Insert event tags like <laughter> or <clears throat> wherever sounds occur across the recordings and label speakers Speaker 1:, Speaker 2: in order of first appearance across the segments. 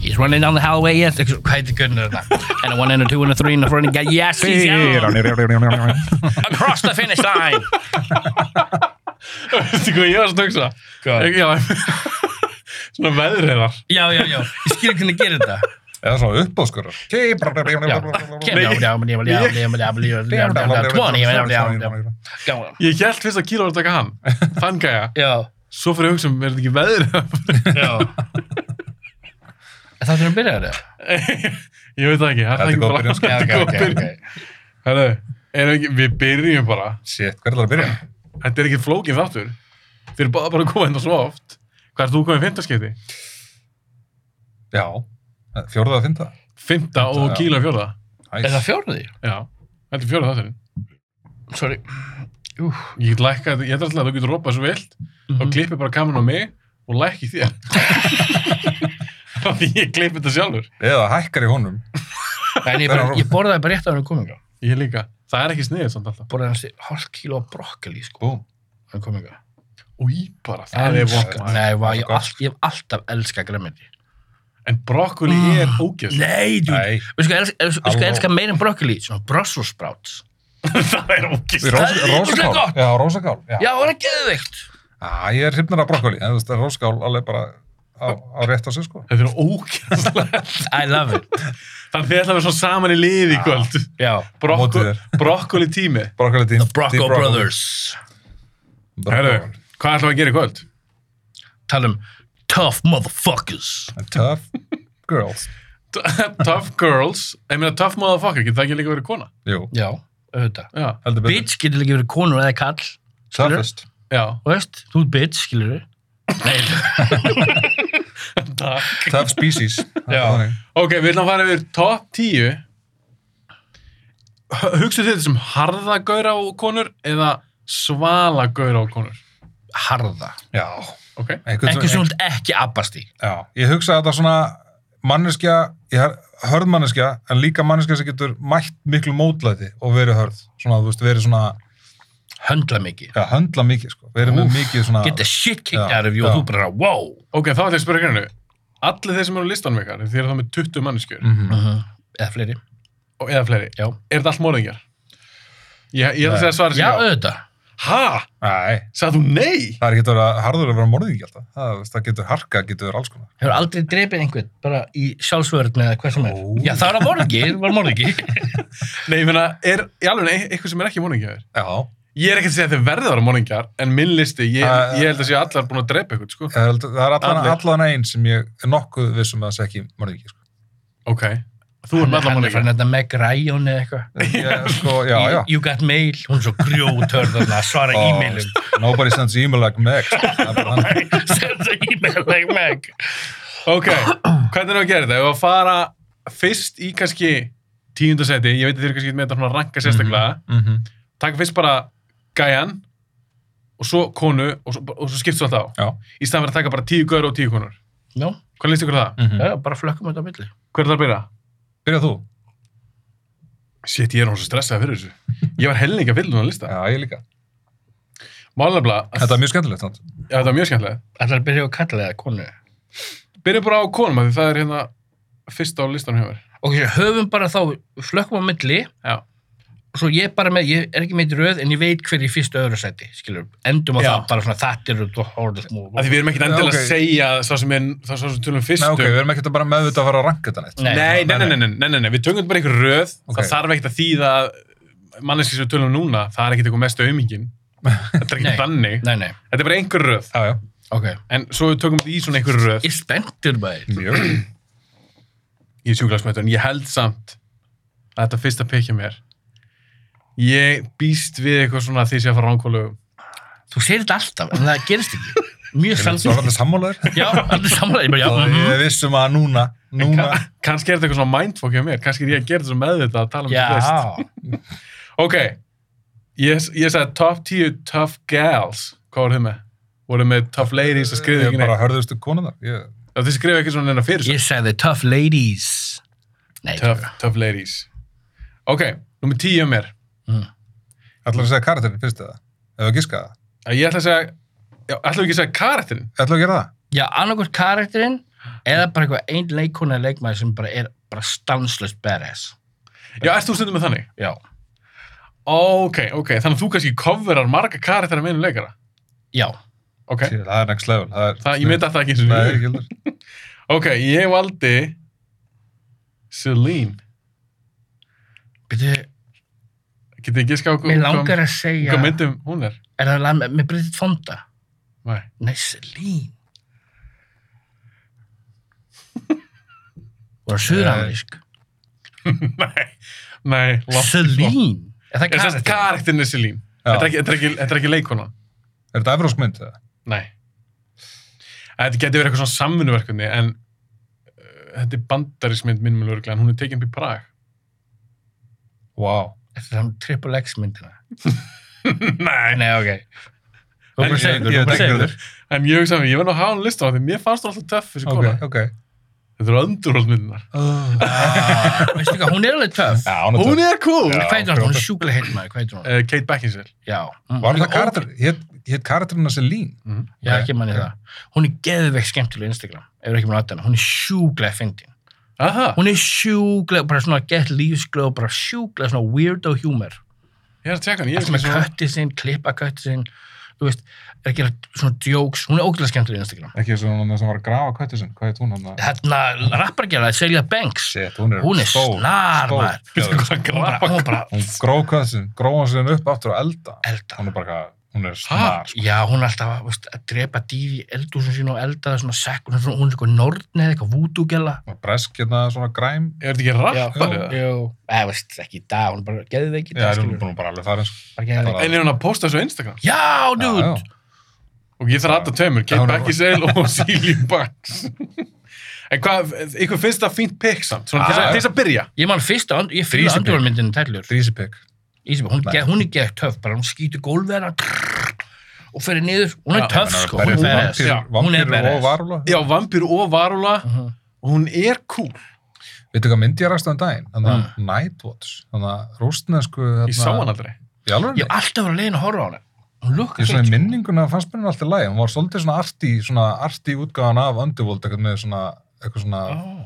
Speaker 1: He's running down the hallway. Yes. Hvað heitir gunnar þetta? And a one and a two and a three and a four and a guy. Yes, he's down. Across the finish line.
Speaker 2: Veistu hvað ég varst að hugsa?
Speaker 1: Hvað?
Speaker 2: Ég- já, Svona <laughs> veðriðar.
Speaker 1: Já, já, já. Ég skil hvernig að gera þetta.
Speaker 3: Eða svona uppáskurur.
Speaker 1: Kemur á djámli, djámli, djámli, djámli, djámli, djámli. Gáðan.
Speaker 2: Ég held fyrst að Kíla var að taka hann. <laughs> Þann gæja.
Speaker 1: Já,
Speaker 2: Svo fyrir að hugsa, um, er þetta ekki veðriðar?
Speaker 1: já. Það þurfum að byrja þetta.
Speaker 2: <laughs> ég veit það ekki.
Speaker 3: Þetta er góð
Speaker 2: <laughs>
Speaker 3: byrjun, sko.
Speaker 1: Já, ok, ok, ok.
Speaker 2: Hæðu, ekki, við byrjum bara.
Speaker 3: Shit, hvernig það að byrja?
Speaker 2: Þetta er ekki flókið þáttur. Þið eru bara bara að koma hérna svo oft. Hvað er þú komið í fimmtaskipti?
Speaker 3: Já, fjórða að fynda.
Speaker 2: Fymta og
Speaker 3: já.
Speaker 2: Kíla fjóða.
Speaker 1: Er það fjórði?
Speaker 2: Já, þetta er fjóða þátturinn.
Speaker 1: Sorry.
Speaker 2: Ég get lækka, þetta- ég held alltaf að þú getur ropað svo vilt
Speaker 1: Mhm.
Speaker 2: og klippið bara kamerun á mig og lækki þér. <laughs> Því ég klippi þetta sjálfur.
Speaker 3: Eða hækkar í honum.
Speaker 1: En ég, bara, ég borðaði bara rétt af henni kominga.
Speaker 2: Ég líka. Það er ekki sniðið samt alltaf.
Speaker 1: Borðaði hans hálf kíló af brokkoli, sko,
Speaker 3: Búm.
Speaker 1: af henni kominga.
Speaker 2: Új, bara, það er
Speaker 1: Elska.
Speaker 2: vokk.
Speaker 1: Nei, vá,
Speaker 3: Það er
Speaker 1: ég,
Speaker 3: gott.
Speaker 1: all, ég hef alltaf elska græmiti.
Speaker 2: En brokkoli er ógjöld.
Speaker 1: Nei, dude.
Speaker 3: Nei,
Speaker 1: Við sko, elska, við sko
Speaker 3: Halló.
Speaker 1: elska meira en brokkoli, svona Brussels sprouts.
Speaker 2: það er ógjöld.
Speaker 1: Það er
Speaker 3: rós-
Speaker 1: ógeðslega
Speaker 3: rósakál.
Speaker 1: gott.
Speaker 3: Já, rósakál. Já,
Speaker 1: Já, það er geðveikt.
Speaker 3: Á, ég er hrifnar af brokkoli, en þú veist, það er róskál alveg bara á, á rétt á sig, sko.
Speaker 2: Þetta er ógjöld.
Speaker 1: I love it.
Speaker 2: <laughs> Þannig þið ætla að vera svona saman í liði í kvöld.
Speaker 1: Já.
Speaker 3: Mótið
Speaker 2: Brokko,
Speaker 3: þér.
Speaker 2: brokkoli tími.
Speaker 3: Brokkoli tím.
Speaker 1: The Brocco Brothers.
Speaker 2: Herru,
Speaker 3: Brokkoli.
Speaker 2: hvað ætlum við að gera í kvöld?
Speaker 1: Tala um tough motherfuckers.
Speaker 3: And Tough girls.
Speaker 2: <laughs> tough girls, ég meina tough motherfucker, getur það ekki líka verið kona?
Speaker 3: Jú,
Speaker 1: Já, auðvitað.
Speaker 2: Já,
Speaker 3: heldur betur.
Speaker 1: Bitch getur líka verið konur eða kall. skilurðu?
Speaker 3: Toughest.
Speaker 2: já.
Speaker 1: Þú veist, þú ert bitch, skilur við. Nei,
Speaker 2: Takk.
Speaker 3: Tough species. Það er
Speaker 1: Já.
Speaker 3: þannig.
Speaker 2: Ok, við ætlum að fara yfir top 10. H- Hugsuðu þið þetta sem harða gaura á konur eða svala gaura á konur?
Speaker 1: harða.
Speaker 3: Já.
Speaker 2: Ok,
Speaker 3: Einhvern
Speaker 1: Einhvern sem þú ert ekki abbast í.
Speaker 3: Já, ég hugsa að það er svona manneskja, ég er hörð manneskja en líka manneskja sem getur mætt miklu mótlæti og verið hörð svona, þú veist, verið svona,
Speaker 1: Höndla mikið.
Speaker 3: já, höndla mikið sko verið með mikið svona,
Speaker 1: Get the shit kicked
Speaker 3: Já,
Speaker 1: out of you
Speaker 3: já.
Speaker 1: og þú bara, wow.
Speaker 2: ok, þá ætlum ég að spyrja hérna. Allir þeir sem eru á listanum ykkar, þið eru þá með 20 manneskjur
Speaker 3: Mhm.
Speaker 1: Eða fleiri.
Speaker 2: og eða fleiri,
Speaker 1: Já.
Speaker 2: er þetta allt morðingjar? Ég, ég ætla að segja
Speaker 1: Já,
Speaker 2: svarið sem já.
Speaker 1: auðvitað.
Speaker 2: Hæ?
Speaker 3: Nei,
Speaker 2: Sagði þú nei?
Speaker 3: það er ekki að vera harður að vera morðingi alltaf, það, þú veist, það getur harka, getur alls konar
Speaker 1: Hefur aldrei drepið einhvern, bara í sjálfsvörðin eða hvað sem er.
Speaker 3: Ó.
Speaker 1: Já, það var morgi, það var morgi.
Speaker 2: Nei, ég meina, er í alveg eitthvað sem er ekki morðingjar?
Speaker 3: Já,
Speaker 2: Ég er ekki að segja að þið verða að vera morðingjar, en minn listi, ég,
Speaker 3: Uh,
Speaker 2: ég held að sé að allar búin að drepa eitthvað, sko.
Speaker 3: það er, það er allan,
Speaker 2: Allir.
Speaker 3: allan einn sem ég er nokkuð vissum að það sé ekki morðingi <laughs> sko.
Speaker 2: Ok. Þú er með
Speaker 1: Hann
Speaker 2: allar
Speaker 1: er fann
Speaker 2: morðingjar.
Speaker 1: þetta Meg Ryan eða eitthvað.
Speaker 3: Ég, sko, já, já
Speaker 1: You got mail. Hún er svo grjótörð þarna að svara
Speaker 3: Ó,
Speaker 1: e-mailum. <laughs>
Speaker 3: <laughs> Nobody sends email like Meg sko. Það er bara <laughs> þannig.
Speaker 1: Senda e-mail like Meg.
Speaker 2: Ok, hvernig er það að gera þetta? Ef að fara fyrst í kannski tíundasæti, ég veit að þið eru kannski ekki með þetta svona ranka sérstaklega,
Speaker 3: Mhm.
Speaker 2: taka fyrst bara gæjan og svo konu og svo, og svo skipt svo alltaf á.
Speaker 3: Já.
Speaker 2: Í staðan fyrir að taka bara tíu gaur og tíu konur.
Speaker 1: Já,
Speaker 2: Hvernig líst ykkur á það?
Speaker 3: Mhm.
Speaker 1: já, bara flökkum þetta á milli.
Speaker 2: Hver er það að byrja?
Speaker 3: Byrja þú?
Speaker 2: Shit, ég er hún svo stressað fyrir þessu. Ég var helninga fyrir hún að lista.
Speaker 3: Já, ég líka
Speaker 2: Málefla,
Speaker 3: Þetta er mjög skemmtilegt samt.
Speaker 2: þetta var mjög skemmtilega.
Speaker 1: Ætlar að byrja á kalla eða konu.
Speaker 2: Byrjum bara á konum að því það er hérna fyrst á listanum hjá mér.
Speaker 1: Ok, svo höfum bara þá flökkum á milli
Speaker 2: Já.
Speaker 1: og svo ég bara með, ég er ekki með í röð en ég veit hver í fyrstu öðru sæti, skilur, endum á
Speaker 2: Já.
Speaker 1: það bara svona þattir og þú horfður
Speaker 2: Að því við erum ekkert endilega
Speaker 3: Ok.
Speaker 2: að segja það sem er það sem við tölum
Speaker 3: Nei,
Speaker 2: fyrstu.
Speaker 3: ok, við erum ekkert að bara meðvita að fara að ranka þetta neitt.
Speaker 1: Nei.
Speaker 2: nei, nei, nei, nei, nei, nei, nei, við tökum bara einhver röð.
Speaker 3: Ok.
Speaker 2: Það þarf ekkert að þýða að manneski sem við tölum núna, það er ekkert eitthvað
Speaker 3: <laughs>
Speaker 2: mest auðmingin. Þetta er
Speaker 1: Nei.
Speaker 2: ekkert þannig.
Speaker 1: Nei, nei,
Speaker 2: Þetta er bara einhver röð.
Speaker 3: Já, já.
Speaker 1: ok.
Speaker 2: En svo við tökum þetta í svona einhver röð.
Speaker 1: Ég er spenntur bæði.
Speaker 3: Mjög.
Speaker 2: Ég er sjúklaðsmættur, en ég held samt að þetta fyrsta pekja mér. Ég býst við eitthvað svona að þið sé að fara ránkólu.
Speaker 1: Þú segir þetta alltaf, en það gerist ekki. Mjög
Speaker 3: Það var
Speaker 1: sannsvöld.
Speaker 3: allir sammálaður.
Speaker 1: Já, allir samlæði, bara já.
Speaker 3: Og
Speaker 1: mhm.
Speaker 3: ég vissum að núna, núna,
Speaker 2: Kannski er þetta eitthvað svona mindfuck hjá mér. Kannski er ég að gera þetta meðvitað að tala um þetta fyrst.
Speaker 1: Já,
Speaker 2: Ok, ég, ég sagði top 10 tough gals. Hvað voruð þið með? Voruð þið með tough ladies að skrifa
Speaker 3: ég
Speaker 2: ekki
Speaker 3: bara
Speaker 2: neitt?
Speaker 3: hörðustu konu þar. Ég,
Speaker 2: Bara... Þið skrifa ekki svona neina fyrir sig.
Speaker 1: ég sagði tough ladies. Nei,
Speaker 2: Tough, tough ladies. Ok, nummer 10 á mér.
Speaker 3: ætlaðu að segja karakterin fyrst eða? Ef við giska það.
Speaker 2: Ég ætla að segja, já, ætla ekki að segja karakterinn.
Speaker 3: Ætlaðu að gera það?
Speaker 1: já, annarkvort karakterinn eða bara eitthvað einn leikona eða leikmaður sem bara er bara stanslust badass
Speaker 2: Já, ert þú stundum með þannig?
Speaker 1: já,
Speaker 2: Ok, ok, þannig að þú kannski coverar marga karakter með einu leikara
Speaker 1: já,
Speaker 2: Ok,
Speaker 3: Shit, Það er next level. Það er,
Speaker 2: það, ég myndi að það ekki eins og
Speaker 3: Nei,
Speaker 2: við
Speaker 3: ekki heldur.
Speaker 2: Ok, ég valdi Celine
Speaker 1: byrju,
Speaker 2: Getið þið giska á hvað-
Speaker 1: mér langar að segja
Speaker 2: hvað myndum hún er?
Speaker 1: er það lag með, með Bridget Fonda
Speaker 2: Nei, <laughs>
Speaker 1: nei, Celine <laughs> og suðramerísk
Speaker 2: nei, nei langt í frá.
Speaker 1: Celine, er það
Speaker 2: Er það
Speaker 1: karakter?
Speaker 2: karakterinu Celine?
Speaker 3: Já.
Speaker 2: Þetta er ekki, þetta er ekki, þetta er ekki leikonan?
Speaker 3: Er þetta evrósk mynd? eða?
Speaker 2: Nei. Þetta getur verið eitthvað svona samvinnuverkunni, en uh, þetta er bandarísmynd minnum alveg örugglega, en hún er tekin upp í Prag. <laughs>
Speaker 3: Wow.
Speaker 1: er það triple X myndina
Speaker 2: Nei.
Speaker 1: nei, ok þú
Speaker 2: En-
Speaker 1: bara segir þú
Speaker 3: Ég veit
Speaker 1: bara
Speaker 3: ekki
Speaker 1: segir
Speaker 3: heldur.
Speaker 1: þú
Speaker 2: En ég hugsa að ég var nú að hafa hann list á það, því mér fannst það alltaf töff þessi
Speaker 3: Ok,
Speaker 2: kona.
Speaker 3: ok.
Speaker 2: Þetta eru öndurhóllmyndunar.
Speaker 1: Ah, veistu hvað, hún er alveg töff
Speaker 3: Já, hún er
Speaker 2: Hún
Speaker 3: töff.
Speaker 2: er cool!
Speaker 3: Já.
Speaker 1: hvað heitir hún, hún
Speaker 3: fljótur.
Speaker 1: er sjúklega heitt maður hvað heitir hún,
Speaker 2: Uh, Kate Beckinsale.
Speaker 1: já hún-
Speaker 3: Var
Speaker 1: hún
Speaker 3: það
Speaker 1: er
Speaker 3: karakter? Hétt hét karakterinn að Selín?
Speaker 2: Mm.
Speaker 1: Já, ekki manni það. Hún er geðveikt skemmtileg á Instagram, ef þú er ekki manni aðdana. Hún er sjúglega fyndin.
Speaker 2: Aha,
Speaker 1: Hún er sjúglega, bara svona gett lífsglöð og bara sjúglega svona weirdo humor.
Speaker 2: ég er að tjekka hann. Ég er
Speaker 1: Alltaf með
Speaker 2: svona,
Speaker 1: köttið sinn, klippa köttið sinn, þú veist, er að gera svona jokes. Hún er ógæðlega skemmtileg á Instagram.
Speaker 3: Ekki svona sem var að grafa kvættu sinn. Hvað heit hún hann?
Speaker 1: Þarna rappargerða, Selja Banks,
Speaker 3: Shit, hún er,
Speaker 1: hún er
Speaker 3: stór,
Speaker 1: snar,
Speaker 3: stór.
Speaker 1: maður.
Speaker 2: Veistu hvað hann
Speaker 1: Hún bara,
Speaker 2: grafa?
Speaker 1: hún bara
Speaker 3: Hún gróf kvættu sinn, gróf hann sinn upp aftur og elda.
Speaker 1: elda.
Speaker 3: Hún er bara, eitthvað- hún er snar. sko.
Speaker 1: Já, hún er alltaf þú veist, að drepa dýr í eldúsum sín og elda það svona sekk. Hún er svona, hún er eitthvað nortni eða eitthvað vúdúgella.
Speaker 3: Hún er Bresk hérna, svona græm.
Speaker 2: Er þetta ekki rappar eða?
Speaker 1: Jú, eða veist, ekki í dag, hún er bara geðið ekki í
Speaker 3: Já,
Speaker 1: dag,
Speaker 3: hún
Speaker 1: skilur.
Speaker 3: er búin að bara alveg farin. sko.
Speaker 1: Bara geðveik.
Speaker 2: En er hún að posta þessu á Instagram?
Speaker 1: Já, dude!
Speaker 3: Já, já.
Speaker 2: Og ég þarf aðta tveimur,
Speaker 3: Já,
Speaker 2: Kate
Speaker 3: hún er-
Speaker 2: Beckinsale og <laughs> Silly Bucks. <laughs> En hvað, ykkur finnst það fínt pick samt? Svona til þess
Speaker 3: Já.
Speaker 2: að- til þess að byrja.
Speaker 1: Ég man fyrst að, ég fýla
Speaker 3: Ísibjörg.
Speaker 1: andurvalmyndinu tællur.
Speaker 3: Rísipik.
Speaker 1: Ísibjörg, hún, er
Speaker 3: Nei.
Speaker 1: ge- hún er gett töff, bara hún skýtur gólfið hennar trrrr, og fyrir niður, hún er
Speaker 2: Já,
Speaker 1: töff sko, hún er
Speaker 2: berjast.
Speaker 1: badass.
Speaker 2: Já,
Speaker 1: hún er
Speaker 3: Vampýrur
Speaker 1: badass.
Speaker 3: og varula.
Speaker 2: Já, vampýr og varúla,
Speaker 1: Mhm.
Speaker 2: og hún er cool.
Speaker 3: Veitu hvað myndi ég ræsta um daginn? Þannig að
Speaker 1: Mm.
Speaker 3: Nightwatch, þannig að rústnesku...
Speaker 2: Ég sá hann aldrei.
Speaker 3: Í alveg?
Speaker 1: Ég hef alltaf verið að leiðin að horfa á hana. Hún lukkar
Speaker 3: Ég svona í
Speaker 1: fint.
Speaker 3: minninguna fannst mér hún alltaf læg. Hún var svolítið svona arti, svona arti útgáðan af Underworld, eitthvað með svona, eitthvað svona...
Speaker 1: Ah,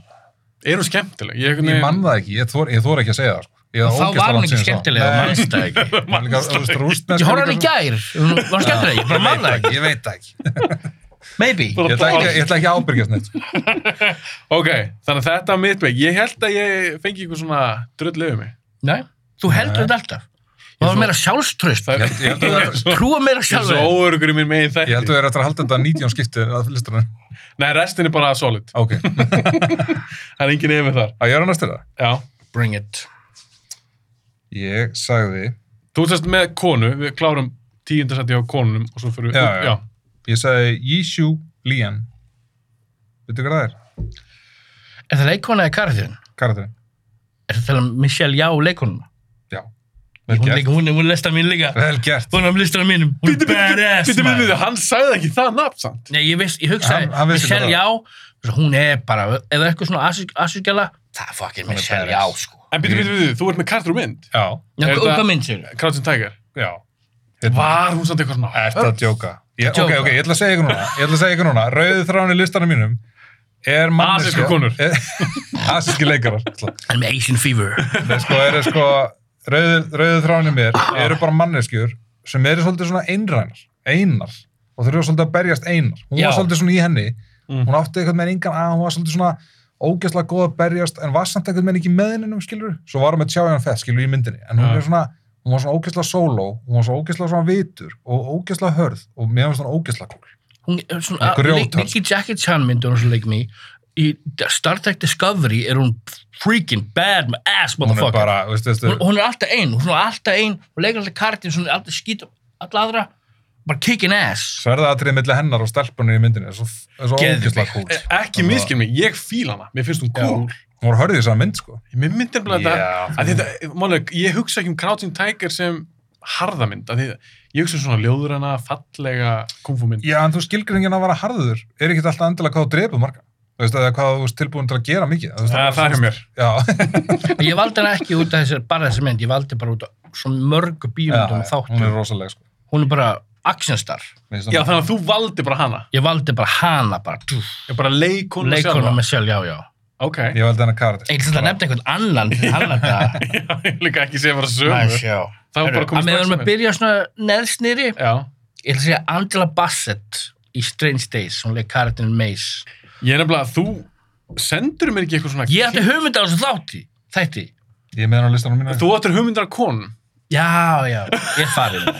Speaker 2: Er hún skemmtileg? Ég,
Speaker 3: Ég mann það ekki, ég þor, ég þor ekki að segja það, sko. Ég hafði
Speaker 1: Þá
Speaker 3: ógeðslega
Speaker 1: var hún
Speaker 3: langt
Speaker 1: ekki
Speaker 3: síðan ég sá
Speaker 1: skemmtilega,
Speaker 3: hana.
Speaker 1: hún mannst það
Speaker 3: <laughs>
Speaker 1: ekki.
Speaker 3: Nei, hún er líka, þú veist, rússneska
Speaker 1: Ég horfa hann í
Speaker 3: líka svo-
Speaker 1: gær, hún var hún skemmtilega, ég bara
Speaker 3: Ég
Speaker 1: manna
Speaker 3: veit
Speaker 1: það
Speaker 3: ekki,
Speaker 1: ekki.
Speaker 3: Ég veit það ekki.
Speaker 1: Maybe.
Speaker 2: Bara-
Speaker 3: Ég ætla ekki, ég ætla ekki að ábyrgjast neitt. sko.
Speaker 2: Ok, þannig að þetta er mitt veginn. Ég held að ég fengi ykkur svona drullu yfir mig.
Speaker 1: Nei, þú heldur þetta alltaf. Það var
Speaker 2: svo-
Speaker 1: meira sjálfströst,
Speaker 2: Það er,
Speaker 3: Ég held- ég held að-
Speaker 1: trúa meira
Speaker 2: ég er svo
Speaker 1: sjálfur.
Speaker 2: óörugur í mín megin
Speaker 3: Ég held
Speaker 2: þætti.
Speaker 3: að þú er eftir að halda þetta 19 skiptið að listunum.
Speaker 2: Nei, restin er bara solid.
Speaker 3: Ok, að
Speaker 2: Það er engin yfir þar.
Speaker 3: ég er að næstu það.
Speaker 2: Já.
Speaker 1: Bring it.
Speaker 3: Ég sagði,
Speaker 2: Þú ert sérst með konu, við klárum tíundarsætti á konunum og svo fyrir við...
Speaker 3: Já, já. ég sagði Yishu Lian. Veitu hvað það er?
Speaker 1: Er það leikona eða karðin?
Speaker 3: Karakterinn?
Speaker 1: Er það að tala um Michelle Já leikonuna?
Speaker 3: Já. Vel
Speaker 1: Hún,
Speaker 3: gert.
Speaker 1: leik, hún, er- hún er lestan mín líka.
Speaker 3: Vel gert.
Speaker 1: Hún er um listan mínum. Hún er
Speaker 2: Bittu,
Speaker 1: badass,
Speaker 2: bittu,
Speaker 1: maður.
Speaker 2: bittu, hann sagði ekki það nafn samt.
Speaker 1: Nei, ég, veist, ég hugsaði,
Speaker 3: Hann- hann vissi
Speaker 1: Michelle
Speaker 3: hvað
Speaker 1: Já, hún er bara, ef það er eitthvað svona asískjala, það er fucking
Speaker 3: Hún er
Speaker 1: Michelle Já,
Speaker 3: badass.
Speaker 1: sko.
Speaker 2: En bittu, bittu, bittu, þú ert með kartur og mynd.
Speaker 3: Já.
Speaker 1: Já,
Speaker 2: Er
Speaker 1: hvað
Speaker 2: þetta-
Speaker 1: hvað mynd sér?
Speaker 2: Crouching Tiger.
Speaker 3: Já. Hérna.
Speaker 2: Var hún samt eitthvað svona?
Speaker 3: Ertu að djóka? Ég,
Speaker 1: Djóka.
Speaker 3: ok, ok, ég ætla að segja ykkur núna. Ég ætla að segja ykkur núna. Rauðu þráin í listanum mínum er manneskja.
Speaker 2: Asísku
Speaker 3: <laughs>
Speaker 2: konur.
Speaker 3: Er- Asíski leikarar. ætla.
Speaker 1: Hann er með Asian Fever.
Speaker 3: Nei, sko, eru sko, rauðu, rauðu þráin í mér eru bara manneskjur sem eru svolítið svona einrænar, einar og þurfa svolítið að berjast einar. Hún
Speaker 1: Já.
Speaker 3: var svolítið svona í henni.
Speaker 2: Mm.
Speaker 3: Hún átti eitthvað með engan að, hún var svolítið svona ógeðslega góð að berjast en var samt eitthvað með ekki með henninum, skilur. Svo var hún með Tjájan Fett, skilur, í myndinni. En hún
Speaker 2: Já.
Speaker 3: er svona, hún var svona ógeðslega sóló, hún var svona ógeðslega svona vitur og ógeðslega hörð og mér finnst hún ógeðslega kúl.
Speaker 1: Hún er svona,
Speaker 3: Hún er grjót,
Speaker 1: leik- Nicky Jackie Chan myndur hún svo leik mig. Í Star Trek Discovery er hún freaking bad ass
Speaker 3: Hún er
Speaker 1: motherfucker.
Speaker 3: bara, veistu, veistu,
Speaker 1: Hún, hún er alltaf ein, hún er svona alltaf ein, hún leikar alltaf kartin, hún er alltaf skýt, alltaf aðra, bara kicking ass.
Speaker 3: sverðaatrið milli hennar og stelpunni í myndinni er svo, er svo
Speaker 1: Geðveik.
Speaker 3: ógeðslega kúl.
Speaker 2: E- Ekki miskinn mig, ég fíla hana. Mér finnst hún cool.
Speaker 3: Hún var hörð í þess mynd, sko.
Speaker 2: Mér myndir bara þetta...
Speaker 3: Já.
Speaker 2: að Þetta, málega, ég hugsa ekki um Crouching Tiger sem harðamynd. að Því, ég hugsa um svona ljóðræna, fallega kumfumynd.
Speaker 3: Já, en þú skilgrinningin að vera harður er ekki alltaf endilega hvað þú drepur marga. Þú veist, eða hvað þú ert tilbúin til að gera mikið. Þú Veist,
Speaker 2: Það það er hjá mér.
Speaker 3: Já,
Speaker 1: Ég valdi hana ekki út af þessi, bara þessi mynd, ég um valdi bara út af svo mörgu
Speaker 3: já, <laughs>
Speaker 1: bímundum
Speaker 3: hún er
Speaker 1: þáttum.
Speaker 3: rosalega, sko.
Speaker 1: Hún er bara action star
Speaker 3: Mér finnst
Speaker 2: Já,
Speaker 3: það-
Speaker 2: þannig að þú valdi bara hana.
Speaker 1: ég valdi bara hana bara dúf,
Speaker 2: Ég bara leikona
Speaker 1: leikona með sjálf, já, já
Speaker 2: Ok.
Speaker 3: Ég valdi hennar karakter.
Speaker 1: ég ætla að nefna einhvern annan til hann
Speaker 3: <laughs>
Speaker 1: að það
Speaker 2: <laughs> Ég líka ekki segja bara sömu.
Speaker 1: næs, já
Speaker 2: Það var bara
Speaker 1: Heyrðu,
Speaker 2: að koma
Speaker 1: að með
Speaker 2: strax
Speaker 1: erum að
Speaker 2: með.
Speaker 1: byrja svona neðsnýri ég
Speaker 2: Já.
Speaker 1: ætla að segja Angela Bassett í Strange Days, hún leik karakterin Mace
Speaker 2: Ég er nefnilega að þú sendur mér ekki eitthvað svona...
Speaker 1: ég ætti hugmynda á þessu þátti þætti,
Speaker 3: Ég er með hennar á listanum mínu.
Speaker 2: Þú áttir hugmyndar að konum.
Speaker 1: já, já ég farið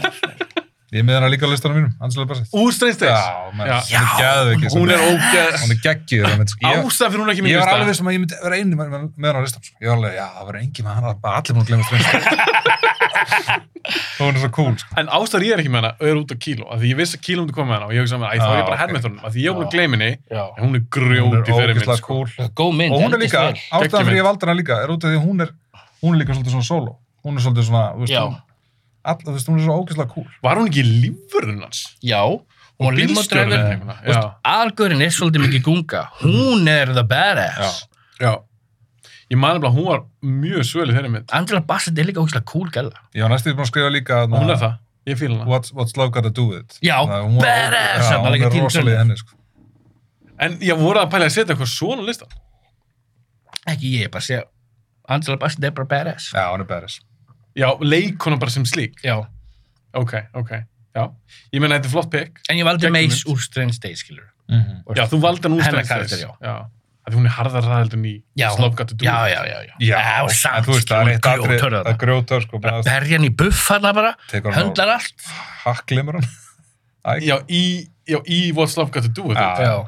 Speaker 3: Ég er með hennar líka á listanum mínum. Angela Bassett.
Speaker 2: Úr Streinsteins.
Speaker 3: Já, menn,
Speaker 2: Já.
Speaker 3: hún er geðveik.
Speaker 2: Hún er
Speaker 3: Hún
Speaker 2: ógeð.
Speaker 3: er geggjuð. þannig, sko. Ég-
Speaker 2: Ástæð fyrir hún er ekki
Speaker 3: Ég
Speaker 2: mér
Speaker 3: var alveg vissum að ég myndi vera einu með með hann á listan. Sko. Ég var alveg, já, það verður engin með hann, það er bara allir búin að glemja strengst. sko. Hún er svo cool, sko.
Speaker 2: En ástæður ég er ekki með hana er út á kíló, af því ég vissi að kíló myndi koma með hana og ég hugsa með hana, æ, þá
Speaker 3: Já,
Speaker 2: er ég
Speaker 3: Ah,
Speaker 2: bara
Speaker 3: ok.
Speaker 2: hermið þornum, af því ég er
Speaker 1: Já.
Speaker 2: búin að gleymi henni,
Speaker 1: Já.
Speaker 2: en hún er
Speaker 3: Hún er
Speaker 2: grjóti fyrir minn,
Speaker 3: ógeðslega
Speaker 2: sko.
Speaker 3: cool.
Speaker 1: góð mynd,
Speaker 3: Og hún er
Speaker 1: endist
Speaker 3: líka,
Speaker 1: vel.
Speaker 3: ástæðan fyrir
Speaker 2: Geggjumynd.
Speaker 3: ég valdi hana líka, er út af því að hún er, hún er líka svolítið svona solo. Hún er svolítið svona, þú veist,
Speaker 1: Já.
Speaker 3: hún, all, þú veist, hún er svo ógeðslega cool.
Speaker 2: Var hún ekki lífurinn hans?
Speaker 1: já, hún er
Speaker 2: Bílstjórinn
Speaker 1: límótræður
Speaker 2: eða eitthvað, já.
Speaker 1: algörinn er svolítið mikið gunga hún er the badass
Speaker 2: Já. Ég man nefnilega að hún var mjög svölu þeirri mynd.
Speaker 1: Angela Bassett er líka ógæslega cool gæla
Speaker 3: Ég var næstu búin að skrifa líka að
Speaker 2: Hún er það. Ég fíl hana.
Speaker 3: What's, what's love gotta do with it?
Speaker 1: Já,
Speaker 3: Þannig að hún var-
Speaker 1: badass,
Speaker 3: Já,
Speaker 1: hann var
Speaker 3: hún
Speaker 1: líka
Speaker 3: er
Speaker 1: Tina
Speaker 3: rosalega
Speaker 1: Turner.
Speaker 3: í henni, sko.
Speaker 2: En ég voru að pæla að setja eitthvað svona á listan.
Speaker 1: ekki ég, bara segja Angela Bassett er bara badass
Speaker 3: Já, hún er badass.
Speaker 2: Já, leikona bara sem slík.
Speaker 1: já,
Speaker 2: Ok, ok. Já. Ég meina, þetta er flott pick.
Speaker 1: en ég valdi
Speaker 2: Geggjum
Speaker 1: Mace
Speaker 2: mynd.
Speaker 1: úr Strange Days, skilur
Speaker 2: Já, þú valdi hann úr
Speaker 1: Hennar
Speaker 2: Strangers.
Speaker 1: karakter, já.
Speaker 2: Já. Af því hún er harðar ræðildur en í
Speaker 1: Já.
Speaker 2: Slow Got to Do.
Speaker 1: já,
Speaker 2: It.
Speaker 1: já, já, já,
Speaker 3: Já,
Speaker 1: já
Speaker 3: en
Speaker 1: samt,
Speaker 3: þú veist,
Speaker 1: skilur,
Speaker 3: það
Speaker 1: hún
Speaker 3: er
Speaker 1: er
Speaker 3: eitt atrið
Speaker 1: grjótörð
Speaker 3: að
Speaker 1: þarna.
Speaker 3: grjóta, sko, bara að
Speaker 1: berja hann í buff hann bara,
Speaker 3: Tekur hann á-
Speaker 1: höndlar allt
Speaker 3: hakklimur hann. Æ,
Speaker 2: Já, í, já, í What's Love Got to Do. It,
Speaker 3: Já.
Speaker 2: þetta.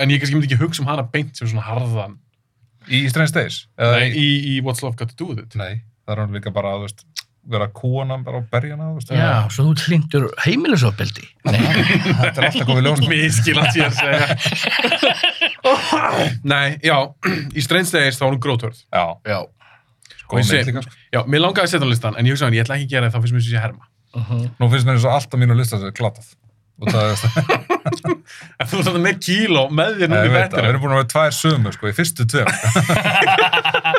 Speaker 2: En ég kannski myndi ekki hugsa um hana beint sem svona harðan.
Speaker 3: Í Strange Days?
Speaker 2: Nei, í, í What's Love Got to Do. It.
Speaker 3: Nei, það er hún líka bara að, þú veist, vera kúana bara á berjana, þú veist.
Speaker 1: já, svo þú hlindur heimilisofbeldi
Speaker 3: Þetta er alltaf komið ljósn.
Speaker 2: Miskilat ég að segja.
Speaker 1: <laughs>
Speaker 2: Nei, já, í Strange Days þá var hún grótörð.
Speaker 3: Já,
Speaker 1: <laughs> já,
Speaker 2: Og ég
Speaker 3: góð
Speaker 2: segi-
Speaker 3: mynd líka, sko.
Speaker 2: Já, mér langaði að setja hann á listan, en ég hugsa hann, ég ætla ekki að gera það, þá finnst mér þessi að herma.
Speaker 3: Nú finnst mér eins og allt á mínu lista sem er glatað. Og það er
Speaker 2: <laughs>
Speaker 3: það.
Speaker 2: En þú ert alltaf með kíló með
Speaker 3: Ég
Speaker 2: þér núna í
Speaker 3: veit það, við
Speaker 2: vettinu.
Speaker 3: erum búin að vera tvær sömu, sko, í fyrstu
Speaker 2: <laughs>
Speaker 3: tveim.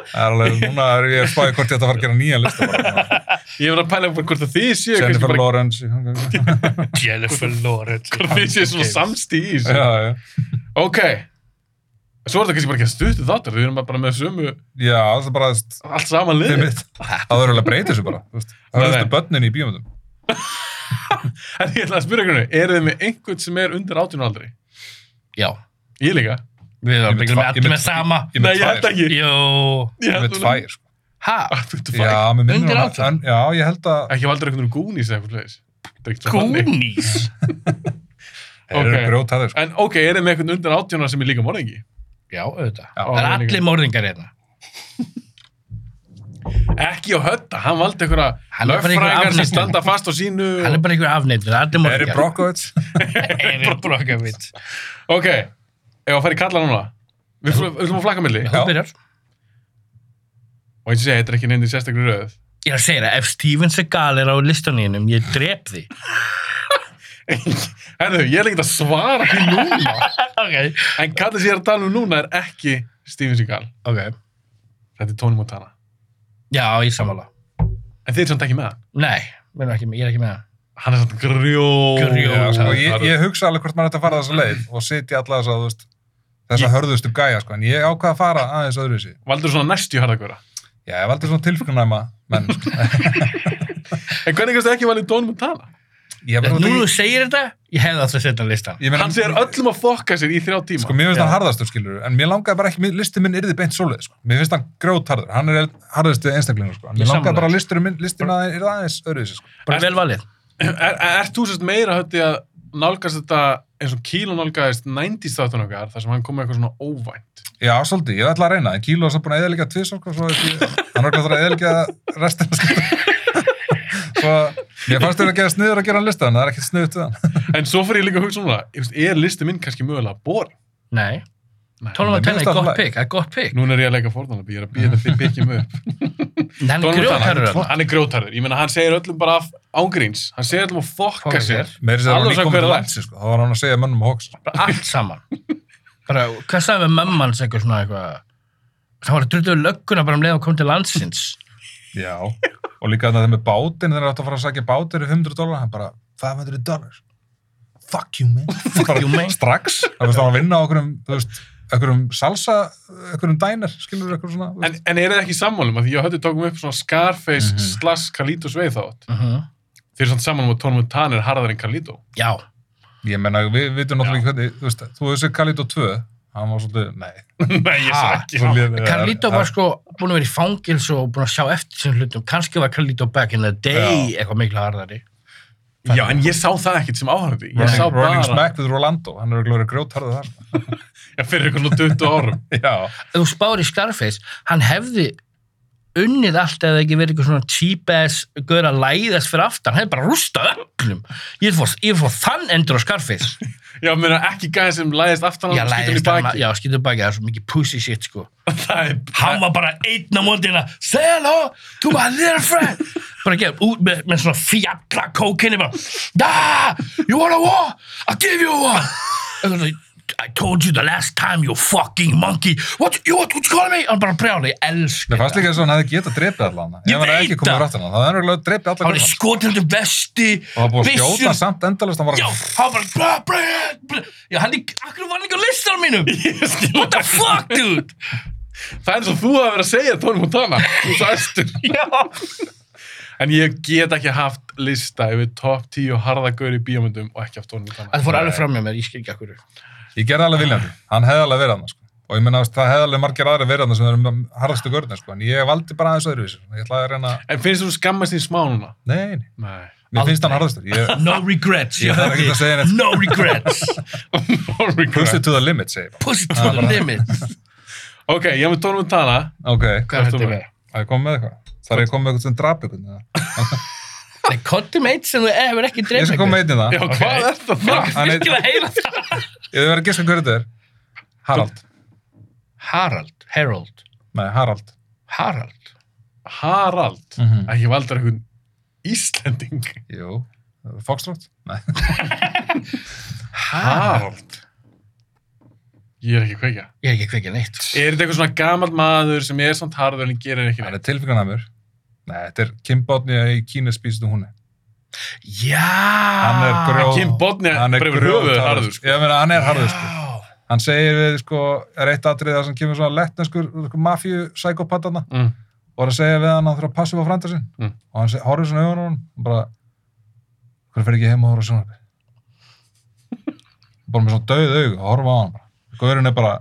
Speaker 3: Það er alveg, núna er ég að spáði hvort ég ætti að fara að gera nýja lista bara.
Speaker 2: <laughs> Ég var að pæla bara hvort að þið séu kannski
Speaker 3: Jennifer
Speaker 2: bara,
Speaker 3: Lawrence. í-
Speaker 2: <laughs>
Speaker 1: Jennifer Lawrence
Speaker 2: hvort <laughs> þið séu svona samstíð í þessu.
Speaker 3: Já, já.
Speaker 2: Ok. Svo er þetta kannski bara ekki að stuttu þáttur, við erum bara með sömu,
Speaker 3: Já, það er bara, þú veist,
Speaker 2: allt saman
Speaker 3: þið
Speaker 2: liðið.
Speaker 3: mitt. Það verður alveg að breyta þessu bara, þú veist. Það
Speaker 2: Nei,
Speaker 3: verður
Speaker 2: nei.
Speaker 3: þetta börnin í bíómyndum.
Speaker 2: En ég ætla að spyrja ykkur, eru þið með einhvern sem er undir 18 aldri?
Speaker 1: já,
Speaker 2: Ég líka.
Speaker 1: við
Speaker 3: Ég
Speaker 1: erum
Speaker 3: mynd
Speaker 1: byggðum með
Speaker 3: tva- ég
Speaker 1: allir
Speaker 3: mynd-
Speaker 1: með sama
Speaker 3: Ég er
Speaker 2: Nei,
Speaker 3: með
Speaker 2: ég held
Speaker 3: tvær.
Speaker 2: ekki.
Speaker 1: jú,
Speaker 2: Ég
Speaker 3: Ég er
Speaker 2: held
Speaker 3: með
Speaker 2: þú-
Speaker 3: tvær, sko.
Speaker 1: ha
Speaker 2: Ah, þú ert tvær.
Speaker 3: Já, mér minnir
Speaker 1: Undir
Speaker 3: hún að-
Speaker 1: 18?
Speaker 3: en- Já, ég held að
Speaker 2: Ekki valdur einhvern veginn gúnis eða eitthvað slags. Þetta er ekkert svo þannig.
Speaker 1: Goonies
Speaker 3: Þeir eru
Speaker 2: Ok.
Speaker 3: grjótæðir, sko.
Speaker 2: En ok, er þið með einhvern undir 18 sem er líka morðingi?
Speaker 1: Já, auðvitað.
Speaker 3: Já,
Speaker 1: það er
Speaker 2: það er
Speaker 1: allir
Speaker 2: líka.
Speaker 1: morðingar hérna.
Speaker 2: Ekki á hötta, hann valdi einhverja
Speaker 1: Hann er bara einhver
Speaker 2: lögfræðingar sem
Speaker 1: afneitun.
Speaker 2: standa fast á sínu.
Speaker 1: Hann er bara einhver afneitur, það er allir
Speaker 3: Eri
Speaker 1: morðingar. <laughs>
Speaker 3: Brockovits?
Speaker 1: Eri Brokkavitt.
Speaker 2: Ok, ef að fara í kalla núna. Við ætlum við ætlum að flakka milli.
Speaker 1: Þú byrjar.
Speaker 2: Og eins og ég segi, þetta er ekki neyndir sérstaklega röð.
Speaker 1: Ég er að segja það, ef Steven Seagal er á listaninum, ég drep því.
Speaker 2: <laughs> Herðu, ég er ekki að svara því núna.
Speaker 1: <laughs> ok.
Speaker 2: En kallið sem ég er að tala um núna er ekki Steven Seagal.
Speaker 1: Ok.
Speaker 2: Þetta er Tony Montana.
Speaker 1: Já, ég samála.
Speaker 2: En þið er samt ekki með hann.
Speaker 1: Nei, við erum ekki með- ég er ekki með það.
Speaker 2: Hann er samt grjó.
Speaker 1: Grjó.
Speaker 3: Já, sko, ég,
Speaker 2: Harður.
Speaker 3: ég hugsa alveg hvort maður ætti að fara þessa leið og sitja alla þess að, þú veist, þess að hörðustu gæja, sko, en ég ákvað að fara aðeins öðruvísi.
Speaker 2: Valdur svona næstjú harðakvöra.
Speaker 3: Já, ég valdi svona tilfinninganæma menn, sko.
Speaker 2: En hvernig kannski ekki valið Tony Montana?
Speaker 3: Ég
Speaker 1: Nú
Speaker 3: verður
Speaker 1: þú
Speaker 3: ekki...
Speaker 1: segir þetta, ég hefði átt að setja á listan.
Speaker 3: Ég meina-
Speaker 2: Hann sko. segir öllum að fokka sér í þrjá tíma.
Speaker 3: Sko, mér finnst
Speaker 1: Já.
Speaker 3: hann harðastur, skilur, en mér langaði bara ekki, mér- listi minn yrði beint svolítið, sko. Mér finnst hann grjótharður, hann er harðastu einstaklingur, sko. En
Speaker 1: Ég
Speaker 3: Mér langaði
Speaker 1: sammála.
Speaker 3: bara listur, listin að yrði aðeins öðruvísi, sko.
Speaker 1: Bara
Speaker 2: Ertu-
Speaker 1: vel valið.
Speaker 2: <clears throat> Er, er, ert þú sérst meira höndi að nálgast þetta eins og Kíló nálgast 90s þáttan okkar þar sem hann kom með eitthvað svona óvænt?
Speaker 3: Já, svolítið, ég ætla að reyna, en Kíló er samt búin að eðalega tvisar, sko, svo ekki, hann er ekki að það að eðalega restina, sko. <laughs> svo, ég fannst þér að gera sniður að gera hann lista, en það er ekkert sniðut við hann.
Speaker 2: En svo fyrir ég líka að hugsa núna, ég veist, er listi minn kannski mögulega boring?
Speaker 1: Nei.
Speaker 2: Nei,
Speaker 1: Tónum að
Speaker 3: mér
Speaker 1: tenna
Speaker 3: finnst
Speaker 1: er
Speaker 3: það
Speaker 1: gott
Speaker 3: alveg.
Speaker 1: pick, það er gott pick.
Speaker 2: Núna er ég að leika fórðanabí, ég er að býja þetta þið byggjum upp.
Speaker 1: En Hann er
Speaker 2: Donald Trump,
Speaker 1: grjótarur
Speaker 2: hann-
Speaker 1: hann.
Speaker 2: Hann er grjótarður, ég meina hann segir öllum bara af ángríns, hann segir öllum að fokka
Speaker 1: Fokka sér.
Speaker 2: sér.
Speaker 3: Meiri sér að
Speaker 2: Alveg
Speaker 3: hann
Speaker 2: svo
Speaker 3: kom
Speaker 2: hver
Speaker 3: til
Speaker 2: það er.
Speaker 3: landsi, sko, þá var hann að segja mönnum og hóks.
Speaker 1: Bara allt saman. Bara, hvað sagði við mömmans eitthvað svona eitthvað? Það var að druttu lögguna bara um leið og kom til landsins.
Speaker 3: Já. Og líka þannig að það með bátinn, þegar það átt að fara að sækja bátinn í 500 dólar, hann bara, 500 dollars fuck you
Speaker 1: <laughs>
Speaker 3: man fuck
Speaker 1: you, man.
Speaker 3: strax, það finnst það að vinna á einhverjum þú veist, einhverjum salsa einhverjum dænir, skilur einhverjum svona þú
Speaker 2: En,
Speaker 3: veist.
Speaker 2: en er það ekki sammálum að því ég og Höddi tókum upp svona Scarface slash Kalító sveið þátt?
Speaker 1: Mhm.
Speaker 2: Þeir eru svona sammálum að Tónum Tan er harðar en Kalító.
Speaker 1: Já.
Speaker 3: ég menna, við við vitum náttúrulega ekki hvernig þú veist, þú veist Kalito 2 hann var svolítið, nei
Speaker 2: <laughs> Nei, ég svo
Speaker 1: Ha,
Speaker 2: ekki.
Speaker 3: svo
Speaker 2: það.
Speaker 3: lið-
Speaker 1: Carlito
Speaker 3: það-
Speaker 1: var sko búin að vera í fangils og búin að sjá eftir sem hlutum. Kanski var Carlito back in the day eitthvað miklu harðari.
Speaker 2: Já, en ég sá það ekkert sem áhörði. Ég
Speaker 3: Running,
Speaker 2: sá
Speaker 3: running
Speaker 2: bara,
Speaker 3: Smack við Rolando, hann er glóður grjótharðu þar sko.
Speaker 2: já, fyrir eitthvað svona 20 árum.
Speaker 3: já,
Speaker 1: Ef þú spáir í Scarface, hann hefði unnið allt eða ekki verið eitthvað svona cheap-ass, gauður að læðast fyrir aftan, hann hefði bara rústað öllum. Ég fór, ég fór þann endur á Scarface.
Speaker 2: Já, meina ekki gæði sem læðist aftan á
Speaker 1: Já,
Speaker 2: hann og skýtur í
Speaker 1: læðist hann,
Speaker 2: baki. <laughs>
Speaker 1: já, skýtur baki, það er svo mikið pussy shit, sko.
Speaker 2: Það er,
Speaker 1: Hann var bara einn á mótina, say hello to my little friend. Bara gefur út með, með svona fjalla kókinni bara, da, you wanna war? I'll give you one. Eitthvað svona, I told you the last time you fucking monkey. What you what you calling me? Hann bara brjála, ég elska.
Speaker 3: Mér fannst líka eins og hann hefði getað drepið allan.
Speaker 1: Ég
Speaker 3: Ef hann hefði
Speaker 1: veit
Speaker 3: ekki komið
Speaker 1: það.
Speaker 3: ráttan hann, það hefði hann drepið allan
Speaker 1: Hann var
Speaker 3: grann.
Speaker 1: skotildu vesti,
Speaker 3: Og það var búið að skjóta samt endalist, hann var
Speaker 1: Já,
Speaker 3: að
Speaker 1: hann bara, bra, bra, bra. Já, hann er, akkur var hann ekki á listanum mínum?
Speaker 2: <laughs>
Speaker 1: What the fuck, dude?
Speaker 2: það er svo þú að vera að segja Tónum Tana. Þú er svo æstur.
Speaker 1: Já.
Speaker 2: En ég get ekki haft lista yfir top 10 harðagaur í bíómyndum og ekki haft Tónum Tana.
Speaker 1: Það fór alveg fram með mér, ég skil ekki akkur.
Speaker 3: ég gerði alveg viljandi. Hann hefði alveg verið hann, sko. Og ég meina, þú veist, það hefði alveg margir aðri verið hann sem eru harðastu görðin, sko. En ég valdi bara aðeins öðruvísi. Ég ætlaði að reyna,
Speaker 2: En finnst þú skammast þín smá núna?
Speaker 3: nei, nei,
Speaker 2: <laughs> Nei.
Speaker 3: mér finnst hann harðastur. Ég
Speaker 1: <laughs> No regrets,
Speaker 3: Ég þarf ekkert að segja neitt.
Speaker 1: No <laughs> regrets.
Speaker 2: Oh
Speaker 3: push it to the limit, segi ég bara.
Speaker 1: Push it to the limit.
Speaker 2: ok, ég hef með Tónum Tana.
Speaker 3: Ok,
Speaker 1: Hvað er þetta
Speaker 2: ertu með?
Speaker 1: með?
Speaker 3: það er komið með eitthvað. Það er ég komið með eitthvað sem drap ykkur. eða?
Speaker 1: Nei, kottum eitt sem þú e- hefur ekki
Speaker 3: Ég
Speaker 1: dreifð
Speaker 3: skal koma með einn í það.
Speaker 2: Já, hvað er það það?
Speaker 1: Ég
Speaker 3: Hann
Speaker 1: skal
Speaker 3: er,
Speaker 1: heyra það.
Speaker 3: ég hef verið að giska hverju þetta er. Harald.
Speaker 1: Harald, Harold,
Speaker 3: Nei, Harald.
Speaker 1: Harald.
Speaker 2: Harald.
Speaker 3: Mhm.
Speaker 2: Ekki valdar einhvern Íslending.
Speaker 3: Jú. Foxtrot? Nei. Ah.
Speaker 2: Harald. Ég er ekki að kveikja.
Speaker 1: Ég er ekki að kveikja neitt.
Speaker 2: Er þetta eitthvað svona gammal maður sem er samt harður en gerir ekki
Speaker 3: Hann
Speaker 2: neitt?
Speaker 3: er tilfingarnæmur. Nei, þetta er Kim Bodnia í Kína spýst um húnni.
Speaker 1: Já.
Speaker 3: Hann
Speaker 1: Hann
Speaker 3: er grjó-
Speaker 2: Kim Bodnia
Speaker 3: Hann er
Speaker 2: brefur höfuð harður. sko.
Speaker 3: Ég meina, hann er harður, sko. Hann segir við, sko, er eitt atrið þar sem kemur svona lettneskur sko, mafíu-sækopatana
Speaker 2: Mm.
Speaker 3: og er að segja við hann að hann þurfa að passa upp á frænda sinn.
Speaker 2: Mm.
Speaker 3: Og hann seg- horfir svona auðan á hann og bara, hvernig fer ekki heim og horfa sjónarbi? bara með svona döð aug og horfa á hann bara. Gaurinn er bara,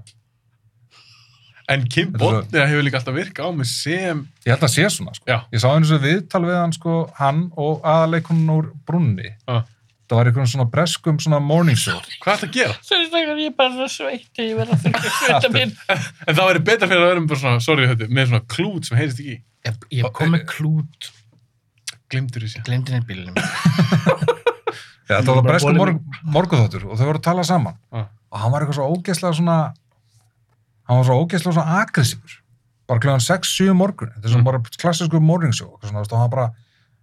Speaker 2: En Kim
Speaker 3: Þetta er svo-
Speaker 2: Bodnia hefur líka alltaf virkað á mig sem...
Speaker 3: ég held að sé svona, sko.
Speaker 2: Já.
Speaker 3: Ég sá einu svo viðtal við hann, sko, hann og aðaleikunin úr brunni.
Speaker 2: Ah.
Speaker 3: Það var einhvern svona breskum svona morning show.
Speaker 2: Hvað er það að gera?
Speaker 1: Sérstaklega ég er bara svo sveitt ég verð að þurfa að sveita minn.
Speaker 2: En það væri betra fyrir að vera með bara svona, sorry höttu, með svona klút sem heyrist ekki í.
Speaker 1: Ég, ég kom með klút,
Speaker 2: Glimtur þessi.
Speaker 1: glemdi henni bílunum.
Speaker 3: Já, þetta var
Speaker 1: Bara
Speaker 3: bresku
Speaker 1: bolinn-
Speaker 3: morg, morguþóttur og þau voru að tala saman
Speaker 2: Ah.
Speaker 3: og hann var eitthvað svo ógeðslega svona hann var svo ógeðslega svona agressífur bara kljóðan 6-7 morgun þetta er
Speaker 1: Mm.
Speaker 3: svona bara klassísku morgingsjó og svona, veist, og hann bara,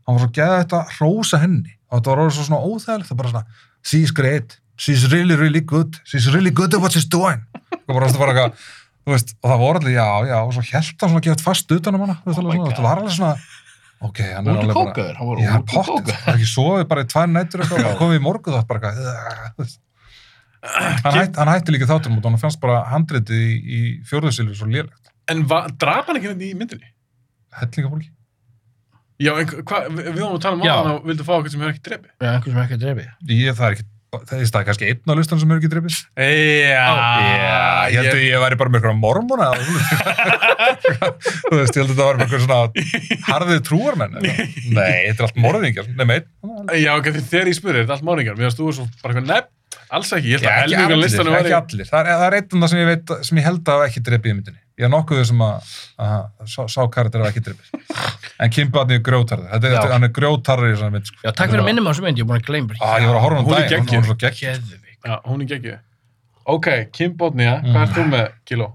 Speaker 3: hann var svo geða þetta hrósa henni og þetta var orðið svo svona óþægilegt það bara svona, she's great she's really really good, she's really good at what she's doing og bara þetta var eitthvað þú veist, og það voru allir, já, já, og svo held hann svona að gefa fast utan um hana, þú veist,
Speaker 1: Oh
Speaker 3: alveg
Speaker 1: my
Speaker 3: svona,
Speaker 1: God.
Speaker 3: þetta var alveg svona ok, hann er
Speaker 1: Út í
Speaker 3: alveg bara
Speaker 1: kókaður, hann var
Speaker 3: Já,
Speaker 1: út í
Speaker 3: pottið.
Speaker 1: kókaður.
Speaker 3: Það er ekki sofið bara í tvær nættur eitthvað og komið í morgu þátt bara eitthvað. "Ugh." Hann, hætt, hann hætti líka þáttur mútið, hann fannst bara handritið í, í fjórðusilvi svo lélegt.
Speaker 2: En va- drap hann ekki hérna í myndinni?
Speaker 3: Hellinga fólki.
Speaker 2: Já, en hva, við við vorum að tala um
Speaker 1: Já.
Speaker 2: áðan og vildu fá okkur sem hefur ekki drefið.
Speaker 1: Já, einhver sem ekki að drefi.
Speaker 3: Ég, það er ekki, það er, það er kannski einn á listan sem er ekki drifið.
Speaker 2: Já,
Speaker 3: ég held að ég væri bara með eitthvað mormona. eða Þú veist, ég held að það væri með eitthvað svona harðið trúarmenn. eða eitthvað. Nei, þetta er allt morðingjar. Nei, meit.
Speaker 2: Já, ok, því þegar ég spurði, þetta er allt máningar. Mér finnst þú svo bara eitthvað nefn, alls ekki. Ég held
Speaker 3: Já,
Speaker 2: að
Speaker 3: ekki
Speaker 2: helmingar
Speaker 3: allir,
Speaker 2: listanum
Speaker 3: ekki
Speaker 2: væri...
Speaker 3: allir. Það er, það er einn af það sem ég, veit, sem ég held að hafa ekki drepið í myndinni. Ég er nokkuð sem að, að sá, sá karakter að ekki drepið. En Kim Badni er grjótarður. Þetta er,
Speaker 1: Já.
Speaker 3: þetta- hann er grjótarður í þessari mynd. Sko.
Speaker 1: Já, takk fyrir að minnum á þessu mynd, ég er búin að gleyma.
Speaker 3: Ah, ég var að horfa um
Speaker 2: Hún er
Speaker 3: daginn, hún
Speaker 2: geggjuð.
Speaker 3: var svo gegg.
Speaker 1: Geðvig.
Speaker 2: Já, hún er geggið. Ok, Kim Bodnia, hvað ert þú með kíló?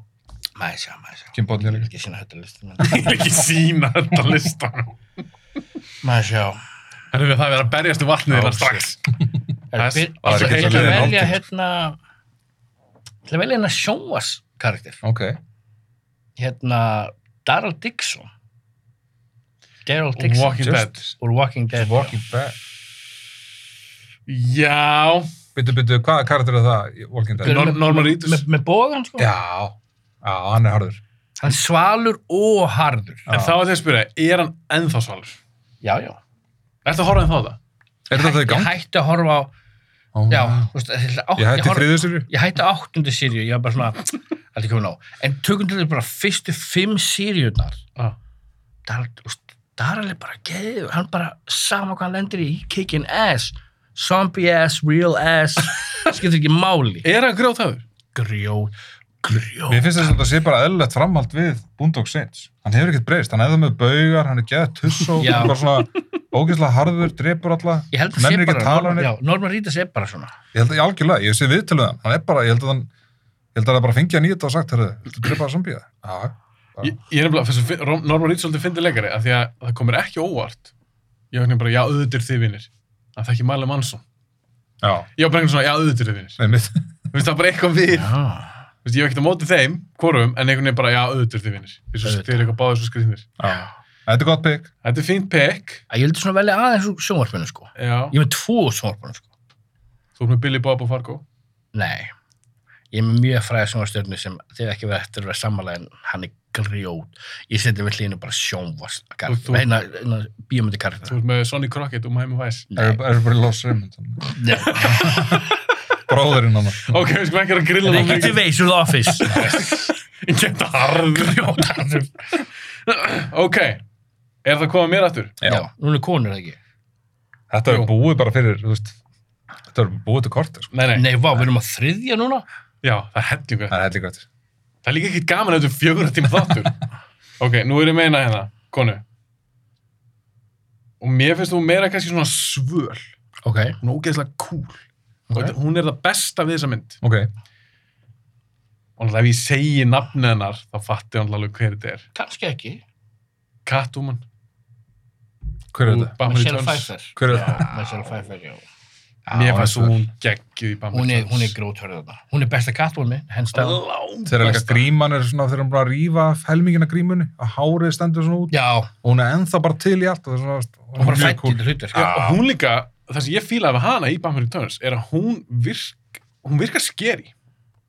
Speaker 1: Mæði sjá, mæði sjá.
Speaker 3: Kim Badni er
Speaker 1: Ég vil ekki
Speaker 3: líka.
Speaker 1: sína þetta listum.
Speaker 2: <laughs> Ég vil ekki sína þetta listanum.
Speaker 1: Mæði sjá.
Speaker 2: Þannig við það er að berjast um vatnið
Speaker 3: Já,
Speaker 2: hérna strax. <laughs>
Speaker 1: Er
Speaker 2: Það
Speaker 1: byr-
Speaker 2: var
Speaker 1: Ég ætla
Speaker 3: ekki svo
Speaker 1: að
Speaker 3: liðin
Speaker 1: velja
Speaker 3: hálftíma.
Speaker 1: hérna... Ég ætla að velja hérna sjóas karakter.
Speaker 3: Ok.
Speaker 1: Hérna Daryl Dixon. Daryl Dixon.
Speaker 2: Walking Dead.
Speaker 1: Úr Walking Dead.
Speaker 3: Walking Dead.
Speaker 2: Já,
Speaker 3: Byttu, byttu, hvaða karakter er það í Walking Dead?
Speaker 2: Nor-
Speaker 1: Með-
Speaker 2: Norman Reedus.
Speaker 1: Með, með bóðan, sko.
Speaker 3: Já, já, hann er harður.
Speaker 1: Hann er svalur og harður.
Speaker 3: Já.
Speaker 2: en þá ætlum ég að spyrja, er hann ennþá svalur?
Speaker 1: Já, já.
Speaker 2: Ertu að horfa ennþá á það?
Speaker 3: Er þetta það í
Speaker 1: Ég
Speaker 3: gang?
Speaker 1: hætti að horfa á,
Speaker 3: Ó,
Speaker 1: já, þú veist, ég, á,
Speaker 3: Ég hætti
Speaker 1: horf-
Speaker 3: þriðu sérju.
Speaker 1: ég hætti á áttundu sírju, ég var bara svona, <laughs> þetta er komið nóg. En tökum til þetta bara fyrstu fimm sírjurnar,
Speaker 2: Ah.
Speaker 1: það er, þú veist, það er alveg bara geður, hann bara, sama hvað hann lendir í, he kicking ass, zombie ass, real
Speaker 3: <laughs>
Speaker 1: ass, skiptir ekki máli.
Speaker 2: Er hann grjótæður?
Speaker 1: Grjó, grjó.
Speaker 3: Mér finnst þess að það sé bara eðlilegt framhald við Boondock Saints. Hann hefur ekkert breyst, hann er það með baugar, hann er geðað tuss og
Speaker 1: Já.
Speaker 3: bara svona ógeðslega harður, drepur alla,
Speaker 1: Ég held að sé
Speaker 3: nennir ekki
Speaker 1: bara,
Speaker 3: að tala um
Speaker 1: Norman,
Speaker 3: hann.
Speaker 1: já, Norman Reedus er bara svona.
Speaker 3: Ég held að ég algjörlega, ég sé viðtöluð hann, hann er bara, ég held að hann, ég held að það bara fengi hann í þetta og sagt, herru, viltu drepa að zombíða? Já,
Speaker 2: Ég, ég er nefnilega, þessu fi- Rom- Norman Reedus svolítið fyndi leikari, af því að það komir ekki óvart. Ég var nefnilega bara, já, auðvitað eru þið vinnir. Það þekki Marley Manson.
Speaker 3: já,
Speaker 2: Ég var bara einhvern svona, já, auðvitað eru þið vinnir.
Speaker 3: með mitt.
Speaker 2: Þú veist, það er bara eitthvað við.
Speaker 1: Já.
Speaker 2: Þú veist, ég var ekkert á móti þeim, hvorum, en einhvern veginn bara, já, auðvitað eru þið vinnir. Þú veist,
Speaker 1: Auðvitað.
Speaker 2: þið eru eitthvað báðið svo skriðnir.
Speaker 3: Já. <laughs> Þetta er gott pick.
Speaker 2: Þetta er fínt pekk,
Speaker 1: Ég heldur svona velja aðeins úr sjónvarpinu, sko.
Speaker 2: já.
Speaker 1: Ég er með tvo sjónvarpinu, sko.
Speaker 2: Þú ert með Billy Bob og Fargo.
Speaker 1: Nei, ég er með mjög fræða sjónvarstjörnu sem þegar ekki verið eftir að vera sammála en hann er grjót. Ég seti við hlýðinu bara
Speaker 2: Og þú-
Speaker 1: sjónvarstjörnu, eina, eina bíómyndi
Speaker 2: Þú
Speaker 1: karta.
Speaker 2: ert með Sonny Crockett og Miami Vice.
Speaker 1: Nei,
Speaker 3: Everybody loves Raymond.
Speaker 1: nei,
Speaker 3: <laughs> Bróðurinn hann.
Speaker 2: Ok, við skulum ekki vera að grilla
Speaker 1: nei, ekki veis úr The office.
Speaker 2: Ég geta harður.
Speaker 1: Grjótarður.
Speaker 2: Ok, er það komað mér aftur?
Speaker 1: Já, núna er konur það ekki.
Speaker 3: Þetta er
Speaker 2: Jú.
Speaker 3: búið bara fyrir, þú veist, þetta er búið til kortir, sko.
Speaker 2: Nei, nei.
Speaker 1: Nei, vá, við erum að þriðja núna.
Speaker 2: Já, það er hellingu.
Speaker 3: Það er heldur gott.
Speaker 2: Það er líka ekkert gaman eftir fjögur tíma þáttur. ok, nú er ég meina hérna, konu. Og mér finnst þú meira kannski svona svöl.
Speaker 1: Ok,
Speaker 2: Hún er ógeðslega cool.
Speaker 1: Ok.
Speaker 2: Okay. Hún er það besta við þessa mynd.
Speaker 3: Ok,
Speaker 2: Og náttúrulega ef ég segi nafnið hennar, þá fatti hann alveg hver þetta er.
Speaker 1: kannski ekki.
Speaker 2: Catwoman.
Speaker 3: hver er
Speaker 2: úr
Speaker 3: þetta?
Speaker 2: Batman
Speaker 1: Michelle
Speaker 2: Returns.
Speaker 1: Pfeiffer.
Speaker 3: Hver er
Speaker 1: Já,
Speaker 3: þetta?
Speaker 1: Michelle Pfeiffer, já.
Speaker 2: Mér fannst
Speaker 3: hún er
Speaker 2: hún geggjuð í Bambi
Speaker 1: Hún er, hún er grjóthörð þarna. Hún er besta kattvónmi, hens down.
Speaker 2: Langt
Speaker 3: Þegar líka gríman er svona, þegar hún bara að rífa helmingina grímunni, að hárið stendur svona út.
Speaker 1: Já,
Speaker 3: Og hún er ennþá bara til í allt og það er svona, veist,
Speaker 1: hún bara
Speaker 3: mjög
Speaker 1: fætti
Speaker 3: cool.
Speaker 1: þetta hlutur.
Speaker 2: Já, og hún líka, það sem ég fílaði við hana í Bambi Returns er að hún virk hún virkar skeri.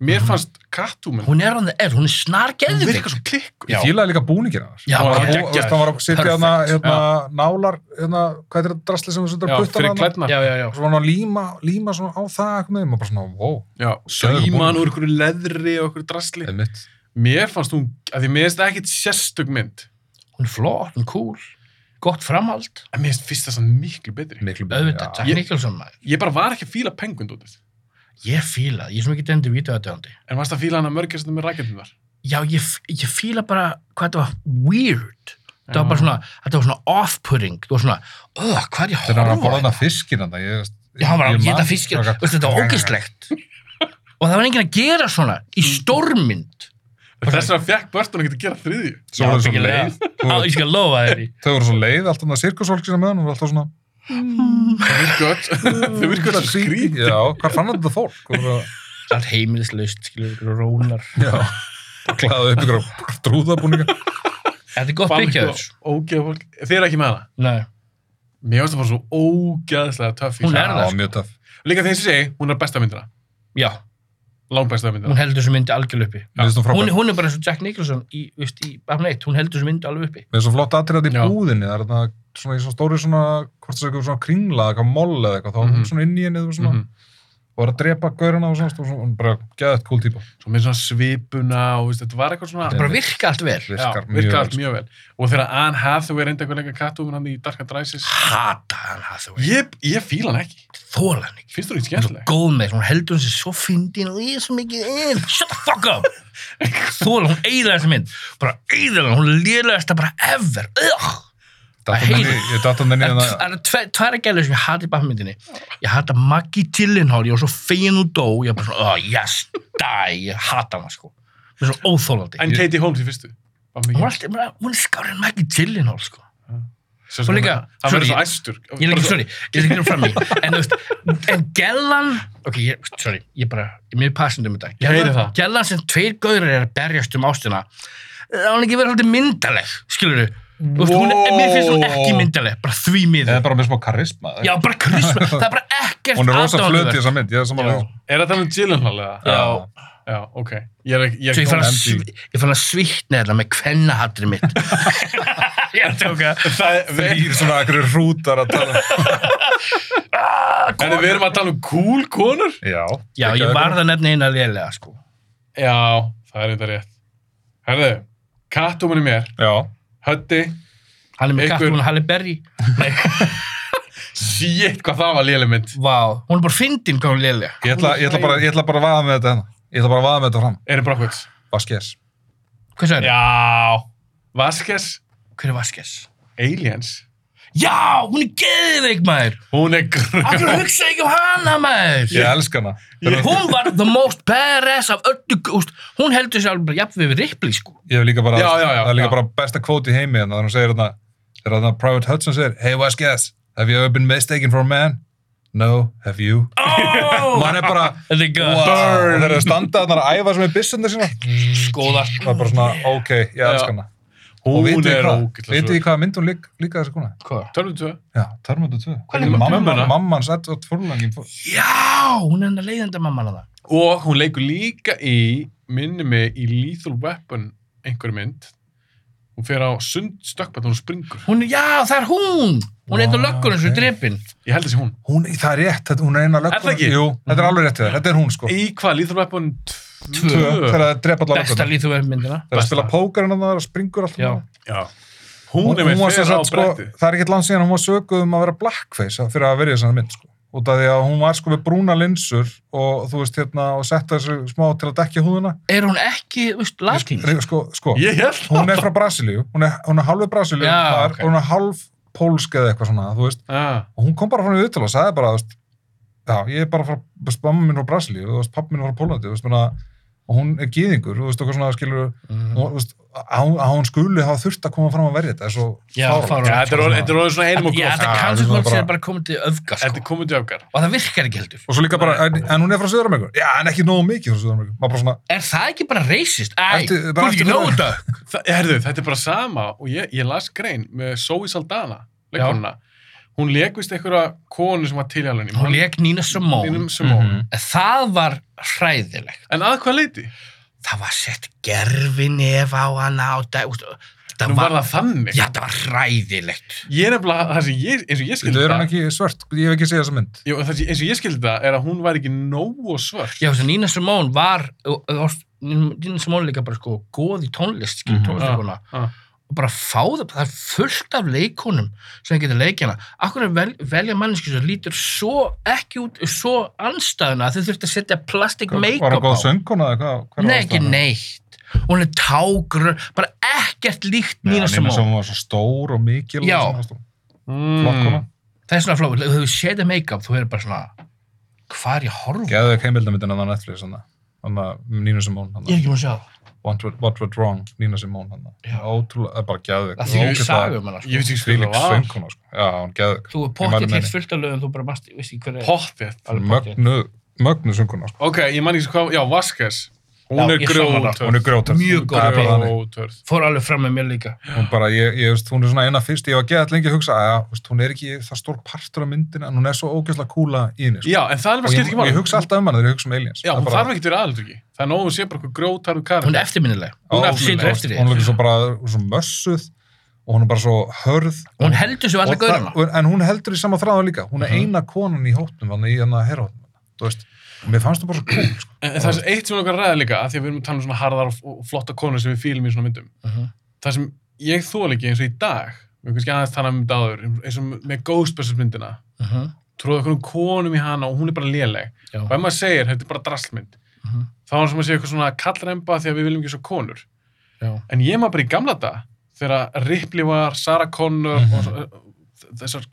Speaker 3: Mhm.
Speaker 2: Mér fannst Catwoman,
Speaker 1: Hún er hann það er, hún er
Speaker 2: hún
Speaker 1: snargeðið.
Speaker 2: virkar svo klikku.
Speaker 1: Já.
Speaker 3: Ég fílaði líka búningina þar.
Speaker 1: Já,
Speaker 3: hann
Speaker 1: hann
Speaker 3: var að
Speaker 1: var
Speaker 3: bú-
Speaker 2: geggjaður.
Speaker 3: veist, hann var að sitja
Speaker 1: Perfect.
Speaker 3: hérna, hérna, nálar, hérna, hvað er þetta drasli sem þú setur
Speaker 2: Já,
Speaker 3: að putta
Speaker 2: fyrir
Speaker 3: hana?
Speaker 2: klædna.
Speaker 1: Já, já, já.
Speaker 3: Og svo var hann að líma, líma svona á það, eitthvað með, maður bara svona, wow,
Speaker 2: Já,
Speaker 3: Geðveikur
Speaker 2: sauman
Speaker 3: búningur.
Speaker 2: úr einhverju leðri og einhverju drasli.
Speaker 3: eða mitt.
Speaker 2: Mér fannst hún, að því mér finnst það ekkit sérstök mynd,
Speaker 1: Hún er flott, hún er cool, gott framhald.
Speaker 2: en mér finnst fyrst það sann miklu betri.
Speaker 3: Miklu
Speaker 1: Auðvitað,
Speaker 3: já.
Speaker 1: Jack Nicholson maður.
Speaker 2: Ég bara var ekki að fíla pengun dótið.
Speaker 1: Ég fíla, það, ég er sem ekki dendur vítið að döndi.
Speaker 2: En varst að fíla hana mörgir sem með rækjandum þar?
Speaker 1: Já, ég, f- ég fíla bara hvað þetta var weird. Þetta var
Speaker 2: Já.
Speaker 1: bara svona, þetta var svona off-putting. Þetta var svona, öð, hvað er ég
Speaker 3: Þegar hann var
Speaker 1: að
Speaker 3: að borða
Speaker 1: horfa á?
Speaker 3: hana fiskin hann, ég veist...
Speaker 1: Já, hann var að
Speaker 3: ég man-
Speaker 1: geta fiskir,
Speaker 3: Hvað-
Speaker 1: veistu, þetta var ógislegt. Og það var enginn að gera svona
Speaker 3: Mm.
Speaker 1: í stórmynd.
Speaker 2: Þess að fekk Börton að geta gera þriðju.
Speaker 3: Svo voru þau svo
Speaker 1: byggilega.
Speaker 3: leið,
Speaker 1: Á, ég skal lofa þér í.
Speaker 3: þau voru svo leið, allt annað sirkusólkina með hann, hún var alltaf svona...
Speaker 2: Það virka öll, þau virka öll svo skrít.
Speaker 3: Já, hvað fann þetta fólk? Og það-
Speaker 1: Allt heimilislaust, skilur, rónar.
Speaker 3: Já, klæðið upp ykkur á trúðabúninga.
Speaker 1: Þetta er gott byggjaður.
Speaker 2: Ógeð fólk. Þið eru ekki með hana.
Speaker 1: Nei,
Speaker 2: Mér finnst það bara svo ógeðslega töff í
Speaker 1: Hún
Speaker 2: sig.
Speaker 1: er það,
Speaker 3: Já, mjög töff.
Speaker 2: Líka þegar ég segi, hún er besta myndina.
Speaker 1: já,
Speaker 2: Langbesta
Speaker 1: hún
Speaker 2: myndina.
Speaker 1: heldur þessu myndi algjörlega uppi.
Speaker 3: Mér finnst hún
Speaker 1: hún,
Speaker 3: frábært.
Speaker 1: hún er bara eins og Jack Nicholson í, veist, í Batman 1, hún heldur þessu mynd alveg uppi
Speaker 3: Mér finnst svo flott aðtrið þetta
Speaker 2: Já.
Speaker 3: í búðinni, það er þetta svona í svona stóri svona, hvort það er eitthvað svona kringla, eitthvað moll eða eitthvað, þá er
Speaker 2: Mhm.
Speaker 3: hún svona inn í henni, þú veist svona,
Speaker 2: Mhm.
Speaker 3: og er að drepa gaurana og svona, og svona, hún bara geða þetta cool típa.
Speaker 2: Svo með svona svipuna og veist, þetta var eitthvað svona...
Speaker 1: það bara virka allt vel
Speaker 2: Já,
Speaker 3: Virkar mjög
Speaker 2: virka
Speaker 3: vel.
Speaker 2: allt
Speaker 3: sko.
Speaker 2: mjög vel. Og þegar Anne Hathaway reyndi eitthvað leika kattúmin hann í Dark and Rises.
Speaker 1: hata hann að þú
Speaker 2: Ég, ég fíla hann ekki.
Speaker 1: þóla hann ekki
Speaker 2: Finnst þú ekki
Speaker 1: hún er svo
Speaker 2: skemmtileg?
Speaker 1: góð með, þessu, hún heldur þessu svo fyndin og ég er svo mikið in, shut the fuck up þóla, hún eigðar þessu mynd bara eigðar hann, hún lélæðast það bara ever Ugh.
Speaker 3: Datt
Speaker 1: Að
Speaker 3: hann inn í- Ég datt hann inn í
Speaker 1: En
Speaker 3: hana,
Speaker 1: það eru tve- tvær gælur sem ég hati í Batman myndinni ég hata Maggie Gyllenhaal, ég var svo fegin og dó ég var bara svona, oh yes, die ég hata hann sko, mér er svo óþólandi
Speaker 2: En Katie Holmes í fyrstu. Var
Speaker 1: hún
Speaker 2: mikið-
Speaker 1: er alltaf, hún er skárið Maggie Gyllenhaal sko
Speaker 2: Svo
Speaker 1: og líka-
Speaker 2: Hann verður svo
Speaker 1: sorry,
Speaker 2: æstur.
Speaker 1: ég er ekki, sorry, ég er ekki nefnir
Speaker 3: <laughs>
Speaker 1: fram í en, þú veist, en gellan ok, ég, sorry, ég bara, ég er mjög passandi um þetta
Speaker 2: heyri það.
Speaker 1: gellan sem tveir gauður er að berjast um ástina það var ekki verið haldið myndaleg skilur þú, Þú veist, hún er, mér finnst hún ekki
Speaker 2: Wow.
Speaker 1: myndaleg, bara því
Speaker 3: Eða
Speaker 1: miður.
Speaker 3: bara með smá karisma.
Speaker 1: Já, bara
Speaker 3: <laughs>
Speaker 1: krisma, það er bara ekkert
Speaker 3: Hún er rosa flöt í
Speaker 1: aðdáunarvert.
Speaker 3: þessa mynd, ég er samanlega.
Speaker 1: Já.
Speaker 2: Er það talað um Gyllenhaal eða?
Speaker 1: Já.
Speaker 2: Já, ok. Ég er ekki,
Speaker 1: Svo ég
Speaker 2: ég er ekki
Speaker 1: fann að,
Speaker 2: kominn
Speaker 1: svi- ég fann að svitna þetta með kvennahatrið
Speaker 3: <laughs>
Speaker 1: mitt. ég er að tjóka.
Speaker 2: enn því. Það er, við,
Speaker 3: Þrýr svona akkur hrútar að tala.
Speaker 2: en við erum að tala um cool konur?
Speaker 3: Já.
Speaker 1: Já, ég varð að nefna eina lélega, sko.
Speaker 2: Já, það er þetta rétt. Herðu, kattuminn í mér,
Speaker 3: Já.
Speaker 2: hötti,
Speaker 1: Hann er með
Speaker 2: Einhver-
Speaker 1: katt, hún er Halle Berry. Nei,
Speaker 2: shit hvað það var léleg mynd.
Speaker 1: vá, hún er bara fyndin hvað hún er lélega.
Speaker 3: Ég ætla, ég ætla bara, ég ætla bara að vaða með þetta hérna. Ég ætla bara að vaða með þetta fram.
Speaker 2: Erin Brockovits.
Speaker 3: Vaskers.
Speaker 1: Hvað sagði það?
Speaker 2: Já. Vasquez,
Speaker 1: Hver er Vaskes?
Speaker 2: Aliens.
Speaker 1: Já, hún er geðveik, maður.
Speaker 2: Hún er
Speaker 1: Akkur
Speaker 2: grjóð.
Speaker 1: hugsa ekki um hana, maður.
Speaker 3: Ég elska hana. Ég,
Speaker 1: Hún var the most badass af öllu, úst, hún heldur sér alveg bara jafn við Ripley, sko.
Speaker 3: ég hef líka bara,
Speaker 2: Já, já, já,
Speaker 3: það er líka
Speaker 2: já.
Speaker 3: bara besta kvót í heimi hérna. Þannig að hún segir hérna, þegar hérna Private Hudson segir, Hey Vaskers, have you ever been mistaken for a man? No, have you?
Speaker 1: Oh,
Speaker 3: Og hann er
Speaker 2: <laughs>
Speaker 3: bara,
Speaker 1: þetta er gott.
Speaker 3: wow. Þeir eru að standa þarna að æfa sem er byssundar sína.
Speaker 1: Skoða.
Speaker 3: Það er bara svona, ok, ég elska hana. Og
Speaker 2: Hún
Speaker 3: vitið þið
Speaker 2: er
Speaker 3: hvað, vitið þið
Speaker 2: ógætla svo.
Speaker 3: hvað mynd hún lík, líka þessi kona?
Speaker 1: Hvað?
Speaker 2: Tölvum tvö.
Speaker 3: Já, Tarmöndu 2.
Speaker 2: er með mömmuna?
Speaker 3: Mammans Edward Furlangin.
Speaker 1: Já, hún er hennar leiðenda mamma hana.
Speaker 2: Og hún leikur líka í, minni mig, í Lethal Weapon einhverju mynd. Hún fer á sund stökkbætt og hún springur.
Speaker 1: Hún er, já, það er hún. Hún er eitt á
Speaker 3: Vá,
Speaker 1: löggunum sem
Speaker 3: ok.
Speaker 1: er drepinn.
Speaker 2: Ég held þessi hún.
Speaker 3: Hún, það er rétt, þetta- hún er eina löggun.
Speaker 2: Er það ekki?
Speaker 3: Jú, þetta er alveg rétt við það. Þetta er hún, sko.
Speaker 2: Í hvað? Lethal Weapon
Speaker 1: Tvö.
Speaker 2: 2?
Speaker 3: Tvö, Þegar það drepa allar
Speaker 1: Besta
Speaker 3: löggun.
Speaker 1: líþjóðum myndina.
Speaker 3: Þegar það
Speaker 2: Besta.
Speaker 3: spila pókarinn að það og springur um alltaf.
Speaker 1: Já.
Speaker 2: Já. Hún er með
Speaker 3: var sem
Speaker 2: fyrir á
Speaker 3: sagt, sko,
Speaker 2: bretti.
Speaker 3: það er ekkert langt síðan hún var sökuð um að vera blackface að- fyrir að verja þessana mynd, sko. Út af því að hún var sko með brúna linsur og þú veist hérna og setta þessu smá til að dekja húðuna.
Speaker 1: Er hún ekki, þú veist, latín?
Speaker 3: Sko, sko.
Speaker 2: Ég held
Speaker 3: hún er frá Brasilíu, hún er, hún er halvið Brasilíu
Speaker 1: Já,
Speaker 3: þar
Speaker 1: ok.
Speaker 3: og hún er halv pólsk eða eitthvað svona, þú veist
Speaker 2: Ah.
Speaker 3: og hún kom bara frá viðtölu og sagði bara þú veist, já, ég er bara frá, þú veist, mamma minn frá Brasilíu þú veist, pappa minn frá Pólandi, þú veist, menna og hún er gýðingur, þú veist, okkur svona skilur
Speaker 1: Mhm.
Speaker 3: mm. og, þú veist, að hún- að hún skuli hafa þurft að koma fram að verja þetta, er svo
Speaker 1: Já, fáránlegt.
Speaker 2: Já, þetta er orðið- þetta er orðið svona einum og
Speaker 1: Já, þetta
Speaker 2: gróf.
Speaker 3: Já,
Speaker 1: kannski
Speaker 3: þetta
Speaker 1: hún sér
Speaker 3: er bara-
Speaker 1: bara komið til öfga,
Speaker 2: Þetta
Speaker 1: sko.
Speaker 2: er komið til öfgar.
Speaker 1: Og það virkar ekki heldur.
Speaker 3: og svo líka bara, en, en hún er frá Suður-Ameríku já, en ekki nógu mikið frá Suður-Ameríku maður bara svona,
Speaker 1: Er það ekki bara racist? Æ,
Speaker 3: Ertu-
Speaker 1: þú
Speaker 3: bara
Speaker 1: er ekki
Speaker 3: ertu
Speaker 1: nóg
Speaker 3: bara-
Speaker 1: þetta.
Speaker 2: Það- Herðu, þetta er bara sama og ég, ég las grein með Zoe Saldana, leikonuna. Hún leikvist einhverja konu sem var til í alveg.
Speaker 1: Hún leik Nina Simone.
Speaker 2: Einum Simone.
Speaker 3: Mhm.
Speaker 1: Það var hræðilegt.
Speaker 2: En að hvað leiti?
Speaker 1: Það var sett gerfinni ef á hana og það, úst, það
Speaker 2: Nú var
Speaker 1: var,
Speaker 2: það þannig.
Speaker 1: já, það var hræðilegt.
Speaker 2: Ég er nefnilega, það sem ég, eins og ég skildi
Speaker 3: þetta er hún
Speaker 2: það,
Speaker 3: ekki svört ég hef ekki segjað þessa mynd
Speaker 2: Jú, það sem, eins og ég skildi það, er að hún var ekki nógu svört.
Speaker 1: Já, þess að Nina Simone var, og- og- og- Nina Simone líka bara sko góð í tónlist, skil,
Speaker 3: Mhm.
Speaker 1: tónlistakona.
Speaker 2: Ah, ah.
Speaker 1: Og bara fá það, það er fullt af leikonum sem getur leikjana. Akkur er vel, velja manneski sem lítur svo ekki út, svo anstæðuna að þau þurft að setja plastic make-up
Speaker 3: var
Speaker 1: á.
Speaker 3: það góð söngkona eða hvað- hver var
Speaker 1: Nei, ekki
Speaker 3: ástæðan?
Speaker 1: neitt. Og hún er tágrun, bara ekkert líkt
Speaker 3: Nei,
Speaker 1: Nina
Speaker 3: Nína
Speaker 1: Simone.
Speaker 3: Simone var svo stór og mikil og
Speaker 1: Já.
Speaker 3: svona, þú veist, flott
Speaker 2: Mm.
Speaker 3: kona.
Speaker 1: Það er svona flóð, þegar þú setja make-up, þú er bara svona, hvað er ég að horfa?
Speaker 3: Gæðu ekki heimildamindin hann á Netflix hann að Nina Simone hann
Speaker 1: Ég er ekki múin að sjá það.
Speaker 3: What, Went- what Went Wrong, Nina Simone hann
Speaker 1: Já.
Speaker 3: Ótrúlega, það er bara gæðu
Speaker 1: Það þýðir saga um hana, sko.
Speaker 2: Ég veit ekki hvað
Speaker 3: Fílík
Speaker 2: það var.
Speaker 3: sönguna, sko. Já, hann gæðu
Speaker 1: Þú er
Speaker 3: mæli
Speaker 1: pottið hér
Speaker 3: með henni.
Speaker 1: fullt af lögum, þú bara mast, veist ekki hver er.
Speaker 2: Pottið.
Speaker 1: alveg pottþétt.
Speaker 3: Mögnu, mögnu sönguna, sko.
Speaker 2: Ok, ég man ekki hvað, já, Vasquez. Hún
Speaker 1: Já,
Speaker 2: er
Speaker 1: ég sammála.
Speaker 2: grjótörð.
Speaker 3: Hún er grjótörð.
Speaker 1: Mjög góð
Speaker 3: Það er bara
Speaker 1: grjótörð.
Speaker 3: þannig.
Speaker 2: grjótörð.
Speaker 1: Fór alveg fram með mér líka.
Speaker 3: Hún bara, ég, ég veist, hún er svona eina fyrst, ég var gæðat lengi að hugsa, að, veist, hún er ekki það stór partur af myndina, en hún er svo ógeðslega kúla í henni, sko.
Speaker 2: Já, en það er
Speaker 3: Og
Speaker 2: bara skipt
Speaker 3: ég,
Speaker 2: ekki máli.
Speaker 3: ég hugsa alltaf um hana þegar ég hugsa um Aliens.
Speaker 2: Já,
Speaker 3: Það er
Speaker 2: hún
Speaker 3: bara-
Speaker 2: þarf ekki að vera aðaldryggi. Það er nóg að sé bara eitthvað grjótarðu karakter.
Speaker 1: Hún er eftirminnileg.
Speaker 2: hún er
Speaker 3: Ó,
Speaker 2: eftirminnileg.
Speaker 1: situr eftir
Speaker 3: Hún
Speaker 1: því.
Speaker 3: er líka svo bara, hún er svo mössuð og hún er bara svo hörð.
Speaker 1: Hún heldur svo alltaf
Speaker 3: Og það-
Speaker 1: gaurana.
Speaker 3: en hún heldur í sama þráðu líka hún er
Speaker 1: Mhm.
Speaker 3: eina konan í hópnum hann í hann að herra hópnum þú veist, mér fannst það bara svo cool sko.
Speaker 2: En, en það er eitt sem er okkar ræða líka, að því að við erum að tala um svona harðar og- og flotta konur sem við fýlum í svona myndum.
Speaker 1: Mhm.
Speaker 2: Það sem ég þól ekki eins og í dag, við kannski aðeins tala um þetta áður, eins og með Ghostbusters myndina,
Speaker 1: Mhm.
Speaker 2: tróðu okkur um konum í hana og hún er bara léleg.
Speaker 1: Já.
Speaker 2: Og ef maður segir, þetta er bara draslmynd,
Speaker 1: Mhm.
Speaker 2: þá er sem að segja eitthvað svona kallremba því að við viljum ekki svo konur.
Speaker 1: Já.
Speaker 2: En ég maður bara í gamla dag, þegar Ripley var, Sarah Connor
Speaker 3: Mhm.
Speaker 2: og svo- eh, þessar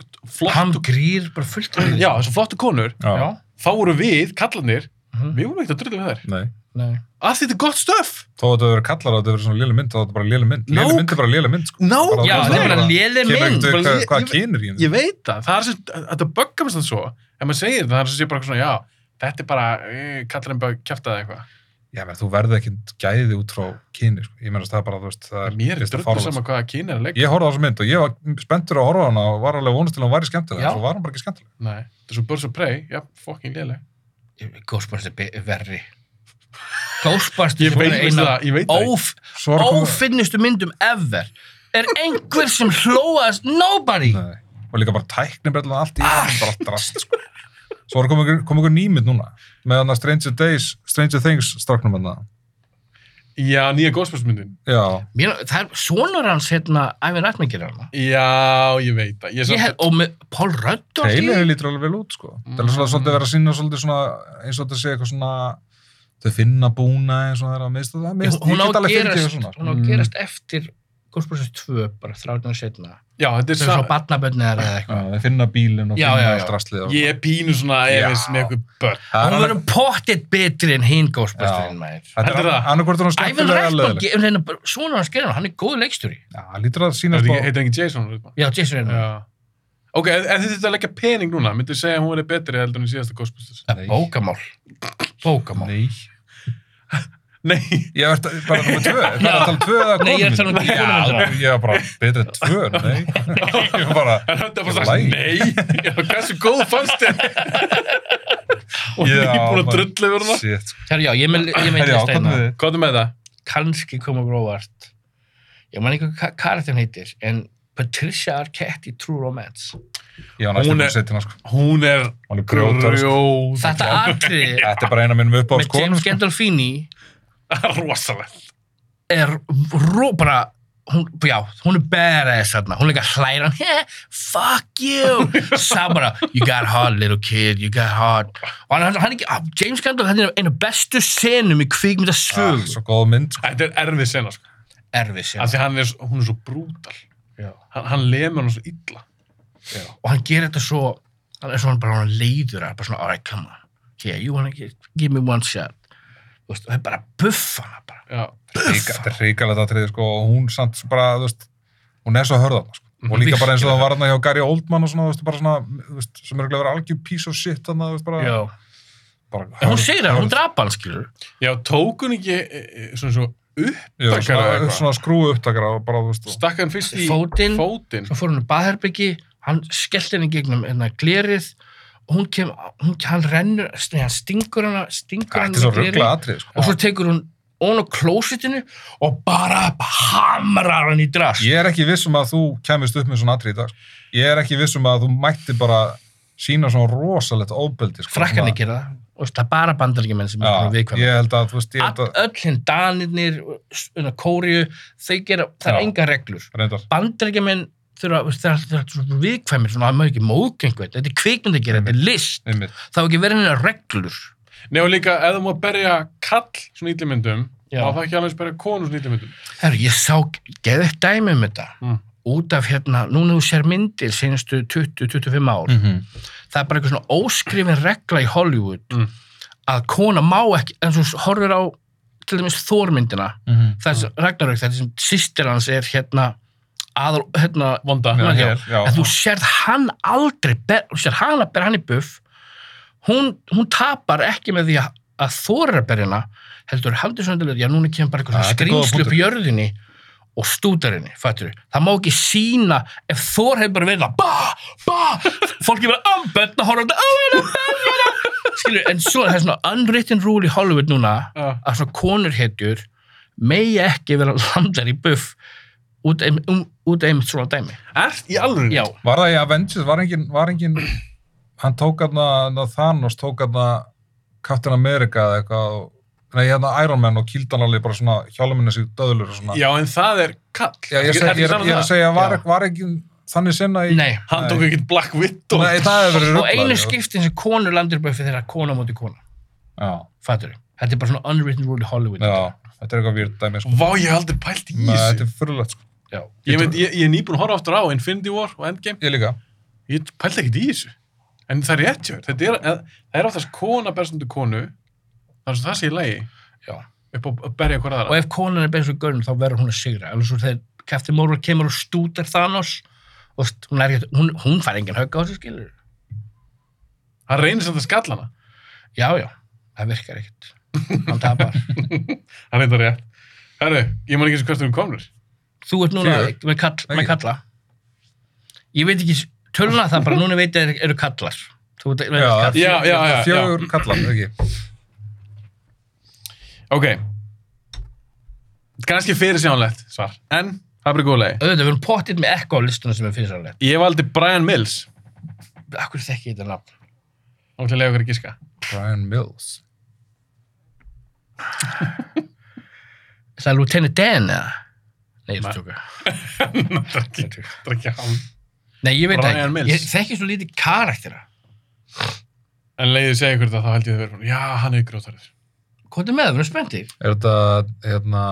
Speaker 1: Ham
Speaker 2: flottu,
Speaker 1: grýr bara fullt af því.
Speaker 2: já, þessar flottu konur,
Speaker 1: Já.
Speaker 2: þá voru við, kallanir,
Speaker 1: Mhm.
Speaker 2: við vorum ekkert að drulla við þær.
Speaker 3: Nei.
Speaker 1: Nei.
Speaker 2: Að því þetta er gott stöf!
Speaker 3: þó að það verið kallar að það verið svona léle mynd þá er þetta bara léle mynd, léle
Speaker 2: Nóg.
Speaker 3: mynd er bara léle mynd sko.
Speaker 2: Nó,
Speaker 3: Bara-
Speaker 1: Já,
Speaker 3: bara-
Speaker 1: það er bara
Speaker 3: bara-
Speaker 1: léli
Speaker 3: kemur
Speaker 1: mynd.
Speaker 3: ekkert
Speaker 2: Bara
Speaker 3: við hvað,
Speaker 2: ég-
Speaker 3: hvað
Speaker 2: ég-
Speaker 3: kynir í henni
Speaker 2: Ég veit það, það er sem, þetta böggar mér svona svo, ef maður segir það, það er sem sé bara eitthvað svona, já, þetta er bara, eh, kallar einn bara kjæftaði eitthvað.
Speaker 3: Já, menn, þú verði ekki gæði út frá kyni, sko. Ég mennast það er bara, þú veist, það er...
Speaker 2: Mér er
Speaker 3: veist,
Speaker 2: dröldur
Speaker 3: fáránlegt.
Speaker 2: saman hvaða kyn er að leika.
Speaker 3: Ég horfði á þessu mynd og ég var spenntur að horfa á hana og var alveg vonast til að hún væri skemmtileg,
Speaker 1: Já.
Speaker 3: en svo var hún bara ekki skemmtileg.
Speaker 2: Nei, þetta er svo Birds of Prey, já, fucking léleg.
Speaker 1: Ghostbusters er be- verri Ghostbusters
Speaker 2: Ég
Speaker 1: er bara
Speaker 2: veit
Speaker 1: eina
Speaker 2: það, ég veit það ekki.
Speaker 1: óf,
Speaker 3: Svo er komið-
Speaker 1: ófinnustu myndum ever er einhver sem hlóast nobody
Speaker 3: Nei. Og líka bara tæknibrellan allt í
Speaker 1: Allt.
Speaker 3: það, bara allt drast, sko. Svo er komið kom ykkur nýmynd núna, með hann Stranger Days, Stranger Things straknum hann það.
Speaker 2: Já, nýja góðspjörsmyndin.
Speaker 3: Já,
Speaker 1: Mér, það er sonur hans hérna æfinn rættmengir hann
Speaker 2: Já, ég veit það. Ég,
Speaker 1: hef,
Speaker 2: ég,
Speaker 1: og með Paul Rudd og allt í- Mhm.
Speaker 3: trailerið lítur alveg vel út, sko. Það er svolítið svolítið verið að sína svolítið svona, eins og þetta sé eitthvað svona, þau finna búna eins og það er að mista það, mist,
Speaker 1: hún á
Speaker 3: ég get
Speaker 1: að
Speaker 3: alveg fyrir
Speaker 1: gerast,
Speaker 3: svona. sko. Mm.
Speaker 1: hún á að gerast eftir Ghostbusters 2 bara þráttunum setna
Speaker 2: já, þetta er
Speaker 1: þess að
Speaker 2: svo...
Speaker 1: barnabönni eða eitthvað
Speaker 3: Já, þau finna bílinn og
Speaker 1: Já, já,
Speaker 3: finna
Speaker 1: já.
Speaker 3: allt draslið og-
Speaker 2: Ég er pínu svona
Speaker 3: Já.
Speaker 2: efins með eitthvað börn.
Speaker 3: Það er
Speaker 1: hún
Speaker 3: annað-
Speaker 1: verður pottitt betri en hinn Ghostbusterinn
Speaker 3: Já.
Speaker 1: maður
Speaker 3: Þetta
Speaker 2: Heldur
Speaker 3: er
Speaker 2: það?
Speaker 3: annarkvort er hún
Speaker 1: Æfinn
Speaker 3: skemmtilega leðileg.
Speaker 1: rættmengir, sonur hans gerir hann hann er góð leikstjóri
Speaker 3: Já, hann lítur að sína
Speaker 2: Er Mm. þetta
Speaker 3: sko.
Speaker 2: ekki- Heitir ekki Jason? Reitman?
Speaker 1: já, Jason Reynolds
Speaker 2: Já. Ok, en en þið þetta að leggja pening núna, myndu segja að hún er betri heldur en í síðasta Ghostbusters?
Speaker 1: Það er
Speaker 3: Nei.
Speaker 1: Bókamál. Bókamál.
Speaker 3: Nei.
Speaker 2: Nei,
Speaker 3: Ég var bara nummer tvö. Það er
Speaker 1: Já.
Speaker 3: að tala um tvö eða
Speaker 1: Nei, ég er að tala um
Speaker 3: konumynd.
Speaker 1: konumyndina.
Speaker 3: Já, ég var bara betri en tvö, nei. <laughs> ég var bara,
Speaker 2: en þetta er bara
Speaker 3: Læg.
Speaker 2: sagt, nei, já, hversu góð fannst þér? Og
Speaker 3: Já,
Speaker 2: ég er búin að
Speaker 3: maður.
Speaker 2: drullu yfir hana.
Speaker 3: shit. sko.
Speaker 1: Herra, já, ég með, ég með
Speaker 3: Herri, já,
Speaker 1: lista
Speaker 3: komdu
Speaker 1: hérna.
Speaker 3: þið.
Speaker 2: Hvað er með það?
Speaker 1: Kanski koma gróvart. Ég man ekki hvað karakterin heitir, en Patricia Arquette í True Romance.
Speaker 3: Ég var næstu
Speaker 2: Hún
Speaker 3: búin
Speaker 2: er-
Speaker 3: að setja hérna, sko.
Speaker 2: Hún er
Speaker 3: Hún er grjótar, sko.
Speaker 2: grjóð.
Speaker 1: Þetta atriði
Speaker 3: Þetta er bara eina minnum upp á
Speaker 1: með James
Speaker 3: sko.
Speaker 1: Gandolfini
Speaker 2: er <laughs> rosalegt.
Speaker 1: er ró, bara, hún, já, hún er badass þarna. Hún er líka hlæra hann, yeah, fuck you. Sá bara, you got hot little kid, you got hot. Og hann, hann, hann ekki, ah, James Gandolfini er einu bestu senum í
Speaker 3: Ah,
Speaker 1: kvikmyndasögu.
Speaker 3: Svo góð mynd, sko.
Speaker 2: Þetta er erfið sena, sko.
Speaker 1: Erfis, já.
Speaker 2: Af því hann er, s- hún er svo brútal.
Speaker 1: já.
Speaker 2: Hann, hann lemur hann svo illa.
Speaker 1: og hann gerir þetta svo hann er svona bara hann leiður hann er bara svona, alright, come on yeah, you wanna give, give me one shot Þú veist, og það er bara að buffa hana bara
Speaker 2: Já.
Speaker 3: Ríka- Þetta er hrikalegt aðtriði, sko. Og hún samt bara, þú veist, hún er svo hörðan, sko. Og líka bara eins og það var hérna hjá Gary Oldman og svona, þú veist, bara svona, þú veist, sem er að vera algjör piece of shit, þannig þú veist, bara... bara
Speaker 1: en hún
Speaker 3: hörð-
Speaker 1: segir hann,
Speaker 3: hörð-
Speaker 1: hún drapa hann, skilur
Speaker 2: Já, tók hún ekki e, e, svona svo upp,
Speaker 3: Já,
Speaker 2: upptakara eða
Speaker 3: svona,
Speaker 2: eitthvað.
Speaker 3: svona skrúu upptakara og bara, þú veist, og-
Speaker 2: stakk hann fyrst í
Speaker 1: Fótinn.
Speaker 2: fótinn.
Speaker 1: svo fór hann í baðherbyggi, hann skellt henni gegnum hennar glerið og hún kem, hún, hann rennur, nei, hann stingur hana stingur
Speaker 3: Þetta
Speaker 1: hana
Speaker 3: er svo
Speaker 1: með glerið.
Speaker 3: ruggla atrið, sko.
Speaker 1: og svo tekur hún ón á klósitinu og bara hamrar hann í drast
Speaker 3: Ég er ekki viss um að þú kemist upp með svona atrið í dag. sko. Ég er ekki viss um að þú mætti bara sína svona rosalegt óbeldi. Sko,
Speaker 1: frakkan
Speaker 3: svona-
Speaker 1: ekki það, og það er bara bandaríkjumenn sem er svona
Speaker 3: Já,
Speaker 1: viðkvæmir
Speaker 3: ég held að, þú veist, ég held
Speaker 1: All,
Speaker 3: að,
Speaker 1: öll hinn danirnir unna kóriu, þau gera það er
Speaker 3: Já.
Speaker 1: enga reglur
Speaker 3: reyndar,
Speaker 1: bandaríkjamenn þurfa, veist, það er það er svo viðkvæmir svona, það má ekki móðg einhvern þetta er kvikmynd að gera, þetta er list
Speaker 3: einmitt.
Speaker 1: það á ekki verið hennar reglur
Speaker 2: Nei og líka, ef þú má berja kall svona ítlumyndum,
Speaker 1: Já.
Speaker 2: þá það ekki alveg að berja konu svona ítlumyndum.
Speaker 1: Herru, ég sá geðið dæmi um þetta
Speaker 2: Mm.
Speaker 1: út af hérna, núna þú sér myndir senstu 20-25
Speaker 3: Mm.
Speaker 1: ár það er bara eitthvað svona óskrifin regla í Hollywood
Speaker 2: Mm.
Speaker 1: að kona má ekki, en svo horfir á til dæmis þórmyndina þess mm. Ragnarök, þetta sem sýstir hans er hérna, aðal, hérna
Speaker 2: Vonda.
Speaker 1: Já,
Speaker 3: Já, já.
Speaker 1: en þú sérð hann aldrei ber, þú sérð hann að bera hann í buff hún, hún tapar ekki með því að, að þóra berina heldur haldur svo endilega, já núna kemur bara eitthvað
Speaker 3: Ja,
Speaker 1: svona
Speaker 3: þetta er góða
Speaker 1: skrýmslu upp
Speaker 3: punktur.
Speaker 1: í jörðinni og stútarinni, fattur það má ekki sína ef þór hefur bara verið að ba, ba, fólk er bara ambönd og horfa á þetta skilur, en svo er það svona unwritten rule í Hollywood núna
Speaker 2: Já.
Speaker 1: að svona konurhetjur megi ekki vera landar í buff út, ein, um, út einmitt svona dæmi
Speaker 2: Erst í alveg?
Speaker 1: já,
Speaker 3: Var það í Avengers, var engin, var engin, hann tók aðna, Thanos tók aðna Captain America eða eitthvað, og- nei, hérna Iron Man og kildan alveg bara svona hjálminu sig döðlur og svona.
Speaker 2: Já, en það er kall.
Speaker 3: já ég, seg, ég, er- ég er að segja, var,
Speaker 1: Já.
Speaker 3: var ekki þannig sinna í...
Speaker 1: nei
Speaker 2: Hann tók ekkert Black Widow.
Speaker 3: Nei, það hefur verið
Speaker 1: og einu
Speaker 3: ruglað, já.
Speaker 1: skiptin sem konur landir bara fyrir þeirra kona á móti kona
Speaker 3: Já.
Speaker 1: fattur þetta er bara svona unwritten rule í Hollywood
Speaker 3: Já, þetta er eitthvað výrt dæmi sko.
Speaker 2: Vá, ég hef aldrei pælt í
Speaker 3: Nei, þetta
Speaker 2: þessu.
Speaker 3: er fyrirlegt sko.
Speaker 1: Já.
Speaker 2: Ég, veit, ég, ég er nýbúin að horfa aftur á Infinity War og Endgame.
Speaker 3: Ég líka.
Speaker 2: Ég pælt ekkert í þessu. En það er rétt hjá þér. Þetta er, eð- það er oftast kona berstundu konu. Það er svo það sé í lagi.
Speaker 1: Já.
Speaker 2: Upp á að berja hver
Speaker 1: og
Speaker 2: aðra.
Speaker 1: ef konan er beins og görn þá verður hún að sigra alveg svo þegar Captain Marvel kemur og stútar Thanos og st- hún, er, ekkert- hún, hún fær engin högg á þessu skilur
Speaker 2: Hann reynir samt að skalla hana.
Speaker 1: já já, það virkar ekkert
Speaker 3: hann tapar
Speaker 2: Það er þetta rétt. Herru, ég man ekki eins og hvert við erum komnir.
Speaker 1: Þú ert núna
Speaker 3: Fjögur.
Speaker 1: með, kall, með
Speaker 3: Ekki.
Speaker 1: kalla. Ég veit ekki, tölna það bara, núna veit ég eru kallar. Þú veit ekki
Speaker 3: Já,
Speaker 1: kallar.
Speaker 2: Já, já, já. já.
Speaker 3: fjögur kallar, ekki
Speaker 2: Ok. Ganski fyrir sjánlegt svar. En, það er góðlega.
Speaker 1: Auðvitað, við erum pottinn með ekko á listunum sem er fyrirsæðanlega.
Speaker 2: Ég valdi Brian Mills.
Speaker 1: Akkur þekki ég þetta nafn?
Speaker 2: Og til að lega okkur að gíska.
Speaker 3: Brian Mills
Speaker 1: Er Það er Lieutenant Dan, eða? Nei, ég er að stjóka.
Speaker 2: Það er ekki- það er ekki hann.
Speaker 1: Nei, ég veit það
Speaker 2: Brian
Speaker 1: ekki.
Speaker 2: Mills.
Speaker 1: Ég þekki svo lítið karaktera.
Speaker 2: En leiðið segja ykkur þetta, þá held ég þið verið búin. Já, hann er grótarður.
Speaker 1: Hvað er með það? Við erum spenntir.
Speaker 3: er þetta, hérna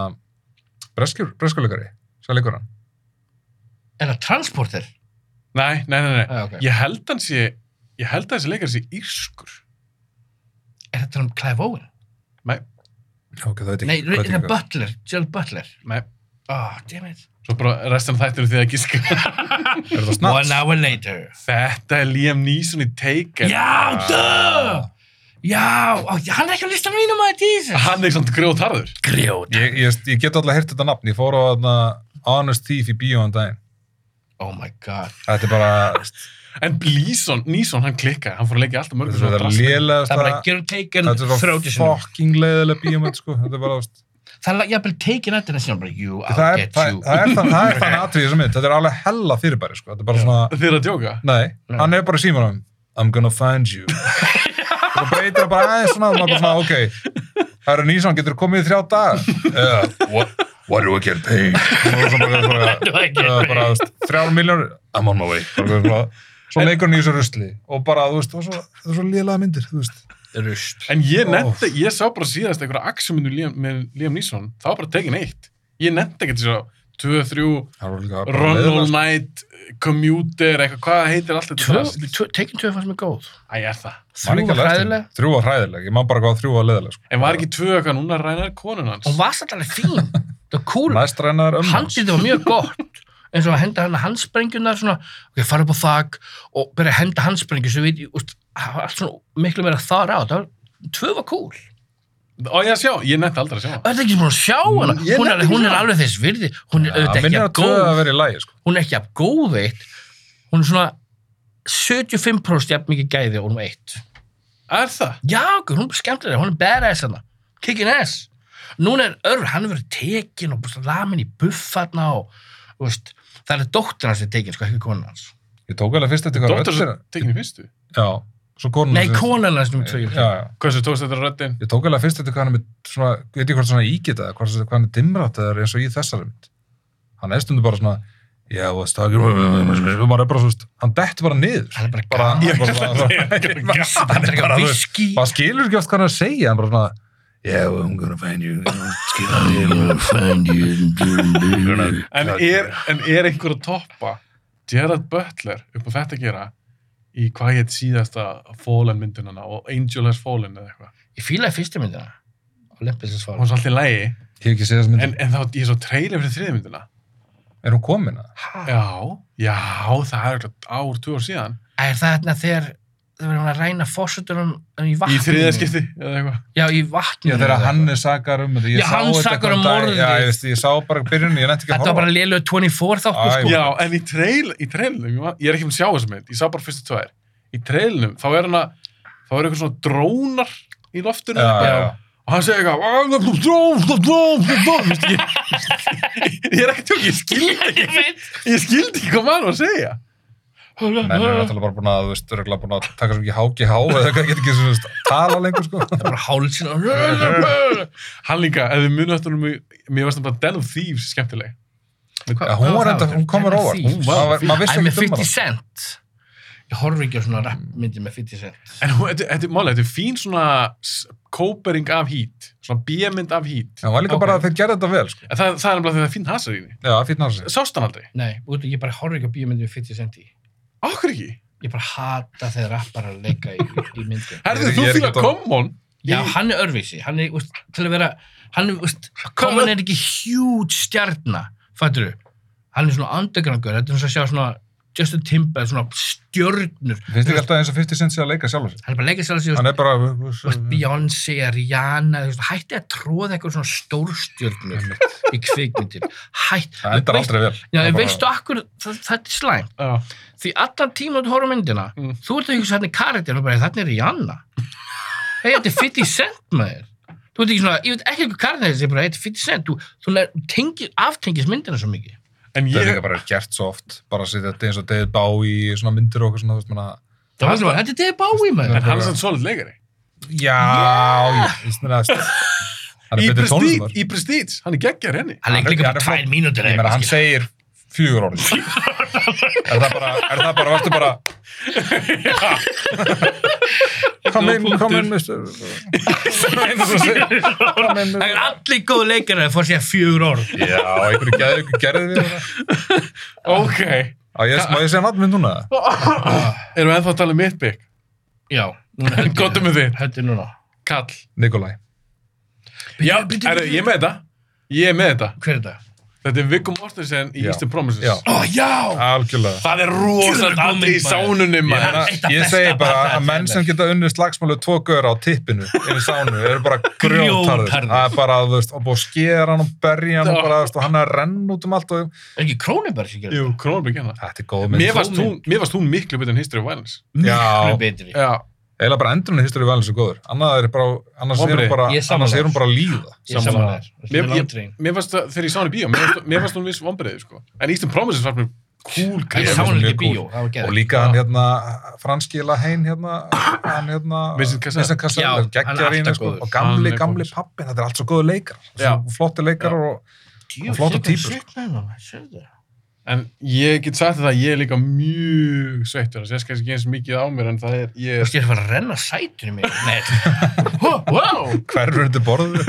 Speaker 3: breskur, breskuleikari, svo leikur hann
Speaker 1: Er það transporter?
Speaker 2: Nei, nei, nei, nei.
Speaker 1: Ah, ok.
Speaker 2: Ég held hann sé, ég held að þessi leikar sé írskur.
Speaker 1: Er þetta um Clive Owen?
Speaker 2: Nei,
Speaker 3: ok, það veit
Speaker 1: Nei, hérna er
Speaker 3: ekki, veit
Speaker 1: það
Speaker 3: ekki hvað.
Speaker 1: Butler? Gerald Butler?
Speaker 2: nei.
Speaker 1: Oh, damn it.
Speaker 2: Svo bara restan þættir því að gíska.
Speaker 3: er þetta
Speaker 1: One
Speaker 3: snart
Speaker 1: hour later.
Speaker 2: <laughs> Þetta er Liam Neeson í Taken.
Speaker 1: Já, duh! Já, á, hann er ekki á listan mínum að Jesus.
Speaker 2: Hann er samt grjótarður.
Speaker 1: Grjót.
Speaker 3: ég, ég, ég get alltaf heyrt þetta nafn, ég fór á þarna, Honest Thief í bíóan daginn
Speaker 1: Oh my god.
Speaker 3: þetta er
Speaker 1: <laughs>
Speaker 3: bara,
Speaker 2: En Blíson, Níson, hann klikkaði. Hann fór að leggja alltaf mörgum
Speaker 3: þetta er
Speaker 2: svona
Speaker 3: bara
Speaker 2: drasli.
Speaker 1: Það er bara
Speaker 3: lélegasta
Speaker 1: gerur taken
Speaker 3: þetta er bara
Speaker 1: þrjóti sinum.
Speaker 3: fucking leiðilega bíómynd sko, þetta er bara, veist
Speaker 1: Það er jafnvel taken eftir þessi bara, you,
Speaker 3: það
Speaker 1: I'll
Speaker 3: er,
Speaker 1: get
Speaker 3: það,
Speaker 1: you. <laughs>
Speaker 3: það er þann, það er þann atrið í þessum mynd, þetta er alveg hella fyrirbæri sko, þetta er bara svona,
Speaker 2: Þið eru að djóka?
Speaker 3: nei,
Speaker 1: Nei.
Speaker 3: hann er bara í símanum I'm gonna
Speaker 1: <laughs>
Speaker 3: find you og beitir hann bara aðeins svona, og maður bara svona, ok það eru nýsan, getur komið í þrjá
Speaker 1: <laughs>
Speaker 3: dag uh, what, what do I get paid og það er svona bara,
Speaker 1: Do I get
Speaker 3: bara, uh,
Speaker 1: paid?
Speaker 3: bara þú veist, þrjár miljónur I'm on my way bara, bara, svo leikur hann í þessu rusli og bara, þú veist, og svo, það er svo lélega myndir þú veist,
Speaker 1: Rusl.
Speaker 2: En ég
Speaker 3: Ó.
Speaker 2: nefndi, ég sá bara síðast einhverja aksjóminu með Liam Neeson. Það var bara Taken 1. Ég nefndi ekkert svo 2, 3,
Speaker 3: það var líka bara sko.
Speaker 2: Run All
Speaker 3: leiðilegt.
Speaker 2: Night, Commuter, eitthvað, hvað heitir allt þetta?
Speaker 1: Tvö-
Speaker 2: drasl?
Speaker 1: tvö- Taken 2 fannst mér góð.
Speaker 2: Æ, er það.
Speaker 3: Man
Speaker 1: Þrjú
Speaker 3: ekki
Speaker 1: var
Speaker 3: alveg eftir-
Speaker 1: hræðileg.
Speaker 3: þrjú var hræðileg, ég man bara hvað þrjú var leiðileg sko.
Speaker 2: En var ekki tvö eitthvað núna rænar konun hans?
Speaker 1: Hún var satt alveg
Speaker 3: <laughs>
Speaker 1: fín. Það var cool.
Speaker 3: næst reynaður um
Speaker 1: Handið var mjög gott. eins og að henda hann handsprengjuna svona, ok, fara upp á þak og byrja að henda handsprengjur sem við, úst, það var allt svona miklu meira þar á. Það var, tvö var cool.
Speaker 2: Ó, já, sjá, ég nefndi aldrei að sjá hann.
Speaker 1: Það er ekki svona að sjá hana.
Speaker 2: ég
Speaker 1: Hún er,
Speaker 2: nefndi
Speaker 1: hún
Speaker 2: ekki
Speaker 1: er
Speaker 2: það.
Speaker 1: alveg þess virði. Hún er
Speaker 3: Það
Speaker 1: auðvitað ekki
Speaker 3: minnir
Speaker 1: að
Speaker 3: að tvö
Speaker 1: góð.
Speaker 3: að vera í lagi sko.
Speaker 1: Hún er ekki að góð eitt. Hún er svona 75% jafn mikið gæði og hún er eitt.
Speaker 2: Er það?
Speaker 1: Já, ok, hún er skemmtilega. Hún er badass hana. Kickin' ass. Núna er örf, hann er verið tekin og búst, lamin í buffarna og, þú veist, það er dóttir hans sem er tekin, sko, ekki konan hans.
Speaker 3: Ég tók alveg fyrst eftir hvað
Speaker 2: Dóttur
Speaker 3: röddin
Speaker 2: svo tekin í fyrstu.
Speaker 3: Já, svo konan
Speaker 1: Nei, konan hans nummer 2.
Speaker 3: Já, já.
Speaker 2: Hversu tókst þetta röddinn?
Speaker 3: Ég tók alveg fyrst eftir hvað hann er með svona, veit ég hvort svona ígita eða hvort- hvað hann er dimrat eða er eins og í þessari mynd Hann er stundu bara svona Já, og stakir maður er bara svona hann dett bara niður
Speaker 1: Hann er bara
Speaker 3: bara,
Speaker 1: gaman.
Speaker 3: bara, bara,
Speaker 2: <laughs>
Speaker 3: <laughs> bara,
Speaker 1: Hann er ekki
Speaker 3: bara-
Speaker 1: að viski.
Speaker 3: bara skilur ekki oft hvað hann er að segja hann bara svona Yeah, well, I'm gonna find you <laughs> I'm gonna find you I'm gonna-
Speaker 2: En er, en er einhver að toppa Gerard Butler upp á þetta að gera í hvað hétt síðasta Fallen myndunana og Angel Has Fallen eða eitthvað.
Speaker 1: Ég fílaði fyrstu myndina. Olympus is
Speaker 2: Hún
Speaker 1: fallen.
Speaker 2: var svolítið lægi,
Speaker 3: Ég hef ekki séð þess
Speaker 2: en,
Speaker 3: myndi
Speaker 2: en þá ég svo trailer fyrir þriði mynduna.
Speaker 3: Er hún komin að?
Speaker 1: Ha?
Speaker 2: Já, já, það er eitthvað ár, tvö ár síðan.
Speaker 1: Æ, Er það þarna þegar þau verðum að ræna fórsutunum í vatninu?
Speaker 2: Í þriðja skipti eða eitthvað.
Speaker 1: Já, í vatninu.
Speaker 3: Já, þegar hann er sakar um þetta. ég
Speaker 1: Já,
Speaker 3: sá
Speaker 1: hann
Speaker 3: þetta
Speaker 1: sakar um
Speaker 3: einhvern dag-
Speaker 1: morðið.
Speaker 3: Já, ég veist, ég sá bara byrjunni, ég nætti ekki að
Speaker 1: Þetta var bara lélög 24 þáttu,
Speaker 3: Æ,
Speaker 1: sko.
Speaker 2: Já, en í trail, í trailnum, ég var- ég er ekki um að sjá þessu mynd, ég sá bara fyrstu tvær. Í trailnum, þá er hann að, þá er eitthvað svona drónar í loftinu eða
Speaker 3: Já, já,
Speaker 2: eitthvað.
Speaker 3: já.
Speaker 2: og hann segir eitthvað Veistu, ég, ég er ekki tjók, ég skildi
Speaker 1: Ég
Speaker 2: ekki
Speaker 1: veit.
Speaker 2: ég skildi ekki hvað maður var að segja
Speaker 3: Menn er náttúrulega bara búin að, þú veist, örgulega búin að taka svo mikið háki há eða eitthvað, get ekki svo, þú veist, tala lengur, sko.
Speaker 1: Bara hálsin og...
Speaker 2: hann líka, ef þið munið eftir honum í- mér varst bara Den of Thieves skemmtileg
Speaker 3: Já, hún var enda, hún komur
Speaker 1: Þetta er
Speaker 3: óvart.
Speaker 1: fínt.
Speaker 3: Hún var, maður
Speaker 1: Æ,
Speaker 3: vissi
Speaker 1: með
Speaker 3: ekki
Speaker 1: 50
Speaker 3: um hana.
Speaker 1: cent. Ég horf ekki á svona rappmyndi með 50 cent.
Speaker 2: en hún- þetta þetta er málega, þetta er fín svona s- kópering af hít svona bíamind af hít
Speaker 3: Já, hún var líka
Speaker 2: Ok.
Speaker 3: bara að þeir gerði þetta vel, sko.
Speaker 2: En það, það er nefnilega þegar það er fín hasar í henni
Speaker 3: Já, fýtna hans.
Speaker 2: sást hann aldrei,
Speaker 1: Nei, út, ég bara horf ekki á bíómyndi með 50 cent í.
Speaker 2: okkur ekki
Speaker 1: Ég bara hata þegar rappar að leika í, í
Speaker 3: <laughs>
Speaker 1: myndum.
Speaker 2: herðu
Speaker 3: Ég-
Speaker 2: þú
Speaker 3: ég er
Speaker 2: fíla
Speaker 3: ekki að-
Speaker 2: common
Speaker 1: Já,
Speaker 2: Ég-
Speaker 1: hann er örvísi, hann er, úst, til að vera, hann er, úst, komin er ekki hjúd stjarnar, fattur Hann er svona underground, gaur, þetta er svona að sjá svona Justin Timber, svona stjörnur
Speaker 3: finnst ekki alltaf eins og 50 Cent sé að leika sjálfur sig
Speaker 1: hann er bara að leggja sér að sér
Speaker 3: hann er bara
Speaker 1: Þú
Speaker 3: Mhm.
Speaker 1: veist, Beyoncé, Rihanna, þú veist, hætti að tróða eitthvað svona stórstjörnur í kvikmyndir. Hætt.
Speaker 3: það endar aldrei vel
Speaker 1: Já,
Speaker 3: Það
Speaker 1: en
Speaker 3: bara-
Speaker 1: veistu akkur, það, það er slæm.
Speaker 2: Já,
Speaker 1: Því allan tíma þú horfum myndina,
Speaker 2: Mm.
Speaker 1: þú ert að hugsa þannig karakter og bara, þannig er Rihanna. Hei, þetta er 50 cent maður. Þú veit ekki svona, ég veit ekki eitthvað karakter þessi, bara, þetta er 50 cent. Þú, þú nær- tengir, aftengis myndina svo mikið.
Speaker 2: en
Speaker 3: það er
Speaker 2: ég,
Speaker 3: líka bara gert svo oft bara að setja þetta eins og David Bowie í svona myndir og okkur svona, þú veist, manna
Speaker 1: Það var svona, þetta er Debbie Bowie maður.
Speaker 2: en hann er sann svolít leikari.
Speaker 3: já, ég veist mér <laughs> að hann
Speaker 2: Í
Speaker 3: er betur
Speaker 2: Prestige,
Speaker 3: tónlistamar
Speaker 2: í Prestige, hann er geggjar henni.
Speaker 1: Hann leikur líka bara tvær mínútur
Speaker 3: ég meina, hann segir fjögur <laughs> orðið er það bara, er það bara, varstu bara kom inn, kom inn, mister <laughs> kom inn,
Speaker 1: Það er allir góð leikar að fór sér fjögur orð.
Speaker 3: já, einhverju geðu, einhverju gerði við það
Speaker 2: Ok,
Speaker 3: á, ég, má ég segja nafn minn núna
Speaker 2: erum við ennþá að tala um mitt <laughs> bygg?
Speaker 1: Já, núna
Speaker 2: Gottum við þið,
Speaker 1: Þetta er núna.
Speaker 2: kall.
Speaker 3: Nikolai,
Speaker 2: Já, er, ég er með þetta. Ég er með þetta.
Speaker 1: Hver er þetta?
Speaker 2: Þetta er Viggo Mortensen í
Speaker 3: Já.
Speaker 2: Eastern Promises.
Speaker 3: Já.
Speaker 1: Ó, já!
Speaker 3: algjörlega
Speaker 2: Það er
Speaker 1: Djöfull
Speaker 2: rosalega
Speaker 1: góð
Speaker 2: allir í
Speaker 1: mynd, maður.
Speaker 2: sánunni
Speaker 3: Ég,
Speaker 2: maður.
Speaker 3: meina,
Speaker 1: eitt af
Speaker 3: ég
Speaker 1: besta
Speaker 3: segi bara
Speaker 1: bara
Speaker 3: að menn sem geta unnið slagsmálu tvo göður á tippinu yfir sánu, eru
Speaker 1: <laughs>
Speaker 3: bara grjótarður
Speaker 1: Grjótharðir.
Speaker 3: það er bara, þú veist, og búið að skera hann og berja hann og
Speaker 2: Já.
Speaker 3: bara, þú veist, og hann er að renna út um allt og
Speaker 1: Er ekki Krónuberg sem gerir
Speaker 2: Jú, Kronenberg hérna.
Speaker 3: þetta er góð mynd
Speaker 2: Mér varst hún, mér varst hún miklu betur en History of Violence.
Speaker 3: Já.
Speaker 1: miklu betri?
Speaker 2: Já.
Speaker 3: eiginlega bara endur hún í history valins og góður annars er, bara, annars er
Speaker 2: Vonbrigði.
Speaker 3: hún bara
Speaker 1: Ég er sammála.
Speaker 3: annars er hún bara að líða
Speaker 1: Ég saman þær. Þetta
Speaker 2: Mér,
Speaker 1: er
Speaker 2: ég,
Speaker 1: langtregin.
Speaker 2: mér varst það, þegar ég sá hann í bíó, mér varst, mér varst hún viss vonbreiði, sko. En Eastern Promises var mér cool
Speaker 1: Ég
Speaker 2: greið.
Speaker 1: sá hann
Speaker 3: mjög
Speaker 1: líka í
Speaker 3: cool.
Speaker 1: bíó. Það var
Speaker 3: og
Speaker 1: gerð.
Speaker 3: líka hann hérna franskila hein hérna hann hérna
Speaker 2: Vincent Cassel.
Speaker 3: Vincent Cassel
Speaker 1: Já,
Speaker 3: er
Speaker 1: hann er
Speaker 3: geggjar í henni
Speaker 1: alltaf
Speaker 3: sko
Speaker 1: góður.
Speaker 3: og gamli
Speaker 2: Hann er
Speaker 3: gamli
Speaker 2: góður.
Speaker 3: pappin þetta er allt svo góðu leikar
Speaker 2: Já.
Speaker 3: flotti leikar og
Speaker 1: Djú, sér
Speaker 3: flottar
Speaker 1: hvað
Speaker 3: týpur,
Speaker 1: svitnaði maður, sérðu það?
Speaker 2: En ég get sagt þetta að ég er líka mjög sveitt fyrir þess. Ég skæs ekki eins mikið á mér en það er,
Speaker 1: Þú
Speaker 2: ég er...
Speaker 1: veist, ég er að fara að renna sætunum mig. Nei, þetta- Hó, wow!
Speaker 3: hverfur undir borðu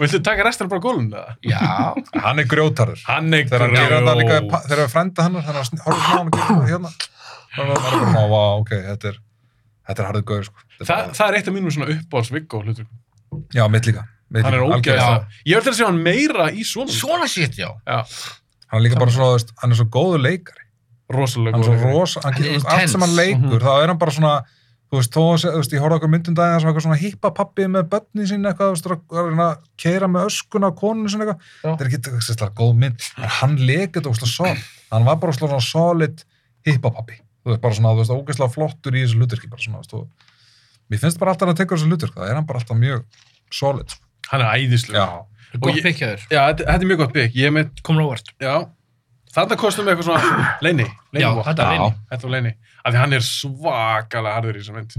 Speaker 2: Viltu taka restina bara á gólfum eða?
Speaker 1: Já,
Speaker 3: hann er grjótarður
Speaker 2: Hann er
Speaker 3: þegar hann gerir þetta líka
Speaker 2: grjót.
Speaker 3: pa- þegar hann frenda hann þannig að horfa hann og gerir þetta hérna hann er bara svona, vá, ok, þetta er þetta er harðu góður sko Þetta er
Speaker 2: Þa,
Speaker 3: bara-
Speaker 2: það er eitt af mínum svona uppáhalds Viggo hlutur.
Speaker 3: já, mitt líka mitt
Speaker 2: Hann er
Speaker 3: líka, algjörlega.
Speaker 2: ógeðast. Ég verður til að sjá hann meira í svona.
Speaker 1: svona shit, já.
Speaker 2: Já,
Speaker 3: hann er líka bara svona, þú veist, hann er svo góðu leikari
Speaker 2: rosalega
Speaker 3: hann er
Speaker 2: góður.
Speaker 3: svo rosa,
Speaker 1: Hann
Speaker 3: hann
Speaker 1: er
Speaker 3: getur allt
Speaker 1: intense.
Speaker 3: sem hann leikur þá er hann bara svona þú veist, þó, að sé- þú veist, ég horfði okkur myndum um daginn sem eitthvað svona hippa pappi með börnin sín eitthvað, þú veist, er að- er að reyna að keira með öskuna og konun sinna eitthvað,
Speaker 1: Já.
Speaker 3: það er ekki eitthvað sérstaklega góð mynd, en hann leikir þetta óslega svo, hann var bara svona solid hippa pappi, þú veist, bara svona, þú veist, ógeðslega flottur í þessu hluturki, bara svona, þú veist, og mér finnst bara alltaf að tekur þessu hluturki, það er hann bara alltaf mjög solid, sko.
Speaker 2: Hann er æðislega.
Speaker 3: já,
Speaker 1: Góð
Speaker 2: ég-
Speaker 1: byggjaður.
Speaker 2: Já, þetta, þetta er mjög gott bygg. Ég er með,
Speaker 1: Komur ávart.
Speaker 2: já, þarna kostum við eitthvað svona leini. leini
Speaker 1: Já,
Speaker 2: vopn.
Speaker 1: þetta
Speaker 3: Já.
Speaker 1: er eini.
Speaker 2: Þetta var leini. Af því hann er svakalega harður í þessu mynd.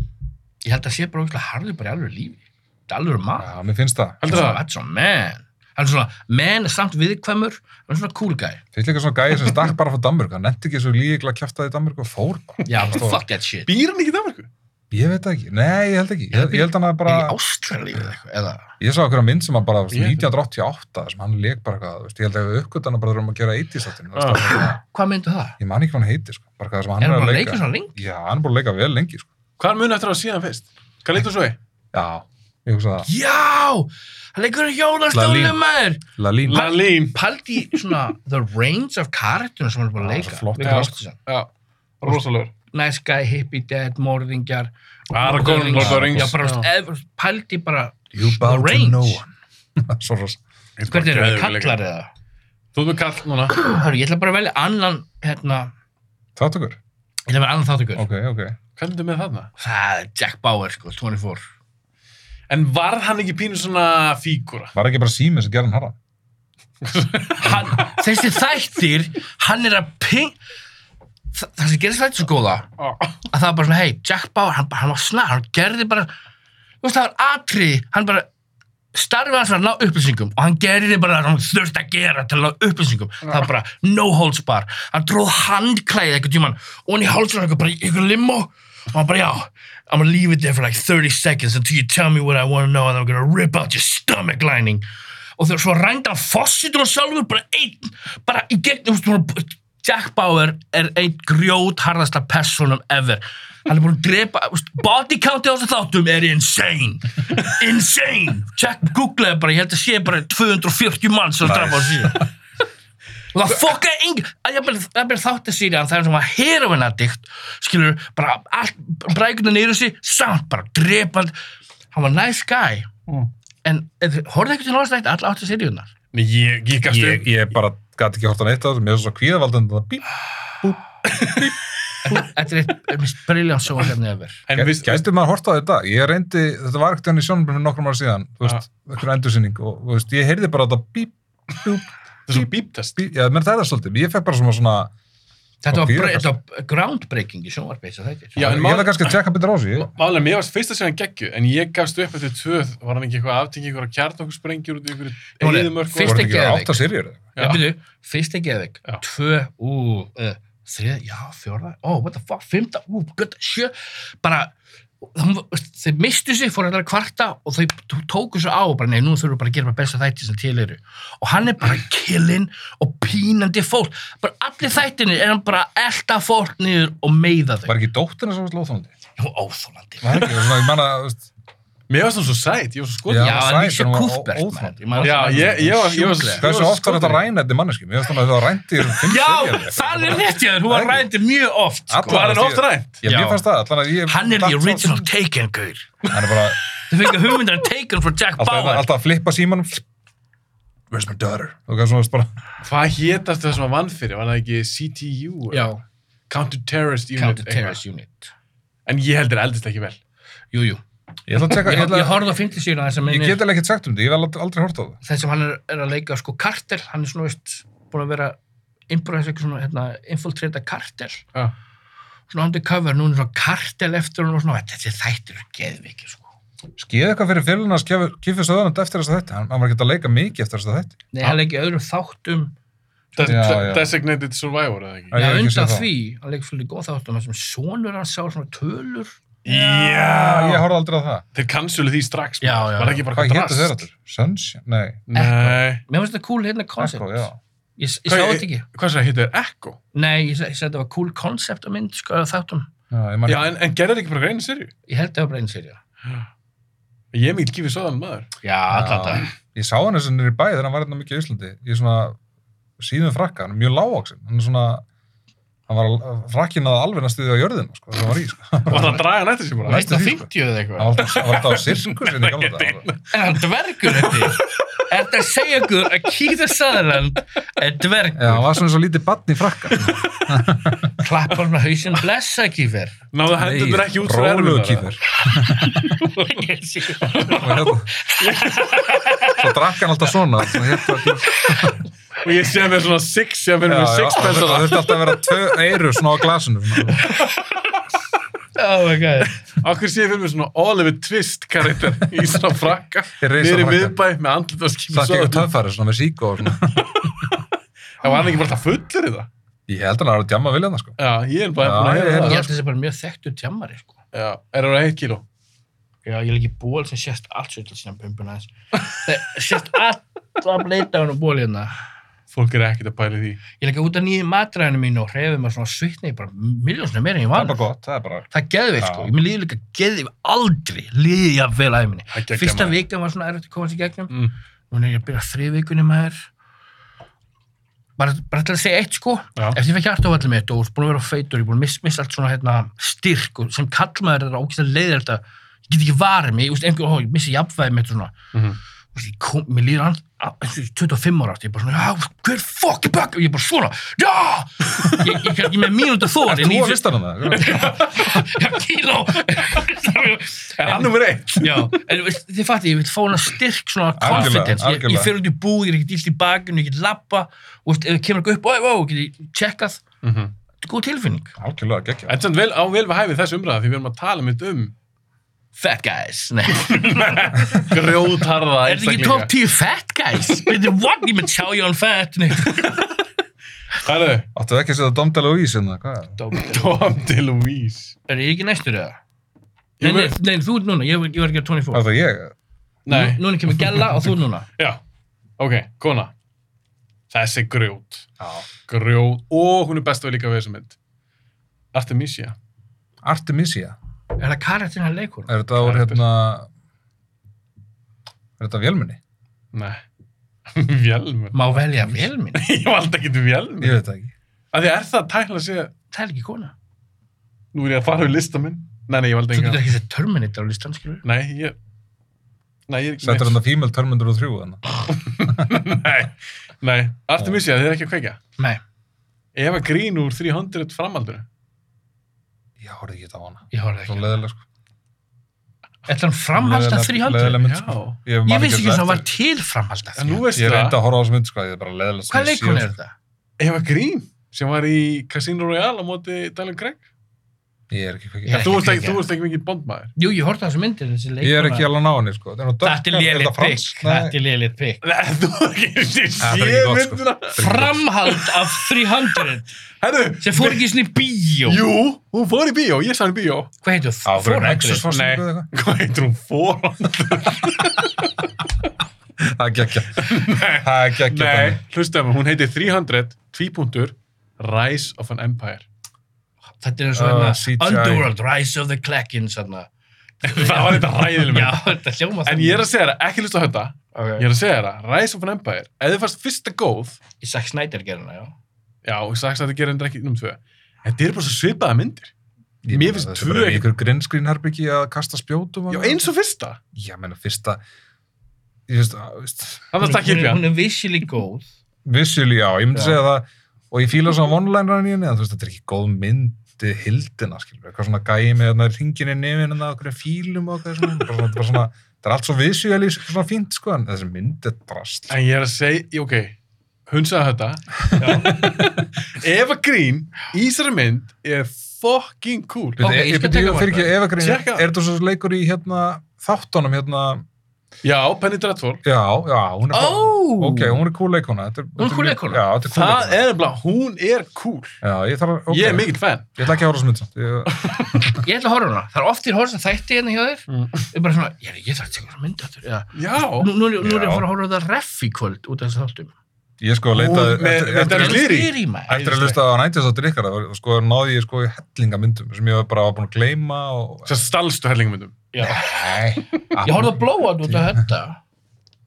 Speaker 1: Ég held að sé bara ógæslega harður bara í alveg lífi. Þetta er alveg maður.
Speaker 3: já, mér finnst það
Speaker 2: Heldur það?
Speaker 1: Þetta er svona man. Hann er svona man samt viðkvæmur. Hann er svona cool guy.
Speaker 3: finnst líka svona gæði sem stakk bara frá Danmörk, hann nefndi ekki svo líklega kjæftaði í Danmörk og fór bara,
Speaker 1: Já,
Speaker 3: Stór.
Speaker 1: fuck that shit.
Speaker 2: Býr hann ekki í Danmarku?
Speaker 3: ég veit það ekki, nei, ég held ekki ég, ég held hann að bara
Speaker 1: Bara... Í Ástralíu eða eitthvað. Eða...
Speaker 3: Ég sá einhverja mynd sem að bara, þú veist,
Speaker 2: Ég veit
Speaker 3: 1988, sem hann leik bara eitthvað, þú veist, ég held að við uppgötan að bara þurfum að gera 80s þáttinn, þú
Speaker 2: Ah.
Speaker 3: veist, það er bara-
Speaker 1: Hvað myndu það?
Speaker 3: ég man ekki hvað hann heitir, sko, bara hvað sem
Speaker 1: Er
Speaker 3: hann
Speaker 1: hann
Speaker 3: er að
Speaker 1: bara að
Speaker 3: leika.
Speaker 1: leika svona lengi?
Speaker 3: Já, hann er búin að leika vel lengi, sko.
Speaker 2: Hvað er mun eftir að síðan fyrst? Hvað leitur svo í?
Speaker 3: Já, ég hugsa það.
Speaker 1: Já, hann leikur í
Speaker 3: Lalín.
Speaker 1: hjólastólum maður.
Speaker 3: Lalín.
Speaker 2: Lalín.
Speaker 1: Paldi svona the range of karakterinu sem hann er búin að
Speaker 3: Já,
Speaker 1: leika.
Speaker 3: svo flott.
Speaker 1: Viggo
Speaker 2: Já.
Speaker 1: Mortensen.
Speaker 2: Já, rosalegur.
Speaker 1: Nice guy, hippie dad, morðingjar.
Speaker 2: Aragorn,
Speaker 1: morðingjar.
Speaker 2: Lord of the Rings.
Speaker 1: Já, bara,
Speaker 2: Já.
Speaker 1: eð, Paldi bara,
Speaker 3: You
Speaker 1: The
Speaker 3: bow to
Speaker 1: range.
Speaker 3: no one. <laughs> Svo rosa.
Speaker 1: hvernig eru það, kallar eða?
Speaker 2: Þú ert með kall núna.
Speaker 1: Hörru, ég ætla bara að velja annan, hérna,
Speaker 3: Þáttökur?
Speaker 1: ég ætla að velja annan þáttökur.
Speaker 3: Ok, ok.
Speaker 2: Hvernig ertu með þarna?
Speaker 1: Það er Jack Bauer, sko, 24.
Speaker 2: En varð hann ekki pínu svona fígúra?
Speaker 3: Var ekki bara símið sem gerði hann harra?
Speaker 1: hann, <laughs> þessi þættir hann er að ping Þa, það sem gerist þættir svo góða að það var bara svona, hei, Jack Bauer hann, bara- hann var snar, hann gerði bara þú veist, það var atrið, hann bara starfið hans var að ná upplýsingum og hann gerði bara það sem hann þurfti að gera til að ná upplýsingum það var bara no holds bar hann tróð handklæðið einhvern tímann og hann í hálslega eitthvað bara í einhvern limo og hann bara já, I'm gonna leave it there for like 30 seconds until you tell me what I want to know and I'm gonna rip out your stomach lining og þegar svo rænda hann fossitur og sjálfur bara einn, bara í gegn þú veist, hún- Jack Bauer er einn grjót harðasta personum ever hann er búin að drepa þú veist, body count í þessu þáttum er insane insane Jack googlaði bara, ég held að sé bara 240 mann sem nice.
Speaker 3: Nice.
Speaker 1: drafa á síðan og það fokkaði engi að jafnvel jafnvel þátti síriðan það er sem var heroinaddikt skilur, bara allt brækuna neyru sig, samt bara drepand hann var nice guy
Speaker 2: Mm.
Speaker 1: en eð- horfðu ekki til hans nætt alla átti seríunar
Speaker 2: Nei, ég, ég gafst
Speaker 3: ég,
Speaker 2: upp.
Speaker 3: ég bara gæti ekki hortan eitt af þessu, mér er svo kvíðavaldin það bíp,
Speaker 1: þetta er eitt mest briljant svo hérna yfir
Speaker 2: En viss,
Speaker 3: gæti maður horta á þetta ég reyndi, þetta var ekkert hann í sjónum fyrir nokkrum ára síðan, þú veist, einhver endursynning og þú veist, ég heyrði bara þetta bíp, bíp,
Speaker 2: þetta er svo bíptest.
Speaker 3: bíp já, menn það er það svolítið, ég fekk bara svona, svona
Speaker 1: þetta var,
Speaker 3: Og
Speaker 1: bre-
Speaker 3: dýrakast.
Speaker 1: þetta var groundbreaking í sjónvarpið þess að þetta
Speaker 2: Já, en
Speaker 3: ég
Speaker 2: mál-
Speaker 3: hefði kannski að tjekka betur á þessu ég-
Speaker 2: Málega, mér varst fyrsta sem hann geggju, en ég gafst upp eftir tvöð, var hann ekki eitthvað aftengi, einhverja kjartokusprengjur út í einhverju
Speaker 1: Núna,
Speaker 2: eðumörku.
Speaker 1: fyrst-
Speaker 3: voru þetta ekki
Speaker 1: geðveik.
Speaker 3: átta sirjur
Speaker 2: Já.
Speaker 1: Já, byrju, fyrst er geðveik,
Speaker 2: Já.
Speaker 1: tvö, ú, uh, þrið, já, fjórða, ó, what the fuck, fymta, ú, gutta, sjö, bara, þeir mistu sig, fóru allar að kvarta og þau t- tóku svo á, bara, nei, nú þurfum við bara að gera bara besta þætti sem til eru. Og hann er bara killinn og pínandi fólk, bara allir þættinni er hann bara að elta fólk niður og meiða þau.
Speaker 3: var ekki dóttina sem var
Speaker 1: <laughs>
Speaker 3: slóþólandi
Speaker 1: Jú, óþólandi.
Speaker 3: var ekki, svona, ég manna, þú veist
Speaker 2: Mér varst hann svo sæt, ég var svo
Speaker 1: Já,
Speaker 2: skoðið.
Speaker 3: Já,
Speaker 1: já
Speaker 3: sæt,
Speaker 1: Lísa
Speaker 3: hún var
Speaker 1: Kúfberg,
Speaker 3: ó-
Speaker 1: maður.
Speaker 3: óþolandi.
Speaker 1: Ég man-
Speaker 2: Já, ég- ég var- ég var-
Speaker 1: Sjúklega.
Speaker 3: Hversu
Speaker 2: Ég var
Speaker 3: oft var þetta
Speaker 2: skotin.
Speaker 3: rænætti manneski? Mér finnst þannig að það var rændi í þessum fimm
Speaker 1: Já,
Speaker 3: seríum.
Speaker 1: það er rétt, ég, hún var
Speaker 3: Það er
Speaker 1: rændi mjög oft. sko.
Speaker 3: Allar-
Speaker 2: Var hann oft rænt?
Speaker 3: Ég,
Speaker 1: Já.
Speaker 3: mér fannst það, allan að ég...
Speaker 1: Hann er the
Speaker 3: datt svo-
Speaker 1: original Taken, gaur.
Speaker 3: Hann er bara
Speaker 1: Þau fengið hugmyndar að Taken frá Jack
Speaker 3: alltaf,
Speaker 1: Bauer.
Speaker 3: alltaf að flippa símanum. Where's my daughter? Og hvað svona, bara...
Speaker 2: Hvað hétast það sem hann vann fyrir? Var það ekki CTU?
Speaker 1: Já,
Speaker 2: Counter-Terrorist Unit.
Speaker 1: Counter
Speaker 2: eitthvað?
Speaker 1: Terrorist Unit.
Speaker 2: En ég heldur eldist ekki vel.
Speaker 1: Jú, jú.
Speaker 3: Ég ætla að tjekka...
Speaker 1: Ég,
Speaker 3: Ég,
Speaker 1: ég
Speaker 3: ætla,
Speaker 1: horfði á fyndið síðan þess að
Speaker 3: hérna- ég
Speaker 1: minni
Speaker 3: get alveg ekkert sagt um þetta, ég hef aldrei, aldrei hort á það.
Speaker 1: þess að hann er, er að leika sko kartel, hann er svona veist búin að vera innbúin eitthvað svona hérna, infiltrita kartel,
Speaker 2: Já.
Speaker 1: svona undercover, núna er svona kartel eftir hún og svona, þessi þættir eru geðvikið sko.
Speaker 3: Skeið eitthvað fyrir félina að kifja söðanand eftir þess að þetta. Hann, hann var ekkert að leika mikið eftir þess að þetta.
Speaker 1: Nei, hann leikið öðrum þáttum,
Speaker 2: Des
Speaker 3: Já, já.
Speaker 2: Designated Survivor, eða ekki?
Speaker 3: Já,
Speaker 1: já,
Speaker 3: ég hef ekki séð
Speaker 1: undan
Speaker 3: það.
Speaker 1: því, hann leikið fyrir góð þáttum, þessum sonur hann sá svona tölur.
Speaker 3: Ég horfði aldrei á það.
Speaker 2: Þeir kansulu því strax.
Speaker 1: Já,
Speaker 2: maður.
Speaker 1: já.
Speaker 2: Var það ekki bara
Speaker 3: Hvað
Speaker 2: eitthvað
Speaker 3: héttu þeir
Speaker 2: drast?
Speaker 3: allir? Sunshine? Nei.
Speaker 2: Nei.
Speaker 1: Mér finnst þetta cool hérna
Speaker 3: Echo,
Speaker 1: concept.
Speaker 3: já.
Speaker 1: Ég, ég sá
Speaker 2: Hvað-
Speaker 1: þetta ekki.
Speaker 2: Hvað sér héttu þeir? Echo?
Speaker 1: Nei, ég, sa- ég sagði þetta var cool concept á mynd, sko, eða þáttum.
Speaker 3: Já, ég man
Speaker 2: Já, en, en gerður ekki bara greinu sirju?
Speaker 1: Ég held það var bara einn serið.
Speaker 2: Ég er mikið gifið svoðan maður.
Speaker 1: Já, allan dag.
Speaker 3: Ég sá hann þessu nýri bæ þegar hann var hérna mikið í Íslandi. Ég svona síðum frakka, hann er mjög lágvaxinn. Hann er svona, hann var frakkin að alveg næstu því á jörðina, sko, það var í, sko.
Speaker 2: Var það að draga hann eftir sér bara?
Speaker 3: Næstu því, sko.
Speaker 1: 50 eða
Speaker 3: Hann var alltaf- hann var alltaf á sirkusinni í gamla daga. sko.
Speaker 1: En hann dvergur þetta. Þetta er að segja ykkur að Keita Sutherland er dvergur.
Speaker 3: Já, hann var svona svo lítið batn í frakka.
Speaker 1: Klapp hann með hausinn, blessa Kífer.
Speaker 2: Náðu hendur ekki út frá
Speaker 3: Rólegur
Speaker 2: erfinu. <laughs>
Speaker 3: kýfur. Og hérna- Svo drakk hann alltaf svona. svona hérna-
Speaker 2: Og ég sé mér svona six, ég
Speaker 3: Já,
Speaker 2: mér
Speaker 3: já,
Speaker 2: með six
Speaker 3: Það
Speaker 2: pensar.
Speaker 3: þurfti alltaf að vera tvö eiru svona á glasinu. svona.
Speaker 1: Oh my god.
Speaker 2: Akkur sé ég fyrir mér svona Oliver Twist karakter í svona frakka.
Speaker 3: Í risa
Speaker 2: Niður í
Speaker 3: frakka.
Speaker 2: miðbæ með andlut og skipi
Speaker 3: Það er ekki
Speaker 2: svoðan.
Speaker 3: töffari svona með síkó og svona.
Speaker 2: Það var hann ekki bara alltaf fullur í það.
Speaker 3: Ég held að hann var að djamma vilja það sko.
Speaker 2: Já, ég er bara
Speaker 3: Já,
Speaker 2: búin að
Speaker 3: ég
Speaker 2: heyra
Speaker 1: Ég
Speaker 2: það.
Speaker 1: held þessi bara mjög þekktur tjammari, sko.
Speaker 2: Já, er það eitt kíló?
Speaker 1: Já, ég leik í ból sem sést allt svo til sína bumbuna þess. Það sést allt að bleita hann og ból hérna.
Speaker 2: Fólk er ekkert að pæli því.
Speaker 1: Ég leik út að nýja matræðinu mínu og hreyfið maður svona svitni, bara miljónsinu meira en ég
Speaker 3: Það er
Speaker 1: vann.
Speaker 3: bara gott, það er bara...
Speaker 1: Það er geðveikt
Speaker 3: Já.
Speaker 1: sko, ég mér líður líka geðið aldrei líðið ég vel að minni.
Speaker 2: Það er geggjað,
Speaker 1: Fyrsta
Speaker 2: maður.
Speaker 1: vikan var svona erfitt að komast í gegnum,
Speaker 2: Mm.
Speaker 1: núna er ég að byrja þriðvikunni maður. Bara, bara til að segja eitt sko,
Speaker 2: Já.
Speaker 1: eftir ég fekk hjartafallið mitt og búin að vera feitur, ég búin að miss, missa allt svona hérna, styrk og sem kallmaður er ógæst að leiða þetta, ég get ekki varið mig, ég, veist, einhver, ó, ég missi jafnvæði mitt og svona.
Speaker 2: Mhm.
Speaker 1: Þú veist, ég kom, mér líður hann, eins og ég er 25 ára átt, ég er bara svona, já, hver fokk er bakk, ég er bara svona, já, ég, ég, ég með mínútu þó,
Speaker 3: Þú að listanum það.
Speaker 1: <laughs> Já, kíló
Speaker 2: Er hann nummer eitt?
Speaker 1: Já, en þú veist, þið fattu, ég vil fá hana styrk svona
Speaker 3: Algjörlega,
Speaker 1: confidence, ég, ég
Speaker 3: algjörlega.
Speaker 1: fer út í búð ég er ekki dýlt í bakinu, ég get lappa og veist, ef það kemur eitthvað upp, oi, ó, get ég checkað þetta er góð tilfinning
Speaker 3: Algjörlega, geggja.
Speaker 2: mhm. En samt vel, á vel við hæfið þessu umræða því við erum að tala mitt um
Speaker 1: Fat guys,
Speaker 3: <laughs>
Speaker 1: nei
Speaker 2: grjóðtarða
Speaker 1: Er þetta ekki top 10 fat guys? Þetta er what, ég með tjá ég on fat Nei,
Speaker 2: Hæðu,
Speaker 3: Áttu ekki að setja domdæla og ís hérna, hvað?
Speaker 1: dóp.
Speaker 2: Tom DeLuise.
Speaker 1: er ég ekki næstur eða?
Speaker 2: Jú,
Speaker 1: Nei, nei,
Speaker 2: við-
Speaker 1: nei, þú ert núna, ég, ég var ekki að
Speaker 3: Það
Speaker 1: 24
Speaker 3: er það ég.
Speaker 2: Nei,
Speaker 1: Núna kemur Gella og þú núna
Speaker 2: já. Ok, kona. Þessi grjót.
Speaker 3: Já.
Speaker 2: grjóð og hún er best að líka við þessa mynd Artemisia
Speaker 3: Artemisia.
Speaker 1: Er það karakterinn að leikur?
Speaker 3: Er þetta úr
Speaker 2: Karakter.
Speaker 3: hérna... Er þetta vélminni?
Speaker 2: Nei, <laughs> Vélmenn.
Speaker 1: Má velja vélmenn?
Speaker 2: Ég valdi ekki til vélmenn.
Speaker 3: ég veit það ekki
Speaker 2: Af því er það tækla að segja,
Speaker 1: Það er ekki kona.
Speaker 2: nú er ég að fara við lista minn. Nei, nei, ég valdi
Speaker 1: Þú getur
Speaker 2: engan.
Speaker 1: ekki sett Terminator á listan, skilur.
Speaker 2: Nei, ég... Nei, ég...
Speaker 3: Settur hann að female Terminator 3 þannig
Speaker 2: <laughs> Nei, nei. Artemisia, þið er ekki að kveika.
Speaker 1: Nei,
Speaker 2: Eva Green úr 300 framaldinu.
Speaker 3: ég horfði ekki þetta á hana
Speaker 1: ég horfði
Speaker 3: svo
Speaker 1: ekki.
Speaker 3: leðilega sko
Speaker 1: Þetta er framhaldið af 300.
Speaker 3: leðilega mynd
Speaker 2: Já.
Speaker 3: sko
Speaker 1: Ég vissi ekki að það var til framhaldið af
Speaker 2: En nú
Speaker 1: 300.
Speaker 2: veistu
Speaker 3: ég reyndi
Speaker 2: það,
Speaker 3: að horfa á þessu mynd sko ég er bara leðilega
Speaker 1: Hvað leikon er þetta?
Speaker 2: Eva Green, sem var í Casino Royale á móti Dalen Craig.
Speaker 3: ég er ekki kveikið.
Speaker 1: Ég er
Speaker 2: Þú
Speaker 1: ekki
Speaker 2: veist ekki,
Speaker 1: kveikja.
Speaker 2: þú veist ekki mikið bondmaður.
Speaker 1: Jú, ég horfði á þessu myndir, þessi leikon.
Speaker 3: ég er ekki alveg að ná henni sko þetta er nú dökk,
Speaker 1: Þetta er lélitt
Speaker 3: það
Speaker 1: pikk,
Speaker 3: franskt? Nei.
Speaker 1: þetta er lélitt pikk.
Speaker 2: Nei, þú ekki sé
Speaker 3: Það er ekki gott, sko.
Speaker 2: myndina.
Speaker 1: Framhald af 300
Speaker 2: Herðu,
Speaker 1: sem fór ekki svona í bíó.
Speaker 2: jú, hún fór í bíó, ég sá hann í bíó.
Speaker 1: Hvað heitir
Speaker 3: Á,
Speaker 1: þú?
Speaker 3: fyrir Nexus
Speaker 1: Fórhaldið?
Speaker 3: var
Speaker 2: Nei.
Speaker 3: eitthvað eitthvað.
Speaker 2: Hvað heitir hún fór?
Speaker 3: Það er geggja. Það er geggja
Speaker 2: Nei,
Speaker 3: dæmi.
Speaker 2: hlustaðu mig, hún heitir 300, tvípunktur, Rise of an Empire.
Speaker 1: Þetta er eins og
Speaker 3: Ah,
Speaker 1: hérna,
Speaker 3: CGI.
Speaker 1: Underworld, Rise of the Clackin, svona.
Speaker 2: Það var þetta ræðileg
Speaker 1: Já,
Speaker 2: mynd.
Speaker 1: þetta hljóma
Speaker 2: En ég er að segja það, ekki hlusta á þetta, ég
Speaker 1: okay.
Speaker 2: er að segja það, Rise of an Empire, ef þið fannst fyrsta góð,
Speaker 1: Í Zack Snyder gerðina, já.
Speaker 2: já, ég sagðist að þetta gerir hendur ekki um tvö, þetta eru bara svo svipaða myndir.
Speaker 3: Ég
Speaker 2: Mér
Speaker 3: meina,
Speaker 2: finnst
Speaker 3: þetta er
Speaker 2: tvö
Speaker 3: bara í
Speaker 2: ekki-
Speaker 3: ykkur grinskrinherbyggi að kasta spjótum
Speaker 2: Já, eins og fyrsta.
Speaker 3: ég meina fyrsta ég finnst að veist,
Speaker 2: Það var
Speaker 1: Hún-
Speaker 2: stakk
Speaker 1: hún er-
Speaker 2: upp í hann.
Speaker 1: Hún er visually góð.
Speaker 3: visually já, ég myndi
Speaker 1: Já.
Speaker 3: segja það og ég fíla svona vonlænran í henni en þú veist, þetta er ekki góð myndið hildina skilur, eitthvað svona gæi með þarna ringin í nefinn og okkur fílum og okkur svona, bara svona, þetta er bara svona það er allt svo visually svona fínt sko en þessi mynd er drast
Speaker 2: En ég er að segja, ég- ok, hún sagði þetta. Eva Green, í þessari mynd, er fucking cool.
Speaker 1: ok, ég
Speaker 3: ég
Speaker 1: skal
Speaker 3: byrja
Speaker 1: taka
Speaker 3: fyrir ekki Eva Green,
Speaker 2: Tjekka.
Speaker 3: er þetta svo leikur í hérna þáttunum hérna,
Speaker 2: Já, Penny Dreadful.
Speaker 3: já, já hún er
Speaker 1: Ó!
Speaker 3: ok, hún er cool leikona þetta er-
Speaker 1: Hún er cool
Speaker 3: þetta
Speaker 1: leikkona?
Speaker 3: já, þetta er cool
Speaker 2: Það
Speaker 3: leikona
Speaker 2: er nefnilega, hún er cool.
Speaker 3: já, ég þarf, ok,
Speaker 2: Ég er mikill fan.
Speaker 3: ég ætla ekki að horfa á þessa mynd samt. Ég-
Speaker 1: Ég ætla að horfa á hana. Það er oft ég horfa sem þætti hérna hjá þér.
Speaker 2: Mm.
Speaker 1: Ég er bara svona, ég, ég þarf að tekja hana myndi áttur. Nú,
Speaker 2: Já.
Speaker 1: nú, er- nú er ég að
Speaker 3: Já.
Speaker 1: fara að horfa á það ref í kvöld út af þessu þáttum.
Speaker 3: ég sko
Speaker 2: Hún-
Speaker 3: leitaði
Speaker 2: með-
Speaker 3: eftir-
Speaker 2: með
Speaker 3: eftir-
Speaker 2: Dennis Leary?
Speaker 1: Leary, maður.
Speaker 3: Eftir að hlusta á næntjastáttir ykkar, það var- sko, náði ég sko í hellinga myndum sem ég var bara búin að gleyma og...
Speaker 2: Svo stalstu herlingmyndum.
Speaker 1: Já.
Speaker 2: <laughs>
Speaker 3: Nei.
Speaker 1: Ég horfði að blóa út af þetta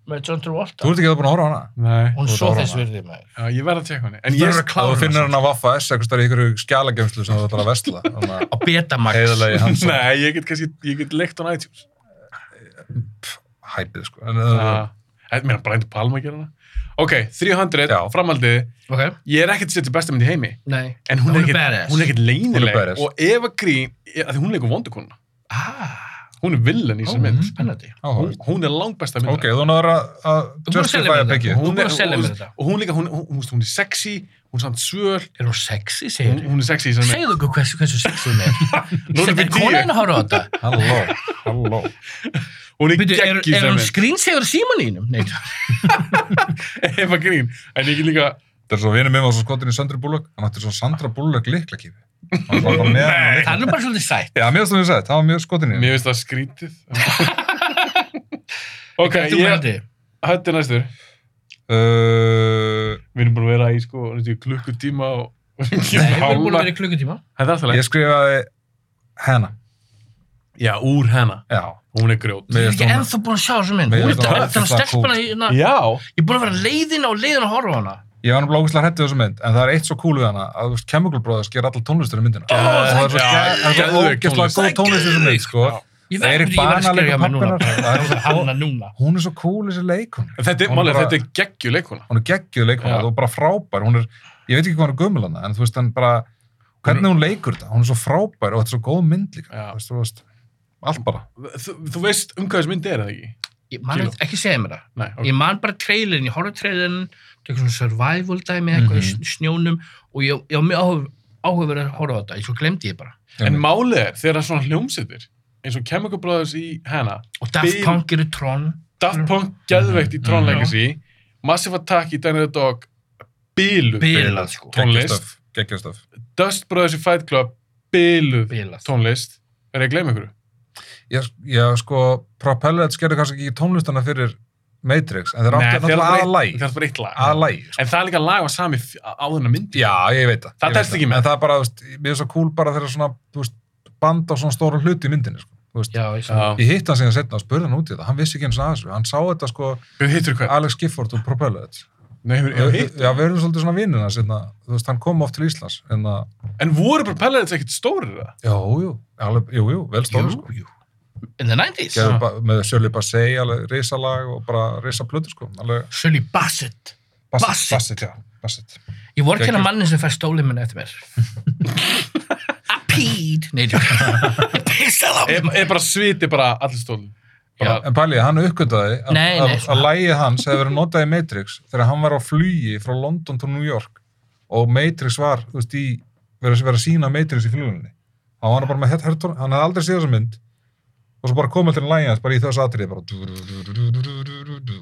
Speaker 1: með John Travolta.
Speaker 3: Þú ert ekki að búin að horfa á hana?
Speaker 2: Nei.
Speaker 1: Hún
Speaker 3: þú ert
Speaker 1: svo
Speaker 3: að horfa á
Speaker 1: þess
Speaker 3: hana.
Speaker 1: virði maður.
Speaker 2: Já, ég verð að tjekka henni. En
Speaker 3: Þú
Speaker 2: ég
Speaker 3: ert
Speaker 2: er
Speaker 3: að klára Þú finnir hann á Vaffa S, eitthvað stærri ykkur skjálagemslu sem þú ætlar að
Speaker 2: <laughs>
Speaker 3: vesla. Þannig að
Speaker 1: Á
Speaker 2: Oh
Speaker 1: Betamax.
Speaker 3: heiðalegi hans og
Speaker 2: Nei, ég get kannski, ég get leikt á iTunes.
Speaker 3: hæpið, sko. En, uh,
Speaker 2: Þetta meina Brian De Palma að gera hana. Ok, 300,
Speaker 3: Já.
Speaker 2: framaldið.
Speaker 1: Ok,
Speaker 2: Ég er ekkert sett í besta mynd í heimi.
Speaker 1: nei.
Speaker 2: En hún,
Speaker 1: Hún er
Speaker 2: er
Speaker 1: badass.
Speaker 2: ekkert, hún er ekkert
Speaker 3: Hún er
Speaker 2: leynileg.
Speaker 3: badass.
Speaker 2: og Eva Green, að því hún leikur vondukonuna.
Speaker 1: Ah,
Speaker 2: Hún er villan í
Speaker 1: ó,
Speaker 2: þessari mynd.
Speaker 1: spennandi.
Speaker 2: Hún,
Speaker 3: áhugavert.
Speaker 2: hún er langbesta mynd.
Speaker 3: ok, þú náður að- að
Speaker 1: búin að selja
Speaker 3: justify
Speaker 1: mér
Speaker 3: að
Speaker 1: þetta.
Speaker 3: byggja.
Speaker 1: Hún er búin að selja mér
Speaker 2: og,
Speaker 1: þetta.
Speaker 2: og hún líka, hún, hún, hún, hún er sexy, hún er samt svöl,
Speaker 1: Er hún sexy, segir
Speaker 2: Mm, hún,
Speaker 1: þú?
Speaker 2: hún er sexy í þessari mynd.
Speaker 1: Segðu okkur hversu, hversu sexy hún er.
Speaker 2: <laughs> Nú erum
Speaker 1: Er
Speaker 2: við tíu.
Speaker 1: konan að horfa á þetta?
Speaker 3: Halló, halló.
Speaker 2: Hún er
Speaker 1: Byrju, er,
Speaker 2: gegg
Speaker 1: er
Speaker 2: í þessari
Speaker 1: hún
Speaker 2: mynd.
Speaker 1: skrýnsegur símanínum? Nei,
Speaker 2: <laughs> Eva Green. En ég get líka,
Speaker 3: Þetta er svo vinur minn var svo skotin í Sandra Bullock. Hann átti svo Sandra Bullock liklakífi. Hann var bara með hann.
Speaker 1: það er nú bara svolítið sætt.
Speaker 3: Já, mér finnst það mjög sætt. Það var mjög skotin í henni.
Speaker 2: mér finnst það
Speaker 1: <laughs>
Speaker 2: skrítið. ok,
Speaker 1: Þú með
Speaker 2: ég,
Speaker 1: þetta?
Speaker 2: hætti næstur.
Speaker 3: Uh,
Speaker 2: Við erum búin að vera í sko, næstu, klukkutíma og... Nei,
Speaker 1: Nei, við erum búin að vera í klukkutíma.
Speaker 2: Það er alltaf
Speaker 3: ég
Speaker 2: leið.
Speaker 3: skrifaði hennar.
Speaker 2: Já, úr hennar.
Speaker 3: Já,
Speaker 2: Hún er grjót.
Speaker 3: Mér
Speaker 1: Ég er
Speaker 3: finnst
Speaker 1: ekki
Speaker 3: hún-
Speaker 1: ennþá búin að sjá þessu mynd.
Speaker 3: Mér
Speaker 1: Hún er
Speaker 3: finnst hún-
Speaker 1: þetta
Speaker 3: finnst hún
Speaker 1: stelpana
Speaker 3: cool.
Speaker 1: í hérna.
Speaker 2: Já.
Speaker 1: Ég er búin að vera leiðin og leiðin að horfa á hana.
Speaker 3: Ég var náttúrulega ógæslega hættið þessu mynd, en það er eitt svo cool við hana að þú veist, Chemical Brothers ger allar tónlistur í myndina.
Speaker 1: Ó,
Speaker 3: og það er svo,
Speaker 2: já,
Speaker 3: ja, það er svo
Speaker 2: geðveik
Speaker 3: ógæslega
Speaker 2: tónlist.
Speaker 3: góð tónlist í þessu mynd, sko.
Speaker 2: Já.
Speaker 1: Ég verður ég
Speaker 3: Eirík
Speaker 1: verð að
Speaker 3: Bana leikur
Speaker 1: skrifa mér núna.
Speaker 3: pabbi hennar.
Speaker 1: bara. Það er hanna núna.
Speaker 3: Hún er svo cool þessi leikon.
Speaker 2: En Þetta er,
Speaker 3: Hún er
Speaker 2: málega,
Speaker 3: bara-
Speaker 2: þetta er geggjuleikuna.
Speaker 3: Hún er geggjuð leikon,
Speaker 2: Já.
Speaker 3: þú er bara frábær. Hún er, ég veit ekki hvað hann er gömul hana, en þú veist, hann bara, hvernig hún leikur þetta, hún er svo frábær og þetta er svo góð mynd líka.
Speaker 2: Já.
Speaker 3: Þú veist, þú veist, allt bara.
Speaker 2: Þú, þú veist um hvað þessi mynd er, eða ekki?
Speaker 1: Ég man
Speaker 2: Kíló.
Speaker 1: ekki- ekki segja mér það.
Speaker 2: Nei, ok.
Speaker 1: Ég man bara trailerin, ég horfði á trailerin, tekur svona survival dæmi eitthvað í
Speaker 3: Mhm.
Speaker 1: sn- snjónum og ég ég var mjög áhug- áhugaverð að horfa á þetta. Ég svo glemdi ég bara.
Speaker 2: En málið er, þegar svona hljómsettir, eins og Chemical Brothers í hana,
Speaker 1: Og Daft
Speaker 2: Bil-
Speaker 1: Punk eru Tron.
Speaker 2: Daft Punk
Speaker 1: Mhm.
Speaker 2: geðveikt
Speaker 3: Mhm.
Speaker 2: í Tron Legacy, Massive Attack í Dine of the Dog, Biluð,
Speaker 1: Bilað, sko.
Speaker 2: tónlist.
Speaker 3: Geggjöstöf.
Speaker 2: Dust Brothers í Fight Club, Biluð,
Speaker 1: Bilað.
Speaker 2: tónlist. Er ég að gleyma ykkur?
Speaker 3: Ég, ég sko, Propellet skerði kannski ekki tónlistana fyrir Matrix, en þeir
Speaker 2: Nei,
Speaker 3: átti
Speaker 2: þeir
Speaker 3: náttúrulega sko.
Speaker 2: bara eitt-
Speaker 3: aðalæg.
Speaker 2: Það er bara eitt lag.
Speaker 3: Aðalæg,
Speaker 2: En það er líka lag á sami f- á á þennan myndi.
Speaker 3: Já, ég veit það.
Speaker 2: Það
Speaker 3: Ég veit
Speaker 2: telst ekki með.
Speaker 3: En það er bara, þú veist, mér er svo cool bara þegar svona, þú veist, band á svona stóra hluti í myndinni, sko. Þú þú veist,
Speaker 1: já, ég sé.
Speaker 2: Já.
Speaker 3: ég hitt hann síðan setna og spurði hann út í þetta, hann vissi ekki eins og aðeins hann sá þetta sko,
Speaker 2: Við hittur hvað?
Speaker 3: Alex Gifford og Propellet
Speaker 2: Nei, hefur, hefur hitt.
Speaker 3: já, við erum svolítið svona vinnina setna, þú veist, hann kom oft til Íslands en að,
Speaker 2: En voru bara pellarins ekkert stórir það?
Speaker 3: jú, jú, alveg, jú, jú vel stóru sko,
Speaker 1: jú. In the Ah. 90s.
Speaker 3: Gerðu ba- með Sjöli Bassey, alveg risalag og bara risaplötu sko, alveg
Speaker 1: Sully Bassett. Bassett.
Speaker 3: Bassett, já, Bassett
Speaker 1: Ég voru ekki hérna
Speaker 2: Gekkjur.
Speaker 1: mannin sem fær stólið minn eftir mér. <laughs> I peed. <laughs> Nei, ég pissað á
Speaker 2: Er,
Speaker 1: mig.
Speaker 2: er bara sviti bara allir stólinn?
Speaker 1: Já.
Speaker 2: Bara,
Speaker 3: En Palli, hann uppgöndaði að,
Speaker 1: Nei,
Speaker 3: að,
Speaker 1: nei,
Speaker 3: að
Speaker 1: svona.
Speaker 3: lægið hans hefði verið notað í Matrix þegar hann var á flugi frá London til New York og Matrix var, þú veist, í verið verið að sína Matrix í flugunni þá var hann bara með hett hörtur, hann hefði aldrei séð þessa mynd og svo bara komið til lægið hans bara í þessu atrið bara du-du-du-du-du-du-du-du-du-du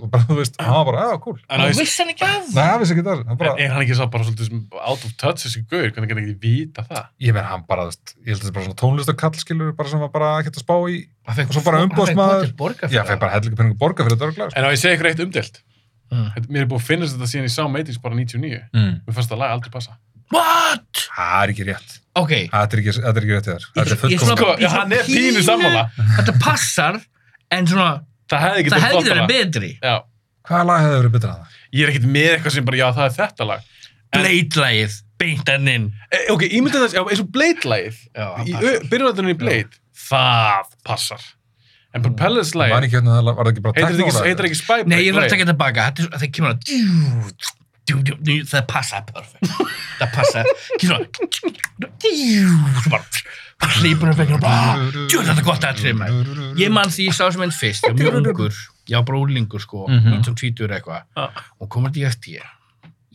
Speaker 3: og bara, þú veist, hann var bara, já, cool
Speaker 2: en,
Speaker 1: Þú
Speaker 2: þú veist-
Speaker 1: vissi hann ekki að?
Speaker 3: Nei, hann vissi ekki það, hann
Speaker 2: en
Speaker 3: bara
Speaker 2: er hann ekki sá bara svolítið sem out of touch þessi gaur? Hvernig kann ekki vita það?
Speaker 3: ég veit, hann bara, þú veist, ég held að þetta er bara svona tónlistakall skilur, bara sem var bara ekkert að spá í
Speaker 1: Hann fékk-
Speaker 3: Og svo bara
Speaker 1: hann fékk
Speaker 3: umboðsmaður-
Speaker 1: hótel borgað fyrir
Speaker 3: já, fyrir
Speaker 1: það.
Speaker 3: bara hellingu peningu borga fyrir þetta sko. örgulega
Speaker 2: En á ég segi ykkur eitt umdelt.
Speaker 1: Mm.
Speaker 2: Þetta- Mér er búið að finna þetta síðan ég sá Matrix bara 99.
Speaker 3: mm.
Speaker 2: Mér fannst það lag aldrei passa.
Speaker 1: What?
Speaker 3: það er ekki rétt
Speaker 1: Ok.
Speaker 3: Þetta er ekki, þetta er ekki rétt hjá þér. Þetta er
Speaker 1: Ég- ég svona-
Speaker 3: fullkomlega.
Speaker 2: Sko,
Speaker 1: ég svona
Speaker 2: hann er pínu sammála.
Speaker 1: Þetta passar, en svona,
Speaker 2: Það hefði ekki
Speaker 1: það hefði verið betri.
Speaker 2: Já.
Speaker 3: Hvaða lag hefði verið betra en það?
Speaker 2: Ég er ekkert með eitthvað sem bara, já, það er þetta lag. En-
Speaker 1: Blade-lægið, beint enninn.
Speaker 2: E, ok, ímyndið þess, já, eins og Blade-lægið.
Speaker 1: Já, það
Speaker 2: Í
Speaker 1: passar.
Speaker 2: byrjunarðunni í Blade. Það passar.
Speaker 3: Ég man
Speaker 2: En Propellers-lægið,
Speaker 3: ekki hvernig það var það ekki bara
Speaker 2: heitir þetta ekki,
Speaker 3: teknólagið?
Speaker 2: heitir ekki Spy Blade?
Speaker 1: Nei, ég verður að taka
Speaker 2: Blade?
Speaker 1: þetta baka. Þetta er svo- Það kemur að djú, djú, djú, djú, það passa perfect. Það passa, kemur að djú, svo bara hlýpur upp ekkert og bara, djú, þetta er gott að treyma. Mhm. Ég man því ég sá sem mynd fyrst, ég var mjög ungur, ég var bara úlingur sko,
Speaker 3: Mhm.
Speaker 1: 1920 eða eitthvað,
Speaker 2: Já.
Speaker 1: og komur þetta í eftir ég.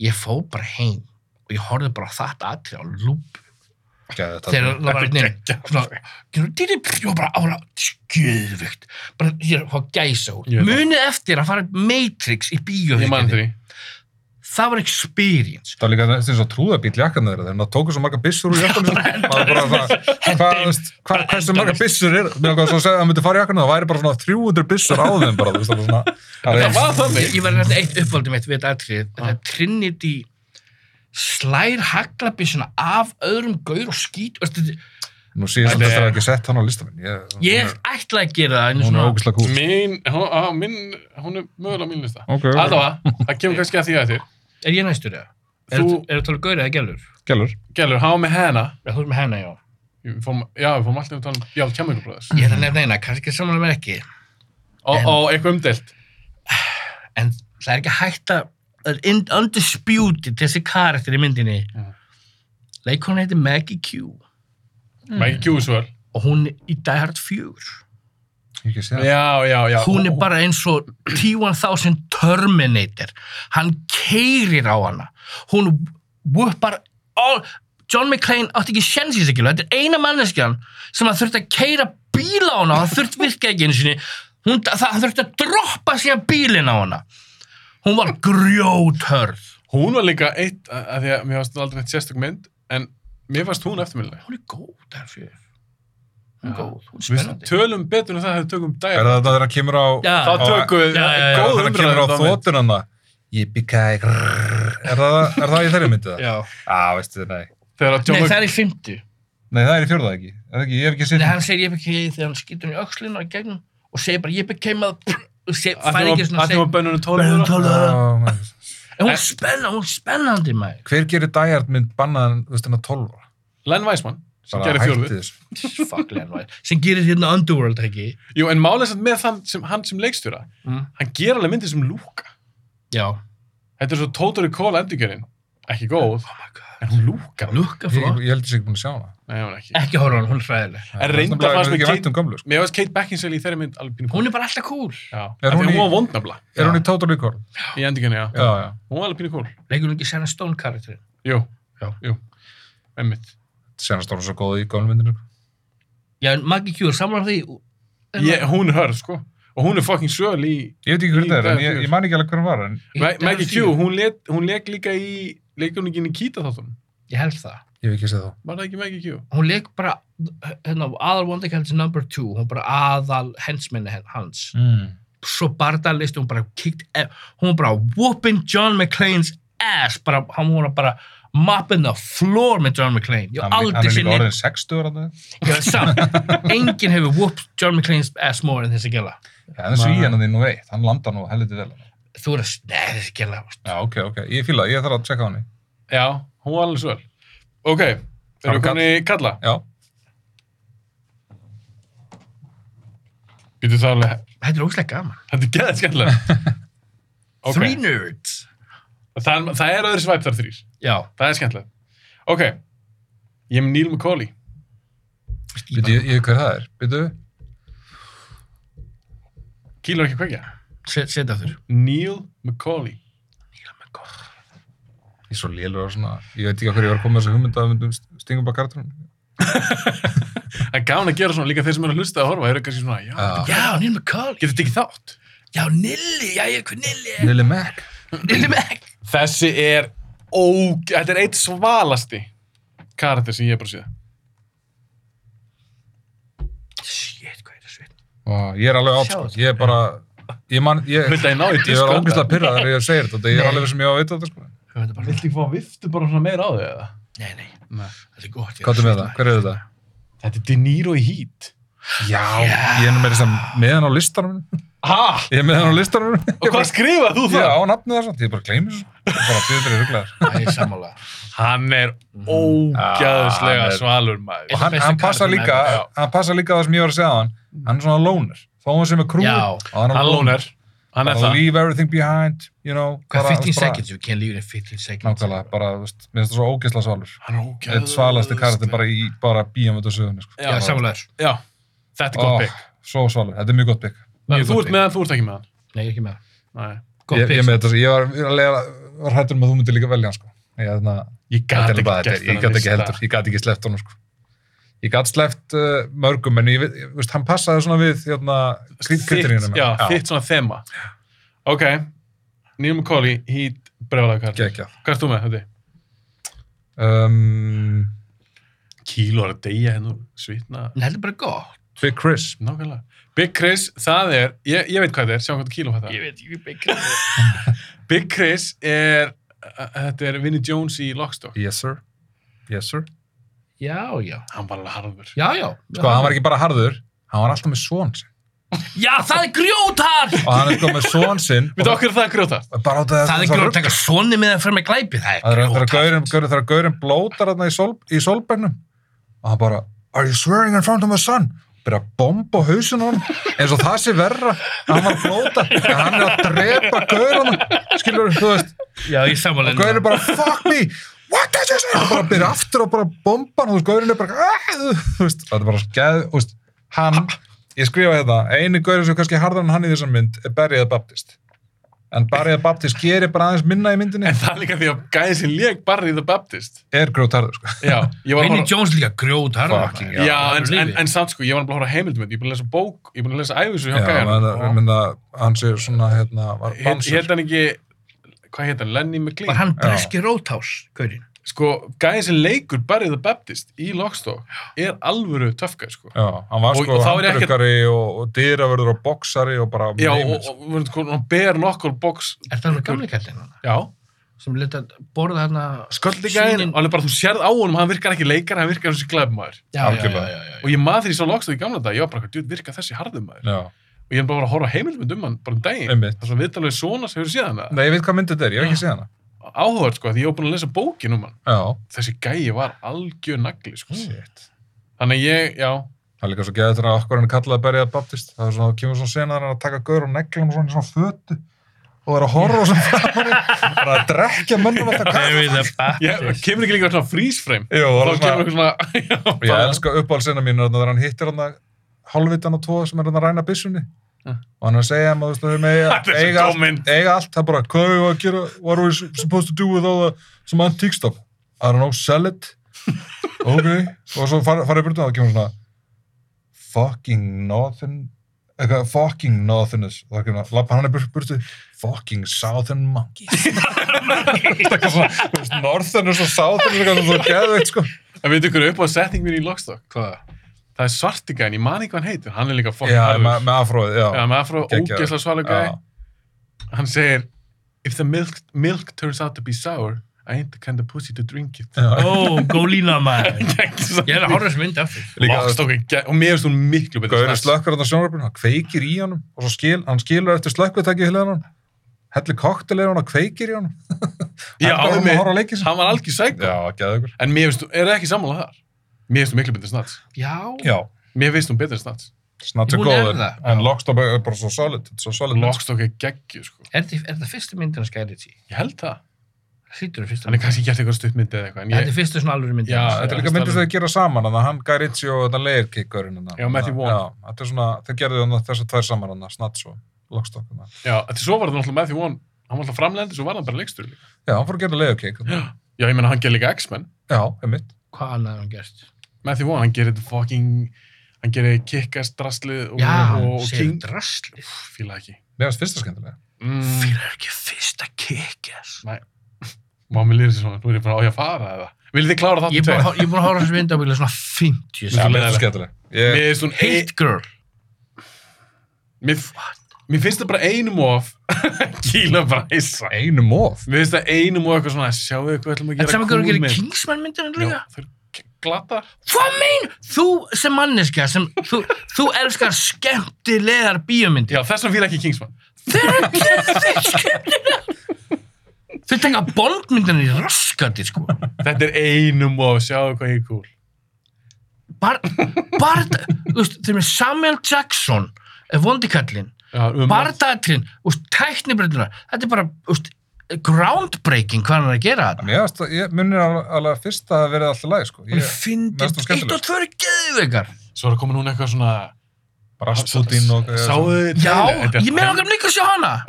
Speaker 1: Ég fó bara heim og ég horfði bara á þetta atrið á lúp
Speaker 3: Geðveikt atriði.
Speaker 1: þegar það var einn svona, gerur dýri, og bara ára skjöðvikt, bara ég var gæsa út,
Speaker 2: Ég veit það.
Speaker 1: munið eftir að fara í Matrix í
Speaker 2: Ég man
Speaker 1: bíóhyggjunni
Speaker 2: því.
Speaker 1: það var experience
Speaker 3: Það var líka þessi eins og trúðabíl jakkan þeirra, þegar það tóku svo marga byssur úr jakkanum sinni. Maður bara það, hvað, þú veist, hvað, hversu marga byssur er? Mér langar svo að segja að það myndi fara í jakkanum, það væri bara svona 300 byssur á þeim bara, þú veist, það var svona... Það
Speaker 2: Það var
Speaker 1: ég,
Speaker 2: þannig.
Speaker 1: ég var nætti eitt uppvaldum eitt við þetta atrið þetta er Trinity slær haglabissuna af öðrum gaur og skýt og þetta,
Speaker 3: Nú síðan
Speaker 2: Þetta
Speaker 3: þetta
Speaker 2: er-
Speaker 3: er ekki sett hann á listanum. Ég,
Speaker 1: ég ætla að gera það einu
Speaker 3: Hún er
Speaker 1: svona-
Speaker 3: ógislega kúl.
Speaker 2: Mín, hún, á, mín, hún er mögulega á mín lista.
Speaker 3: Ok, ok.
Speaker 2: Allavega, það kemur kannski að því að þér.
Speaker 1: er ég næstur eða? er
Speaker 2: Þú-
Speaker 1: það talað gaur eða gælur?
Speaker 3: Gjallur.
Speaker 2: Gellur, hafa með hana.
Speaker 1: Er þú sem henni, já.
Speaker 2: Við fórum- Já, við fórum alltaf að tala um, já, kemur ykkur bróðis.
Speaker 1: Ég er að nefna eina, kannski saman með ekki.
Speaker 2: Og, og eitthvað umdelt.
Speaker 1: en það er ekki hægt að það er in- undisputed þessi karakter í myndinni
Speaker 2: Mhm.
Speaker 1: leikonu heiti Maggie Q
Speaker 2: Mækki Gjúsvöl.
Speaker 1: og hún er í Die Hard 4
Speaker 3: Ég ekki segja.
Speaker 2: Já, já, já.
Speaker 1: hún er bara eins og T-1000 Terminator hann keirir á hana hún vuppar all... John McClane átti ekki sjensi sig þetta er eina manneskjan sem hann þurfti að keira bíl á hana hann þurfti virka ekki einu sinni hún, það, hann þurfti að droppa síðan bílinn á hana hún var grjóthörð
Speaker 2: Hún var líka eitt, að að því að mér fannst aldrei neitt sérstök mynd, en mér fannst hún eftirmyndileg.
Speaker 1: hún er góð, það er fyrir hún er góð, hún er
Speaker 2: Við
Speaker 1: spennandi
Speaker 2: tölum betur en það hefur tökum
Speaker 3: Er
Speaker 2: dæra.
Speaker 3: það þegar hann kemur á...
Speaker 1: Já,
Speaker 2: Þá tökum við um
Speaker 1: Já, já, já.
Speaker 2: góð
Speaker 3: Þegar hann kemur á
Speaker 2: umræðum.
Speaker 3: þótun hann það. Yippee-ki-yay, grrrr. Er það er það í þeirri myndið það?
Speaker 1: já.
Speaker 3: Já, veistu, nei.
Speaker 2: Þegar að
Speaker 1: nei,
Speaker 2: John
Speaker 1: það
Speaker 2: Mc-
Speaker 1: er í 50
Speaker 3: Nei, það er í fjórða ekki. Er það ekki, ég hef ekki
Speaker 1: nei,
Speaker 3: séð.
Speaker 1: hann segir ég bekkeið þegar hann skýtur hann í öxlina í gegnum og segir bara ég bekeið með og segir,
Speaker 2: að
Speaker 1: fær
Speaker 2: því
Speaker 1: ekki
Speaker 2: var-
Speaker 1: svona um
Speaker 2: að um því var bönnunum
Speaker 1: Bönnunum
Speaker 2: tólum.
Speaker 1: 12.
Speaker 3: Já, maður.
Speaker 1: en hún er spennandi, hún er spennandi maður
Speaker 3: Hver gerir dæjart mynd bannaðan, þú veist, hennar 12 ára?
Speaker 2: Len Weisman, sem
Speaker 3: Bara
Speaker 2: gerir
Speaker 3: hætti
Speaker 2: fjórðu.
Speaker 3: þessu.
Speaker 1: fuck Len White, sem gerir hérna Underworld ekki
Speaker 2: Jú, en málið er samt með þann sem, hann sem leikstjóra,
Speaker 1: Mm.
Speaker 2: hann ger alveg myndir sem lúka.
Speaker 1: já,
Speaker 2: Þetta er svo Tótari Kól endurgerinn. Ekki
Speaker 1: oh
Speaker 2: góð,
Speaker 1: my god
Speaker 2: en hún lúkar.
Speaker 1: lukka
Speaker 3: Ég,
Speaker 1: flott,
Speaker 3: ég held að ég sé ekki búin að sjá hana.
Speaker 2: Nei, hún er ekki.
Speaker 1: ekki horfa á hann, hún er fræðileg
Speaker 2: En reynda
Speaker 3: Það
Speaker 2: fannst
Speaker 3: er
Speaker 2: mér
Speaker 3: ekki
Speaker 2: Kate,
Speaker 3: vænt um gömlu, sko.
Speaker 2: mér fannst Kate Beckinsale í þeirri mynd alveg pínu kúl.
Speaker 1: hún er bara alltaf cool
Speaker 2: Já, af
Speaker 3: Er
Speaker 2: því
Speaker 3: hún í-
Speaker 2: að hún var vondnabla
Speaker 3: Er hún í Total Recall?
Speaker 2: í endurgerinn, já.
Speaker 3: Já, já.
Speaker 2: Hún var alveg pínu kúl.
Speaker 1: leikur hún ekki Sarah Stone karakterin
Speaker 2: Jú,
Speaker 1: Já.
Speaker 2: jú, emmitt.
Speaker 3: Senast ára svo góð í gömlu myndinu.
Speaker 1: já, en Maggie Q er samlar því
Speaker 2: Ég, hún er hörð, sko. Og hún er fucking söl í...
Speaker 3: Ég veit ekki hver
Speaker 2: Í
Speaker 3: það er, en
Speaker 2: Die
Speaker 3: ég,
Speaker 2: Hard
Speaker 3: ég man ekki alveg hver hann var. En...
Speaker 2: Ma- Maggie Q,
Speaker 1: Q
Speaker 2: hún leik, hún leik líka í... Leik hún ekki inn í Kita þáttunum?
Speaker 1: ég held það
Speaker 3: Ég hef ekki séð þá.
Speaker 2: Var það ekki Maggie Q?
Speaker 1: hún leik bara hérna, aðal vondekældi number two hún bara aðal hensminni hans
Speaker 3: Mm.
Speaker 1: svo bardalist eh, hún bara kikt hún bara whooping John McClane's ass bara, hann hún var bara mopping the floor með John McClane ég hef
Speaker 3: Hann hann
Speaker 1: aldrei
Speaker 3: er
Speaker 1: sér
Speaker 3: líka
Speaker 1: neitt
Speaker 3: orðin 60 ára þetta.
Speaker 1: Já, samt,
Speaker 3: <laughs>
Speaker 1: enginn hefur whooped John McClane's ass more en þessi gæla
Speaker 3: Já, en svíjan hann þín nú eitt, hann landar nú helviti vel.
Speaker 1: þú er að, neða þessi gæla
Speaker 3: Já, ok, ok, ég fýla, ég þarf að tjekka á henni.
Speaker 2: Já, hún var alveg svöl. Ok, erum
Speaker 3: Fram
Speaker 2: við komin í kalla?
Speaker 3: Já,
Speaker 2: Býtu það alveg,
Speaker 1: þetta er óslega gaman
Speaker 2: þetta er geðað skemmtilega.
Speaker 3: <laughs>
Speaker 2: Ok,
Speaker 1: three nerds
Speaker 2: það, það er öðru svæp þar þrýr.
Speaker 1: já,
Speaker 2: Það er skemmtilega. Ok, ég er með Neil McCauley.
Speaker 3: veit ég, ég hver það er, veitu?
Speaker 2: Kýlar ekki að kveikja.
Speaker 1: set, setja þurr
Speaker 2: Neil McCauley.
Speaker 3: Ég er svo lélur á svona, ég veit ekki hvað ég var að koma með þessu hugmynda að myndum stingum bara kartunum.
Speaker 2: Það er gaman að gera svona líka þeir sem eru að hlusta að horfa. Eru kannski svona, já,
Speaker 3: Já.
Speaker 1: já, Neil McCauley,
Speaker 2: getur þetta ekki þátt?
Speaker 1: já, Nilli já, ég er hvað Nilli er
Speaker 3: Lili Mac.
Speaker 1: Nilli Mac
Speaker 2: Þessi er óg... Þetta er eitt svalasti karakter sem ég er bara séð.
Speaker 1: shit, hvað er það sveit
Speaker 3: Og ég er alveg átt, sko. Ég er bara, ég man, ég,
Speaker 2: Viltu að ég nái
Speaker 3: ég var
Speaker 2: diskóta?
Speaker 3: ógæslega pyrrað þegar ég segir þetta, ég er alveg sem ég á að veita þetta, sko.
Speaker 1: Hvað er þetta bara?
Speaker 2: Viltu ekki fá að viftu bara svona meira á þig eða?
Speaker 1: nei, nei,
Speaker 2: Nei.
Speaker 1: þetta er gott ég er
Speaker 3: Hvað er með
Speaker 1: að
Speaker 3: það? Hver er þetta?
Speaker 2: Þetta er De Niro í Heat.
Speaker 3: Já, ég er nú meira sem með hann á listanum. mínum.
Speaker 2: Ha?
Speaker 3: Ég er með hann á listanum. mínum.
Speaker 2: Og hvað skrifað þú
Speaker 3: Ég
Speaker 2: það?
Speaker 3: á nafnið það samt, ég bara gleymi þessu. Ég er Bara fyrir þeirri rugglaðar.
Speaker 1: svitna. Æ, sammála
Speaker 2: Hann er
Speaker 3: Ah,
Speaker 2: ógæðislega
Speaker 3: hann er-
Speaker 2: svalur
Speaker 3: Og
Speaker 2: maður.
Speaker 3: hann,
Speaker 1: besti
Speaker 3: hann passa
Speaker 1: karakterinn
Speaker 3: líka,
Speaker 1: ever, já.
Speaker 3: hann passa líka það sem ég var að segja á hann. Hann er svona loner. Þó hann sem er krúið.
Speaker 1: Já,
Speaker 3: hann
Speaker 2: Hann lónar. Hann er
Speaker 3: Bara
Speaker 2: það.
Speaker 3: leave everything behind, you know.
Speaker 1: hvað
Speaker 3: bara-
Speaker 1: 15
Speaker 3: bara-
Speaker 1: seconds, you can't leave it in 15 seconds
Speaker 3: Nákvæmlega, bara, þú veist, mér finnst það svo ógeðslega svalur.
Speaker 2: Hann er
Speaker 3: Eitt
Speaker 2: ógæðislega.
Speaker 3: svalasti karakter bara í, bara bíamöndu söguna, sko.
Speaker 1: já,
Speaker 2: Já,
Speaker 1: sammála þér
Speaker 2: Já, þetta er
Speaker 3: Ó,
Speaker 2: gott pick.
Speaker 3: Svo svalur, þetta er mjög gott bygg.
Speaker 1: mjög
Speaker 2: Þú
Speaker 1: gott
Speaker 2: ert
Speaker 1: pick.
Speaker 2: með hann, þú ert ekki með hann.
Speaker 1: nei, ég er ekki með það
Speaker 2: Nei.
Speaker 1: gott
Speaker 3: Ég, ég,
Speaker 1: pick,
Speaker 3: með þetta, ég var, ég var, lega, var hættur um að þú myndir líka velja hann, sko. Ég, þarna,
Speaker 2: Ég
Speaker 3: þetta er
Speaker 2: gat ekki
Speaker 3: bara,
Speaker 2: gert
Speaker 3: þetta, ég
Speaker 2: þennan
Speaker 3: gat ekki
Speaker 2: lista.
Speaker 3: heldur, ég gat ekki sleppt honum, sko. Ég gat sleppt uh, mörgum, en ég, veit- ég, veist, hann passaði svona við, hérna,
Speaker 2: Þitt,
Speaker 3: krýtkrýtirinu.
Speaker 2: já, þitt svona þema. Ok, Neil McCauley, Heat, brevlega karakter.
Speaker 3: Gekja.
Speaker 2: Hvað ert þú með þetta?
Speaker 3: Um,
Speaker 2: Kíló er að deyja
Speaker 3: hérna
Speaker 2: hennu svitna.
Speaker 1: en þetta er bara gott
Speaker 3: Big Chris.
Speaker 2: Nákvæmlega. Big Chris, það er, ég, ég veit hvað þetta er, sjáum hvað kíló þetta er.
Speaker 1: ég veit, ég er <laughs> byggður
Speaker 2: Big Chris er, uh, þetta er Vinnie Jones í Lockstock.
Speaker 3: Yes, sir. Yes, sir.
Speaker 1: já, já,
Speaker 2: Hann var alveg harður.
Speaker 1: já, já
Speaker 3: Sko, hann var ekki bara harður, hann var alltaf með svon sinn.
Speaker 1: já, það er grjótar
Speaker 3: Og hann er sko með svon sinn.
Speaker 2: Við þú okkur það er grjótar?
Speaker 3: Bara á þetta.
Speaker 1: Það er ekki að taka sonni með að fyrir með glæpi, það
Speaker 3: Það
Speaker 1: er
Speaker 3: er þegar gaurinn, gaurinn, þegar gaurinn blótar þarna í, sol, í solbennum og hann bara Are you swearing in front of my son? Byrja að bomba á hausinu hann eins og það sé verra að hann var að blóta en hann er að drepa gaurana skilur þú veist
Speaker 1: Já, ég samanlega.
Speaker 3: og gaurinn er bara fuck me what did you say? og bara byrja aftur og bara bomba hann og þú veist, gaurinn er bara "Ah!" þú veist það er bara geð þú veist hann ég skrifa þetta eini gaurinn sem er kannski harðar en hann í þessar mynd er Barry the Baptist en Barry the Baptist gerir bara aðeins minna í myndinni
Speaker 2: En það er líka því að gæðin sem lék Barry the Baptist.
Speaker 3: er grótarður sko
Speaker 2: Já, ég var að
Speaker 1: Vinnie
Speaker 2: horfa-
Speaker 1: Jones líka grjótar.
Speaker 3: Fucking,
Speaker 2: Já, en,
Speaker 1: hann er
Speaker 2: en,
Speaker 1: lífið.
Speaker 2: en samt sko, ég var bara að horfa heimildmynd, ég er búin að lesa bók, ég er búin að lesa æfisu hjá
Speaker 3: Já, maður- ég
Speaker 2: gæðan.
Speaker 3: mynda, hann sé svona, hérna, var
Speaker 2: Hétt
Speaker 3: bansur.
Speaker 2: hét hann ekki, hvað hétt hann, Lenny McLean?
Speaker 1: Var hann
Speaker 3: Já.
Speaker 1: breski rótás, gaurinn?
Speaker 2: Sko, gæðin sem leikur Barry the Baptist í Lockstock er alvöru töfka, sko.
Speaker 3: Já, hann var
Speaker 2: Og-
Speaker 3: sko
Speaker 2: og þá er ég ekkert-
Speaker 3: handrukkari og, og dyravörður og boksari og bara
Speaker 2: Já, og,
Speaker 3: neymis.
Speaker 2: og, og verður sko, hann ber nokkur box.
Speaker 1: Er það alveg gamli kallinn hann?
Speaker 2: Já,
Speaker 1: Sem leta borða hann að...
Speaker 2: sköldi
Speaker 1: Sýnin-
Speaker 2: gæðin, alveg bara þú sérð á honum, hann virkar ekki leikar, hann virkar eins og glæfmaður.
Speaker 1: Já, já, já,
Speaker 3: Algjörlega.
Speaker 1: já, já.
Speaker 2: Og ég maður því svo Lockstock í gamla dag, ég var bara, djúð, virka þessi harðumaður.
Speaker 3: Já,
Speaker 2: Og ég er bara að horfa á heimildmynd um hann, bara um daginn.
Speaker 3: einmitt.
Speaker 2: Það er svona viðtalið svona sem hefur séð hana.
Speaker 3: Nei, ég veit hvað myndið þetta er, ég hef ekki séð hana.
Speaker 2: Áhugað, sko, því ég var búin að lesa bókin um hann.
Speaker 3: Já,
Speaker 2: þessi gæi var algjör nagli sko.
Speaker 3: shit.
Speaker 2: þannig að ég, já,
Speaker 3: Það er líka svo geðið þegar okkur hann kallaði Berja Baptist. Það er svona, kemur svona senar hann að taka gaur og negla hann svona í svona fötu og er að horfa svona framan í, bara að drekja mönnum alltaf kaffi.
Speaker 1: the
Speaker 2: <laughs> ég kemur ekki líka svona freeze frame
Speaker 3: Jú, og
Speaker 2: þá
Speaker 3: alveg
Speaker 2: kemur
Speaker 3: svona,
Speaker 2: eitthvað svona <laughs> já,
Speaker 3: ég
Speaker 2: bara-
Speaker 3: elska uppáhaldsina mínu þarna þegar hann hittir hann hálfvitan og tvo sem er hann að ræna byssunni
Speaker 2: Ja.
Speaker 3: og hann er að segja hann að þú veist að við megi
Speaker 2: Ah. <laughs> þetta er
Speaker 3: eiga
Speaker 2: svo
Speaker 3: allt
Speaker 2: dómynd
Speaker 3: eiga allt, það er bara, hvað erum við að gera what are we supposed to do with all the some antique stuff, I don't know, sell it <laughs> ok, og svo fara, fara í burtu og það kemur svona fucking northern eitthvað, fucking northerners og það kemur svona, lappa hann í bur- burtu fucking southern monkeys <laughs> eitthvað svona, þú veist, northerners og southerners, eitthvað svona geðveikt sko
Speaker 2: en veitu ykkur upp á setning mín í Lockstock
Speaker 1: Hvað?
Speaker 2: það er svartigæin, ég man ekki hvað hann heitir hann er líka fokk
Speaker 3: já, með, með afróið, já,
Speaker 2: já, með afrá
Speaker 3: Geggjaður.
Speaker 2: ógeðslega svalu
Speaker 3: já.
Speaker 2: gæi hann segir if the milk, milk turns out to be sour I I ain't the kind of pussy to drink
Speaker 3: <laughs>
Speaker 2: it
Speaker 3: Já.
Speaker 1: Ó, góð lína maður. Ég er að
Speaker 2: Lockstock
Speaker 1: horfa þessu mynd aftur.
Speaker 3: Líka-
Speaker 2: er ge- og mér finnst hún miklu betur
Speaker 3: Gauri slökkur þetta sjónvarpinu, hann kveikir í honum og svo skil, hann skilur eftir slökkutæki í hliðan hann, hellir koktel er hann og kveikir í honum
Speaker 2: Já,
Speaker 3: Heldur honum að horfa
Speaker 2: mér,
Speaker 3: á leikinn.
Speaker 2: hann var algjör sæk
Speaker 3: Já, geðugur
Speaker 2: en mér finnst, er ekki sammála þar mér finnst hún miklu betur snart
Speaker 1: Já.
Speaker 3: Já,
Speaker 2: mér finnst hún betur snart
Speaker 3: snart er
Speaker 1: Hún er
Speaker 3: góður
Speaker 1: það.
Speaker 3: En Lockstock er bara svo solid þetta er Svo solid mynd.
Speaker 2: Lockstock er geggju sko.
Speaker 1: Er þi- er þetta fyrsta myndin að skæri því?
Speaker 2: ég held það,
Speaker 1: Hlýtur er fyrsta
Speaker 2: hann er
Speaker 1: myndin.
Speaker 2: kannski gert eitthvað stuttmyndi eða eitthvað en
Speaker 1: Þetta
Speaker 2: ég,
Speaker 1: er fyrsta svona alvöru myndin.
Speaker 2: Já,
Speaker 3: Þetta er
Speaker 2: Já,
Speaker 3: líka myndir
Speaker 2: stalin.
Speaker 3: þeir gera saman þannig að hann Guy Ritchie og þetta Layer Kickurinn
Speaker 2: Já, Matthew Vaughn.
Speaker 3: Já, þetta er svona, þeir gerðu þarna þessar tvær saman hann, Snats og Lockstock þarna.
Speaker 2: já, þetta svo var það náttúrulega Matthew Vaughn hann var alltaf framlegandi, svo var hann bara leikstur líka
Speaker 3: Já, hann fór að gera Layer Kick þarna.
Speaker 2: já, ég meina hann gerir líka X-Men
Speaker 3: Já, einmitt
Speaker 1: Hvað annað hefur hann gert?
Speaker 2: Matthew Vaughn, hann gerir þetta fucking hann gerir kickast drastlið og,
Speaker 1: Já,
Speaker 2: og, og
Speaker 1: segir
Speaker 2: King
Speaker 1: draslið.
Speaker 2: fíla ekki
Speaker 3: Mér finnst fyrsta skemmtilega
Speaker 2: mm,
Speaker 1: Fýlar ekki fyrsta kikjas.
Speaker 2: má mér lýra sér svona, nú er ég bara á ég að fara eða viljið þið klára
Speaker 1: Ég
Speaker 2: þáttu
Speaker 1: er búin að- ég er búin að horfa á þessu mynd á bíla svona 50
Speaker 2: Já,
Speaker 3: Mér
Speaker 1: sinnum.
Speaker 3: finnst
Speaker 2: leiðileg.
Speaker 3: það skemmtilega Ég-
Speaker 2: mér finnst hún ein-
Speaker 1: Hate Girl.
Speaker 2: mér, mér finnst það bara einum of <laughs> kíla bara hissa
Speaker 3: Einum of
Speaker 2: mér finnst það einum of eitthvað svona sjáu eitthvað ætlum að
Speaker 1: En
Speaker 2: gera
Speaker 1: saman hverju gerir
Speaker 2: mynd.
Speaker 1: Kingsman myndin
Speaker 2: Já,
Speaker 1: líka?
Speaker 2: þau eru k- glatar
Speaker 1: Hvað mein? Þú sem manneska, sem, þú, þú elskar skemmtilegar bíómyndir.
Speaker 2: já, þess vegna fíla ekki Kingsman
Speaker 1: Þeir eru geðveikt skemmtilegar. Þau taka bondmyndina í raskandi, sko.
Speaker 2: þetta er einum of, sjáu hvað ég er cool
Speaker 1: Bar, bar, þú veist, þeir eru með Samuel Jackson, eh, vondikallinn,
Speaker 2: já, um
Speaker 1: bardaðatrinn, tæknibreytunar. Þetta er bara, þú veist, groundbreaking hvað hann er að gera þetta.
Speaker 3: Mér finnst það- ég munir alveg alveg fyrst að það verið alltaf læg sko.
Speaker 1: Hún
Speaker 3: Ég-
Speaker 1: er fyndið,
Speaker 3: Mér finnst hún
Speaker 1: eitt og
Speaker 3: skemmtileg.
Speaker 1: tvö eru geðveikar.
Speaker 2: svo er að koma núna eitthvað svona
Speaker 3: Rasputin og
Speaker 2: sáu þið
Speaker 1: Já,
Speaker 2: trailer? Þetta er
Speaker 1: ég meina okkar líka að sjá hana.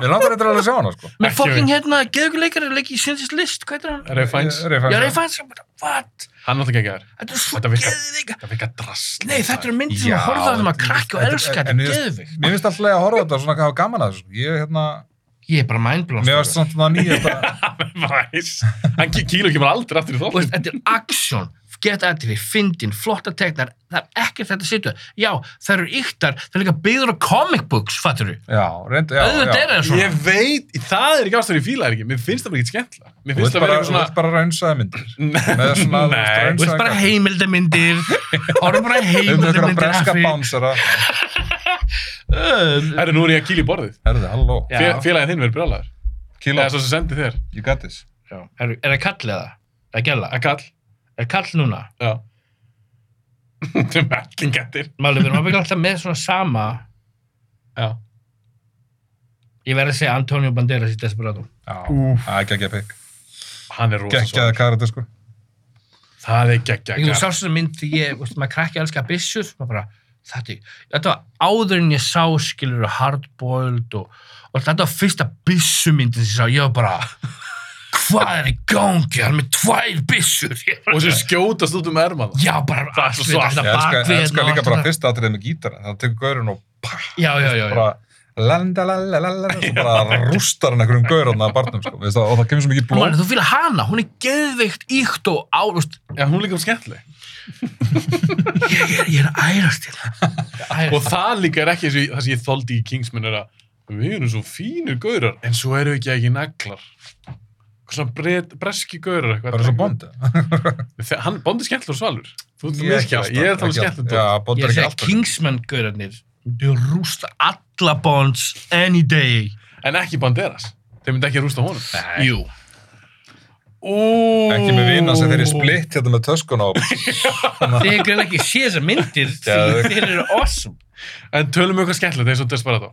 Speaker 3: Mér langar eitthvað alveg að sjá hana sko.
Speaker 1: Með
Speaker 2: Ekki
Speaker 1: fucking hérna, geðveikuleikari leik í Sintis List, hvað er hann?
Speaker 2: Ray Fiennes,
Speaker 3: Ray
Speaker 1: Já,
Speaker 3: Fiennes.
Speaker 1: ég fann sem bara, what?
Speaker 2: hann alltaf geggar
Speaker 1: Þetta er svo
Speaker 2: Þetta virkar.
Speaker 1: geðvika.
Speaker 2: það virkar drast
Speaker 1: Nei, þetta
Speaker 2: <laughs>
Speaker 1: eru myndir sem
Speaker 3: Já,
Speaker 1: að horfa þegar maður krakki og
Speaker 3: þetta-
Speaker 1: elska
Speaker 3: en
Speaker 1: þetta,
Speaker 3: mér finnst-
Speaker 1: geðvik.
Speaker 3: Mér finnst alltaf leið að horfa á þetta og svona hafa gaman að þessu sko. Ég hérna,
Speaker 1: Ég er bara mindblóð.
Speaker 3: mér finnst samt það nýja þetta
Speaker 2: Ræs. Hann kí- kílur kemur aldrei aftur í
Speaker 1: Og veist, þetta er
Speaker 2: þáttin.
Speaker 1: aksjón, gett aðtili, fyndin, flotta teknar, það er ekkert þetta sittu. Já, það eru yktar, það er líka byggður á comic books, fattur þú?
Speaker 3: Já, reynda, já,
Speaker 1: Auðvitað
Speaker 3: já
Speaker 1: er það svona.
Speaker 2: Ég veit, það er ekki ástæður ég fíla það ekki. Mér finnst það bara ekki skemmtilega.
Speaker 3: Þú
Speaker 2: Mér finnst
Speaker 3: vilt
Speaker 2: það vera
Speaker 3: bara,
Speaker 2: eitthvað
Speaker 3: svona...
Speaker 2: svona...
Speaker 3: bara raunsaði myndir Með svona, þú veist,
Speaker 2: Nei,
Speaker 1: Þú veist bara heimildamindir, horfum bara á
Speaker 3: Um einhverja
Speaker 1: heimildamindir
Speaker 3: breska bánsara
Speaker 1: báns.
Speaker 2: Herru, nú er ég að kíla í borðið.
Speaker 3: Herði, halló
Speaker 1: Já.
Speaker 2: Fél, félagið þinn verður brjálæður.
Speaker 3: Kíló,
Speaker 2: Eða svo sem sendi þér.
Speaker 3: you got this
Speaker 1: Er er það kall eða? Er gæla?
Speaker 2: Að kall.
Speaker 1: Er kall núna?
Speaker 2: Já. <laughs> Þetta er mellingettir.
Speaker 1: Máli, við erum ábyggilega alltaf með svona sama,
Speaker 2: Já.
Speaker 1: ég verði að segja Antonio Banderas í Desperado.
Speaker 3: Já,
Speaker 2: Úff.
Speaker 3: það er geggja pikk
Speaker 2: Hann er rosa
Speaker 3: Geggjaði
Speaker 2: svona.
Speaker 3: karate sko
Speaker 2: Það er geggja
Speaker 1: Ég þú
Speaker 2: kall.
Speaker 1: sást þessu mynd því ég, veist, maður krakki elska byssur, maður bara, þetta, þetta var áður en ég sá skilur hardboiled og, og þetta var fyrsta byssumyndin sem ég sá, ég var bara, hvað er í gangi, hann er með tvær byssur, ég
Speaker 2: Og
Speaker 1: bara,
Speaker 2: sem skjótast út um ermann.
Speaker 1: já, bara,
Speaker 2: Það er svo svart.
Speaker 1: þetta
Speaker 3: Ég elska,
Speaker 1: bakvið,
Speaker 3: elska
Speaker 1: hérna
Speaker 3: líka
Speaker 1: og
Speaker 3: bara
Speaker 1: allt
Speaker 3: fyrst aðrið með gítara Það tekur gaurinn og pah,
Speaker 1: þetta. já, já, já, já,
Speaker 3: bara landa lalla lalla og bara rústar hann einhverjum gaurinn að barnum sko. Veist það, og það kemur svo mikið
Speaker 1: Og
Speaker 3: blóð
Speaker 1: maður, þú fýla hana, hún er geðveikt íkt og á, þú veist,
Speaker 2: Já, hún er líka um skemmtileg.
Speaker 1: ég, er- ég er að ærast hérna. til það.
Speaker 3: <laughs>
Speaker 2: Og það líka er ekki eins og ég- það sem ég þoldi í Kingsman er að við erum svo fínir gaurar, en svo eru ekki ekki naglar. Hvað svona bret, breski gaurar eitthvað.
Speaker 3: bara svo bond eða?
Speaker 2: Þe- Hann, Bond er skemmtilega svalur. Þú ert að
Speaker 3: Ég er ekki
Speaker 2: miskja,
Speaker 3: alltaf-
Speaker 2: ég er að tala um
Speaker 3: ekki alltaf-
Speaker 2: skemmtilega.
Speaker 3: já, bond
Speaker 1: hérna. Ég er
Speaker 3: er
Speaker 1: að
Speaker 3: ekki
Speaker 1: segja
Speaker 3: alltaf
Speaker 1: Kingsman-gaurarnir, þau rústa alla bonds any day.
Speaker 2: En ekki Banderas. Þeir myndi ekki rústa honum.
Speaker 3: <laughs>
Speaker 1: Jú.
Speaker 2: Ó,
Speaker 3: ekki með vina sem þeir eru splitt hérna með töskun og
Speaker 1: Þið hefur greið ekki séð þessar myndir því
Speaker 3: Geðveikt.
Speaker 1: þeir eru awesome.
Speaker 2: En tölum við eitthvað skemmtilegt eins og Desperado.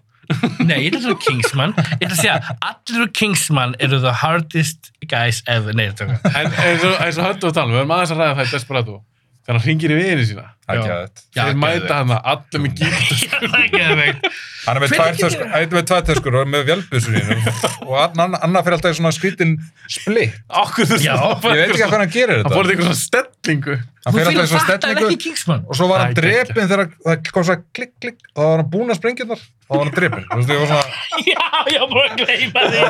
Speaker 1: Nei, ég ætla að tala um Kingsman. Ég ætla að segja, allir úr Kingsman eru the hardest guys ever. Nei, þetta er
Speaker 2: En eins og, eins og höldu að tala, um, við erum aðeins að ræða það í Desperado. Þegar hann hringir í vini sína.
Speaker 3: það
Speaker 1: Já.
Speaker 3: er gæðið
Speaker 1: Já,
Speaker 2: Þeir
Speaker 1: geðveikt.
Speaker 2: mæta hann að allir með gítar.
Speaker 3: <laughs>
Speaker 1: það er <laughs> geðveikt.
Speaker 3: hann er með
Speaker 1: Hver
Speaker 3: tvær
Speaker 1: getur-
Speaker 3: töskur, hann er með tvær töskur og með vjálpusur og annar anna fyrir alltaf í svona skrítin splitt
Speaker 2: Okkur þess
Speaker 1: Já,
Speaker 3: ég veit ekki hvað hann gerir
Speaker 2: Það
Speaker 3: þetta
Speaker 2: fórði eitthvað svona stellingu.
Speaker 1: Þú
Speaker 3: hann fyrir alltaf
Speaker 1: fylgur
Speaker 3: í svona
Speaker 1: þetta en
Speaker 3: stellingu
Speaker 1: ekki Kingsman.
Speaker 3: og svo var
Speaker 2: Æ,
Speaker 3: hann
Speaker 2: geggja.
Speaker 3: drepin þegar það kom svo klikk klikk þá var hann búinn að sprengja þar þá var hann drepin þú veist ég var
Speaker 1: Já, ég var bara að gleyma þig.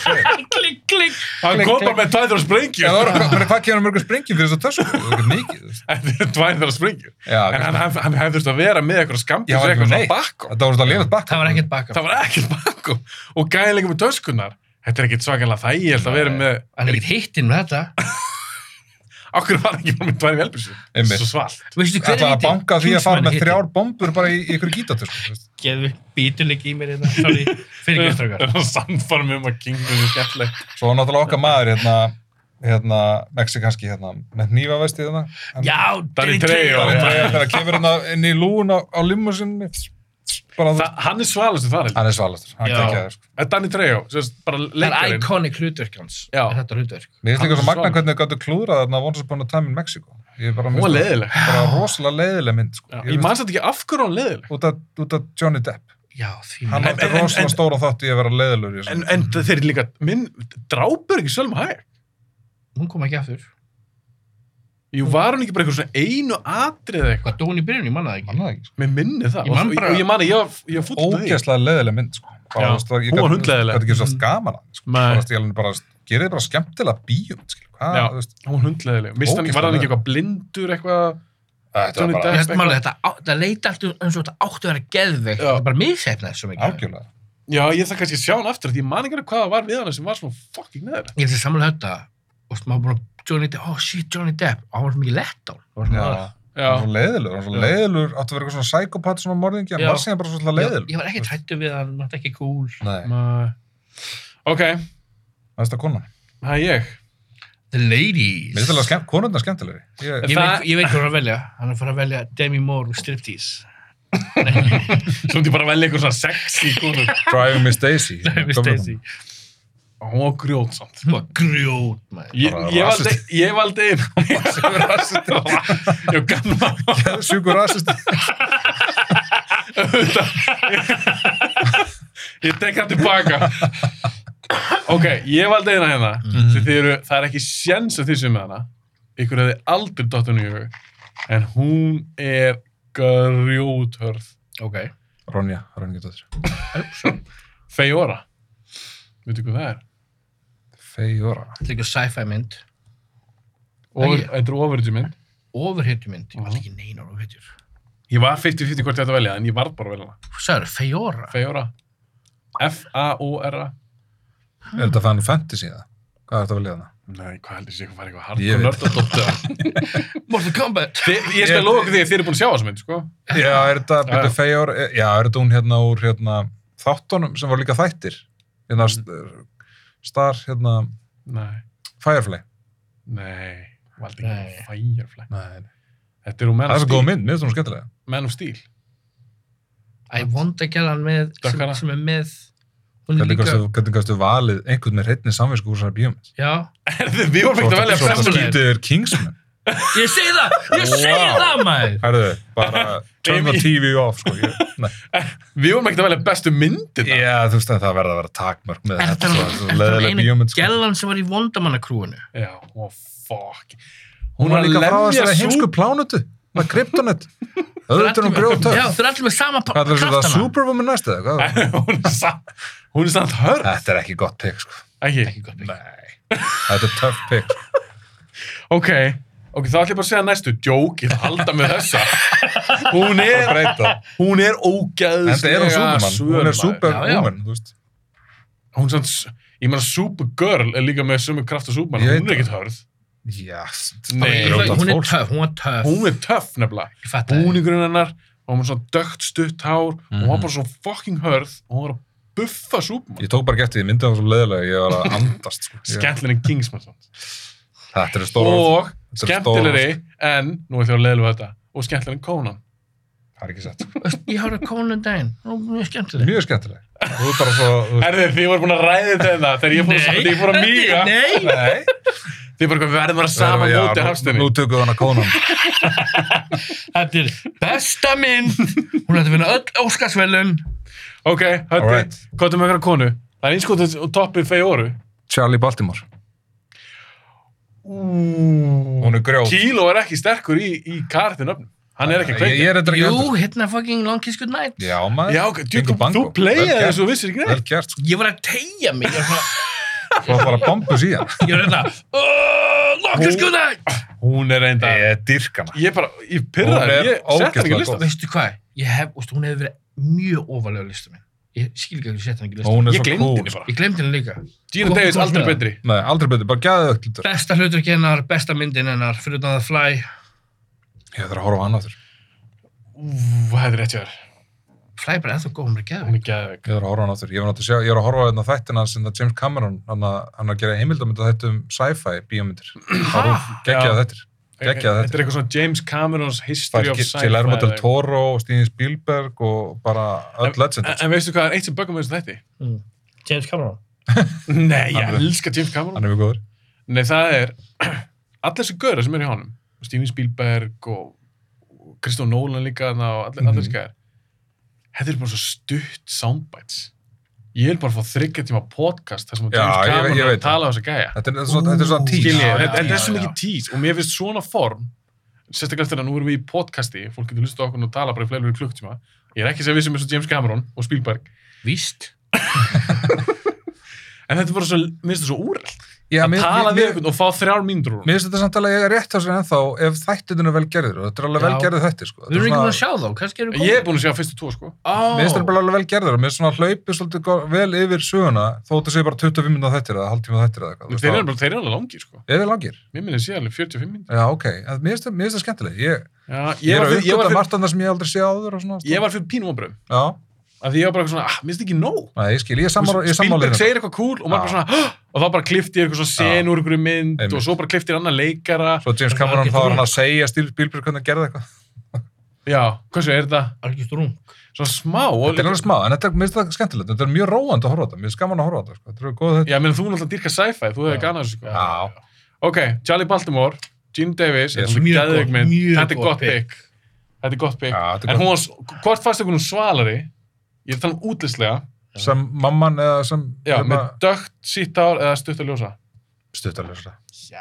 Speaker 3: svona
Speaker 1: Klikk, klikk.
Speaker 2: Hann
Speaker 3: Klikk,
Speaker 2: kom
Speaker 3: klikk.
Speaker 2: bara með tvær þar að sprengja.
Speaker 3: Já, það var- bara hvað kemur mörgur sprengjum fyrir þessu tösku það er ekki mikið þú veist.
Speaker 2: Þetta er tvær þar að sprengja.
Speaker 3: Já,
Speaker 2: En hann, hann, hann hefði þurft að vera með eitthvað
Speaker 3: já,
Speaker 2: skambis
Speaker 3: það var
Speaker 2: eitthvað
Speaker 3: ekki
Speaker 2: svona
Speaker 3: neitt
Speaker 2: bakk
Speaker 3: þetta var svona lénast bakk
Speaker 1: Það var ekkert baka.
Speaker 2: það var ekkert bakum og gæði lengur með töskunar Þetta er ekkit svakalega þægilegt að vera með...
Speaker 1: Hann er ekkert hittinn með þetta.
Speaker 2: Okkur var ekki bara með tvær velbísu.
Speaker 3: Einmitt.
Speaker 2: Svo svalt.
Speaker 1: Veistu hver er
Speaker 3: ætlaði að
Speaker 1: hitinn?
Speaker 3: banka því að fara með
Speaker 1: Kingsman er
Speaker 3: þrjár bombur bara í, í ykkur gítatur sko, þú veist.
Speaker 1: Geðu bítuleik í mér hérna. Sorry, fyrir ekki
Speaker 2: <laughs>
Speaker 1: strákar.
Speaker 2: Samfarm um að kingum er skemmtilegt.
Speaker 3: svo var náttúrulega okkar maður hérna, hérna mexikanski hérna með hnífavestið hérna Hann-
Speaker 1: Já,
Speaker 2: Danny Trejo.
Speaker 3: Bara
Speaker 2: Já.
Speaker 3: þegar þegar kemur hérna inn í lúun á, á limusinni bara
Speaker 2: Þa,
Speaker 3: það
Speaker 2: hann er svalastur þar, heldur.
Speaker 3: hann er svalastur, hann
Speaker 1: Já.
Speaker 3: ekki sko.
Speaker 2: Þetta er Danny Trejo, sem sagt, bara
Speaker 1: Það er
Speaker 2: leikarinn.
Speaker 1: iconic hlutverk hans.
Speaker 2: Já.
Speaker 1: Er Þetta hlutverk.
Speaker 3: mér finnst
Speaker 2: Hann
Speaker 3: líka
Speaker 2: er
Speaker 3: svo magna
Speaker 2: svalur.
Speaker 3: hvernig þau gætu klúðrað þarna Once Upon a Time in Mexico ég er bara,
Speaker 2: Hún
Speaker 3: mér
Speaker 2: var
Speaker 3: finnst
Speaker 2: leiðileg.
Speaker 3: það bara rosalega leiðileg mynd sko.
Speaker 2: Ég manns þetta ekki af hverju hún var leiðileg.
Speaker 3: út af, út af Johnny Depp
Speaker 1: Já, því
Speaker 3: hann
Speaker 1: mér.
Speaker 2: En-
Speaker 3: átti
Speaker 2: en- en-
Speaker 3: rosalega stóra þátt í að vera leiðilegur í þessu.
Speaker 2: En, en þeir líka, minn, drápur ekki Sölma Hæg.
Speaker 1: Hún kom ekki aftur.
Speaker 2: Jú, var hún ekki bara einhver svona einu atrið eða eitthvað?
Speaker 1: Hvað dó hún í byrjun? Ég manna það
Speaker 3: Hann
Speaker 1: ekki.
Speaker 3: er ekki, sko.
Speaker 2: Mér minni það.
Speaker 1: Ég man
Speaker 2: Og-
Speaker 1: bara-
Speaker 2: og ég man að ég, var- ég fútt með því.
Speaker 3: ógeðslega leiðileg mynd sko. bara,
Speaker 2: Já,
Speaker 3: þú veist, það- ég
Speaker 2: hún var
Speaker 3: gat-
Speaker 2: hundleiðileg.
Speaker 3: gat ekki svo gaman að henni, sko.
Speaker 2: Nei.
Speaker 3: Bara, þú veist, ég alveg bara, gerir þið bara skemmtilega bíum skil, hvað,
Speaker 2: Já.
Speaker 3: þú veist
Speaker 2: Hún var hundleðileg. Mist hann,
Speaker 3: Ógeðslega
Speaker 2: var hann ekki
Speaker 3: leiðileg.
Speaker 2: eitthvað blindur eitthvað?
Speaker 3: þetta
Speaker 1: Ég
Speaker 3: var
Speaker 2: Johnny
Speaker 3: bara
Speaker 2: Depp.
Speaker 1: veist málega þetta, á- þetta leita allt eins og þetta áttu að vera geðveikt.
Speaker 2: Já.
Speaker 1: Þetta er bara mishefnaði svo mikið.
Speaker 3: algjörlega
Speaker 2: Já, ég þarf kannski að sjá hann aftur, því ég man ekki alveg hvað það var við hann sem var svona fucking neður.
Speaker 1: Ég veist samlega þetta og maður bara Johnny Depp, oh shit Johnny Depp og hann var svo mikið lett á
Speaker 3: Já,
Speaker 2: Já,
Speaker 3: hann var svo leiðilegur, hann var svo
Speaker 2: Já.
Speaker 3: leiðilegur, áttu að vera eitthvað svona psykopat svona morðingi, hann
Speaker 1: Já.
Speaker 3: var síðan bara svona leiðilegur.
Speaker 1: Ég var ekkert hættu við hann, hann var ekki cool
Speaker 3: Nei,
Speaker 2: maður. Ok,
Speaker 3: það er þetta konan.
Speaker 2: það er ég.
Speaker 1: The Ladies
Speaker 3: Mér finnst alveg skemmt, konundan skemmtilegri. Ég,
Speaker 1: Ég
Speaker 2: Það-
Speaker 1: veit, ég veit hvað hann er að velja hann er að fara að velja Demi Moore úr Striptease
Speaker 2: Svo myndi ég bara velja einhver svona sexy <laughs> konu.
Speaker 3: Driving Miss
Speaker 2: <laughs>
Speaker 3: Daisy.
Speaker 1: Demi Stacy
Speaker 2: Hún var grjót samt.
Speaker 1: hún var
Speaker 3: Hm.
Speaker 1: grjót maður.
Speaker 2: Ég,
Speaker 3: Bara
Speaker 2: ég valdi,
Speaker 3: rasist.
Speaker 2: ég valdi <laughs> einu. <laughs> Ég var
Speaker 3: <laughs>
Speaker 2: gamla.
Speaker 3: Sjúkur rasist.
Speaker 2: Ég tek það tilbaka. Ok, ég valdi eina hérna. Mm. Eru, það er ekki sjens að þið sem með hana. Ykkur hefði aldrei dottinu í hug. En hún er grjóthörð.
Speaker 1: ok
Speaker 3: Ronja, Ronja getur þér.
Speaker 2: Feyora. Veitu hvað það er?
Speaker 3: Feyora.
Speaker 1: þetta er ekki sci-fi mynd
Speaker 2: Over,
Speaker 1: Æi.
Speaker 2: þetta er ofurðu mynd.
Speaker 1: overhittu mynd ég var ekki neinar overhittur
Speaker 2: Ég var 50-50 hvort ég ætti að velja, en ég varð bara að velja hana.
Speaker 1: hvað sagður, Feyora
Speaker 2: Feyora. F-A-O-R-A.
Speaker 3: Er þetta Final Fantasy eða? Hvað er þetta að velja þarna?
Speaker 2: Nei, hvað heldur þessi eitthvað fara eitthvað
Speaker 3: Ég
Speaker 2: hardcore
Speaker 3: veit.
Speaker 2: nördadóttur?
Speaker 1: Mortal Kombat
Speaker 2: Þi- Ég skal loka því að þið eru búin að sjá þessu mynd, sko.
Speaker 3: Já, er þetta,
Speaker 2: Já.
Speaker 3: betur Feyora, já, er þetta hún hérna úr hérna þáttunum sem var líka þættir? Hérna,
Speaker 2: Mm.
Speaker 3: st- star, hérna,
Speaker 2: Nei,
Speaker 3: Firefly.
Speaker 2: nei, valdi ekki
Speaker 1: Nei.
Speaker 2: Firefly.
Speaker 3: Nei,
Speaker 2: Þetta er úr Man
Speaker 3: það
Speaker 2: of
Speaker 3: er svo góð
Speaker 2: Steel.
Speaker 3: mynd, mér finnst hún skemmtilega.
Speaker 2: Man of Steel.
Speaker 1: I want að gera hann með sem,
Speaker 2: Dökkara.
Speaker 1: sem er með hún er
Speaker 3: Hvernig
Speaker 1: líka
Speaker 3: gastu- Hvernig gæstu valið einhvern með reyndni samvinsku úr þessari bíómynd?
Speaker 1: já
Speaker 2: <laughs> Herðu, við vorum ekkert að velja
Speaker 1: Svo-
Speaker 2: fremst.
Speaker 1: fremst.
Speaker 3: Skýtið er Kingsman.
Speaker 1: Ég segi það, ég segi
Speaker 3: Wow.
Speaker 1: það maður
Speaker 3: Herðu,
Speaker 2: <laughs>
Speaker 3: bara turn the
Speaker 2: Amy.
Speaker 3: TV off, sko. Ég,
Speaker 2: <laughs>
Speaker 3: nei.
Speaker 2: Við vorum ekkert að velja bestu myndina.
Speaker 3: Já, þú veist að það verða að vera takmörk með
Speaker 1: Er
Speaker 3: þetta.
Speaker 1: þetta
Speaker 3: svo-
Speaker 1: hann-
Speaker 3: svo
Speaker 1: er þetta
Speaker 3: Leðilega
Speaker 1: hann
Speaker 3: bíómynd,
Speaker 1: einu
Speaker 3: sko.
Speaker 1: gellan sem var í vondamannakrúinu?
Speaker 2: Já, ó, fuck.
Speaker 3: Hún var líka frá
Speaker 2: lemja
Speaker 3: þessari
Speaker 2: sú-
Speaker 3: heimsku plánutu. Hún var kryptonett. Öðvitað hún grjóta.
Speaker 1: Já, þau er allir með sama pa-
Speaker 3: Hvað er þetta,
Speaker 1: kraftana.
Speaker 3: Superwoman næst eða?
Speaker 2: <laughs>
Speaker 3: Hvað?
Speaker 2: <laughs> Hún er samt, hún er samt hörð.
Speaker 3: Þetta er ekki gott pick, sko.
Speaker 2: Ekki.
Speaker 1: Ekki gott mikið.
Speaker 3: Þetta er tough pick, sko.
Speaker 2: Ok, ok, þá ætlum ég bara að segja næstu. Jók, ég ætla að halda með
Speaker 3: <laughs>
Speaker 2: þessa. Hún er,
Speaker 3: Breyta.
Speaker 2: hún er ógæðslega
Speaker 3: En þetta er hún Superman. Hún er
Speaker 1: Já, já.
Speaker 3: Superwoman, þú veist.
Speaker 2: hún sann, ég meina Supergirl er líka með sömu kraft og Superman,
Speaker 3: Ég veit
Speaker 2: hún er ekkert hörð
Speaker 3: Já,
Speaker 2: Nei.
Speaker 1: Ég- Hún er
Speaker 3: Fólk. sko.
Speaker 1: töff, hún var töff.
Speaker 2: hún er töff nefnilega,
Speaker 1: Ég fatt það.
Speaker 2: búningurinn hennar og hún er svona dögt stutt hár og hún var
Speaker 3: Mhm.
Speaker 2: bara svona fucking hörð og hún var að buffa Superman
Speaker 3: Ég tók bara gett því, myndið það var svo leðilega, ég var að andast, sko. Ég-
Speaker 2: skemmtilegri en Kingsman samt.
Speaker 3: Þetta er stóra orð.
Speaker 2: og
Speaker 3: Þetta eru stór
Speaker 2: skemmtilegri en, nú ætlum ég að leiðlega þetta og skemmtilegri en Conan
Speaker 3: Það er ekki sett.
Speaker 1: Ég horfði á Conan daginn, hún var mjög skemmtileg.
Speaker 3: Mjög skemmtileg. Þú er bara svo... þú veist-
Speaker 2: Herði, þið voru búin að ræði þetta hérna, þegar ég fór, þegar ég fór
Speaker 3: <laughs>
Speaker 2: að míga
Speaker 1: Nei,
Speaker 3: Nei.
Speaker 2: þið bara, eitthvað, við verðum að vera saman
Speaker 3: Já,
Speaker 2: móti
Speaker 3: nú-
Speaker 2: hafstinni
Speaker 3: Nú tökum við hana konan.
Speaker 1: þetta er besta mynd. Hún ætti að vinna öll Óskarsvelun.
Speaker 2: ok,
Speaker 3: All
Speaker 2: Hörði,
Speaker 3: right.
Speaker 2: hvað er með einhverja konu það er einskotið og toppið fejóru
Speaker 3: Charlie Baltimore. Hún er grjót.
Speaker 2: Kíló er ekki sterkur í, í kartinöfnum. Hann er ekki
Speaker 3: Ég, ég
Speaker 2: að kveika.
Speaker 3: er þetta ekki
Speaker 1: Jú,
Speaker 3: heldur.
Speaker 1: hérna fucking Long Kiss Good Night.
Speaker 3: Já, maður.
Speaker 2: Já, ok,
Speaker 3: Bingo
Speaker 2: djú,
Speaker 3: bango.
Speaker 2: þú
Speaker 3: Vel
Speaker 2: pleiði
Speaker 3: gert.
Speaker 2: þessu og vissir ekki
Speaker 3: Vel
Speaker 2: neitt.
Speaker 3: gert, sko.
Speaker 1: Ég var að tegja mig, ég var svona,
Speaker 3: Þú var bara bombus í hann.
Speaker 1: ég var hérna, "Oh, Long Kiss Good Night.
Speaker 2: Hún er reynda,
Speaker 3: Ég er dyrkana.
Speaker 2: ég bara, ég
Speaker 3: Hún
Speaker 2: pyrraði,
Speaker 3: er
Speaker 2: ég sett hann ekki
Speaker 3: ógeðslega
Speaker 2: að lista.
Speaker 1: Veistu hvað, ég hef, úst, hún hefur verið mjög ofalega á listum minn. Ég Ég skil ekki að ég setja hann ekki í listan.
Speaker 3: Hún er
Speaker 2: Ég
Speaker 3: svo
Speaker 2: gleymdi
Speaker 3: cool. sko.
Speaker 2: henni bara.
Speaker 1: Ég glemdi henni líka.
Speaker 2: Gina
Speaker 1: Gott
Speaker 2: Davis
Speaker 1: að
Speaker 2: aldrei
Speaker 1: koma.
Speaker 2: betri.
Speaker 3: Nei, aldrei betur, bara gæðið öll lítur.
Speaker 1: Besta hlutverk hennar, besta myndin hennar, fyrir utan að fly.
Speaker 3: Ég þarf að horfa á annað þurr.
Speaker 2: Ú, það er rétt hjá þér.
Speaker 1: Fly er bara ennþá góð, hún er geðvig.
Speaker 2: Hún er gæðveg.
Speaker 3: Ég þarf að horfa á annað þurr. Ég, var náttúrulega að sjá- ég er að horfa á þarna þættina sem það James Cameron, hann að, hann að gera heimildamönda þetta um sci-fi bíómyndir.
Speaker 1: Ha?
Speaker 3: Gekkjað
Speaker 2: Já.
Speaker 3: þettir. Gekkjað
Speaker 2: Þetta
Speaker 3: þettir.
Speaker 2: er eitthvað svona James Cameron's History of Sci-Fi.
Speaker 3: Til Erma del
Speaker 2: eða-
Speaker 3: Toro og Stíni Spielberg og bara öll
Speaker 2: En,
Speaker 3: legendir.
Speaker 2: en veistu hvað er eitt sem böggum með þessu þætti?
Speaker 1: Mm. James Cameron.
Speaker 2: Nei, ég
Speaker 3: Hann er-
Speaker 2: elska James Cameron.
Speaker 3: Hann er mjög góður.
Speaker 2: Nei, það er <clears throat> allir þessu göra sem er hjá honum. Steven Spielberg og og Kristján Nolan líka þarna og allir, allir
Speaker 3: Mhm.
Speaker 2: þessu gæðar. Þetta er bara svo stutt soundbites. Ég vil bara fá þryggja tíma podcast þar sem að
Speaker 3: Já,
Speaker 2: James
Speaker 3: ég- ég
Speaker 2: Cameron er
Speaker 3: veit
Speaker 2: að tala á þessu gæja.
Speaker 3: Þetta er, þetta er svona, þetta er svona tís.
Speaker 1: Já,
Speaker 2: Skiljið, þetta
Speaker 1: já,
Speaker 2: þetta er
Speaker 1: já, já.
Speaker 2: svo mikið tís og mér finnst svona form sérstaklega eftir að nú erum við í podcasti fólk getur hlustað á okkur og tala bara í fleiri klukktíma ég er ekki sem við sem er svo James Cameron og Spielberg
Speaker 1: Víst.
Speaker 2: en þetta er bara svo, mér finnst þetta svo úrælt
Speaker 3: Já,
Speaker 2: að
Speaker 3: mér-
Speaker 2: tala
Speaker 3: mér-
Speaker 2: við okkur og fá þrjár mínútur úr honum.
Speaker 3: Mér finnst þetta samtala eiga rétt á sér ennþá ef þættinu vel gerðir og þetta er
Speaker 1: Já.
Speaker 3: alveg vel gerðir þættir sko.
Speaker 1: Við erum
Speaker 3: Þetta er
Speaker 1: ekki
Speaker 3: svona-
Speaker 1: búin að sjá þá, kannski erum við
Speaker 2: ég er búin að sjá fyrstu tvo sko
Speaker 1: Oh.
Speaker 3: Mér finnst þetta bara alveg vel gerðir og mér finnst svona hlaupið svolítið go- vel yfir söguna þó þetta sé bara 25 minna þættir eða halvtíma þættir eða eitthvað. þú
Speaker 2: en
Speaker 3: veist,
Speaker 2: þeir eru
Speaker 3: þá-
Speaker 2: bara- þeir eru alveg langir sko
Speaker 3: Eru þeir langir?
Speaker 2: mér minnir sé alveg 45 mínútur
Speaker 3: Já, ok. En Mér finnst þetta- mér finnst þetta skemmtileg. Ég, ég, er
Speaker 2: Já, var
Speaker 3: að
Speaker 2: fyrir- ég var
Speaker 3: uppgöta
Speaker 2: fyrir-
Speaker 3: margt sko. annað sem ég aldrei sé áður og svona.
Speaker 2: ég var fyrir pínum ábröðum
Speaker 3: Já,
Speaker 2: af því ég var bara eitthvað svona, ah, mér finnst ekki nóg
Speaker 3: Nei, ég skil, ég er sammála- hérna. ég er
Speaker 2: Spielberg
Speaker 3: sammálið.
Speaker 2: segir eitthvað cool og maður bara
Speaker 3: Já.
Speaker 2: svona, "Hah!" og þá bara kliftir eitthvað svona
Speaker 3: Já.
Speaker 2: sen úr einhverju mynd
Speaker 3: Einmitt.
Speaker 2: og svo bara kliftir annar leikara
Speaker 3: Svo James
Speaker 1: Það er
Speaker 3: Cameron
Speaker 1: algjört
Speaker 3: þá er
Speaker 1: rúm.
Speaker 3: hann að segja Stíl Bílbjörg hvernig gerði eitthvað.
Speaker 2: Já, hversu er þetta?
Speaker 1: Algjörst rung.
Speaker 2: Svona smá og-
Speaker 3: Þetta er alveg smá, en þetta er, mér finnst þetta skemmtilegt. Þetta er mjög róandi að horfa á þetta. Mér finnst gaman að horfa á þetta. Sko. Þetta eru góð þetta.
Speaker 2: Já, menn þú náttúrulega dyrka sci-fi, þú hefði
Speaker 1: Já.
Speaker 2: ganað þessu sko.
Speaker 3: Já.
Speaker 2: Ok, Charlie Baltimore, Gene Davis,
Speaker 3: Yes.
Speaker 2: þetta er svo
Speaker 1: Mjög
Speaker 2: geðveik
Speaker 1: gott,
Speaker 2: mynd.
Speaker 1: mjög
Speaker 2: þetta er
Speaker 1: gott
Speaker 2: gott pick. Þetta er gott pick.
Speaker 3: Já, þetta er
Speaker 2: en
Speaker 3: gott.
Speaker 2: hún var, s- hvort fannst ykkur hún svalari, ég er að tala um útlistlega,
Speaker 3: Sem mamman eða sem...
Speaker 2: já,
Speaker 3: hérna,
Speaker 2: með dögt, sítt ár eða stutt að ljósa.
Speaker 3: stuttarlösa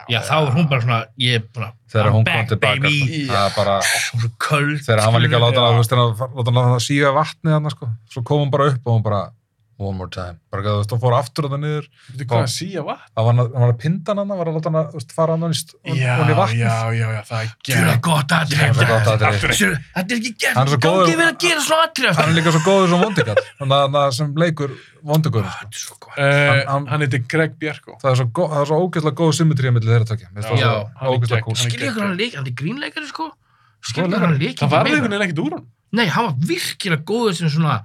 Speaker 1: Já, þá er hún bara svona, ég er bara,
Speaker 3: sko. þegar
Speaker 1: I'm
Speaker 3: hún kom
Speaker 1: back,
Speaker 3: tilbaka
Speaker 1: baby.
Speaker 3: sko. það er bara,
Speaker 1: hún er köld.
Speaker 3: þegar hann var líka að láta
Speaker 2: Já.
Speaker 3: hana, þú veist, hann var- láta hana að síga vatnið hann sko. svo kom hún bara upp og hún bara one more time, bara þú veist, hún fór aftur það niður
Speaker 2: Þú veit
Speaker 3: Já.
Speaker 2: hvað að síja vatn?
Speaker 3: það var hann að, hann var að pinda hann hann var að láta hana, þú veist, fara hann hann í, st- hún í vatnið
Speaker 2: já, já, já, það er
Speaker 1: Gjöra
Speaker 2: geðveikt.
Speaker 1: gott atrið.
Speaker 3: Þetta er gott atriði.
Speaker 1: Þetta er ekki gert.
Speaker 3: Hann er svo
Speaker 1: Gangi
Speaker 3: góður-
Speaker 1: verið að gera svona atrið.
Speaker 3: hann er líka svo góður sem vondigat hann að sem leikur vondigur sko.
Speaker 1: Þetta er svo gott.
Speaker 2: Eh,
Speaker 3: Hann- hann-
Speaker 2: Hann heitir Greg Bjarko.
Speaker 3: það er svo, gó- það er svo ógeðslega góð symmetría millir þeirra tökja, Mér finnst
Speaker 1: Já,
Speaker 3: það
Speaker 2: hann er
Speaker 3: svo ógeðslega
Speaker 2: gegn-
Speaker 3: góð
Speaker 2: hann er-
Speaker 1: Skiljið hvernig hann leik, hann er grínleikari sko.
Speaker 3: Góður
Speaker 1: Skiljið hvernig hann leik.
Speaker 2: Það var einhvern veginn ekkert úr hún.
Speaker 1: Nei, hann var virkilega góður sem svona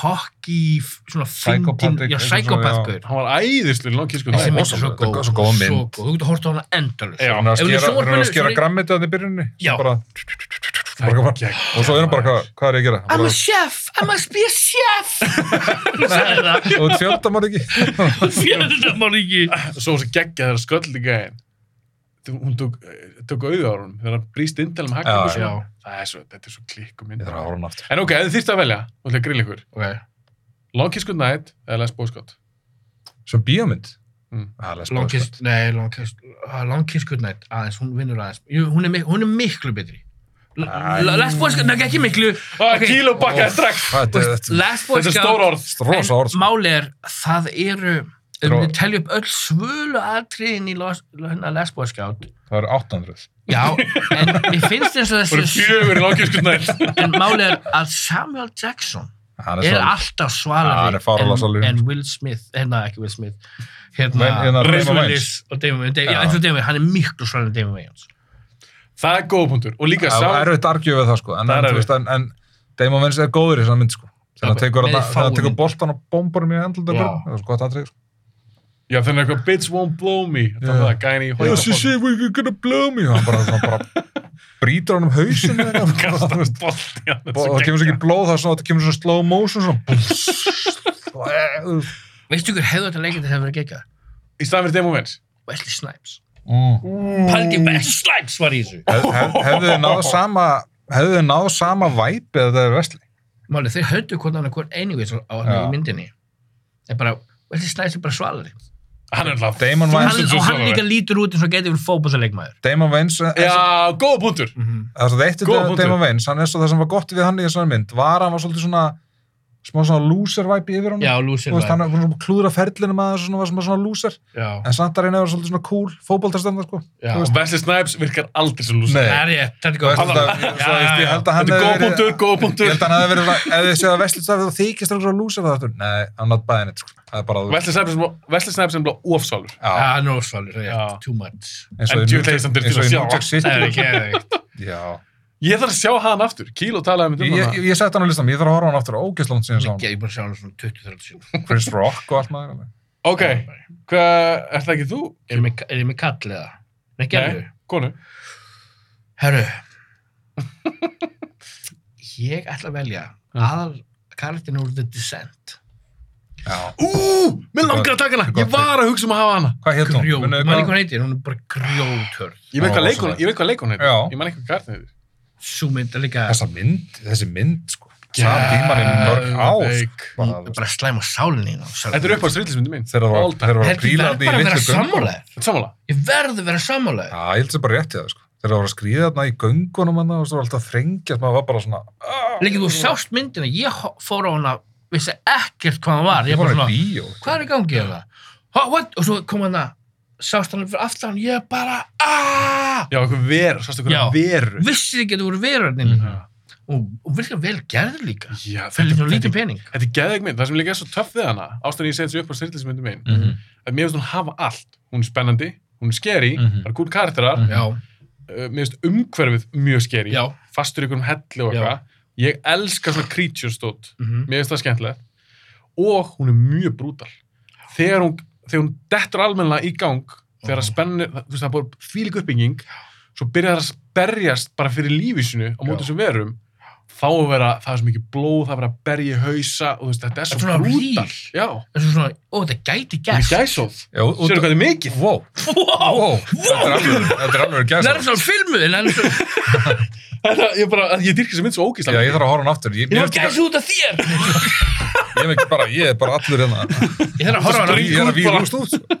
Speaker 1: cocky, f- svona fyndin,
Speaker 3: Psychopathic,
Speaker 1: já,
Speaker 3: eitthvað svona, já.
Speaker 1: psychopathgur.
Speaker 2: Hann var æðislega langkískuð.
Speaker 1: Þessi mynd er
Speaker 3: awesome.
Speaker 1: svo
Speaker 3: Þetta er
Speaker 1: góð,
Speaker 3: svo góð mynd.
Speaker 1: Svo góð, þú getur horft á hana endalus.
Speaker 2: Já.
Speaker 3: hann er að
Speaker 1: Ef hún er í sjónvarpinu,
Speaker 3: skera, hann er að skera
Speaker 1: sorry.
Speaker 3: grammetið hann í byrjunni
Speaker 1: Já.
Speaker 3: bara, bara, bara, og svo er hann bara, hvað, hvað er ég að gera
Speaker 1: I'm
Speaker 3: Bara-
Speaker 1: a chef, I must be a <laughs> chef. Hún sagði
Speaker 3: <laughs>
Speaker 1: það,
Speaker 3: þú ert fjöldamorðingi
Speaker 1: hún fyrir þetta maður ekki.
Speaker 2: svo var svo geggjað þegar sköll í gæðin hún tók, tók auða á honum þegar hann brýst inn til um
Speaker 3: Já,
Speaker 2: hakkum
Speaker 1: Já,
Speaker 2: það er svo, þetta er svo klikku
Speaker 3: ég
Speaker 2: mynd
Speaker 3: þarf að horfa hann aftur
Speaker 2: en ok, ef þið þýrst að velja, þú ætla að grilla ykkur
Speaker 1: ok.
Speaker 2: Long Kiss Good Night eða Les Boy Scott
Speaker 3: sem bíómynd
Speaker 2: Mm.
Speaker 3: Ah, Les Paul
Speaker 1: Long
Speaker 3: Scott.
Speaker 1: Kiss, nei, Long Kiss, ah, Long Kiss Goodnight, aðeins, hún vinnur aðeins. Jú, hún er, mik- hún er miklu betri. L-
Speaker 3: Æ.
Speaker 1: L- Last Boy Scout, nei, ekki miklu.
Speaker 2: ah,
Speaker 1: Ok.
Speaker 2: kíló bakka er strax
Speaker 3: Þetta er- þetta
Speaker 1: Last Boy
Speaker 2: þetta er
Speaker 1: Scout,
Speaker 2: stór orð
Speaker 3: er rosa orð sko.
Speaker 1: máli er, það eru, ef
Speaker 3: Dró-
Speaker 1: við telja upp öll svölu atriðin í Los- hérna, Last Boy Scout,
Speaker 3: það eru 800
Speaker 1: já,
Speaker 3: <laughs>
Speaker 1: en mér finnst eins og
Speaker 2: það eru
Speaker 1: þessi,
Speaker 2: fjögur í Long Kiss Good Night
Speaker 1: en máli er að Samuel Jackson
Speaker 3: hann
Speaker 1: er
Speaker 3: er svo
Speaker 1: alltaf
Speaker 3: Já, hann er
Speaker 1: svalari
Speaker 3: fáránlega
Speaker 1: en,
Speaker 3: svalur.
Speaker 1: en Will Smith, hérna, ekki Will Smith,
Speaker 3: Men- hérna,
Speaker 1: hérna,
Speaker 3: Raymond
Speaker 1: Raymond
Speaker 3: Wayans.
Speaker 1: Willis og Damon Wayans,
Speaker 3: Já.
Speaker 1: já, eins og Damon Wayans, hann er miklu svalari en Damon Wayans.
Speaker 2: það er góð punktur og líka
Speaker 3: það
Speaker 2: sá
Speaker 3: er auðvitað argjöf við það sko en,
Speaker 2: Það er
Speaker 3: en, þú
Speaker 2: erfitt.
Speaker 3: veist, en, en Damon Vince er góður í þessari mynd sko þannig
Speaker 1: Já,
Speaker 3: að tekur,
Speaker 1: með
Speaker 3: þarna- þegar hann
Speaker 1: fáum
Speaker 3: tekur
Speaker 1: myndum.
Speaker 3: boltan og bomburum í endur
Speaker 1: Já.
Speaker 3: það er svo gott atrið sko.
Speaker 2: já, þannig eitthvað Bitch Won't Blow Me það
Speaker 3: Já.
Speaker 2: var það, gæðin í <laughs> hóðan
Speaker 3: we're gonna blow me hann bara, hann bara brýtur hann um hausin eða
Speaker 2: <laughs>
Speaker 3: eitthvað. Þú veist, og það kemur svo ekki blóð það, er svona, það kemur svona slow motion svona, búss, og, eh, þú veist.
Speaker 1: Veistu hver hefðu þetta leikandi hefur verið geggjað?
Speaker 2: í staðan fyrir Demo Vins
Speaker 1: Wesley Snipes.
Speaker 3: Mm.
Speaker 1: Paldi Wesley Snipes var í þessu.
Speaker 3: Hef- hef- hefðu þið náð sama hefðu þið náð sama væp eða það er vestli
Speaker 1: Máli, þeir höndu hvort hann er hvort anyways á hann
Speaker 3: Já.
Speaker 1: í myndinni. En bara, Wesley Snipes er bara svalari.
Speaker 2: hann er alltaf
Speaker 3: Damon
Speaker 1: Hann,
Speaker 3: Wayans
Speaker 2: Þúsund
Speaker 1: og hann
Speaker 2: svalari.
Speaker 1: líka lítur út eins og getið fyrir fótbollsleikmaður.
Speaker 3: Damon Wayans er-
Speaker 2: já, góð punktur
Speaker 1: Mm -hmm.
Speaker 3: það er svo það eitt
Speaker 2: Góð
Speaker 3: við
Speaker 2: punktur.
Speaker 3: Damon Wayans hann er svo það sem var gott við hann í þessari mynd var að hann var svolítið svona smá svona loser vibe yfir honum
Speaker 1: Já, lúsir
Speaker 3: Þú veist, hann er búinn að klúðra ferlinum að þessu svona, var svona, svona lúser
Speaker 1: Já,
Speaker 3: en samt að reyna að vera svolítið svona cool fótboltarstendar sko.
Speaker 1: já.
Speaker 3: þú veist-
Speaker 2: Wesley Snipes virkar aldrei sem lúsir.
Speaker 1: Það er ég, þetta er
Speaker 3: Þú
Speaker 1: góð.
Speaker 3: veist, þetta-
Speaker 1: Já,
Speaker 3: svo,
Speaker 1: já,
Speaker 3: veist,
Speaker 1: já.
Speaker 3: ég held að hann
Speaker 2: Þetta er
Speaker 3: hefði
Speaker 2: góð
Speaker 3: verið-
Speaker 2: punktur, góð
Speaker 3: ég
Speaker 2: punktur.
Speaker 3: hund hann hefði verið svona- ef þið séð að Vestlistafið þá þykist hann svona lúser það nei, I'm not buying it sko. það er bara þú
Speaker 2: Wesley Snipes er- Wesley Snipes er bara ofsálur.
Speaker 1: Já,
Speaker 3: já,
Speaker 1: hann er ósvalur,
Speaker 2: Já.
Speaker 1: rétt, too much.
Speaker 3: eins og
Speaker 2: En
Speaker 3: í
Speaker 2: djöfull er samt
Speaker 3: New-
Speaker 2: til
Speaker 3: eins og
Speaker 2: að
Speaker 3: í
Speaker 2: sjá.
Speaker 3: New York City
Speaker 1: Það er ekki, það er ekki.
Speaker 3: já
Speaker 2: Ég þarf að sjá hann aftur. Kíló talaði um
Speaker 3: Ég, ég,
Speaker 2: þetta.
Speaker 3: ég sett hann á listan, ég þarf að horfa á hann aftur ógisland síðan sá
Speaker 1: Ég er bara að sjá hann svona 20-30 sinum.
Speaker 3: hann, Chris Rock og allt maður alveg.
Speaker 2: Ok, hvað, er það ekki þú?
Speaker 1: Er ég með- er ég með kall eða? Nei, ekki
Speaker 2: Nei,
Speaker 1: alveg.
Speaker 2: Konu.
Speaker 1: Herru, ég ætla að velja aðal karakterin úr The Descent.
Speaker 3: Já.
Speaker 2: Ú, mér langar að taka hana. Ég var að hugsa um að hafa hana.
Speaker 3: Hvað hétt hún?
Speaker 1: Grjót,
Speaker 3: Munið þið
Speaker 1: maður
Speaker 3: hvað-
Speaker 1: líka hún heitir, hún er bara grjóthörð.
Speaker 2: Ég veit hvað
Speaker 3: Já,
Speaker 2: leikon,
Speaker 3: rosalegt.
Speaker 2: ég veit hvað leikon heitir.
Speaker 3: Já.
Speaker 2: Ég man ekki hvað kartin heitir.
Speaker 1: Sú mynd er líka
Speaker 3: Þessa mynd, þessi mynd sko Saman tíman er mörg ár sko.
Speaker 2: Geðveik.
Speaker 1: hún
Speaker 3: Bara,
Speaker 1: er bara slæm á sálinni. Þetta
Speaker 2: Eh, Þetta er upp á strillismyndi mín.
Speaker 3: Þegar það var-
Speaker 2: All time.
Speaker 3: þegar það var
Speaker 1: Herru, ég verð
Speaker 3: grílandi í
Speaker 1: bara að vera
Speaker 3: litlu göngum.
Speaker 1: sammálaðir.
Speaker 2: Sammála.
Speaker 1: Ég verð að vera sammálaðir.
Speaker 3: Já, ég held sér bara rétt í það, sko. Þegar það voru að skrýða þarna í göngunum hann og svo var alltaf að þrengjast, maður var bara svona... "Ah."
Speaker 1: Líka þú sást myndina, ég ho- fór á hana, vissi ekkert hvað hann var. Ég
Speaker 3: Ég
Speaker 1: bara
Speaker 3: fór í
Speaker 1: svona,
Speaker 3: bíó. sko.
Speaker 1: hvað er í gangi hérna? Ha, what? Og svo kom hann að, sást hann fyrir aftan, ég bara, "Ah!" aaaah!
Speaker 2: Já, eitthvað veru, sástu
Speaker 1: Já.
Speaker 2: eitthvað veru.
Speaker 1: Vissið ekki að þú voru verðarnir mín.
Speaker 2: Mhm.
Speaker 1: Og, og virka vel gerður líka.
Speaker 2: Já,
Speaker 1: Fyrir svona
Speaker 2: þetta
Speaker 1: lítið pening.
Speaker 2: þetta er geðveik mynd. Það sem líka er svo töff við hana, ástæðan ég segi þessu upp á strillismyndi mín,
Speaker 3: Mhm.
Speaker 2: að mér finnst hún hafa allt. Hún er spennandi, hún er skeri,
Speaker 3: Mhm.
Speaker 2: það er gúl karakterar,
Speaker 3: Mhm.
Speaker 1: Já,
Speaker 2: uh, mér finnst umhverfið mjög skeri,
Speaker 1: já.
Speaker 2: fastur ykkur um helli og eitthvað. Ég elska svona creature stótt.
Speaker 1: mhm.
Speaker 2: mér finnst það skemmtilegt og hún er mjög brútal þegar hún, þegar hún dettur almennilega í gang þegar það spennir, þú veist það er bara þvílik uppbygging svo byrjar það að berjast bara fyrir lífi sinu á
Speaker 1: Já.
Speaker 2: móti sem verum þá er vera, það er svo mikið blóð, það er verið að berja í hausa og þú veist, þetta er
Speaker 1: Þetta er
Speaker 2: svo
Speaker 1: svona
Speaker 2: brútal
Speaker 1: real.
Speaker 2: Já,
Speaker 1: Það er svona, ó, þetta gæti
Speaker 2: það er
Speaker 1: gæst.
Speaker 2: gæsóð
Speaker 3: Já, og...
Speaker 2: Sérðu hvað þetta er mikið?
Speaker 3: Wow,
Speaker 1: Wow!
Speaker 3: wow, þetta er alveg, þetta er alveg
Speaker 1: Það er
Speaker 3: gæsa.
Speaker 1: svona filmuð, en það er svona,
Speaker 2: Þetta, ég bara, ég dyrkja sem mynd svo
Speaker 3: Já,
Speaker 2: ógísla
Speaker 3: ég þarf að horfa hann aftur.
Speaker 1: ég
Speaker 3: Ég, ég,
Speaker 1: var
Speaker 3: ég,
Speaker 1: gæst út af þér.
Speaker 3: ég, ég, bara, ég er bara allur hérna.
Speaker 1: Ég þarf að horfa á hana.
Speaker 3: Ég er að
Speaker 2: bara.
Speaker 3: víra úst út. sko.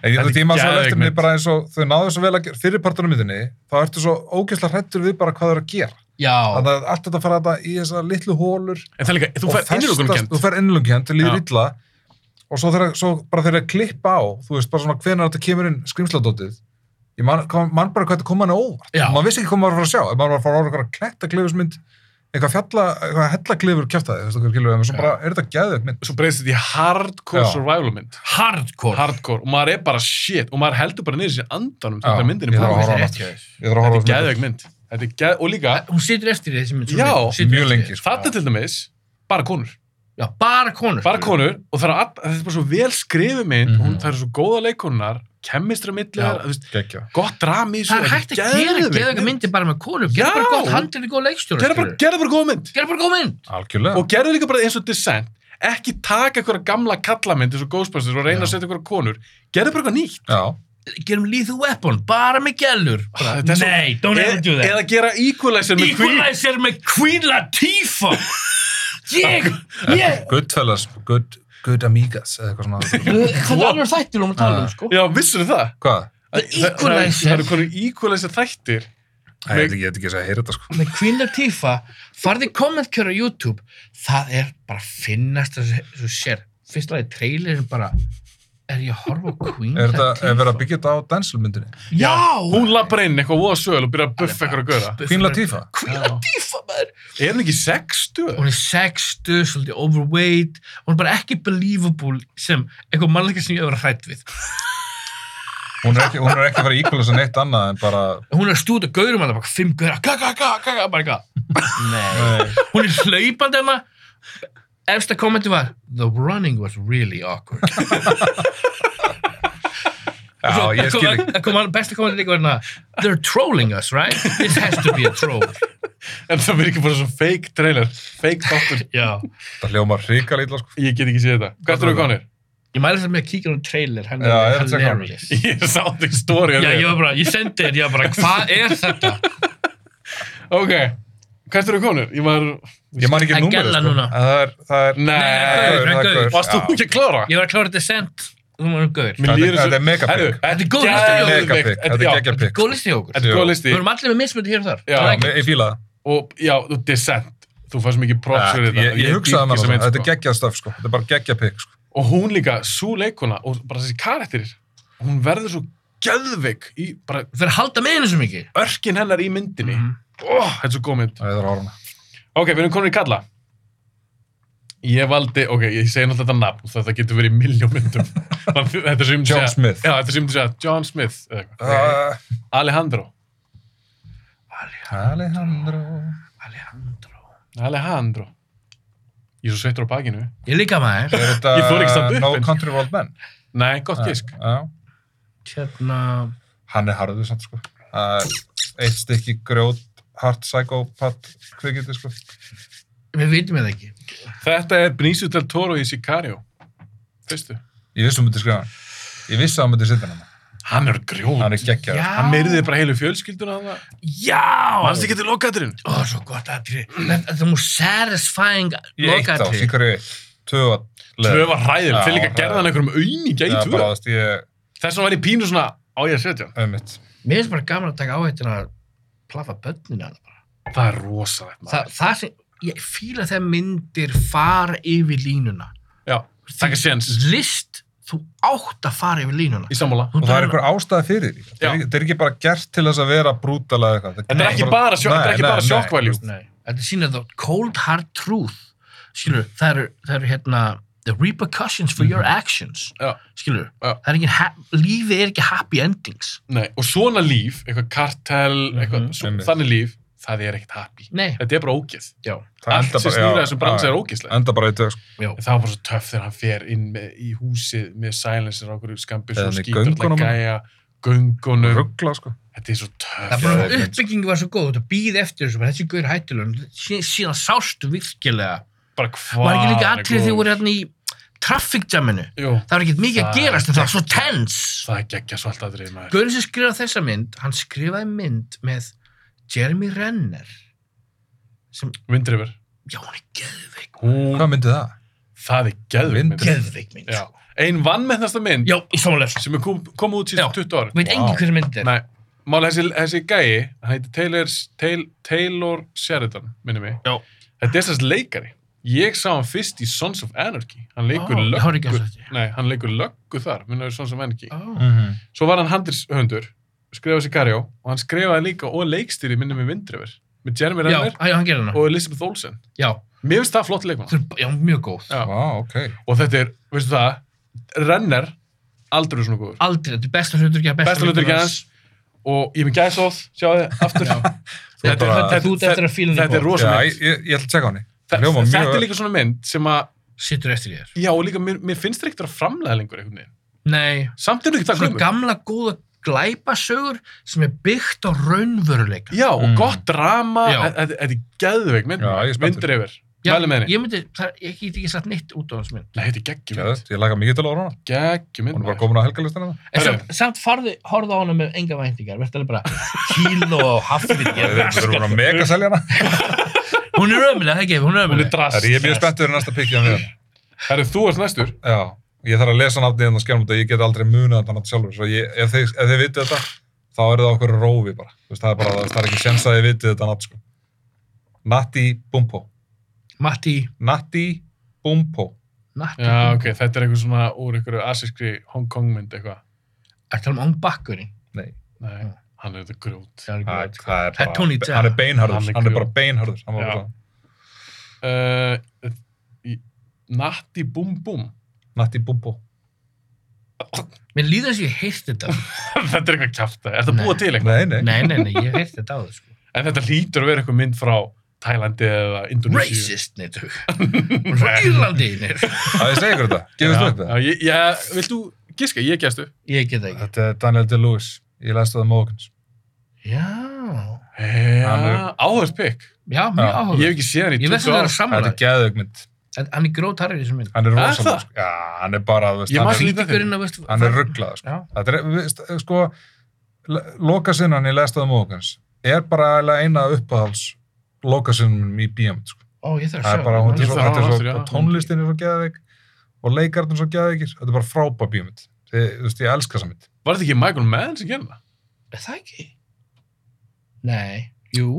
Speaker 3: En ég
Speaker 2: Þetta er
Speaker 3: þetta tíma svo
Speaker 2: geðveik
Speaker 3: eftir mig
Speaker 2: mynd.
Speaker 3: bara eins og þau náðu svo vel að gera fyrirpartunum myndinni, þá ertu svo ógeðslega hrættur við bara hvað þau eru að gera.
Speaker 1: Já,
Speaker 3: Þannig að allt þetta fara þetta í þessar litlu hólur
Speaker 2: En það er líka, þú
Speaker 3: og
Speaker 2: fær innlökunum
Speaker 3: festast-
Speaker 2: kent
Speaker 3: þú fer innlöngkjönd, þið
Speaker 2: Já.
Speaker 3: líður illa og svo, þeirra, svo bara þegar að klippa á þú veist bara svona hvenær þetta kemur inn skrimsladótið ég man, kom, man bara hvað þetta kom hann á óvart
Speaker 1: Já.
Speaker 3: maður vissi ekki hvað maður var að fara að sjá ef maður var að fara að orða kletta klefusmynd eitthvað fjalla, eitthvað hella klefur kjæftaði þú veist hvað skilur við, en svo
Speaker 1: Já.
Speaker 3: bara er þetta gæðið mynd
Speaker 2: Svo breyðst þetta í hardcore
Speaker 3: Já.
Speaker 2: survival mynd
Speaker 1: hardcore.
Speaker 2: hardcore og maður er bara shit og maður heldur bara niður sér andanum
Speaker 3: Já,
Speaker 2: þegar myndin
Speaker 3: ég
Speaker 2: er
Speaker 3: þarf að horfa
Speaker 2: búin
Speaker 3: á hana.
Speaker 1: Rétt hjá þér.
Speaker 3: ég þarf að
Speaker 2: þetta
Speaker 3: horfa
Speaker 2: er geðveik mynd þetta er geð, og líka,
Speaker 1: Hún situr eftir í þessi mynd. svona
Speaker 2: Já,
Speaker 1: mynd. Hún situr
Speaker 3: mjög
Speaker 1: eftir
Speaker 3: lengi,
Speaker 1: í þessu.
Speaker 3: sko.
Speaker 2: þetta er til dæmis bara konur,
Speaker 1: Já, bara konur.
Speaker 2: bara konur og það er, all, þetta er bara svo vel skrifið mynd
Speaker 3: Mhm.
Speaker 2: hún, það eru svo góða leikonunar, kemistra
Speaker 1: Já.
Speaker 2: millar, þú veist,
Speaker 3: geggja
Speaker 2: gott drami
Speaker 1: Það er hægt að gera geðveika myndir bara með konur. Gerðu
Speaker 2: Já.
Speaker 1: bara gott handrið og góð leikstjóra.
Speaker 2: gerðu bara,
Speaker 1: skilurðu.
Speaker 2: gerðu bara góða mynd
Speaker 1: Gerðu bara góð mynd.
Speaker 3: algjörlega
Speaker 2: og gerðu líka bara eins og Descent ekki taka einhverja gamla kallamynd eins og Ghostbusters og reyna
Speaker 1: Já.
Speaker 2: að setja einhverja konur gerðu bara eitthvað nýtt
Speaker 3: já,
Speaker 1: Gerum Lethal Weapon, bara með gellur. Bara,
Speaker 2: Þetta er svo-
Speaker 1: Nei, don't ever do
Speaker 2: eða,
Speaker 1: that.
Speaker 2: eða gera Equalizer með Queen
Speaker 1: Equalizer með Queen
Speaker 3: <laughs>
Speaker 1: Latifah. Ég, ég,
Speaker 3: goodfellas, good, good amigas eða eitthvað svona,
Speaker 1: Þetta er alveg þættir um að
Speaker 3: Ah.
Speaker 1: tala um, sko.
Speaker 2: já, vissur það
Speaker 3: hvað?
Speaker 1: The
Speaker 2: Það- það-
Speaker 1: Equalizer.
Speaker 2: það eru konur Equalizer þættir
Speaker 3: Æ, ég veit ekki- ég veit ekki að segja að heyra þetta sko
Speaker 1: Með Queen Latifah, farði kommentkjör á YouTube, það er bara finnast þessu sér. Fyrst að það er trailerin bara, er ég að horfa á Queen
Speaker 3: er þetta,
Speaker 1: Latifah?
Speaker 3: er verið að byggja þetta á denselmyndinni?
Speaker 1: Já!
Speaker 2: hún lappar inn eitthvað voða sögul og byrjar að buffa eitthvað að göra
Speaker 3: Queen Latifah?
Speaker 1: Queen
Speaker 2: Já.
Speaker 1: Latifah, maður!
Speaker 2: Er hann ekki 60?
Speaker 1: Hún er sextu, svolítið overweight, hún er bara ekki believable sem eitthvað mannleika sem ég hefur hrætt við.
Speaker 3: Hún er ekki, hún er ekki að vera íkvæmlega sem neitt annað en bara...
Speaker 1: Hún er að stúta gaurum hann, bara fimm gaura, kaka, kaka, kaka, bara
Speaker 3: <laughs>
Speaker 1: eitthvað. Nei. Hún er hlaupandi hann, efsta kommenti var, the running was really awkward.
Speaker 3: Já,
Speaker 1: Svo-
Speaker 3: ég skil ekki.
Speaker 1: kom, kom, besta komandi líka verðin að they're trolling us, right? This has to be a troll.
Speaker 2: En það verður ekki bara svo fake trailer, fake þáttur.
Speaker 1: Já.
Speaker 3: Það hljómar hrikal illa, sko.
Speaker 2: Ég get ekki séð þetta. Hvað ertu við konir?
Speaker 1: Ég mæli þess að með að kíkja á um trailer, hann
Speaker 3: Já, ég
Speaker 1: er
Speaker 3: er að checka á
Speaker 1: hilarious.
Speaker 2: <laughs> Ég sá þetta ekki stóri
Speaker 1: Já, ég var bara, ég sendi þér, ég var bara, hvað er þetta?
Speaker 2: Ok, hvað ertu við konir? Ég var...
Speaker 3: Ég man ekki
Speaker 1: Það er
Speaker 3: númerið,
Speaker 1: gella
Speaker 3: sko.
Speaker 1: núna.
Speaker 3: En Það er, það er...
Speaker 2: Nei,
Speaker 1: Nei, gaur, það er gaur.
Speaker 2: Varst þú
Speaker 3: Já.
Speaker 2: ekki að klára?
Speaker 1: Ég var að klára Descent, þú varum gaur.
Speaker 2: Mér
Speaker 3: Þetta er-
Speaker 2: líður
Speaker 3: þetta er megapikk.
Speaker 2: Herru,
Speaker 1: Þetta er góð
Speaker 2: geðveikt.
Speaker 1: listi hjá okkur. Góð listi
Speaker 3: Megapikk, þetta er geggja pikk.
Speaker 2: já,
Speaker 1: hjá okkur.
Speaker 2: Þetta er
Speaker 3: Já.
Speaker 2: góð
Speaker 1: Við
Speaker 2: listi.
Speaker 1: erum allir með mismöndi hér og þar.
Speaker 2: Já,
Speaker 1: Það er
Speaker 3: Ég
Speaker 1: ekki-
Speaker 3: fíla það.
Speaker 2: Og já, og Descent. þú fannst mikið props fyrir þetta
Speaker 3: ég, ég hugsaði
Speaker 2: dýrki
Speaker 3: með
Speaker 2: sem
Speaker 3: það,
Speaker 2: einn,
Speaker 3: þetta er
Speaker 2: sko.
Speaker 3: geggjað stöf sko. þetta er bara geggjað pikk sko.
Speaker 2: og hún líka, svo leikuna og bara þessi karakterir, hún verður svo gæðveik í bara
Speaker 1: Þeir halda með henni svo mikið.
Speaker 2: örkin hennar í myndinni mm.
Speaker 1: Mhm.
Speaker 2: þetta er svo góð mynd
Speaker 3: það er orðuna
Speaker 2: ok, við erum komin í kalla ég valdi, ok, ég segi náttúrulega þetta nafn þetta getur verið í miljón myndum
Speaker 3: <laughs>
Speaker 2: þetta er sem ég myndi
Speaker 3: John
Speaker 2: segja-
Speaker 3: Smith.
Speaker 2: já, þetta er sem ég myndi segja John Smith eða eitthvað.
Speaker 3: uh,
Speaker 2: Alejandro
Speaker 3: Alejandro
Speaker 1: Alejandro.
Speaker 2: Alejandro ég er svo sveittur á bakinu
Speaker 1: Ég líka maður.
Speaker 3: er
Speaker 2: Ég fór ekki samt
Speaker 3: þetta
Speaker 2: upp,
Speaker 3: No
Speaker 2: en-
Speaker 3: Country for Old Men
Speaker 2: nei,
Speaker 3: Ah.
Speaker 2: gott gísk
Speaker 3: Já.
Speaker 1: Hérna,
Speaker 3: hann er harður samt sko Það er eitt stykki grjót hard psychopath kvikindi sko
Speaker 1: við vitum þetta ekki.
Speaker 2: þetta er Benicio del Toro í Sicario fyrstu
Speaker 3: ég vissi hún myndi skrifa hann ég vissi að hún myndi setja hann þarna.
Speaker 2: hann er grjóð
Speaker 3: hann er geggjað
Speaker 1: Já.
Speaker 2: hann myrði bara heilu fjölskylduna hann
Speaker 1: Já!
Speaker 2: mannst ekki til lokaðurinn
Speaker 1: Ó, svo gott aðtrið. Þetta er mjög satisfying
Speaker 3: í eitt á,
Speaker 1: lokaðatrið.
Speaker 3: síkari tvö að
Speaker 2: tvö var ræðileg,
Speaker 3: Já,
Speaker 2: þeir líka
Speaker 3: hræðilegt.
Speaker 2: gerði hann einhverjum auðninga í tvö
Speaker 3: bara aðast ég
Speaker 2: þess vegna var ég pínu svona á ég að setja hann
Speaker 3: auðvitað
Speaker 1: Mér finnst bara gaman að taka áhættin að plafa börnina hana bara.
Speaker 2: það er rosalegt
Speaker 1: Þa,
Speaker 2: maður.
Speaker 1: það sem, ég fíla þegar myndir fara yfir línuna.
Speaker 2: já, taka séns
Speaker 1: List, þú átt að fara yfir línuna.
Speaker 2: í sammála
Speaker 1: Þú
Speaker 3: og það
Speaker 1: talar-
Speaker 3: er einhver ástæði fyrir því
Speaker 2: Já.
Speaker 3: þetta er, ekki- þetta er ekki bara gert til þess að vera brútal eða eitthvað
Speaker 2: Þetta er ekki bara sjokk- þetta er ekki bara shock value.
Speaker 1: Nei, þetta sýnir þá cold hard truth skilur, það eru, það eru hérna the repercussions for your actions
Speaker 2: Já.
Speaker 1: skilur,
Speaker 2: Já.
Speaker 1: það er ekki ha- lífið er ekki happy endings
Speaker 2: Nei, og svona líf, eitthvað kartel
Speaker 1: Mhm.
Speaker 2: eitthvað, svo,
Speaker 3: Einmitt.
Speaker 2: þannig líf, það er ekkert happy
Speaker 1: nei,
Speaker 2: þetta er bara ógeð
Speaker 1: já,
Speaker 2: allt sem snýra þessum bransa er ógeðslega
Speaker 3: enda bara í tvö sko.
Speaker 1: já
Speaker 2: en það var bara svo töff þegar hann fer inn með, í húsið með silencer á okkur skambis
Speaker 3: Eða
Speaker 2: og
Speaker 3: með
Speaker 2: skýtur alltaf
Speaker 3: göngunum.
Speaker 2: gæja göngunum,
Speaker 3: ruggla sko
Speaker 2: þetta er svo
Speaker 1: Það
Speaker 2: töff
Speaker 1: bara
Speaker 3: Já,
Speaker 1: uppbyggingi var svo góð, þetta býð eftir þessu, bara þessi gaur hættilun, síðan sástu virkilega.
Speaker 2: bara hvað
Speaker 1: Var ekki líka
Speaker 2: hann er
Speaker 1: atrið þegar
Speaker 2: góður.
Speaker 1: voru hérna í traffic jaminu?
Speaker 2: Jú,
Speaker 1: Það var ekkert mikið að
Speaker 2: Það er
Speaker 1: gerast en það var svo
Speaker 2: geggjað.
Speaker 1: tense.
Speaker 2: það er geggja svalt aðrið maður
Speaker 1: Gaurin sem skrifaði þessa mynd, hann skrifaði mynd með Jeremy Renner sem,
Speaker 2: Vindrifur,
Speaker 1: já hún er geðveik
Speaker 2: hún,
Speaker 3: hvað myndi það?
Speaker 2: það er geðvik
Speaker 3: Vindrifur.
Speaker 2: mynd
Speaker 1: geðveik mynd,
Speaker 2: Já.
Speaker 1: sko.
Speaker 2: ein vannmennasta mynd
Speaker 1: Já, í samanlega
Speaker 2: sem er kom, kom út síðan
Speaker 1: Já.
Speaker 2: 20 ára
Speaker 1: Veit engin
Speaker 3: Vá.
Speaker 1: hver mynd er
Speaker 2: Nei, máli þessi, þessi gæi, hann heitir Taylor, Taylor, Taylor Sheridan, minnum mig.
Speaker 1: Já.
Speaker 2: Þetta er sérst leikari. Ég sá hann fyrst í Sons of Anarchy. Hann leikur
Speaker 1: Ó, ég horfði ekki á
Speaker 2: löggu.
Speaker 1: þetta.
Speaker 2: Nei, hann leikur löggu þar, minnum við Sons of Anarchy.
Speaker 1: Ó,
Speaker 3: Mhm.
Speaker 2: Svo var hann handrishöndur, skrifaði Sicario og hann skrifaði líka og leikstýri minnum við Vindrefur. Með Jeremy
Speaker 1: Já,
Speaker 2: Renner
Speaker 1: hæ, hann gerir hana
Speaker 2: og Elizabeth Olsen.
Speaker 1: Já,
Speaker 2: Mér finnst það flott leikmann.
Speaker 1: þau eru b- já, mjög góð
Speaker 2: Já.
Speaker 3: Vá, ok
Speaker 2: Og þetta er, veistu það, Renner aldrei svona góður.
Speaker 1: Aldrei, þetta er besta hlutur ekki
Speaker 2: Besta hlutverkið hans. Og ég er með gæsóð, sjáðu, aftur.
Speaker 3: Þú
Speaker 2: Þetta er-
Speaker 3: bara-
Speaker 2: þetta-
Speaker 1: Þú ert eftir að fíla henni
Speaker 2: Þetta er
Speaker 1: góð.
Speaker 2: rosa
Speaker 3: Já,
Speaker 2: mynd.
Speaker 3: ég, ég, ég ætla að tjekka á henni Það
Speaker 2: Þetta
Speaker 3: hljóma mjög
Speaker 2: er líka svona mynd sem að,
Speaker 1: Sittur eftir í þér
Speaker 2: já, og líka, mér, mér finnst það ekkert að framlega lengur einhvern veginn.
Speaker 1: Nei,
Speaker 2: Samt er hún ekkert að
Speaker 1: svona
Speaker 2: gömur.
Speaker 1: gamla góða glæpasögur sem er byggt á raunvöruleika
Speaker 2: Já, og
Speaker 3: Mm.
Speaker 2: gott drama,
Speaker 1: Já.
Speaker 2: þetta þetta er geðveik mynd,
Speaker 3: Já, ég er spenntur.
Speaker 2: myndur yfir.
Speaker 1: Já,
Speaker 2: Mæli með henni.
Speaker 1: Ég myndi, það, ég get ekki satt neitt út á hans mynd
Speaker 2: Nei, þetta er geggjum mynd.
Speaker 3: Geðveikt, ég laka mikið til ára hana
Speaker 2: Geggjum mynd.
Speaker 3: hún er bara
Speaker 2: maður.
Speaker 3: komin á
Speaker 2: <laughs>
Speaker 3: helgalistan
Speaker 1: En
Speaker 2: Herru.
Speaker 1: samt, samt farði, horfði á hana með enga væntingar Verði alveg bara kíló og
Speaker 3: við
Speaker 1: hafrið
Speaker 3: erum að mega selja hana
Speaker 1: Hún er ömulega, það er ekki, hún er
Speaker 2: Hún er
Speaker 1: ömulega
Speaker 2: drast.
Speaker 3: Það er ég er mjög spenntur fyrir næsta pikki hann við hana.
Speaker 2: Herru, þú ert næstur.
Speaker 3: já ég þarf að lesa nafnið hérna á skjánum þetta ég get aldrei munið þetta nátt sjálfur svo ég, ef þið, ef þið vitið þetta þá er það okkur rófi bara Þú veist, það er bara það er ekki sjens að þið vitið þetta nátt sko Natti Bumpo
Speaker 1: Matti,
Speaker 3: Natti Bumpo
Speaker 1: Natti
Speaker 2: Já, ok, <laughs> þetta er einhver svona úr einhverju asískri Hong Kong mynd eitthvað.
Speaker 1: Er það um án bakkurinn?
Speaker 3: nei
Speaker 2: Nei, hann er þetta grút.
Speaker 1: Það er ekki
Speaker 3: það,
Speaker 1: veit.
Speaker 3: það er
Speaker 1: Það er
Speaker 3: bara
Speaker 1: Tony Jaa.
Speaker 3: hann er beinharður
Speaker 2: Hann er
Speaker 3: hann er
Speaker 2: grjó.
Speaker 3: bara beinharður hann var
Speaker 2: Já.
Speaker 3: bara
Speaker 2: Uh, í- Natti Bum Bum. <laughs>
Speaker 3: Natti Bumpo
Speaker 1: Mér líður þess að ég heyrst þetta.
Speaker 2: þetta er eitthvað kjafta. Er það
Speaker 1: Nei.
Speaker 2: búið til eitthvað?
Speaker 3: nei nei
Speaker 1: nei, nei, nei, ég heyrst þetta á þau, sko.
Speaker 2: En þetta hlýtur að vera eitthvað mynd frá Tælandi eða Indonésiu.
Speaker 1: Racist, neitt, hug. Frá Írlandi, neitt.
Speaker 2: <laughs>
Speaker 3: að ég segja ykkur þetta gefist upp
Speaker 2: Já,
Speaker 3: það
Speaker 2: ég, ég, vilt þú giska? Ég gæstu.
Speaker 1: Ég get það ekki.
Speaker 3: þetta er Daniel DeLewis ég læst það um mókins
Speaker 1: Já.
Speaker 3: Hann
Speaker 2: Já,
Speaker 3: er-
Speaker 2: áhörð pikk.
Speaker 1: Já, mjög
Speaker 3: Já,
Speaker 2: Ég hef
Speaker 1: áhuga.
Speaker 2: ekki séð hann í
Speaker 1: Ég veist
Speaker 2: 20
Speaker 1: að það er
Speaker 2: ára.
Speaker 3: þetta er
Speaker 1: samræð.
Speaker 3: geðugmynd
Speaker 1: En hann er grót harrið í þessum mynd.
Speaker 3: hann er
Speaker 2: Er
Speaker 3: rosalega
Speaker 2: það?
Speaker 3: sko. já, hann er bara þú veist,
Speaker 2: Ég man
Speaker 3: hann,
Speaker 2: svo
Speaker 3: er,
Speaker 2: lítið eftir
Speaker 1: Ítíkurinn að veist...
Speaker 3: hann er rugglaður sko.
Speaker 1: Já.
Speaker 3: þetta er, veist, sko lokasinnan í lestaðum okans er bara eiginlega eina uppáhalds lokasinnum í bíómynd sko.
Speaker 1: Ó, ég þarf að sjá.
Speaker 3: það er bara, hún
Speaker 2: Ég
Speaker 3: er svo,
Speaker 2: þarf að
Speaker 3: þetta er
Speaker 2: aftur, já.
Speaker 3: svo og tónlistin er svo geðveik og leikarnir svo geðveikir þetta er bara frábær bíómynd Þið- þú veist, ég elska þessa mynd
Speaker 2: Var þetta ekki Michael Mann sem gerði það?
Speaker 1: Er það ekki? Nei. Jú.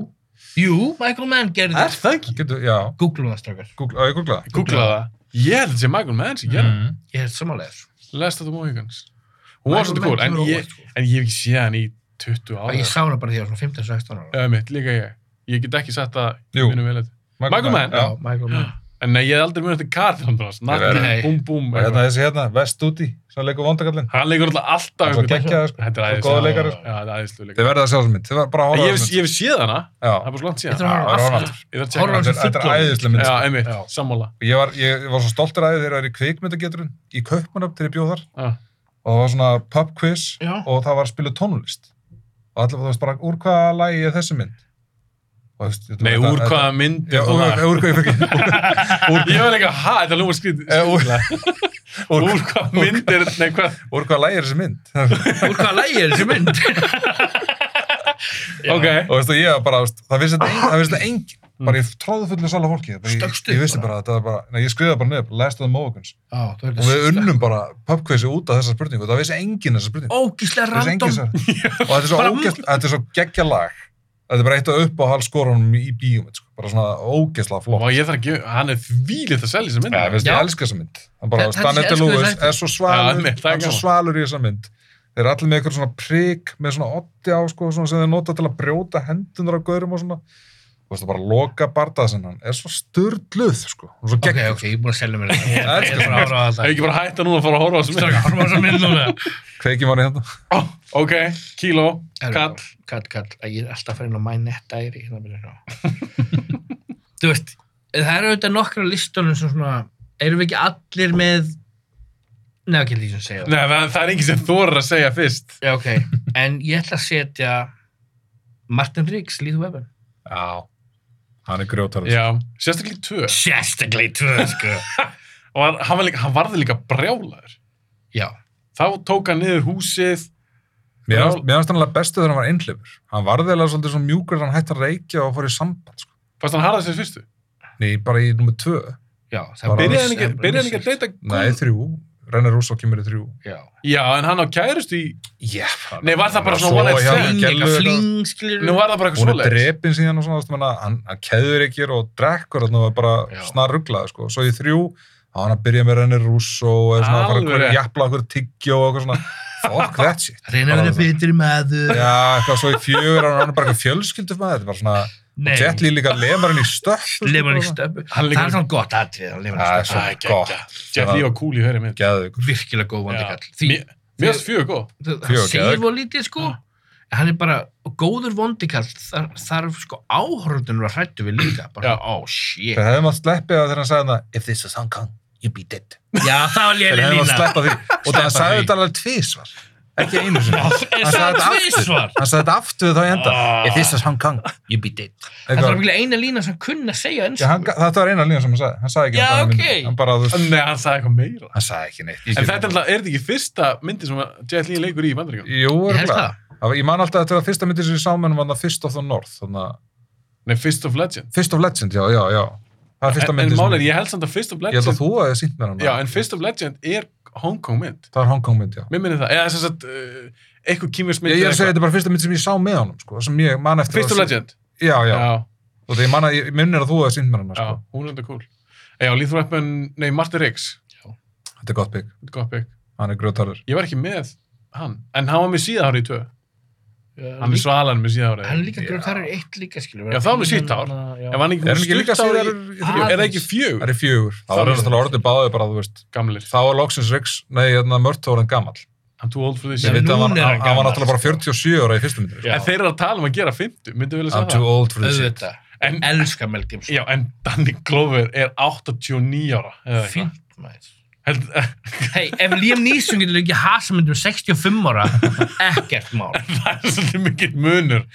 Speaker 1: Jú, Michael Mann gerði
Speaker 2: Er
Speaker 1: það.
Speaker 2: það ekki?
Speaker 3: Getur, já,
Speaker 1: Googlum það strákar.
Speaker 3: Google, á, ég googlaði það.
Speaker 2: Googlaði það. Ég held að þetta sé Michael Mann sem gera.
Speaker 3: Mm.
Speaker 1: Ég held samanlega þessu.
Speaker 2: Last of the Mohicans. Hún var svolítið cool, en ég, en ég hef ekki séð hann í 20 ára.
Speaker 1: sko. Ég sá hana bara því að ég var svona 15-16 ára.
Speaker 2: Eða mitt, líka ég. Ég get ekki sagt að
Speaker 3: Jú.
Speaker 2: minnum vel þetta. Michael Mann?
Speaker 1: Já,
Speaker 3: Já.
Speaker 1: Michael Mann.
Speaker 2: En nei, ég hef aldrei munið eftir Karl hans. Natti,
Speaker 1: Nei.
Speaker 2: búm, búm.
Speaker 3: Og hérna þessi hérna, West Duty, sem leikur vondakallin.
Speaker 2: Hann leikur alltaf alltaf.
Speaker 3: Svo geggjaður, sko.
Speaker 2: Þetta er
Speaker 3: Svo
Speaker 2: æðislega.
Speaker 3: góður leikari,
Speaker 2: Já, þetta er æðislega leikari.
Speaker 3: Þið verða að sjá þessum mynd, þið verða bara að
Speaker 2: Ég
Speaker 3: horfa á
Speaker 2: hef,
Speaker 3: þessum
Speaker 2: ég hef séð hana, það
Speaker 3: mynd.
Speaker 2: er bara svo langt
Speaker 1: Ég
Speaker 2: síðan.
Speaker 1: þarf að
Speaker 3: Já,
Speaker 1: horfa
Speaker 3: það var
Speaker 1: aftur.
Speaker 2: Ég þarf að
Speaker 1: horfa
Speaker 2: checka
Speaker 1: á hana.
Speaker 3: Þetta er-
Speaker 2: hana.
Speaker 3: þetta er æðislega mynd.
Speaker 2: Já,
Speaker 3: sko.
Speaker 2: einmitt,
Speaker 1: Já.
Speaker 2: sammála.
Speaker 3: Ég var, ég var svo stoltur að því þegar það er í kvikmyndageturinn, í kaupmanöfn þegar ég bjóð þar.
Speaker 2: Já.
Speaker 3: Og það var svona pub quiz
Speaker 1: Já.
Speaker 3: og það var að spila tónlist. Og allir, þú veist bara, úr hvaða lagi er þessi mynd? Og þú veist, ég-
Speaker 2: Nei,
Speaker 3: þetta-
Speaker 2: úr
Speaker 3: þetta-
Speaker 2: hvaða mynd
Speaker 3: Já,
Speaker 2: er
Speaker 3: úr
Speaker 2: það?
Speaker 3: hvaða, úr hvaða, ég fyrir ekki.
Speaker 2: Ég var líka, hæ, þetta lúmar skrítið.
Speaker 3: Eh, úr-
Speaker 2: <laughs> Úr hvaða mynd er, nei, hvað?
Speaker 3: Úr hvaða lagi er þessi mynd?
Speaker 1: <gasps>
Speaker 3: <laughs>
Speaker 1: Úr hvaða lægi er þessi mynd? <laughs> Já.
Speaker 2: Ok.
Speaker 3: og veistu, ég var bara, veist, það vissi þetta ein- það vissi þetta enginn, bara ég tróðu fullu sala fólki, bara, ég,
Speaker 1: Stökkst upp
Speaker 3: ég vissi
Speaker 1: bara.
Speaker 3: bara, að þetta var bara, nei, ég skrifaði bara nefn, last of the Mohicans,
Speaker 1: Já, þú ert
Speaker 3: um og við unnum bara pubquizi út af þessa spurningu, það vissi enginn þessa spurningu,
Speaker 1: Ógíslega
Speaker 3: það vissi
Speaker 1: random.
Speaker 3: enginn
Speaker 1: <laughs>
Speaker 3: þessa, og þetta er svo
Speaker 1: Bara-
Speaker 3: ógæst, þetta er svo geggja lag, þetta er bara eitt af upp á halskorunum í bíum, sko, bara svona ógæstlega
Speaker 2: Og
Speaker 3: flott,
Speaker 2: ég þarf að gefa, hann er þvílið að selja þessa mynd.
Speaker 3: ja, veist,
Speaker 1: Já.
Speaker 3: ég elska þessa mynd, hann bara,
Speaker 1: Þetta-
Speaker 3: veist, Danette
Speaker 1: þessi elsku
Speaker 3: Lewis
Speaker 1: þættir.
Speaker 3: er svo svalur,
Speaker 2: einmitt, það er
Speaker 3: hann er svo
Speaker 2: gaman.
Speaker 3: svalur í þessa mynd, Þeir eru allir með eitthvað svona prik með svona otti á sko, svona sem þeir nota til að brjóta hendunar á gaurum og svona. Þú veist það bara loka bardað sem hann er svo sturdluð sko. Hún er svo
Speaker 1: Ok,
Speaker 3: gegn.
Speaker 1: ok, ég er búin að selja mér þetta. Ég
Speaker 3: elska
Speaker 1: er bara að horfa á
Speaker 2: Það er
Speaker 1: þetta.
Speaker 2: ekki bara að hætta núna að fara að horfa á þessu mynd.
Speaker 1: Strákar, horfa á þessa mynd núna.
Speaker 3: Kveikjum var í hérna.
Speaker 2: Ó, Ok, kíló,
Speaker 1: Herru,
Speaker 2: kall.
Speaker 1: Kall, kall. Æ, Ég er alltaf farin á MyNet-æri. hérna byrja hjá. <laughs> Þú veist, það eru auðvitað nokkra listunum sem svona, erum við ekki allir með... Nei, ekki því sem segja það.
Speaker 2: Nei, það það er enginn sem þorir að segja fyrst.
Speaker 1: Já, ok. En ég ætla að setja Martin Riggs, Lethal Weapon.
Speaker 3: Já. Hann er grjótarður.
Speaker 2: Já, sérstaklega í tvö.
Speaker 1: Sérstaklega í tvö, sko.
Speaker 2: Og hann, hann, var líka, hann varði líka brjálaður.
Speaker 1: <laughs> Já.
Speaker 2: Þá tók hann niður húsið.
Speaker 3: Mér fannst- mér fannst hann alveg bestu þegar hann var einhlifur. Hann varði eða svolítið svona mjúkur hann hætti að reykja og fór í samband sko.
Speaker 2: Fast hann harðið sér fyrstu.
Speaker 3: Nei, bara í nummer tvö.
Speaker 1: Já,
Speaker 3: Bara-
Speaker 2: Byrjaði hann ekki- byrjaði hann ekki að deyta
Speaker 3: Nei, þrjú. Renner Rússó kemur í þrjú.
Speaker 1: Já.
Speaker 2: Já, en hann á kærust í...
Speaker 3: Já.
Speaker 2: Nei, var það bara
Speaker 3: Svo
Speaker 2: svona one night
Speaker 3: hjá
Speaker 2: stand?
Speaker 1: Fling,
Speaker 3: Gellu
Speaker 1: eitthvað
Speaker 3: þetta.
Speaker 1: fling, skilur
Speaker 2: Nú var það bara
Speaker 3: hún
Speaker 2: eitthvað
Speaker 3: er
Speaker 2: svoleiðis.
Speaker 3: drepin síðan og svona, þú veist, hann, hann keður ekki og drekkur þarna og er
Speaker 1: Já.
Speaker 3: bara snar rugglaði, sko. Svo í þrjú, þá var hann að byrja með Renner Russo og er svona að fara að
Speaker 2: Alveg
Speaker 3: hverja
Speaker 2: rétt.
Speaker 3: jafla okkur tyggjó og eitthvað svona. Fuck that shit.
Speaker 1: Reyna að vera betri maður.
Speaker 3: Já, eitthvað svo í fjögur, hann er bara eitthvað fjölskyldu maður, þetta er bara svona,
Speaker 1: Nei,
Speaker 3: Jet Li líka lemar hann í stöpp.
Speaker 1: lemur hann í stöpu.
Speaker 2: Hann
Speaker 1: Það
Speaker 2: líka-
Speaker 1: er svona gott atrið, hann lemur
Speaker 3: Það
Speaker 1: hann
Speaker 3: er
Speaker 1: í stöpu.
Speaker 3: svo
Speaker 2: Æ,
Speaker 3: gott.
Speaker 2: geggja. Jet Li og Cool í höfri mynd.
Speaker 3: Gæðu ykkur.
Speaker 1: Virkilega góð vandi
Speaker 2: Já.
Speaker 1: kall. Því,
Speaker 2: Mér mér finnst fjögur góð.
Speaker 1: það
Speaker 3: Fjögur,
Speaker 1: segir
Speaker 3: geðveik.
Speaker 1: og lítið, sko.
Speaker 2: Já.
Speaker 1: En Hann er bara og góður vondikall, þar, þarf sko áhörðunum að hrættu við líka, bara,
Speaker 2: Já.
Speaker 1: ó, shit.
Speaker 3: Þeir hefðum að sleppi það þegar hann sagði það, if this is Hong Kong, you'll be dead.
Speaker 1: Já, það var
Speaker 3: Þeir
Speaker 1: léli
Speaker 3: hefðum að
Speaker 1: lína.
Speaker 3: sleppa því. Og það sagði
Speaker 1: því.
Speaker 3: þetta alveg tvísvar. Ekki einu sinni.
Speaker 1: En
Speaker 3: Hann sagði
Speaker 1: það
Speaker 3: þetta
Speaker 1: var
Speaker 3: aftur.
Speaker 1: tvísvar.
Speaker 3: Hann sagði þetta aftur þá í enda.
Speaker 2: Ah.
Speaker 3: If this is Hong Kong, you'll be dead.
Speaker 1: Það var ekki eina lína sem hann kunni að segja eins
Speaker 3: Já, hann, þetta var eina lína sem hann sagði. Hann sagði ekki
Speaker 1: Já,
Speaker 3: neitt annað
Speaker 1: ok.
Speaker 3: myndinni. Hann bara, þú veist,
Speaker 2: Nei, hann sagði eitthvað meira.
Speaker 3: hann sagði ekki neitt. Ég
Speaker 2: En
Speaker 3: skil-
Speaker 2: þetta er alltaf, er þetta ekki fyrsta myndi sem að Jet Li leikur í í bandaríkjum?
Speaker 3: Jú,
Speaker 1: Ég held
Speaker 3: örugglega.
Speaker 1: það.
Speaker 3: Það var- Ég man alltaf að þetta var fyrsta myndin sem ég sá með hann var það Fist of the North. Þannig að,
Speaker 2: Nei, Fist of Legend.
Speaker 3: Fist of Legend, já, já, já. Það er fyrsta
Speaker 2: En, en
Speaker 3: myndin
Speaker 2: málið, ég held samt að Fist of
Speaker 3: Ég held
Speaker 2: Legend...
Speaker 3: að þú hefði sínt mér hann.
Speaker 2: Já, en Fist of Legend er Hong Kong mynd.
Speaker 3: Það er Hong Kong mynd, já.
Speaker 2: Mér minnir það. Eða þess að uh, eitthvað kýmjast mynd...
Speaker 3: Ég, ég er að segja, þetta er bara fyrsta mynd sem ég sá með honum, sko, sem ég man eftir
Speaker 2: Fist of
Speaker 3: að-
Speaker 2: Legend.
Speaker 3: Já, já.
Speaker 2: Já, já.
Speaker 3: Og þegar ég man að, ég minnir að þú hefði sínt mér hann, sko.
Speaker 2: Hún er enda cool. Já, Lethal Weapon... Nei, Martin Riggs.
Speaker 3: Þetta er gott bygg.
Speaker 2: Gott pick.
Speaker 3: Hann er grjótarður.
Speaker 2: Ég var ekki með hann. En hann var með síðahárið í tvö. Hann
Speaker 1: Hann
Speaker 2: er svalan með síðahárið.
Speaker 1: Hann er líka
Speaker 3: Já.
Speaker 1: grjótt, það er eitt líka, skilur
Speaker 2: Já, það var með sítt hár. En var hann ekki
Speaker 3: Er hann ekki líka
Speaker 2: stutt hár
Speaker 3: síðar?
Speaker 2: í- Er það ekki
Speaker 3: Það
Speaker 2: fjög?
Speaker 3: er fjögur. Það var
Speaker 2: Þannig.
Speaker 3: náttúrulega orðið báðið bara, þú veist,
Speaker 2: Gamlir.
Speaker 3: þá var loksins Riggs, nei, hérna, Mörtu orðin gamall.
Speaker 2: I'm too old for this
Speaker 1: Ég
Speaker 3: Ég
Speaker 2: shit.
Speaker 3: veit að
Speaker 1: núna
Speaker 3: hann,
Speaker 1: er hann
Speaker 3: hann, hann var
Speaker 1: gamall,
Speaker 3: náttúrulega bara
Speaker 1: sko.
Speaker 3: 47 ára í fyrstu myndir.
Speaker 1: Já.
Speaker 2: En þeir eru að tala um að gera 50, myndum við vilja
Speaker 3: I'm
Speaker 2: segja það?
Speaker 3: too old for this shit.
Speaker 1: Auðvitað,
Speaker 2: En,
Speaker 1: elska Mel Gibson
Speaker 2: já, en Danny Glover er 89 ára. eða eitthvað.
Speaker 1: Fínt maður
Speaker 2: Held, <laughs>
Speaker 1: Hei, ef Liam Neeson getur um ekki hasa myndum 65 ára Ekkert mál
Speaker 2: <laughs> það er svolítið mikill munur.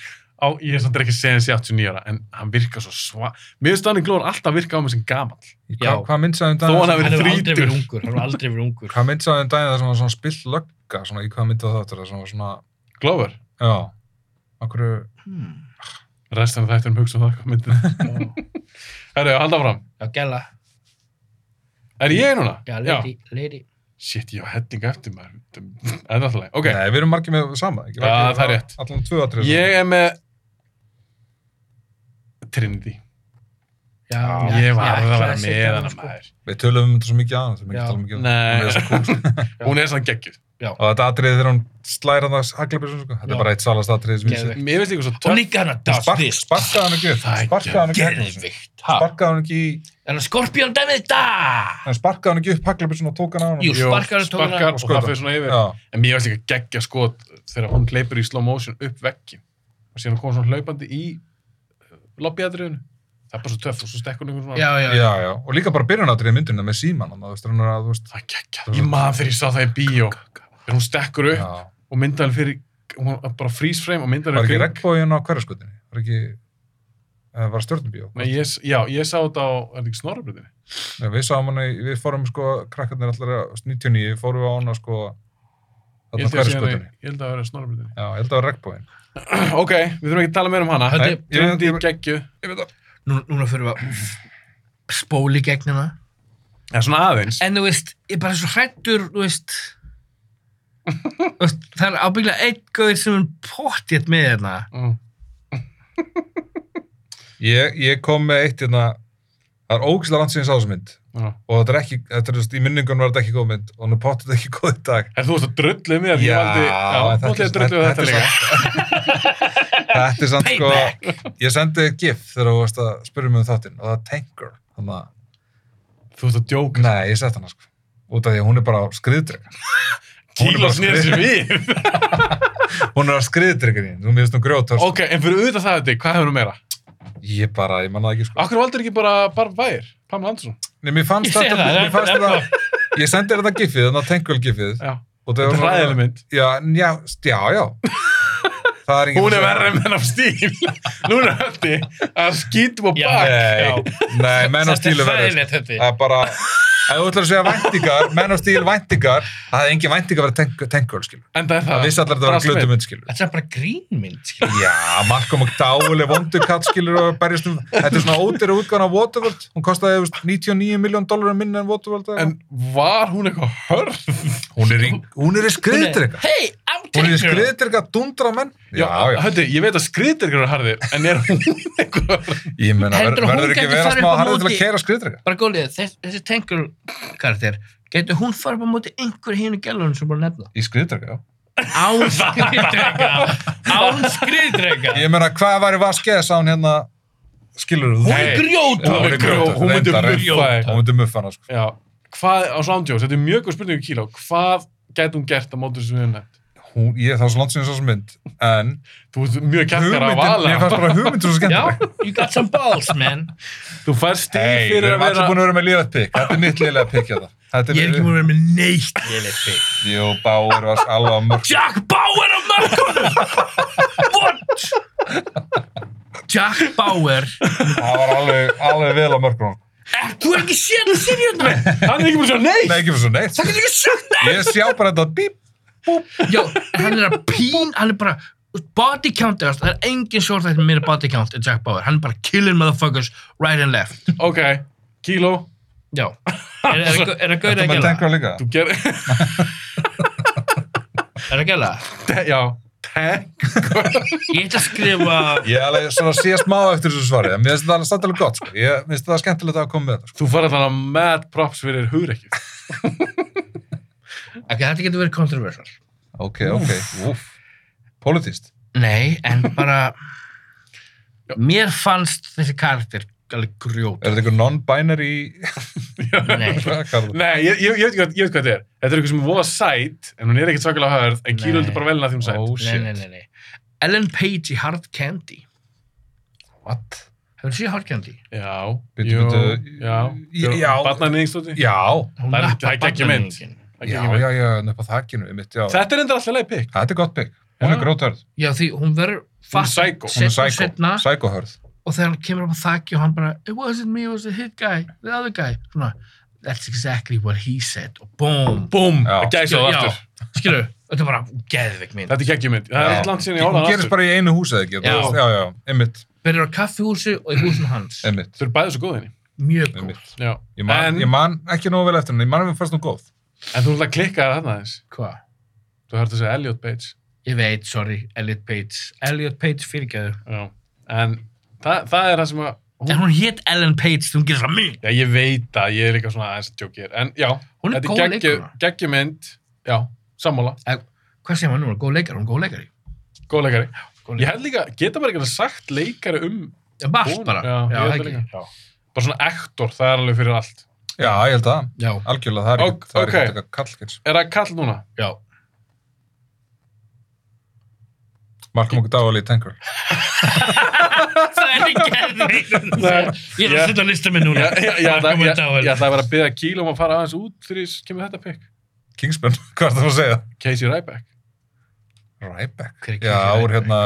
Speaker 2: Á, ég er samt ekki að segja hans í 89 ára, en hann virkar svo sva... Mér finnst Danny Glover alltaf virka á mig sem gamall.
Speaker 3: Hva-
Speaker 1: Já.
Speaker 3: Hvað mynd sagði um
Speaker 2: Þó hann
Speaker 3: daginn?
Speaker 2: hafi-
Speaker 1: Hann
Speaker 2: verið
Speaker 1: hefur aldrei
Speaker 2: þrítugur.
Speaker 1: verið ungur Hann hefur aldrei verið ungur
Speaker 3: Hvað mynd sagði um daginn það sem var svona spill lögga, svona í hvað mynd var það þetta, sem var svona,
Speaker 2: Glover,
Speaker 3: já, okkur,
Speaker 1: hmm.
Speaker 2: restan af þetta um hugsa um það hvað myndin.
Speaker 1: Já,
Speaker 2: Herru, halda fram.
Speaker 1: Já, gæla
Speaker 2: Er ég núna?
Speaker 1: Já, lady, lady
Speaker 2: Shit, ég á helling eftir maður. Það er náttúrulega. Ok,
Speaker 3: nei, við erum margir með sama, ekki?
Speaker 2: Já, það er rétt.
Speaker 3: Allan tvö atrið.
Speaker 2: ég er með... Trinity.
Speaker 1: Já,
Speaker 2: ég var að vera
Speaker 1: ætlaði að
Speaker 2: með
Speaker 1: segja
Speaker 2: hana
Speaker 1: það, sko.
Speaker 2: maður.
Speaker 3: Við tölum um þetta svo mikið aðan, þurfum ekki
Speaker 1: Já.
Speaker 3: að tala mikið um
Speaker 2: Nei, hún er sann geggjuð.
Speaker 3: Og þetta atriði þegar hún slæra hann að haglabjörnum, sko. Þetta
Speaker 1: Já.
Speaker 3: er bara eitt salast atriði sem ég sé.
Speaker 1: Geðveikt.
Speaker 2: Mér finnst líka svo
Speaker 1: Og
Speaker 2: töff.
Speaker 1: líka hann að does
Speaker 3: Spark-
Speaker 1: this.
Speaker 3: Sparkaði hann ekki upp.
Speaker 2: Það er
Speaker 3: Sparkaði hann ekki upp.
Speaker 1: Geðvikt. ha.
Speaker 3: Sparkaði hann ekki í...
Speaker 1: En að skorpjón dæmið þetta.
Speaker 3: hann sparkaði hann ekki upp haglabjörnum og tók hann á hann.
Speaker 1: Jú,
Speaker 2: Jú,
Speaker 1: sparkar hann tók
Speaker 2: sparkar
Speaker 1: hann.
Speaker 2: og
Speaker 3: skotar.
Speaker 2: það fyrir svona yfir.
Speaker 3: Já,
Speaker 2: En mér finnst líka geggja skot þegar hún hleypur í slow motion upp vekkin og síðan kom svona hlaupandi í lobbyadriðinu. Það er bara svo töff og svo stekkur hún einhvern svona.
Speaker 1: Já, já, já.
Speaker 3: já, já. Og líka bara byrjunatrið myndina með síman, þannig að þú veist, hann er að, þú veist,
Speaker 2: Það er geggja. Ég maður þegar ég sá það í bíó. Þegar hún stekkur upp
Speaker 3: já.
Speaker 2: og myndar hann fyrir, hún bara freeze frame og myndar
Speaker 3: Var
Speaker 2: hann
Speaker 3: ekki regnbóin á hverjaskutinni? Var ekki, eða var stjórnubíó?
Speaker 2: Nei, ég, s- já, ég sá þetta á, er þetta ekki snorrabröðinni?
Speaker 3: Nei, við sáum hann, í- við fórum sko, krakkarnir allar að 99, fórum við á hana sko,
Speaker 2: Ég
Speaker 3: þarna
Speaker 2: held að sé hann í-
Speaker 3: hverjaskutinni.
Speaker 2: ég held að það vera snorrabröðinni.
Speaker 3: Já, ég held að það var regnbóin.
Speaker 2: <clears throat> ok, við þurfum ekki að tala meira um hana.
Speaker 1: Höldu,
Speaker 3: Nei. Ég-
Speaker 2: Trinity
Speaker 3: ég-
Speaker 2: geggju.
Speaker 3: Ég veit það.
Speaker 1: nú- núna fyrir við að spóli gegnina.
Speaker 2: Já, svona aðeins.
Speaker 1: En þú veist, ég er bara svo hrættur, þú veist. Þú veist, Það er ábygglega einn gauðir sem er pottjétt með hérna.
Speaker 2: Mm.
Speaker 3: Ég, ég kom með eitt hérna, það er ógislega langt síðan ég sá þessu mynd
Speaker 2: Já.
Speaker 3: og þetta er ekki, þetta er þú veist, í minningun var þetta ekki góð mynd og nú pottir þetta ekki góð í dag.
Speaker 2: En þú veist að um drullið mér, ég valdi, já,
Speaker 3: en
Speaker 2: þú
Speaker 3: þetta
Speaker 2: ætlaði
Speaker 3: er-
Speaker 2: að drullið
Speaker 3: þetta-
Speaker 2: þetta líka.
Speaker 3: Þetta er samt sko,
Speaker 1: Payback.
Speaker 3: ég sendi þér gif þegar þú varst að spyrja mig um þáttinn og það er Tank Girl, þannig að
Speaker 2: Þú veist að djóka.
Speaker 3: Nei, ég sett hana sko út af því að hún er bara á skriðdrega Hún er
Speaker 2: Kíla
Speaker 3: bara
Speaker 2: snýr sér við. <laughs>
Speaker 3: hún er á skriðdrega þín, þú veist hún grjótar
Speaker 2: ok, en fyrir auðvitað það þetta, hvað hefur þú meira?
Speaker 3: ég bara, ég manna það ekki sko
Speaker 2: Akkur valdur ekki bara Barb Vær, Pamela Andersson?
Speaker 3: Nei, mér fannst
Speaker 1: Ég sé
Speaker 3: þetta,
Speaker 1: það,
Speaker 3: mér fannst
Speaker 1: það er
Speaker 3: þetta ég sendi þér þetta gifið, þannig að tengul gifið
Speaker 2: Já.
Speaker 3: og
Speaker 2: Þetta er ræðileg mynd.
Speaker 3: já, en já, já, já
Speaker 2: <laughs>
Speaker 3: það er engin
Speaker 2: Hún er verri með hennar stíl. <laughs> Núna höfði að skýtum á
Speaker 1: Já.
Speaker 2: bak.
Speaker 3: nei, nei, menn á stílu verður sko.
Speaker 1: Þetta er
Speaker 3: það er bara ef þú ætlar að segja væntingar, <laughs> menn á stíl væntingar það hefði engin væntingar verið tengul skilur,
Speaker 2: En það er
Speaker 3: það
Speaker 2: það.
Speaker 3: vissi allar að þetta var
Speaker 2: Brasl
Speaker 3: glötumund skilur
Speaker 1: Þetta er bara grínmynd, skilur.
Speaker 3: Já, Malcolm McDowell er vondur katt skilur og berjast um, þetta er svona ódýra útgáðan á Waterworld, hún kostaði þú veist, 99 miljón dólarum minna en Waterworld eða
Speaker 2: En var hún eitthvað hörð?
Speaker 3: eitthvað. hún er í, hún er í skriðdrega
Speaker 1: Hey, I'm
Speaker 3: hún
Speaker 1: taking
Speaker 3: er í skriðdrega dundra menn Já, já,
Speaker 2: Höfði, ég veit að skriðir ykkur er harðir, en er hún
Speaker 3: <laughs>
Speaker 2: eitthvað hörð?
Speaker 3: ég menna,
Speaker 1: Heldur hún
Speaker 3: verður, verður ekki
Speaker 1: gæti
Speaker 3: að vera
Speaker 1: farið upp
Speaker 3: smá
Speaker 1: á
Speaker 3: harðið til
Speaker 1: móti-
Speaker 3: að keira skriðdrega
Speaker 1: Bara góðlega, þess, þessi tengur karakter, getur hún farið bara mútið einhver hinu gælunum sem bara <laughs> nefna?
Speaker 3: í skriðdrega, já
Speaker 1: Án skriðdrega. Án skriðdrega.
Speaker 3: ég menna, hvað var í vaskes á hún hérna skilur þú
Speaker 1: Hún er grjót.
Speaker 3: Já,
Speaker 2: Hún er
Speaker 3: hún er grjót,
Speaker 2: grjót, hún myndi
Speaker 3: reyndar, reyndar.
Speaker 2: muffa þig.
Speaker 3: hún myndi muffa hana sko.
Speaker 2: Já, hvað á Soundjós, þetta er mjög góð spurningu kíla, hvað gæti hún gert á mótur sem við höfum nefnt?
Speaker 3: hún, ég það var svo langt sinni svo sem mynd en
Speaker 2: Þú ert mjög kjarkar að
Speaker 3: hugmyndin,
Speaker 2: vala.
Speaker 3: ég fannst bara hugmyndin svo
Speaker 1: Já,
Speaker 3: skemmtileg
Speaker 1: you got some balls, man.
Speaker 2: Þú fær stíl
Speaker 3: Hey, við
Speaker 2: fyrir
Speaker 3: erum
Speaker 2: að
Speaker 3: allir
Speaker 2: vera...
Speaker 3: búin að vera með liðat pikk, þetta er mitt liðlega pikk hérna. Þetta
Speaker 1: Ég er ekki múin að vera með neitt lélegt pík.
Speaker 3: Jú, Bauer var alveg á mörg.
Speaker 1: Jack Bauer á mörgunum! What? Jack Bauer.
Speaker 3: Það var alveg, alveg vel á mörgunum.
Speaker 1: Þú er ekki séð það sirjönda.
Speaker 2: Hann er ekki búin að segja
Speaker 3: Nei,
Speaker 2: nei!
Speaker 3: ekki fyrir svo neitt.
Speaker 1: Það getur ekki sagt það.
Speaker 3: Ég sjá bara þetta bíp.
Speaker 1: Já, hann er að pín, hann er bara body count, eða, það er engin short þetta meira body count en Jack Bauer, hann er bara killing motherfuckers right and left
Speaker 2: Ok, kíló,
Speaker 1: Já, er, er, er, er að gauðra að
Speaker 3: Þetta maður
Speaker 1: gæla?
Speaker 3: tengur líka.
Speaker 2: þú ger... <laughs>
Speaker 1: Er að gæla?
Speaker 2: Te- Já, tank.
Speaker 1: Ég ætla að skrifa
Speaker 3: Ég er alveg svona sé smá eftir þessu svari. en Mér finnst þetta alveg samt alveg gott, sko. Ég mér finnst þetta skemmtilegt að koma með þetta, sko.
Speaker 2: Þú fær alltaf mad props fyrir hugrekkið.
Speaker 1: Ok, þetta getur verið kontroversal
Speaker 3: Ok, ok. Úf. Politist.
Speaker 1: Nei,
Speaker 2: <laughs>
Speaker 1: en bara Mér fannst þessi karakter alveg grjót
Speaker 2: <laughs>
Speaker 3: Er þetta einhver non-binary <laughs>
Speaker 1: Nei,
Speaker 3: karl?
Speaker 2: Nei, ég, ég, ég, veit ekki hvað, ég veit hvað þetta er. Þetta er eitthvað sem er voða sætt, en hún er ekkert svakalega hörð, en kíló
Speaker 1: Nei.
Speaker 2: er bara velna því hún er sætt.
Speaker 3: Oh
Speaker 1: nei, nei,
Speaker 3: shit.
Speaker 1: nei, nei Ellen Page í Hard Candy
Speaker 3: What?
Speaker 1: Hefur þú séð Hard Candy?
Speaker 2: Já,
Speaker 3: Bíddu,
Speaker 2: jú,
Speaker 3: bíddu.
Speaker 2: já.
Speaker 3: Já.
Speaker 2: Barnaníðingstóti.
Speaker 3: Já.
Speaker 1: Hún
Speaker 2: Það er-
Speaker 1: nappar
Speaker 2: það er geggjum mynd.
Speaker 1: barnamenningin.
Speaker 3: Já, já, já, nöpp á þakkinu, mitt, já.
Speaker 2: Þetta er endur alltaf leið pikk.
Speaker 3: Þetta er gott bygg. Hún
Speaker 2: Já.
Speaker 3: er grótörð.
Speaker 1: Já, því hún verður fatt-
Speaker 2: psycho.
Speaker 3: Hún er
Speaker 1: seinna og
Speaker 3: psycho.
Speaker 1: seinna.
Speaker 3: Psychohörð.
Speaker 1: og þegar hann kemur upp á þakki og hann bara it wasn't me, it was the hit guy, the other guy svona, that's exactly what he said og boom,
Speaker 2: Búm,
Speaker 3: Já.
Speaker 2: gæsa það
Speaker 1: Já,
Speaker 2: aftur.
Speaker 1: skilur, þetta er bara geðveik mynd
Speaker 2: Þetta er geggjumynd. Það er
Speaker 3: Já.
Speaker 2: eitt land síðan ég
Speaker 3: Hún
Speaker 2: ála
Speaker 3: gerist
Speaker 2: aftur.
Speaker 3: bara í einu húsi, eða ekki?
Speaker 1: Já.
Speaker 3: þú veist, Já, já, einmitt,
Speaker 1: byrjar á kaffihúsi og í húsinu hans
Speaker 3: einmitt,
Speaker 2: Þau eru bæðið svo góð henni.
Speaker 1: mjög góð,
Speaker 3: einmitt.
Speaker 2: Já.
Speaker 3: Ég man,
Speaker 2: En-
Speaker 3: ég man ekki nógu vel eftir henni, ég man að við fannst nú góð.
Speaker 2: En þú ætla að klikka þér þarna aðeins.
Speaker 1: hvað?
Speaker 2: Þú hörðu að segja Elliot Page.
Speaker 1: ég veit, sorry, Elliot Page Elliot Page fyrirgæður
Speaker 2: Já. En Þa, það er það sem að...
Speaker 1: En hún hét Ellen Page, hún gerir svona mig.
Speaker 2: Já, ég veit að ég er líka svona aðeins að tjókir. En já,
Speaker 1: Hún er góð leikara.
Speaker 2: geggjumynd, já, sammála,
Speaker 1: Hvað segir maður núna? Góð leikari, hún er góð leikari.
Speaker 2: góð leikari.
Speaker 1: Góð
Speaker 2: Ég
Speaker 1: leikari.
Speaker 2: held líka, geta maður ekki sagt leikari um
Speaker 1: Já, Bart bara. Já,
Speaker 2: Já, ég held
Speaker 1: það
Speaker 2: það
Speaker 1: ekki.
Speaker 2: líka. Já. Bara svona ektor, það er alveg fyrir allt.
Speaker 3: Já, ég held að,
Speaker 1: Já,
Speaker 3: algjörlega, það er
Speaker 2: Ok,
Speaker 3: ekki, það er ekki
Speaker 2: ok.
Speaker 3: að taka kallkins.
Speaker 2: Er það kall núna?
Speaker 1: já.
Speaker 3: Malcolm um og Dávali í Tanker.
Speaker 1: Það er ekki gerðið. Ég er að setja á lista minn núna.
Speaker 2: Já,
Speaker 1: <laughs>
Speaker 2: já, já, það,
Speaker 1: Malcolm
Speaker 2: já,
Speaker 1: McDowell.
Speaker 2: já, það var að byrja kílum að fara aðeins út þegar kemur þetta pikk.
Speaker 3: Kingsman, <laughs> hvað er það að segja?
Speaker 2: Casey Ryback.
Speaker 3: Ryback.
Speaker 1: Hver er Casey
Speaker 3: Já, úr
Speaker 1: Ryback?
Speaker 3: hérna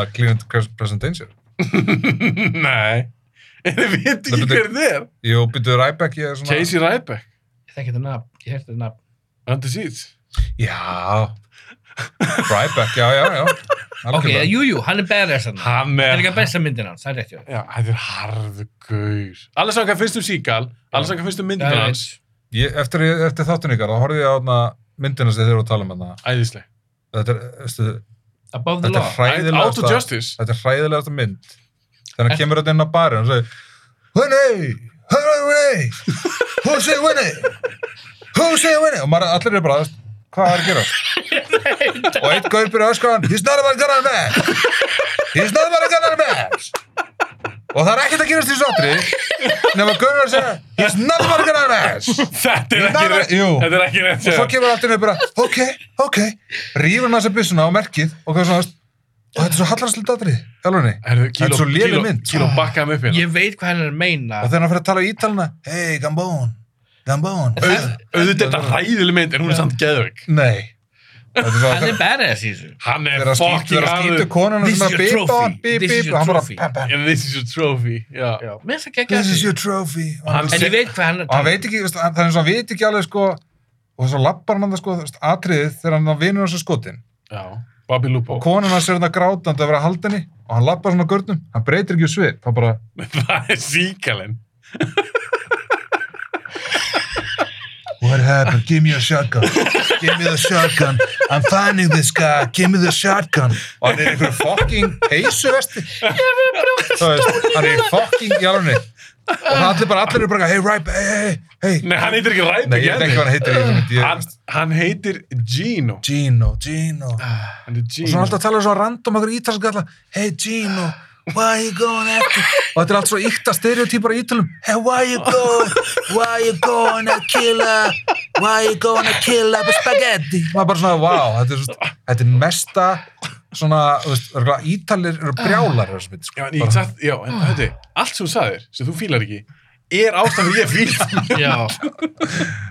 Speaker 3: Cleveland Present Danger.
Speaker 2: <laughs> Nei. En þið veit ekki
Speaker 3: Nei,
Speaker 2: hver þið er.
Speaker 3: Jú, byrju Ryback, ég er svona...
Speaker 2: Casey Ryback.
Speaker 1: Ég þekki þetta nafn, ég hef þetta nafn.
Speaker 2: Andy Seeds.
Speaker 3: Já. Ryback, já, já, já.
Speaker 1: Ok,
Speaker 3: Algjörlega.
Speaker 1: jú, jú, hann er badass hann.
Speaker 2: Hann
Speaker 1: Það er
Speaker 2: er...
Speaker 1: líka besta myndin hans, það er rétt, já.
Speaker 2: Já, þetta er harðu gaur. Allir sanga fyrst um síkal, allir sanga fyrst
Speaker 1: Já,
Speaker 2: um myndir
Speaker 1: ég
Speaker 2: hans.
Speaker 3: Ég, eftir, eftir þáttun ykkar, þá horfði ég á hérna myndina sem þið eru að tala um hérna.
Speaker 2: Æðisleg.
Speaker 3: Þetta er, veistu,
Speaker 1: Above the law.
Speaker 3: þetta er
Speaker 2: Out of
Speaker 3: hræðilegasta,
Speaker 2: Justice.
Speaker 3: þetta er hræðilegasta mynd. Þannig
Speaker 1: Er-
Speaker 3: að kemur þetta inn á barinn og segir, Winnie, hurray, Winnie, who say Winnie, who say Winnie, og maður, allir eru bara, veist, hvað er að gera?
Speaker 1: <laughs>
Speaker 3: og einn gaur byrja að öskra á hann, he's not about gunnar man, he's not about gunnar man. Og það er ekkert að gerast í sotri, nema Gunnar að segja, he's not about gunnar man.
Speaker 2: Þetta er ekki
Speaker 3: Nei, nei,
Speaker 2: rétt.
Speaker 3: jú.
Speaker 2: Þetta er ekki rétt.
Speaker 3: og svo
Speaker 2: já.
Speaker 3: kemur alltaf bara, ok, ok rýfur hann þessa byssuna á merkið og hvað svona, og þetta er svo hallarslut aðri alveg,
Speaker 2: Herðu,
Speaker 3: Þetta er svo léleg
Speaker 2: kíló,
Speaker 3: mynd.
Speaker 2: kíló bakkaði mig upp hérna.
Speaker 1: Ég veit hvað hann er að meina.
Speaker 3: og þegar hann fyrir að tala í ítalina hey, Gambón, Gambón
Speaker 2: Auð- Auðvitað er þetta ræðileg mynd, en hún er samt geðvögg.
Speaker 3: nei þetta er svo
Speaker 1: Hann er badass í þessu.
Speaker 2: Hann er
Speaker 3: þegar að skýtu,
Speaker 2: fucking
Speaker 3: þegar að skýtu
Speaker 2: harður.
Speaker 3: konuna
Speaker 1: This
Speaker 3: sem
Speaker 1: is
Speaker 3: er
Speaker 1: your
Speaker 3: að bípa
Speaker 1: trophy.
Speaker 3: hann, bíp,
Speaker 1: This is
Speaker 3: bíp
Speaker 1: your
Speaker 3: og hann bara,
Speaker 1: trophy.
Speaker 3: pam, pam,
Speaker 2: Yeah, This is your trophy, já.
Speaker 1: Já, mér finnst það ekki
Speaker 3: this is your trophy og
Speaker 2: Hann
Speaker 3: hann,
Speaker 1: En ég veit hvað hann er
Speaker 3: og hann veit ekki, veist, hann- það er eins og hann veit ekki alveg sko, og svo lappar hann það sko, þú veist, atriðið þegar hann vinur hans er skotin
Speaker 2: Já, Bobby Lupo. <laughs>
Speaker 3: og konan hans er þetta grátandi að vera haldinni og hann lappar svona gurnum, hann breytir ekki um svip hann bara,
Speaker 2: það er síkalinn.
Speaker 3: What happened? Give me a shotgun. Give me the shotgun. I'm finding this guy. Give me the shotgun. Og hann er í einhverju fucking peysuvesti. Þú veist, hann er í fucking jálunni. Og það allir bara, allir eru bara, hey, right, hey, hey, hey.
Speaker 2: Nei, hann heitir ekki Ræbjörn.
Speaker 3: Nei, ég veit ekki hvað hann heitir í þessu myndi.
Speaker 2: Hann,
Speaker 3: Ég, Ah.
Speaker 2: hann heitir Gino.
Speaker 3: Gino, Gino.
Speaker 2: Hann er
Speaker 3: Og svona
Speaker 2: Gino.
Speaker 3: alltaf að tala um svona random okkur ítalsku galla. Hey, Gino, why are you going after? Og þetta er allt svo ykta stereotypar í ítalum. Hey, why you going, why you going to kill her? Why you going to kill her with spaghetti? Maður bara svona, wow, þetta er, svona, þetta er mesta svona, þú veist, örugglega ítalir eru brjálar þessu mitt,
Speaker 2: Já,
Speaker 3: sko.
Speaker 2: en ég satt, já, en þetta er, allt sem þú sagðir, sem þú fílar ekki, er ástæðan fyrir ég
Speaker 3: <laughs>
Speaker 2: fíla.
Speaker 1: Já,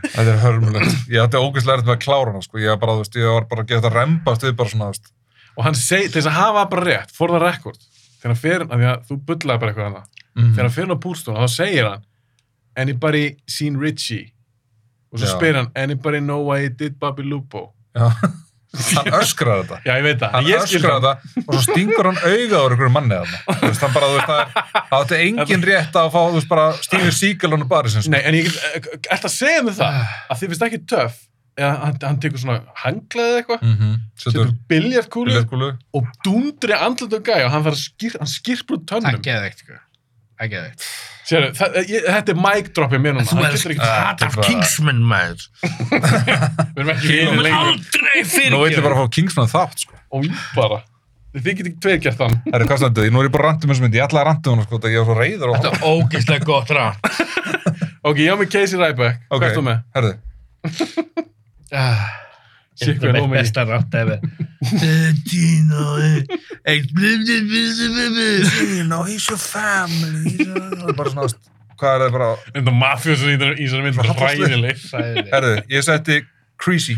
Speaker 3: Þetta er hörmulegt. Ég átti ógeðslega erfitt með að klára hana, sko. Ég var bara, þú veist, ég var bara að geta rembast við bara svona, þú veist.
Speaker 2: Og hann segi, til þess að hafa bara rétt, for the record, þegar hann fer, af því að þú bullaði bara eitthvað hana, þegar hann fer hann á púlstónu, þá segir hann, anybody seen Richie? Og svo
Speaker 3: Já.
Speaker 2: spyr hann, anybody know why he did Bobby Lupo?
Speaker 3: Mm, Já. <laughs> Hann öskraði þetta.
Speaker 2: Já, ég veit það,
Speaker 3: hann
Speaker 2: ég skil
Speaker 3: öskrar
Speaker 2: það.
Speaker 3: þetta og svo stingur hann auga úr einhverjum manni þarna þú veist, hann bara, þú veist, það er það átti engin rétt á að fá, þú veist, bara Steve Seagal hann bara sem sko.
Speaker 2: Nei, en ég get, ert að segja
Speaker 3: Ah.
Speaker 2: mér það, að þið finnst ekki töff, eða hann, hann tekur svona hanglaðið eitthvað,
Speaker 3: mm -hmm. setur
Speaker 2: setur biljartkúlu
Speaker 3: leirkúlu
Speaker 2: og dúndri andlut og gæja og hann, fær að skýr, hann skýrpur út
Speaker 1: það
Speaker 2: tönnum.
Speaker 1: geði eitt, sko. Það geði eitt.
Speaker 2: Sérðu, það, eh, ég, þetta er mic dropið mér núna.
Speaker 1: Þú
Speaker 2: hann
Speaker 1: er
Speaker 2: getur
Speaker 1: sko
Speaker 2: ekki-
Speaker 1: hatt af
Speaker 3: bara-
Speaker 1: Kingsman, maður.
Speaker 2: Við erum ekki
Speaker 1: Þú
Speaker 2: vinir
Speaker 1: mun
Speaker 2: lengur.
Speaker 1: aldrei fyrir.
Speaker 3: nú ætlum ég bara að fá Kingsman þátt sko.
Speaker 2: Og ég bara, þið getur ekki tveir gert þann.
Speaker 3: Herri, hvað stendur, nú er ég bara randum eins og myndi, ég ætlaði að randum hann sko, þegar ég var svo reyður og
Speaker 1: Þetta er ógeðslega gott rátt.
Speaker 2: Ok, ég á mig Casey Ryback.
Speaker 3: Ok.
Speaker 2: Hvað er þú með?
Speaker 3: herði,
Speaker 2: Shit,
Speaker 1: Ah, Þetta
Speaker 2: hvað
Speaker 1: er
Speaker 2: er
Speaker 1: mitt
Speaker 2: nómið?
Speaker 1: besta rátt eða. Dino, eh, eitthvað.
Speaker 3: you know, he's your family he's your-" bara svona, þú veist, hvað er það bara
Speaker 2: Þetta mafjósun í þessari mynd,
Speaker 3: Svo hallasleg.
Speaker 2: ræðileg.
Speaker 1: Sæðileg.
Speaker 3: herði, ég setti Creasy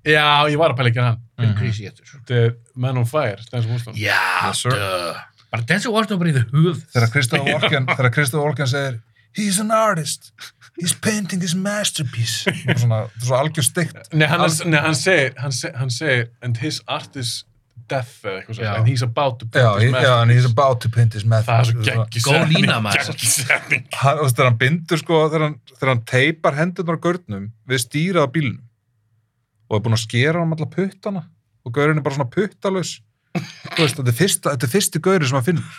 Speaker 2: Já, ég var að pæla ekki hann.
Speaker 1: Krísi getur svo.
Speaker 2: Þetta er Man on Fire, Stens Wuston.
Speaker 1: Já,
Speaker 3: Yes, sir.
Speaker 1: duh. Bara Denzel Washington bara í þau höf.
Speaker 3: þegar Christopher Walken, þegar Christopher Walken segir he's an artist, he's painting his masterpiece Og svona, þetta er svo algjör steikt
Speaker 2: Nei, hann, er- nei, hann segir, hann segir, hann segir, and his art is death eða eitthvað
Speaker 1: Já.
Speaker 2: svona, and he's about to
Speaker 3: Já, ég-
Speaker 2: his
Speaker 3: já,
Speaker 2: masterpiece.
Speaker 3: en he's about to paint his meth
Speaker 2: Það er svo geggjus.
Speaker 1: Góð lína, maður.
Speaker 2: Geggjusefning.
Speaker 3: hann, þú veist, þegar hann bindur sko, þegar hann, þegar hann teipar hendurnar á gaurnum við stýrað á bílnum og er búinn að skera hann alla puttana
Speaker 2: <laughs>
Speaker 3: og gaurin er bara svona puttalaus þú veist, þetta er, fyrsta, þetta er fyrsti gauri sem hann finnur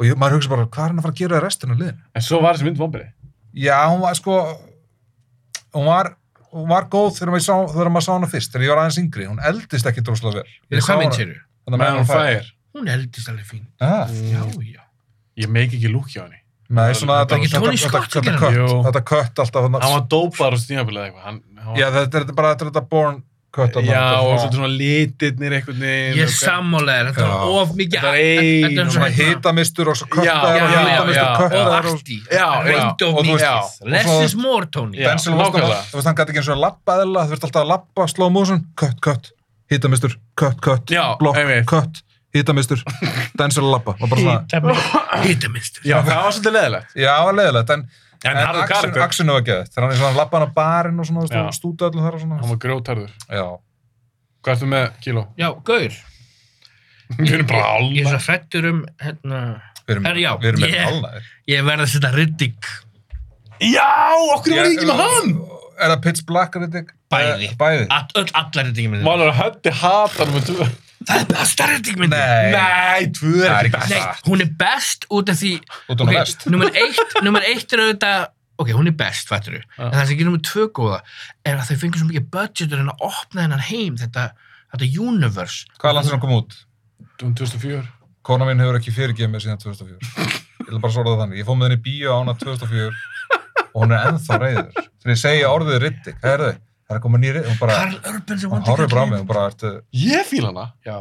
Speaker 3: og ég, maður hugsa bara, hvað er hann að fara að gera í restina af liðinu?
Speaker 2: En svo var þessi mynd vonbrið.
Speaker 3: Já, hún var sko hún var, hún var góð þegar maður, sá, þegar maður sá hana fyrst þegar ég var aðeins yngri, hún eldist ekki droslega vel
Speaker 1: Veitu hvað mynd séru?
Speaker 3: Þannig
Speaker 2: Man on Fire.
Speaker 1: Hún eldist alveg fín.
Speaker 3: Ah,
Speaker 2: Mm.
Speaker 1: Já, já.
Speaker 2: Ég meik ekki lúk hjá henni.
Speaker 3: nei, svona
Speaker 2: Þetta
Speaker 1: er ekki Tony
Speaker 3: þetta-
Speaker 1: Scott að
Speaker 3: þetta
Speaker 1: gera
Speaker 3: kött,
Speaker 2: hana? Jú.
Speaker 3: þetta kött alltaf þarna-
Speaker 2: Hann var dópar á stíðanbilið eitthvað. Hann, hann
Speaker 3: Já, þetta er þetta bara þetta, er þetta born kött þarna,
Speaker 2: já,
Speaker 3: þetta er
Speaker 2: og
Speaker 3: svona-
Speaker 2: svo svona litirnir einhvern veginn.
Speaker 1: Ég
Speaker 2: og-
Speaker 1: sammálega, þetta
Speaker 3: Já.
Speaker 1: var of mikið.
Speaker 2: Þetta er ein-
Speaker 1: Þetta er
Speaker 2: og
Speaker 1: svona
Speaker 3: svona hitamistur og svo köttaðar
Speaker 1: Já,
Speaker 3: og
Speaker 1: já,
Speaker 3: hitamistur
Speaker 2: já.
Speaker 1: Og
Speaker 3: köttaðar og
Speaker 1: arti.
Speaker 2: Já, já.
Speaker 1: Reyndi of
Speaker 3: Og þú
Speaker 1: mikið.
Speaker 3: veist-
Speaker 2: Já.
Speaker 1: Less
Speaker 3: Og svo-
Speaker 1: is more, Tony.
Speaker 2: Já.
Speaker 3: Denzel Washington,
Speaker 2: nákvæmlega.
Speaker 3: þú veist, hann gæti ekki eins og að lappa eðla, þú veist alltaf að lappa, slow motion, kött, kött, hitamistur, kött, kött,
Speaker 2: Já,
Speaker 3: blokk,
Speaker 2: einmitt.
Speaker 3: kött,
Speaker 2: <laughs>
Speaker 3: hitamistur, Denzel að lappa, og bara svona,
Speaker 1: Hýtaminstur.
Speaker 2: Já, það var svolítið leðilegt.
Speaker 3: já, það var leiðilegt, en,
Speaker 2: En hann var karakter.
Speaker 3: aksinu var geðið, þegar hann er svona að lappa hann á barinn og svona, þú
Speaker 2: Já.
Speaker 3: veist, stúta allir þar og
Speaker 2: Hann
Speaker 3: svona,
Speaker 2: var grjótarður.
Speaker 3: já,
Speaker 2: Hvað ertu með kíló?
Speaker 1: Já, gaur.
Speaker 2: Við erum bara
Speaker 1: Ég er
Speaker 2: alveg.
Speaker 1: svo fættur um, hérna,
Speaker 3: við erum,
Speaker 1: Herra, já,
Speaker 3: við erum
Speaker 1: ég-
Speaker 3: með alnaðir.
Speaker 1: ég verð að setja Riddick
Speaker 2: Já, okkur var ég ekki með hann.
Speaker 3: Er það Pitch Black, Riddick?
Speaker 1: Bæði. Ah,
Speaker 3: Eh, Bæði.
Speaker 1: All, öll, allar Riddick minni.
Speaker 2: Málur að höndi hata hann með tvö.
Speaker 1: Það er besta Riddick minni.
Speaker 2: Nei, tvö
Speaker 3: Það er
Speaker 2: er
Speaker 3: ekki
Speaker 2: ekki best.
Speaker 1: Nei, hún er best út af því...
Speaker 3: Út af hún er best.
Speaker 1: Númer eitt, númer eitt er auðvitað... Ok, hún er best, fættur við. En það sem gerir númer tvö góða er að þau fengur svo mikið budgetur en að opna hennan heim, þetta, þetta universe.
Speaker 3: Hvað er langt sem hann kom út?
Speaker 2: Um 2004.
Speaker 3: Kona mín hefur ekki fyrirgefið mér síðan 2004. Ég ætla bara að svara það þannig. Ég fóð með henni í bíó á hana 2004 og hún er ennþá reyður. Þegar ég segja orðið Riddick, hvað er þau? Það er að koma nýri, hún bara,
Speaker 1: Karl Urban sem
Speaker 3: hún horfir bara á mig, hún bara, ertu,
Speaker 2: Ég fíla hana.
Speaker 1: Já.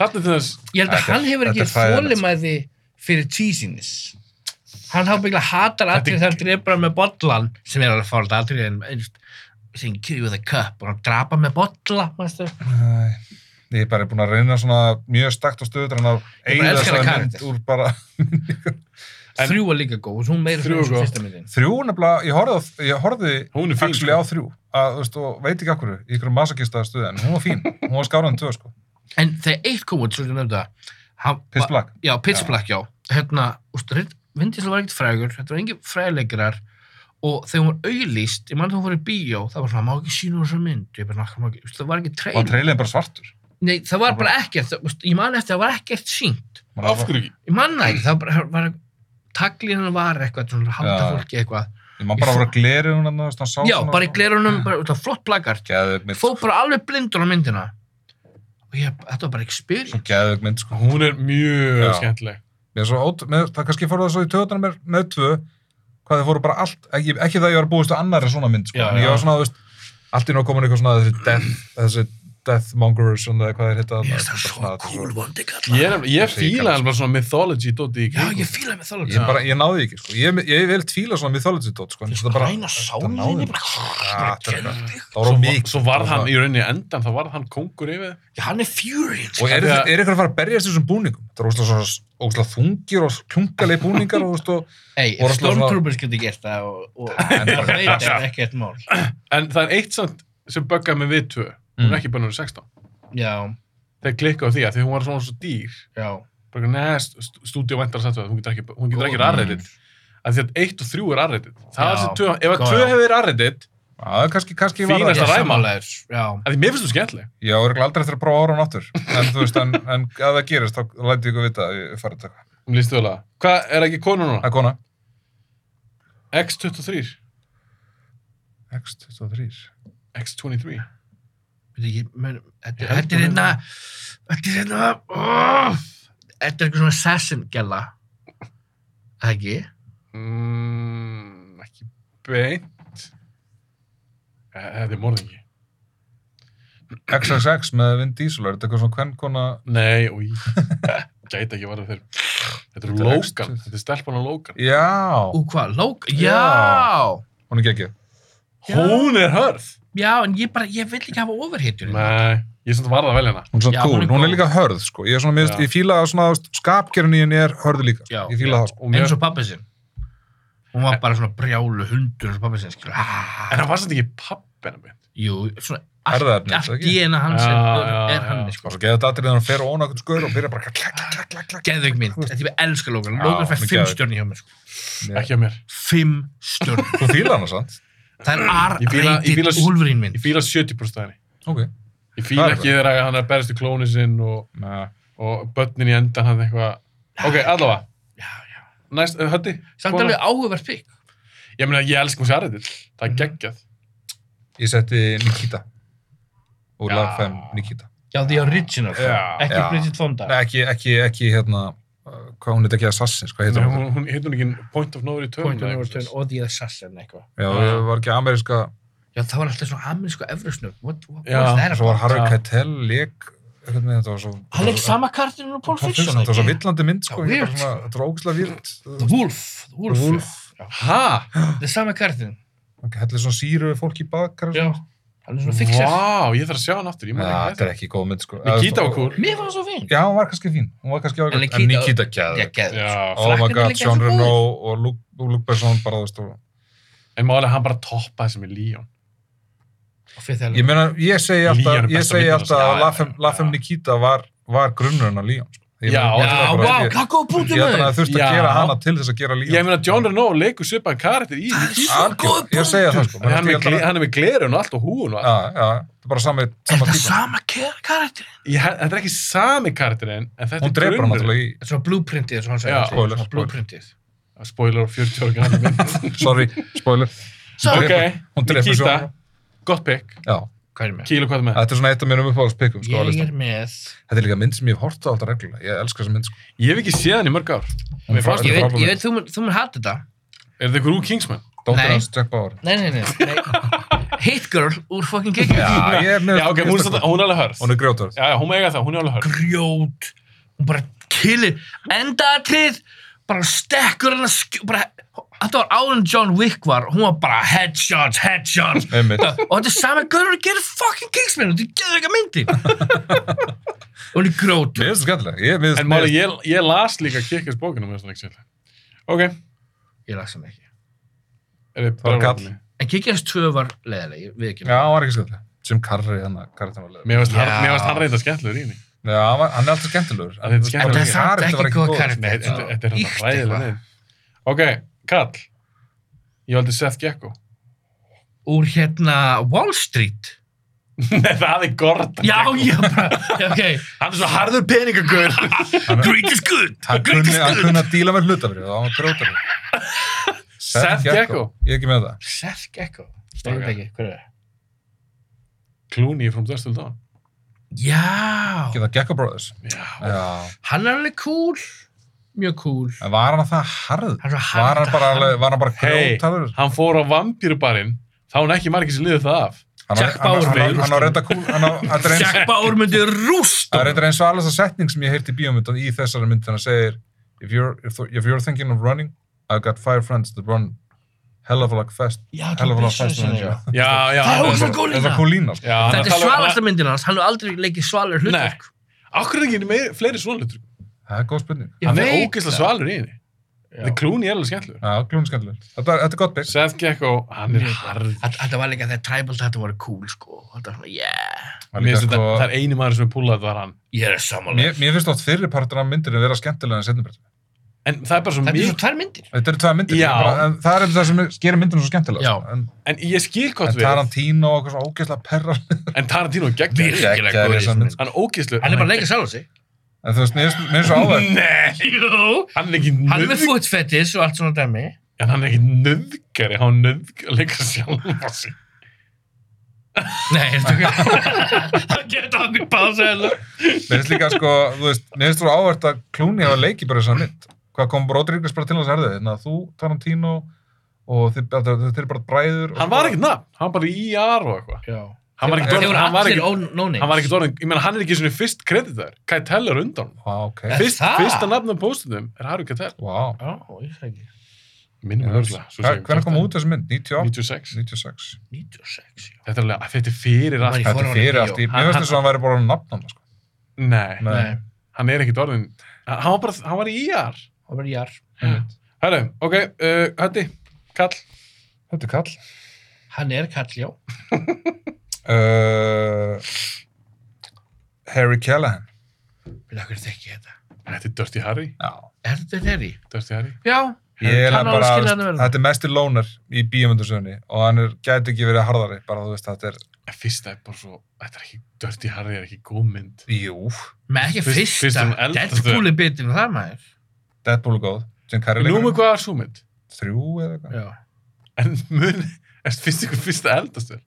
Speaker 2: Þarna til þess,
Speaker 1: Ég held að
Speaker 3: Þetta er-
Speaker 1: hann hefur
Speaker 3: þetta
Speaker 1: ekki
Speaker 3: er hræðilegt.
Speaker 1: þólimæði fyrir cheesiness. Hann hafa byggla hatar atrið þegar hann drepa hann með bollan sem er alveg fórhald atrið en einst, sem kill you with a cup og hann drapa með bolla, mæstu?
Speaker 3: Æ, ég er bara búin að reyna svona mjög stakt og stöður en að
Speaker 1: Ég bara
Speaker 3: eigða
Speaker 1: elska
Speaker 3: þessa
Speaker 1: hennar
Speaker 3: mynd
Speaker 1: karakter.
Speaker 3: úr bara,
Speaker 2: En-
Speaker 1: Þrjú var líka góð, hún meira
Speaker 2: Þrjú
Speaker 1: þrjú
Speaker 2: er góð.
Speaker 1: góð. Fyrsta myndin.
Speaker 3: þrjú nefnilega, ég horfði, á- ég horfði
Speaker 2: Hún er fín,
Speaker 3: actually
Speaker 2: sko.
Speaker 3: á þrjú, að, þú veist, og veit ekki akkur, í ykkur masakista stöðu, en hún var fín, hún var skáraðin tvö, sko,
Speaker 1: En þegar eitt kom út, svo ég nefnda, hann,
Speaker 3: Pitch Black.
Speaker 1: já, Pitch
Speaker 3: Já.
Speaker 1: Black, já, hérna, úst, Vindislu var ekkert frægur, þetta var engin fræðileikarar og þegar hún var auðlýst, ég mann þegar hún fór í bíó, það var svona, má ekki sína úr þessu mynd, ég bara, "Nah, má ekki, úst, það var ekki
Speaker 3: Og
Speaker 1: trailer,
Speaker 3: treylinn bara svartur.
Speaker 1: nei, það var bara ekkert, það, úst, ég man eftir, það var ekkert sínt,
Speaker 3: Man
Speaker 2: af
Speaker 3: var-
Speaker 2: hverju ekki?
Speaker 1: ég man það ekki, það var, var taglínan var eitthvað, svona, halda
Speaker 3: Já.
Speaker 1: fólki eitthvað,
Speaker 3: Ég man bara að voru að gleri hún hann, hann sá
Speaker 1: já, bara í glerunum, bara, úst, það var flott plakart,
Speaker 3: Geðug mynd,
Speaker 1: fóð bara alveg blindur á myndina og ég, þetta var bara experience.
Speaker 3: svo geðug mynd, sko.
Speaker 2: Hún er mjög
Speaker 3: Já.
Speaker 2: skemmtileg.
Speaker 3: Mér er svo ótt, með, það kannski fór það svo í töðunar með, með tvö, hvað þið fóru bara allt, ekki, ekki það ég var búist á annari svona mynd, sko.
Speaker 2: Já,
Speaker 3: en ég var
Speaker 2: já.
Speaker 3: svona, þú veist, allt í nóg komin eitthvað svona þessi death, þessi deathmongers, svona hvað þeir hitta.
Speaker 1: Mér finnst
Speaker 3: þarna,
Speaker 1: það
Speaker 3: eitthvað
Speaker 1: svo
Speaker 3: þetta
Speaker 1: cool vondi
Speaker 2: Ég,
Speaker 1: kalla.
Speaker 2: er- ég
Speaker 3: Þessi ég
Speaker 2: fíla hann bara svona mythology dóti í
Speaker 1: Já,
Speaker 2: kringum.
Speaker 1: ég fíla með þálega.
Speaker 3: Ég, bara, ég náði því ekki, sko. Ég, ég vil tvíla svona mythology dot, sko. en
Speaker 1: finnst
Speaker 3: þetta bara-
Speaker 1: græna
Speaker 3: þetta náði
Speaker 1: sálinni
Speaker 3: mér.
Speaker 1: bara...
Speaker 3: Já, þetta er bara- Það var
Speaker 2: Svo,
Speaker 3: of
Speaker 2: va-
Speaker 3: mikið. sko.
Speaker 2: svo varð hann, í rauninni endan, þá varð hann kongur yfir. þeim.
Speaker 1: Já, hann er furious.
Speaker 3: Og er,
Speaker 2: Af því að-
Speaker 3: er ykkur að fara að berjast í þessum búningum? Það er óslega, svona, óslega þungir og klungalegi búningar og, þú veist, og
Speaker 1: Ei,
Speaker 3: voru alltaf
Speaker 1: Stormtroopers getur gert það og, og
Speaker 3: <laughs> en-
Speaker 1: það veit er ekki eitt mál.
Speaker 2: En það er eitt samt sem böggaði með við tvö. Hún
Speaker 3: Mm.
Speaker 2: er ekki bara núna 16.
Speaker 1: Já,
Speaker 2: Þeir klikkaði á því að því hún var svona svo dýr.
Speaker 1: já.
Speaker 2: Bara neða, stúdíu vendar satt við það, hún getur ekki, hún getur ekki R-rated. Af Því að eitt og þrjú er R-rated. Það
Speaker 1: Já,
Speaker 2: er sem tvö, ef að
Speaker 1: góð,
Speaker 2: tvö
Speaker 1: já.
Speaker 2: hefur verið R-rated,
Speaker 3: að kannski, kannski var
Speaker 2: Fínasta
Speaker 3: það-
Speaker 1: Ég
Speaker 2: ræma.
Speaker 1: sammálaður, já.
Speaker 2: af því mér finnst þú skemmtileg.
Speaker 3: Ég á örgulega aldrei eftir að prófa ára hann aftur. En þú veist, en, en að það gerist, þá læti ég ykkur vita að ég farið þetta.
Speaker 2: Hún líst þjóðlega. Um Hvað er ekki konu núna?
Speaker 3: Það er kona.
Speaker 2: X23.
Speaker 3: X23.
Speaker 2: X23.
Speaker 1: Veit ekki, menn- Þetta
Speaker 2: Ég held
Speaker 1: þetta er
Speaker 2: hún
Speaker 1: hérna,
Speaker 2: er-
Speaker 1: þetta er hérna, oh, þetta er eitthvað svona assassin gæla. Það ekki?
Speaker 2: Mm, ekki beint. Eh, Þetta er morðingi.
Speaker 3: XXX með Vin Diesel, er þetta eitthvað svona hvern kona...
Speaker 2: Nei, új. Gæti ekki varðið þeir. Þetta er
Speaker 3: Þetta er
Speaker 2: Logan.
Speaker 3: X23.
Speaker 2: Þetta er stelpan á Logan.
Speaker 3: Já,
Speaker 1: Ú, hvað, lók?
Speaker 3: Já.
Speaker 1: Já!
Speaker 3: hún er geggið.
Speaker 1: Já.
Speaker 2: Hún er hörð.
Speaker 1: Já, en ég bara, ég vil ekki hafa hérna. overhitjur.
Speaker 2: Nei, ég er svona varð að velja hana.
Speaker 3: Hún er svona
Speaker 1: Já,
Speaker 3: cool.
Speaker 1: hún er
Speaker 3: Hún er,
Speaker 1: góð.
Speaker 3: líka hörð, sko. Ég er svona mist,
Speaker 2: Já.
Speaker 3: ég fíla að svona skapgerinn í henni er hörðu líka. sko.
Speaker 1: Já.
Speaker 3: ég fíla það, sko.
Speaker 2: Og mér,
Speaker 1: eins og pappi sinn hún var bara svona brjálu hundur eins og pappi sinn skilur ah,
Speaker 2: en hann var samt ekki pappina beint.
Speaker 1: jú, svona
Speaker 3: Erfðaefni,
Speaker 1: allt,
Speaker 3: er það
Speaker 1: allt
Speaker 3: ekki?
Speaker 1: DNA hans
Speaker 2: Já,
Speaker 1: er,
Speaker 2: já,
Speaker 1: er hann
Speaker 2: já.
Speaker 3: Og
Speaker 1: sko.
Speaker 3: svo geðið þetta aðrið þegar hún fer og óna okkur skur og byrja bara klak, klak, klak, klak, klak.
Speaker 1: geðveik mynd, þetta ég elska Logan
Speaker 3: Já,
Speaker 1: Logan fær
Speaker 3: hún er
Speaker 1: fimm
Speaker 3: geðveik.
Speaker 1: stjörni hjá mér sko.
Speaker 3: Ég-
Speaker 2: Ekki að mér.
Speaker 1: fimm stjörni,
Speaker 3: Þú fíla hana, sant?
Speaker 1: það
Speaker 2: Ég
Speaker 1: er
Speaker 2: fíla- ég
Speaker 1: R-rated
Speaker 2: fíla-
Speaker 1: Wolverine
Speaker 2: Ég
Speaker 1: mynd
Speaker 2: fíla 70% af henni.
Speaker 3: Ok.
Speaker 2: Ég fíla
Speaker 3: Það er
Speaker 2: ekki þegar að hann er að berjast í klóni sinn og,
Speaker 3: Næ.
Speaker 2: og börnin í endan hann eitthvað Ok, allavega.
Speaker 1: já, já.
Speaker 2: Næst, uh, höndi.
Speaker 1: Samt
Speaker 2: Kona.
Speaker 1: alveg áhugavert pikk.
Speaker 2: Ég meina, ég elska hún sér þetta.
Speaker 3: Mm.
Speaker 2: Það er geggjað.
Speaker 3: Ég setti Nikita. Úr
Speaker 2: Já.
Speaker 3: lagfæm Nikita.
Speaker 1: Já, the original.
Speaker 2: Já.
Speaker 1: Ekki
Speaker 3: Já.
Speaker 1: Bridget Fonda.
Speaker 3: Nei, ekki, ekki, ekki hérna, uh, hvað hún heit ekki Assassins, hvað heitir
Speaker 2: Hún,
Speaker 3: hún?
Speaker 2: hún, hún heitir hún ekki Point of No Return.
Speaker 1: Point of
Speaker 2: eða
Speaker 1: no
Speaker 2: eitthvað
Speaker 1: return
Speaker 2: svoleiðis.
Speaker 1: og The Assassin eitthvað.
Speaker 3: Já, það var ekki ameríska,
Speaker 1: Já, það var alltaf svona amerísku efrusnöf. What, what
Speaker 2: Já,
Speaker 1: was that
Speaker 3: svo var
Speaker 1: about?
Speaker 3: Harry
Speaker 2: Já.
Speaker 3: Keitel, leik, eitthvað með þetta var svo...
Speaker 1: Hann leik sama kartinu og Paul
Speaker 3: Pulp
Speaker 1: Fiction,
Speaker 3: Fiction, þetta var svo
Speaker 1: ekki?
Speaker 3: villandi mynd,
Speaker 1: Já,
Speaker 3: sko, ég er bara
Speaker 1: weird.
Speaker 3: svona, þetta var ógæslega vild.
Speaker 1: The Wolf. The Wolf.
Speaker 3: The Wolf.
Speaker 1: já.
Speaker 2: Ha?
Speaker 1: Það er sama kartinu.
Speaker 3: Það hellir svona síru við fólk í bakar.
Speaker 1: Já. Hann er svona fixer.
Speaker 2: Vá, ég þarf að sjá hann aftur. Ég
Speaker 3: Ja,
Speaker 2: maður ekki
Speaker 3: þetta
Speaker 2: eftir.
Speaker 3: Ah, er ekki góð mynd, sko.
Speaker 2: Nikita var cool.
Speaker 1: Mér var það svo fín.
Speaker 3: Já, hún var kannski fín. Hún var kannski ágætt. En
Speaker 1: Nikita-
Speaker 3: Nikita gæði.
Speaker 1: Ég geði.
Speaker 2: Já.
Speaker 3: Oh my
Speaker 1: Flakkarnir
Speaker 3: god,
Speaker 1: líka
Speaker 3: John
Speaker 1: svo góðir.
Speaker 3: Renault og Luke, og Luke Besson bara, þú veist, og...
Speaker 2: En málega hann bara toppaði sem er Leon.
Speaker 1: Og fyrir þegar.
Speaker 3: Ég meina, ég segi
Speaker 2: Líon er
Speaker 3: alltaf, ég
Speaker 2: besta
Speaker 3: segi
Speaker 2: myndin
Speaker 3: alltaf
Speaker 2: hans. Já,
Speaker 3: að
Speaker 2: já,
Speaker 3: Lafem,
Speaker 2: já.
Speaker 3: Lafem Nikita var, var grunnurinn á Líón, sko. Ég
Speaker 2: Já,
Speaker 3: meina,
Speaker 1: Já,
Speaker 3: ég held að
Speaker 1: vá,
Speaker 3: bara-
Speaker 1: hvað
Speaker 3: ég-
Speaker 1: góða punktum
Speaker 3: Ég held að
Speaker 1: með
Speaker 3: það þurfti
Speaker 2: Já.
Speaker 3: að gera hana til þess að gera Líón.
Speaker 2: Ég meina, John Renault leikur svipaðan karakter í Nikita.
Speaker 1: Svo góð
Speaker 3: Ég segja það, sko.
Speaker 2: En hann er með
Speaker 3: Ah, Ég held
Speaker 2: gle-
Speaker 3: að-
Speaker 2: hann er með glerun og allt og húun og allt.
Speaker 3: Já, já, þetta er bara sami,
Speaker 1: Er
Speaker 3: sama
Speaker 1: það
Speaker 3: típa.
Speaker 1: sama ke- karakter?
Speaker 2: Ég, þetta er ekki sami karakterinn, en þetta
Speaker 3: Hún
Speaker 2: er
Speaker 3: dreipur hann náttúrulega í,
Speaker 1: Þetta er Svona blueprintið, svo hann sagði.
Speaker 2: Já,
Speaker 1: alltaf.
Speaker 3: spoiler,
Speaker 1: Svona
Speaker 3: spoiler.
Speaker 1: Blueprintið.
Speaker 2: Spoiler og 40 ára gamla mynd.
Speaker 3: sorry, spoiler.
Speaker 1: Svo,
Speaker 2: ok,
Speaker 3: <laughs> Hún dreipur
Speaker 2: Nikita,
Speaker 3: sjónum.
Speaker 2: gott pick.
Speaker 3: Já,
Speaker 1: hvað er ég með?
Speaker 2: Kílu hvað er með?
Speaker 3: þetta er svona eitt af mínum uppáhaldspikkum, sko, á
Speaker 1: Ég
Speaker 3: listanum.
Speaker 1: er með...
Speaker 3: Þetta er líka mynd sem ég hef hort á alltaf reglulega. Ég elska þessa mynd, sko.
Speaker 2: Ég hef ekki séð hann í mörg ár. Mér fannst
Speaker 1: Ég
Speaker 2: það.
Speaker 1: veit, ég veit, þú mun- þú mun hata þetta.
Speaker 2: Er þetta ykkur úr Kingsman?
Speaker 3: Dóttir
Speaker 1: Nei.
Speaker 3: hans, Jack Bauer.
Speaker 1: Nei, nei, nei. nei. Hit Girl úr fucking Kick.
Speaker 3: Já, ég er með...
Speaker 2: Já, ok, hún er, samt- hún er alveg hörð.
Speaker 3: Hún er grjótarð.
Speaker 2: Já, já, hún eiga það, hún er alveg hörð.
Speaker 1: grjót hún bara killir endatrið bara stekkur hann að skjó bara, þetta var áður en John Wick var hún var bara headshots, headshots
Speaker 3: Einmitt.
Speaker 1: og þetta er sama gaurur að gera fucking Kingsman þetta er geður eitthvað myndi hún er grjót
Speaker 3: Mér finnst það skemmtilega. Ég finnst...
Speaker 2: En máli, ég, ég las líka Kickers bókina, mér finnst það ekki sérlega. Ok,
Speaker 1: ég las hann ekki
Speaker 2: er þið
Speaker 3: Það var
Speaker 2: brjálæði?
Speaker 3: kall.
Speaker 1: en Kickers 2 var leðileg við ekki
Speaker 3: Já, hann var ekki skemmtilega. Jim Carrey, hann að karakterin var leiður.
Speaker 2: Mér finnst hann-
Speaker 1: Já.
Speaker 2: mér finnst hann reynda skemmtilegur í henni.
Speaker 3: Já, hann var- hann er alltaf skemmtilegur.
Speaker 2: Þetta er skemmtilegur.
Speaker 1: þetta er samt
Speaker 3: Carrey var
Speaker 1: ekki góð
Speaker 3: góð.
Speaker 1: karakter
Speaker 2: Nei, þetta þetta er hann
Speaker 1: Ýkt
Speaker 2: ræðilega
Speaker 1: eitthvað.
Speaker 2: neður. Ok, Kall. Ég valdi Seth Gecko.
Speaker 1: úr hérna Wall Street
Speaker 2: <laughs> Nei, það er Gordon
Speaker 1: já,
Speaker 2: Gekko.
Speaker 1: já, bara, já, ok
Speaker 2: Hann er svo harður peningagur.
Speaker 1: great is good
Speaker 3: Hann
Speaker 1: great
Speaker 3: kunni,
Speaker 1: is
Speaker 3: hann
Speaker 1: good
Speaker 3: kunni að díla með hlutafrið og hann var grjótarð.
Speaker 2: <laughs> Seth Gecko.
Speaker 3: Ég er ekki með það.
Speaker 1: Seth Gecko ég
Speaker 2: Strákar.
Speaker 1: veit ekki, hver er það?
Speaker 2: Clooney from Dust Till Dawn.
Speaker 1: já
Speaker 3: Ekki það Gecko Brothers.
Speaker 2: Já.
Speaker 3: Já.
Speaker 1: hann er alveg cool mjög cool
Speaker 3: En var hann það harð?
Speaker 1: Hann var svo
Speaker 3: Var hann bara,
Speaker 1: harður.
Speaker 3: alveg- var hann bara
Speaker 2: Hey.
Speaker 3: grjótarður?
Speaker 2: Hann fór á vampýrubarinn, þá hann ekki margir sem liðið það af.
Speaker 3: Hann-
Speaker 1: Jack
Speaker 3: hann-
Speaker 1: Bauer,
Speaker 3: hann-
Speaker 1: veður.
Speaker 3: Hann á reynda kúl, hann á, þetta er eins,
Speaker 1: Jack Bauer myndi rúst
Speaker 3: það er
Speaker 1: honum.
Speaker 3: reynda eins og allasta setning sem ég heyrti í bíómynd og í þessari mynd þannig að segir if you're, if, th- if you're thinking of running, I've got five friends that run hell of a lot fast,
Speaker 1: Já,
Speaker 3: hell
Speaker 1: John
Speaker 3: of a lot
Speaker 1: Bishop
Speaker 3: faster than
Speaker 1: sinni,
Speaker 3: you.
Speaker 1: já.
Speaker 2: Já,
Speaker 1: Það
Speaker 2: já.
Speaker 1: er
Speaker 2: hann-
Speaker 1: ógeðslega góð
Speaker 3: Þetta
Speaker 1: lína.
Speaker 3: er cool lína, sko.
Speaker 2: Já, hann
Speaker 1: þetta er
Speaker 2: tala um-
Speaker 1: svalasta myndin hans hann hefur aldrei leikið svalir
Speaker 2: Nei.
Speaker 1: hlutverk
Speaker 2: Akkur er ekki meir, fleiri svona hlutur.
Speaker 3: Það er góð spurning.
Speaker 1: Ég
Speaker 2: Hann er
Speaker 1: veit
Speaker 2: ógeðslega
Speaker 1: það.
Speaker 2: svalur í henni.
Speaker 1: Já.
Speaker 2: The Clooney er alveg skemmtilegur.
Speaker 3: Já, glúin skemmtileg. Þetta, er- þetta er gott bygg.
Speaker 2: Seth Gecko, hann er
Speaker 1: Mjög.
Speaker 2: harður.
Speaker 1: Þetta- þetta var líka þegar tribal þetta var cool sko þetta var svona yeah
Speaker 2: Mér finnst þetta, það er eini maður sem er púlað, það var hann.
Speaker 1: ég er samanlega
Speaker 3: sko- Mér, mér finnst oft fyrri partur af myndinu vera skemmtilega en setni partur.
Speaker 2: En það er bara svo
Speaker 1: þetta er
Speaker 2: mikið
Speaker 1: svona tvær myndir
Speaker 3: Þetta eru tvær myndir.
Speaker 2: Já.
Speaker 3: ég Bara, en það er einmitt það sem gerir myndinu svo skemmtilega.
Speaker 1: Já.
Speaker 3: sko. En,
Speaker 2: En ég skil hvað
Speaker 3: en
Speaker 2: við erum.
Speaker 3: Tarantino og eitthvað svona ógeðslega perrar.
Speaker 2: En Tarantino er geggjur.
Speaker 1: Virkilega góður í
Speaker 3: Geggjaður í þessari
Speaker 1: þessari
Speaker 3: mynd,
Speaker 1: mynd.
Speaker 2: Hann er ógeðslu.
Speaker 1: hann er bara að leika sjálf sig
Speaker 3: En þú veist, mér finnst- mér finnst
Speaker 2: <laughs>
Speaker 3: svo áverð.
Speaker 2: Nei!
Speaker 1: jú
Speaker 2: Hann er ekki
Speaker 1: hann er með
Speaker 2: nöðgari.
Speaker 1: foot fetish og allt svona dæmi
Speaker 2: En hann er ekki nöðgari. Hann nöðgari að leika sjálf á sig.
Speaker 1: nei er þetta það geta okkur pása hérna.
Speaker 3: Mér finnst líka, sko, þú veist, mér finnst svo áverð að Clooney hafa leikið bara þessar mynd. Hvað kom Rodríguez bara til hans herðu? Þannig að þú, Tarantino, og þið, þetta- þetta er bara bræður. og
Speaker 2: Hann
Speaker 3: bara-
Speaker 2: var ekkert nafn. Hann var bara í IR og eitthvað.
Speaker 1: já
Speaker 2: Hann var
Speaker 1: þeir
Speaker 2: ekkert
Speaker 1: voru
Speaker 2: orðin. Hann var
Speaker 1: allir
Speaker 2: ekkert
Speaker 1: ónóni
Speaker 2: Hann var ekkert orðin. Ég meina, hann er ekki svona fyrst kreditar. Keitel er undan. honum.
Speaker 3: Vá, ok.
Speaker 1: Er
Speaker 2: Fyrst,
Speaker 1: það?
Speaker 2: fyrsta nafn á póstunum er Harry Keitel.
Speaker 3: Vá.
Speaker 1: já ég sé ekki
Speaker 2: Minnum við örgulega.
Speaker 3: Hvernig kom út þessi mynd? 98?
Speaker 2: 96.
Speaker 3: 96.
Speaker 1: 96 já
Speaker 2: Þetta er alveg, þetta er fyrir
Speaker 1: Hann var í
Speaker 2: allt.
Speaker 1: fór á
Speaker 3: Þetta er
Speaker 1: hann í
Speaker 3: fyrir
Speaker 1: bíó.
Speaker 3: allt í, mér
Speaker 2: Hann-
Speaker 3: finnst þess að hann væri bara nafnum, sko.
Speaker 2: Nei,
Speaker 1: nei
Speaker 2: hann er ekkert orðin. Hann var bara, hann var í IR.
Speaker 1: það var jar
Speaker 2: Herru, ok, uh, Hötti, Kall.
Speaker 3: Þetta er kall.
Speaker 1: hann er kall já
Speaker 3: Uh, Harry Callahan.
Speaker 1: Við okkur þekki ég þetta.
Speaker 2: Þetta er Dirty Harry.
Speaker 3: Já.
Speaker 1: Er þetta Terry?
Speaker 2: Dirty Harry.
Speaker 1: Já.
Speaker 3: Ég er
Speaker 1: Hann á
Speaker 3: bara,
Speaker 1: skilið hann að vera.
Speaker 3: þetta er mestir lónar í bíómyndarsögunni og hann er, gæti ekki verið harðari, bara þú veist, þetta er,
Speaker 2: En fyrsta er bara svo, þetta er ekki, Dirty Harry er ekki góð mynd.
Speaker 3: jú,
Speaker 1: Með ekki
Speaker 2: Fyrst-
Speaker 1: fyrsta.
Speaker 2: fyrst um eldast
Speaker 1: Deadpool er bitinn þar maður.
Speaker 3: Deadpool er góð Jim Carrey
Speaker 2: Við númum
Speaker 3: leikur
Speaker 2: hvað er svo mynd.
Speaker 3: þrjú eða eitthvað
Speaker 1: Já.
Speaker 2: En mun, <laughs> er finnst ykkur fyrst að eldast vel?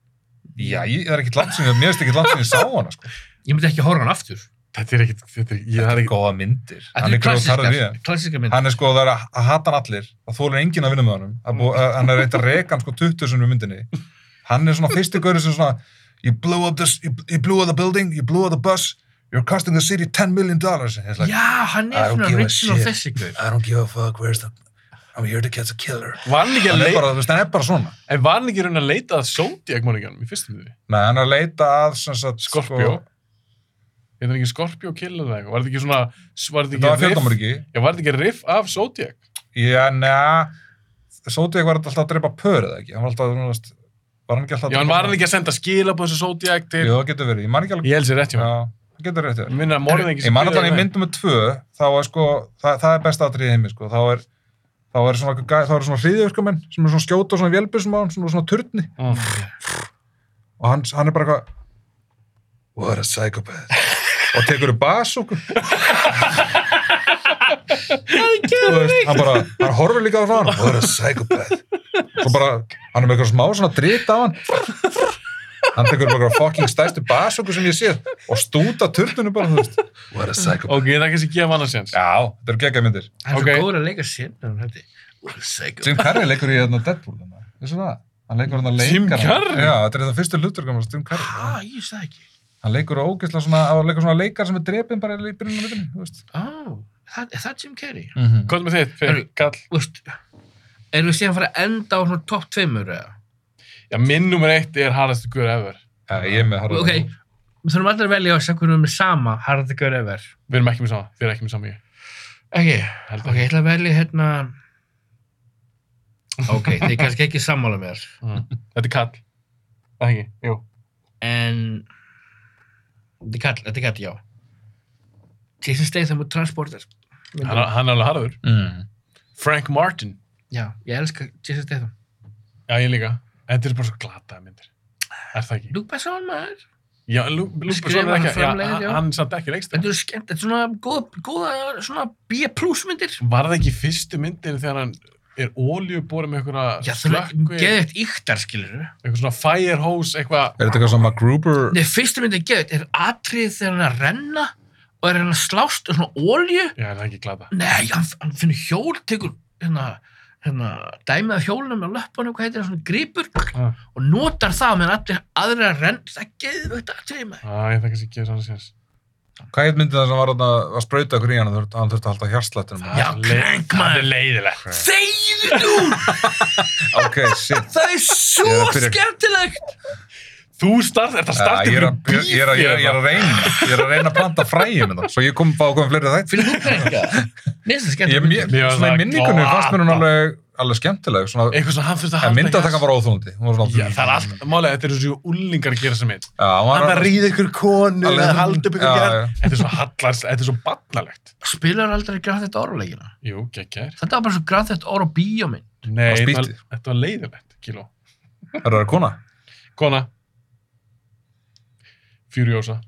Speaker 3: já, ég það er ekkit langt sem ég, mér finnst ekkit langt sem ég sá hana sko.
Speaker 1: Ég myndi ekki horfa hann aftur.
Speaker 2: Þetta er ekkit, þetta er, ég
Speaker 3: það
Speaker 2: það
Speaker 3: er
Speaker 2: er ekki,
Speaker 3: góða myndir
Speaker 1: Þetta er
Speaker 3: góður parður í
Speaker 1: klassískar,
Speaker 3: þeim.
Speaker 1: klassískar mynd.
Speaker 3: hann er sko, það er að, að hata hann allir það þólur enginn að vinna með honum Það er búið- að- hann er eitt að reka hann sko 20 sem við myndinni hann er svona fyrsti gauri sem svona you blew up this, you, you blew up the building you blew up the bus, you're costing the city 10 million dollars And he's like,
Speaker 1: Já, hann
Speaker 3: I
Speaker 1: er
Speaker 3: don't
Speaker 1: svona
Speaker 3: give a
Speaker 1: original
Speaker 3: shit.
Speaker 1: þessi guður.
Speaker 3: I don't give a fuck, where's the I'm here to catch a killer
Speaker 2: vann ekki
Speaker 3: hann er
Speaker 2: að leita,
Speaker 3: bara, þú veist, hann er bara svona
Speaker 2: en vann ekki raun að leita að Zodiac morninganum í fyrstum því.
Speaker 3: Nei, hann er að leita að sem sagt, sko,
Speaker 2: Skorpjó. Þetta Hérna er ekki Skorpjó kill eða eitthvað. Var þetta ekki svona, var
Speaker 3: þetta
Speaker 2: þetta
Speaker 3: var
Speaker 2: ekki riff?
Speaker 3: fjöldamörgi
Speaker 2: Já, var þetta ekki riff af Zodiac?
Speaker 3: já, neða Sotek var alltaf að dreipa pör eða ekki hann var alltaf, þú veist, var hann ekki alltaf að
Speaker 2: Já, en
Speaker 3: drepa
Speaker 2: var hann
Speaker 3: pör?
Speaker 2: ekki að senda skila på þessu Zodiac til...
Speaker 3: jú, það getur verið, ég man ekki alveg
Speaker 2: Ég held sér rétt hjá
Speaker 3: já,
Speaker 2: hann.
Speaker 3: það getur verið rétt hjá þér.
Speaker 2: Ég minna að morðingi...
Speaker 3: ég man alltaf að í myndum með tvö þá er sko, það, það er besta atrið heimi sko. þá er þá er svona, gæ- þá er svona hriðjörkumenn sem er svona skjóta og svona vélbjörnsum á hann svona, svona turni
Speaker 2: Mm.
Speaker 3: og hann, hann er bara eitthvað what a psychopath og tekur upp basúku Þú veist, hann bara, hann horfir líka á það what a psychopath svo bara, hann er með eitthvað smá svona drít á hann hann tekur upp eitthvað fucking stæstu basúku sem ég sé og stúta turninu bara, þú veist what a psychopath
Speaker 2: Ok, það er kannski að gefa hann að séns.
Speaker 3: já, þetta eru geggja myndir
Speaker 1: Hann er
Speaker 2: Ok.
Speaker 1: svo góður að leika um sinn, hann hætti.
Speaker 3: Jim Carrey leikur í hérna Deadpool þarna. vissu það? Hann leikur hann að leika
Speaker 2: Jim Carrey?
Speaker 3: Já, þetta er það fyrstu hluturkam hans Jim Carrey
Speaker 1: Hæ, ég veist það ekki.
Speaker 3: Hann leikur ógeðslega svona, hann leikur svona leikar sem er drepin bara í byrjunum á myndinni, þú veist
Speaker 1: Á, það er það Jim Carrey.
Speaker 3: mm -hmm.
Speaker 2: Hvað er með þitt, fyrir
Speaker 1: Herru.
Speaker 2: kall?
Speaker 1: Þú veist, erum við síðan að fara að enda á svona topp tveimur eða?
Speaker 2: Já, minn nummer eitt er harðastu guður ever.
Speaker 3: Já, ég er með Harry
Speaker 1: Ok, við þurfum allir að velja á sem hvernig við erum með sama harði gaur ever.
Speaker 2: Við erum ekki með sama, þið erum ekki með sama ég.
Speaker 1: Ekki,
Speaker 2: Held
Speaker 1: ok, ég ætla að velja hérna... Ok, þið er kannski ekki sammála með þér,
Speaker 2: Mm. Þetta er kall. Það ekki, jú.
Speaker 1: en... Þetta er kall, þetta er kall, já. Jason Statham og Transporter.
Speaker 2: Hann, hann er alveg harður.
Speaker 3: mm.
Speaker 2: Frank Martin.
Speaker 1: Já, ég elska Jason Statham.
Speaker 2: Já, ég líka. Þetta er bara svo glataða myndir. Er það ekki?
Speaker 1: Luke Besson, maður.
Speaker 2: Já, Lúpa
Speaker 1: Skrifar
Speaker 2: svona er
Speaker 1: hann
Speaker 2: ekki. Já,
Speaker 1: framleiðir,
Speaker 2: hann-
Speaker 1: já.
Speaker 2: hann er samt ekki leikst.
Speaker 1: Þetta eru skemmt, þetta er svona góða, góða svona B-plus myndir.
Speaker 2: Var það ekki fyrstu myndin þegar hann er óljubóri
Speaker 1: Já,
Speaker 2: með einhverja
Speaker 1: það er
Speaker 2: slökku,
Speaker 1: geðvægt yktar, skilur við.
Speaker 2: eitthvað svona firehose, eitthvað.
Speaker 3: Er þetta eitthvað svona MacGruber
Speaker 1: Nei, fyrstu myndin geðvægt er atrið þegar hann er að renna og er hann að slást um svona ólju.
Speaker 2: Já, er það ekki glata.
Speaker 1: Nei, hann, hann finnur hjól, tekur hérna, hérna, dæmið af hjólunum með löppunum, hvað heitir það, svona grípur
Speaker 2: Ah.
Speaker 1: og notar það meðan allir aðrir að renna. Það er geðvægt atrið, maður.
Speaker 2: Æ, ég þakka sér ekki að svona séns.
Speaker 3: Hvað heit myndið það sem var þarna að sprauta ykkur í hann þurft, hann þurfti að halda hjarslættinum
Speaker 1: Já,
Speaker 2: Það er le-
Speaker 1: krank,
Speaker 2: Það er
Speaker 1: maður.
Speaker 2: leiðilegt.
Speaker 1: Þegiðu nú!
Speaker 3: Ok, shit
Speaker 2: <laughs>
Speaker 1: Það er svo
Speaker 3: Ég er að
Speaker 1: <laughs>
Speaker 3: byrja-
Speaker 1: skemmtilegt!
Speaker 2: Þú start, er það
Speaker 3: Já,
Speaker 2: startið
Speaker 3: Ég er
Speaker 2: fyrir
Speaker 3: að- ég- ég er að- ég er- ég er að reyna Ég er að reyna að planta fræjum þetta Svo ég kom bara að koma fleiri þætt
Speaker 1: Fyrir þú kranka? Mér finnst það
Speaker 3: Ég,
Speaker 1: skemmtilegt.
Speaker 3: mér,
Speaker 2: Mér var
Speaker 3: svona í
Speaker 2: það
Speaker 3: minningunni fannst mér hún
Speaker 2: glata.
Speaker 3: alveg, alveg skemmtileg svona,
Speaker 2: eitthvað sem hann þurfti að
Speaker 3: en
Speaker 2: halda
Speaker 3: myndatakkan var óþólandi
Speaker 2: Já, það er allt, málega, þetta eru svo úlingar að gera sem mynd
Speaker 3: Já, hann
Speaker 2: Hann
Speaker 3: var
Speaker 2: var að ríða ykkur konu
Speaker 3: Alveg-
Speaker 2: eða halda upp ykkur
Speaker 3: Já,
Speaker 2: gerð
Speaker 3: já.
Speaker 2: Þetta er svo hallast, þetta er svo barnalegt
Speaker 1: Spilar aldrei grænt þetta orðuleikina?
Speaker 2: Jú, geggjær
Speaker 1: Þetta var bara svo grann þetta orð á bíóminn.
Speaker 2: Nei,
Speaker 3: var
Speaker 2: þetta var,
Speaker 3: spýtið.
Speaker 2: þetta var leiðilegt, kíló
Speaker 3: Er það kona?
Speaker 2: Kona Furiosa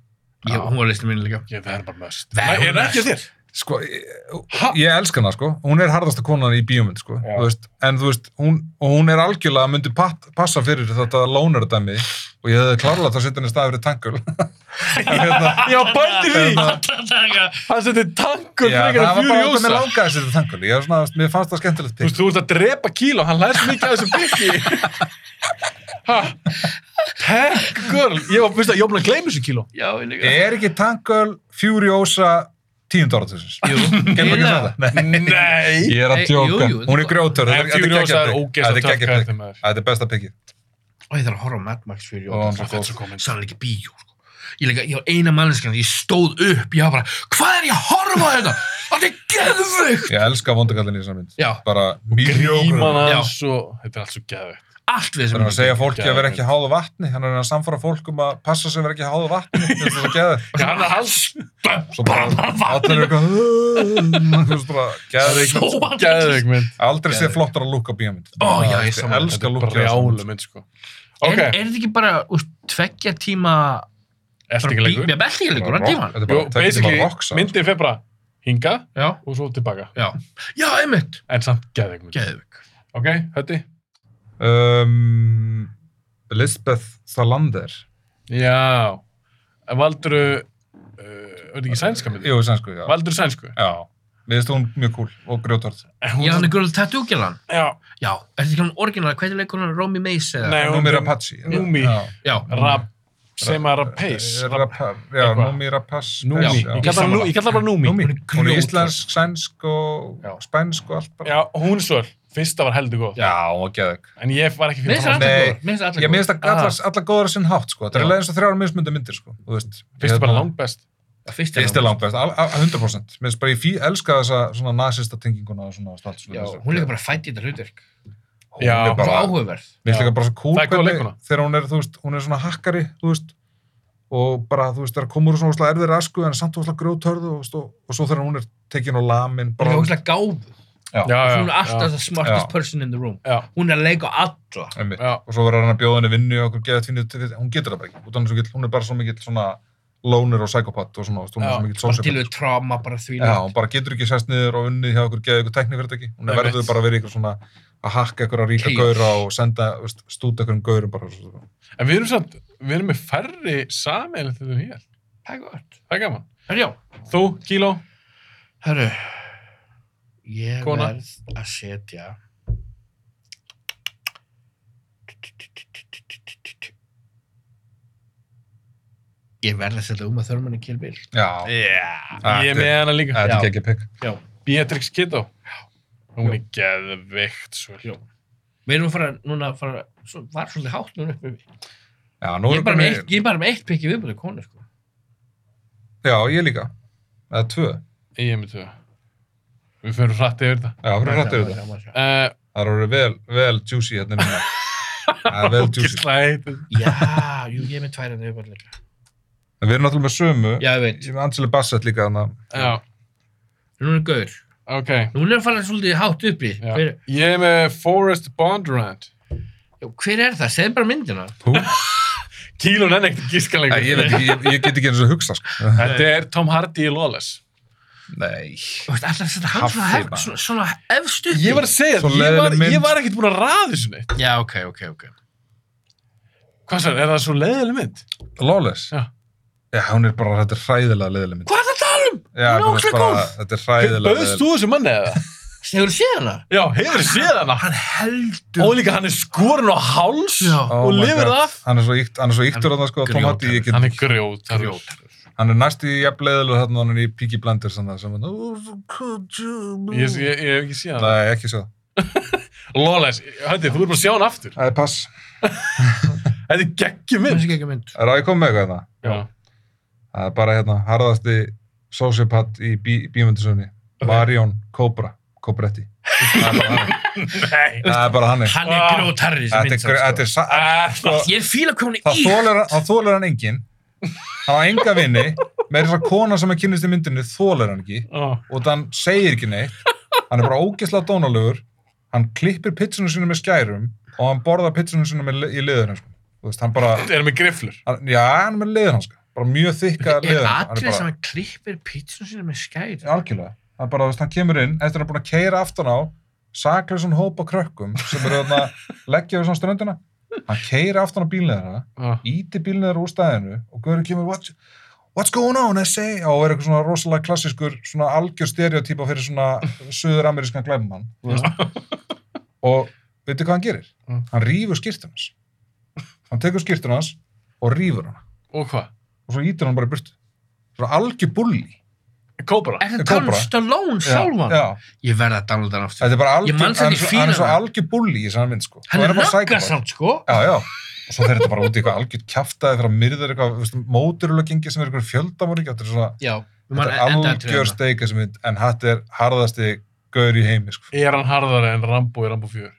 Speaker 1: Ég, hún var listin mín líka.
Speaker 2: Ég, það er bara möst
Speaker 1: Það er
Speaker 2: Nei, er það ekki
Speaker 1: must.
Speaker 2: þér?
Speaker 3: Sko, ég,
Speaker 2: Ha?
Speaker 3: ég elska hana, sko. Hún er harðasta konan í bíómynd, sko.
Speaker 2: Já.
Speaker 3: Þú veist, en þú veist, hún, og hún er algjörlega myndi pat, passa fyrir þetta lónardæmi og ég hefði klárlega það að setja henni í stað fyrir <laughs> tankul. En hérna,
Speaker 2: Já, bældi því
Speaker 3: hérna,
Speaker 2: Hann seti tankur
Speaker 3: já, það
Speaker 2: frekar
Speaker 3: var bara út
Speaker 2: að
Speaker 3: að mér
Speaker 2: Furiosa
Speaker 3: langaði að setja tankul. Ég var svona, mér fannst það skemmtilegt
Speaker 2: Þú
Speaker 3: pikk.
Speaker 2: veist, þú ert að drepa kíló, hann læst mikið að þessu <laughs> byggi Ha? Tech girl Ég var veist að- ég var búin að gleyma þessu kíló
Speaker 1: Já, ég líka.
Speaker 3: Er ekki tankul Furiosa tíund ára til þessins?
Speaker 1: Jú.
Speaker 3: Gæmur ekki
Speaker 1: Eiginlega.
Speaker 3: að segja það?
Speaker 2: Nei
Speaker 3: Ég er að
Speaker 1: Nei, jú,
Speaker 3: djóka.
Speaker 1: jú,
Speaker 3: Hún er grjótur.
Speaker 2: En
Speaker 3: Þetta er
Speaker 2: Furiosa er
Speaker 3: geggjað pikk.
Speaker 2: ógeðslega
Speaker 3: Þetta er
Speaker 2: töff
Speaker 3: geggjað
Speaker 2: karakter,
Speaker 3: pikk.
Speaker 2: maður.
Speaker 3: Þetta er besta pikkið.
Speaker 1: Og ég þarf að horfa á Mad Max fyrir sko,
Speaker 3: Og
Speaker 1: jóta.
Speaker 3: hann er svo góð.
Speaker 2: komið
Speaker 1: Sannlega ekki bíó, sko. Ég líka, ég var eina manneskina, ég stóð upp, ég var bara, hvað er ég að horfa <laughs> á þetta? Þetta er geðvögt!
Speaker 3: Ég elska vondakallin í þessar mynd.
Speaker 1: Já,
Speaker 3: Bara mjög
Speaker 2: gríman
Speaker 1: Já.
Speaker 2: hans og þetta er allt svo geðveikt
Speaker 1: allt við
Speaker 3: Það er
Speaker 1: þessum
Speaker 3: að segja fólki að vera
Speaker 2: Geðveikt.
Speaker 3: ekki háðu vatni, hann er að samfara fólk um að passa sig að vera ekki háðu vatni, þetta er svo geður.
Speaker 2: Já, hann er hans
Speaker 3: Svo bara allir eru eitthvað, þú veist bara, geður ekki.
Speaker 1: Sjóðan.
Speaker 2: geðveik mynd
Speaker 3: Aldrei sé flottar að lúka bíómynd.
Speaker 1: Ó, já, ég sammála.
Speaker 3: Elskar
Speaker 2: Þetta er
Speaker 3: lúka
Speaker 2: bara rjálu mynd sko
Speaker 1: Er
Speaker 2: Ok,
Speaker 1: er þetta ekki bara, úst, tveggja tíma...
Speaker 2: ertu ekki lengur?
Speaker 1: Mér belti ekki lengur, hann tíma.
Speaker 3: Þetta er bara,
Speaker 2: Jú,
Speaker 3: það getur bara
Speaker 2: basically,
Speaker 3: roksa.
Speaker 2: myndin fer bara hinga
Speaker 1: já,
Speaker 2: og svo tilbaka.
Speaker 1: já. Já, einmitt.
Speaker 2: En samt geðveikmynd.
Speaker 1: Geðvik.
Speaker 2: Ok, hötti?
Speaker 3: um, Lisbeth Salander
Speaker 2: Já. En Valdur, uh, er þetta ekki sænska myndi?
Speaker 3: Jú, sem sko, já,
Speaker 2: Valdur sænsku.
Speaker 3: já. Við veist hún mjög cool og grjótort
Speaker 2: En hún-
Speaker 1: Já, hann er gulvöld tattúkjalan.
Speaker 2: Já,
Speaker 1: Já, er þetta ekki hann orginal? Hvað er leikunan Romy Mace eða?
Speaker 2: Nei, hún-
Speaker 3: Númi Rapace
Speaker 2: Númi.
Speaker 3: Já,
Speaker 1: Já,
Speaker 2: rap, sem að rapace.
Speaker 3: Rapa- já
Speaker 2: Eitthvað.
Speaker 3: Númi Rapace
Speaker 2: Númi.
Speaker 1: Já,
Speaker 2: Ég kalla hana Nú- ég kalla bara
Speaker 3: Númi,
Speaker 2: Númi.
Speaker 1: Hún er
Speaker 3: hún er
Speaker 1: grjótharð.
Speaker 3: íslensk, sænsk og
Speaker 2: Já.
Speaker 3: spænsk og allt bara.
Speaker 2: Já, hún er svör. Fyrsta var heldur góð.
Speaker 3: Já, hún var geðug.
Speaker 2: En ég var ekki
Speaker 1: Mér
Speaker 2: fyrir
Speaker 1: finnst það
Speaker 2: hana.
Speaker 3: Nei.
Speaker 1: allar góður. Mér finnst það
Speaker 3: Ég
Speaker 1: allar góður.
Speaker 3: minnst að allar, allar góðar sinn hátt, sko. Það er
Speaker 2: Já.
Speaker 3: alveg eins og þrjára mismundu myndir, sko. Þú veist.
Speaker 2: Fyrsta bara langbest.
Speaker 1: Fyrst
Speaker 3: Fyrst er langt best, al- al- 100%. Mér finnst bara, ég fí, elska þessa svona nazista tenginguna og svona státt.
Speaker 1: Já, hún er líka bara fætt í þetta hlutverk.
Speaker 3: Hún
Speaker 2: Já.
Speaker 1: Bara
Speaker 3: er bara,
Speaker 1: áhugaverð.
Speaker 3: mér finnst líka bara svo cool
Speaker 2: Það er góð
Speaker 3: hvernig-
Speaker 2: leikkona.
Speaker 3: þegar hún er, þú veist, hún er svona hakkari, þú veist, og bara, þú veist, það er að koma úr svona óslega erfið rasku en samt óslega grjótörðu og, og, og svo þegar hún er tekin og lamin,
Speaker 1: Hún
Speaker 3: bara,
Speaker 1: er ógæslega gáð.
Speaker 2: Já, já.
Speaker 1: Hún er alltaf
Speaker 2: já.
Speaker 1: the smartest
Speaker 3: Já.
Speaker 1: person in the room.
Speaker 2: Já,
Speaker 1: Hún er að leika alla.
Speaker 3: einmitt.
Speaker 2: já.
Speaker 3: og svo verður hann að bjóða henni vinnu og okkur geða tvinni, hún getur það bara ekki út af hann svo gill, hún er bara svo mikill svona loner og psychopath og svona, þú veist, hún er
Speaker 2: Já,
Speaker 3: svo mikill
Speaker 1: Bara til
Speaker 3: sociopath
Speaker 1: við trauma, bara því.
Speaker 3: Já, hún bara getur ekki sest niður og unnið hjá okkur geða ykkur teknifyrirtæki, hún er
Speaker 2: Einmitt.
Speaker 3: verður bara að vera ykkur svona að hakka ykkur að ríka
Speaker 1: Chaos.
Speaker 3: gaura og senda, veist, stúta ykkur um gaurum bara svo,
Speaker 2: En við erum samt, við erum með færri sameiginlega til þú hér.
Speaker 1: Það er gott.
Speaker 2: Það er gaman.
Speaker 1: Herjá,
Speaker 2: Þú, Kíló,
Speaker 1: herru. Ég
Speaker 2: Kona.
Speaker 1: verð að setja... Ég verð að setja um að þörmunni kilbíl.
Speaker 3: Já,
Speaker 2: Já,
Speaker 3: Þetta
Speaker 2: ég er með hana líka.
Speaker 3: þetta
Speaker 1: Já.
Speaker 3: er ekki pikk
Speaker 1: Já.
Speaker 2: Beatrix Kiddo. Hún
Speaker 1: Jú.
Speaker 2: er geðveikt sko. svo.
Speaker 1: Jú. Við erum að fara, núna að fara, svo, var svolítið hátt núna upp við.
Speaker 3: Já, nú
Speaker 1: Ég er
Speaker 3: erum
Speaker 1: bara
Speaker 3: við
Speaker 1: með
Speaker 3: komin
Speaker 1: eitt,
Speaker 3: í-
Speaker 1: ég er bara með eitt pikki viðbútið konu, sko.
Speaker 3: Já, ég líka eða tvö,
Speaker 2: Ég er með tvö. Við fyrir hratt yfir þetta.
Speaker 3: já, fyrir hrættu við það
Speaker 1: það.
Speaker 2: Uh,
Speaker 3: Það eru vel, vel juicy hérna
Speaker 1: <laughs>
Speaker 3: núna Það er vel juicy
Speaker 2: Gísla,
Speaker 1: Já, jú, ég er með tvær en viðbútið líka.
Speaker 3: En Við erum náttúrulega með sömu
Speaker 1: Já, ég veit.
Speaker 3: Ég er með Angela Bassett líka þannig
Speaker 1: <laughs>
Speaker 2: já,
Speaker 1: Núna er gaur.
Speaker 2: ok.
Speaker 1: Núna er að fara svolítið hátt upp í.
Speaker 2: Já.
Speaker 1: Hver,
Speaker 2: Ég er með Forrest Bondurant.
Speaker 1: já, hver er það? Segð bara myndina.
Speaker 2: Kíló nenni ekkert gískalega.
Speaker 3: Æ, ég, veit ekki, ég, ég get ekki eins og hugsa sko.
Speaker 2: Þetta er Tom Hardy í Lawless.
Speaker 3: Nei
Speaker 1: Þú veist, alltaf setja hann svona,
Speaker 3: Kaffi,
Speaker 1: hef,
Speaker 3: maður.
Speaker 1: svona, svona efst upp í.
Speaker 2: Ég var að segja
Speaker 3: Svo
Speaker 2: þetta, ég, var-
Speaker 3: leiðileg mynd.
Speaker 2: ég var ekkert búin að ræða þessu neitt.
Speaker 1: Já, ok, ok, ok.
Speaker 2: Hvað sér, er það svo leiðileg mynd?
Speaker 3: Lawless
Speaker 2: Já.
Speaker 3: Já, hún er bara, þetta er hræðilega leðileg mynd
Speaker 1: Hvað er það að tala um? hún er
Speaker 3: Já, þetta
Speaker 1: ógeðslega
Speaker 3: bara-
Speaker 1: góð.
Speaker 3: Þetta er hræðilega
Speaker 2: Böðst þú þessu manni eða?
Speaker 1: Hefur þú séð hana?
Speaker 2: Já, hefur séð hana.
Speaker 1: Hann heldur.
Speaker 2: Og líka hann er skorinn á háls
Speaker 1: Já.
Speaker 3: Oh
Speaker 2: og lifir af.
Speaker 3: Hann er svo íkt, hann er svo íktur þarna sko Tom Hardy, ég get
Speaker 2: Hann er grjót.
Speaker 1: Grjótarður.
Speaker 3: Hann er næst í jafnleðilega þarna hann er í Peaky Blinders þannig sem hann
Speaker 2: Ég, ég, ég hef ekki séð hann.
Speaker 3: Nei, ekki svo
Speaker 2: Lawless, hætti, þú er bara að sjá hann aftur.
Speaker 3: Það er pass
Speaker 2: Þetta er
Speaker 1: Það
Speaker 2: geggjum mynd.
Speaker 1: sé ekki mynd.
Speaker 3: Er það ég kom með eitthvað þarna?
Speaker 2: Já.
Speaker 3: Það er bara hérna, harðasti sociopat í bí, bímundisöfni Marion Cobra, Cobretti Það
Speaker 1: <laughs>
Speaker 3: er bara hann
Speaker 2: Nei.
Speaker 3: Það er bara hann
Speaker 1: Hann er
Speaker 2: Ah.
Speaker 1: grjótarður í þessi
Speaker 3: Þetta
Speaker 1: mynd.
Speaker 3: er, gr-
Speaker 1: samt,
Speaker 3: þetta er, sa-
Speaker 2: Ah,
Speaker 1: sko. Ég fíla hvað hún er
Speaker 3: það
Speaker 1: í.
Speaker 3: þólar, það þólar hann enginn hann á enga vinni með þess að kona sem er kynist í myndinu þólar hann ekki
Speaker 2: ah.
Speaker 3: og hann segir ekki neitt hann er bara ógeðslega dónalegur hann klippir pitsunum sínum með skærum og hann borðar pitsunum sínum með, í liðunum sko. þú veist, hann bara,
Speaker 2: Er hann með griflur?
Speaker 3: hann, já, hann er með liðun hans sko. bara mjög þykka
Speaker 1: Er
Speaker 3: liðun
Speaker 1: atrið sem hann klippir pítsunum sína með skæri?
Speaker 3: algjörlega, hann bara, þú veist, hann kemur inn eftir að búin að keira aftan á saklausan hópa krökkum sem eru þarna leggja við svona ströndina hann keira aftan á bílneðara
Speaker 2: Ah.
Speaker 3: íti bílniður úr staðinu og Guðurinn kemur what's, what's going on, I say og er eitthvað svona rosalega klassískur svona algjör stereotypa fyrir svona söður-amerískan glæfumann og veitir hvað hann gerir?
Speaker 2: Mm.
Speaker 3: hann rýfur skýrtun hans hann tekur skýrtun hans og rýfur hann
Speaker 2: Og hvað?
Speaker 3: og svo ítir hann bara í burtu svona algjör bulli
Speaker 2: Kóbra?
Speaker 1: Er það tala um
Speaker 3: Cobra.
Speaker 1: Stallone
Speaker 3: Já,
Speaker 1: sjálfan?
Speaker 3: já,
Speaker 1: Ég verði að downloada hann aftur.
Speaker 3: þetta er bara
Speaker 1: Ég
Speaker 3: algjör
Speaker 1: man þetta
Speaker 3: hann er
Speaker 1: í
Speaker 3: svo- hann er svo
Speaker 1: fílana.
Speaker 3: algjör bulli í þessari mynd sko.
Speaker 1: Hann
Speaker 3: Og
Speaker 1: er
Speaker 3: bara
Speaker 1: nögga
Speaker 3: psychopath.
Speaker 1: samt, sko.
Speaker 3: já, já og svo fer þetta bara út í eitthvað algjör kjaftaði þegar myrðar eitthvað móturulegengi sem er eitthvað fjöldamorgi þetta er svona
Speaker 1: Já. við
Speaker 3: Þetta
Speaker 1: mann
Speaker 3: er
Speaker 1: endaði atriðið
Speaker 3: algjör
Speaker 1: þarna.
Speaker 3: steika sem mynd, en hatt er harðasti gaur í heimi, sko.
Speaker 2: Er hann harðari en Rambo í Rambo
Speaker 1: <laughs>
Speaker 2: 4?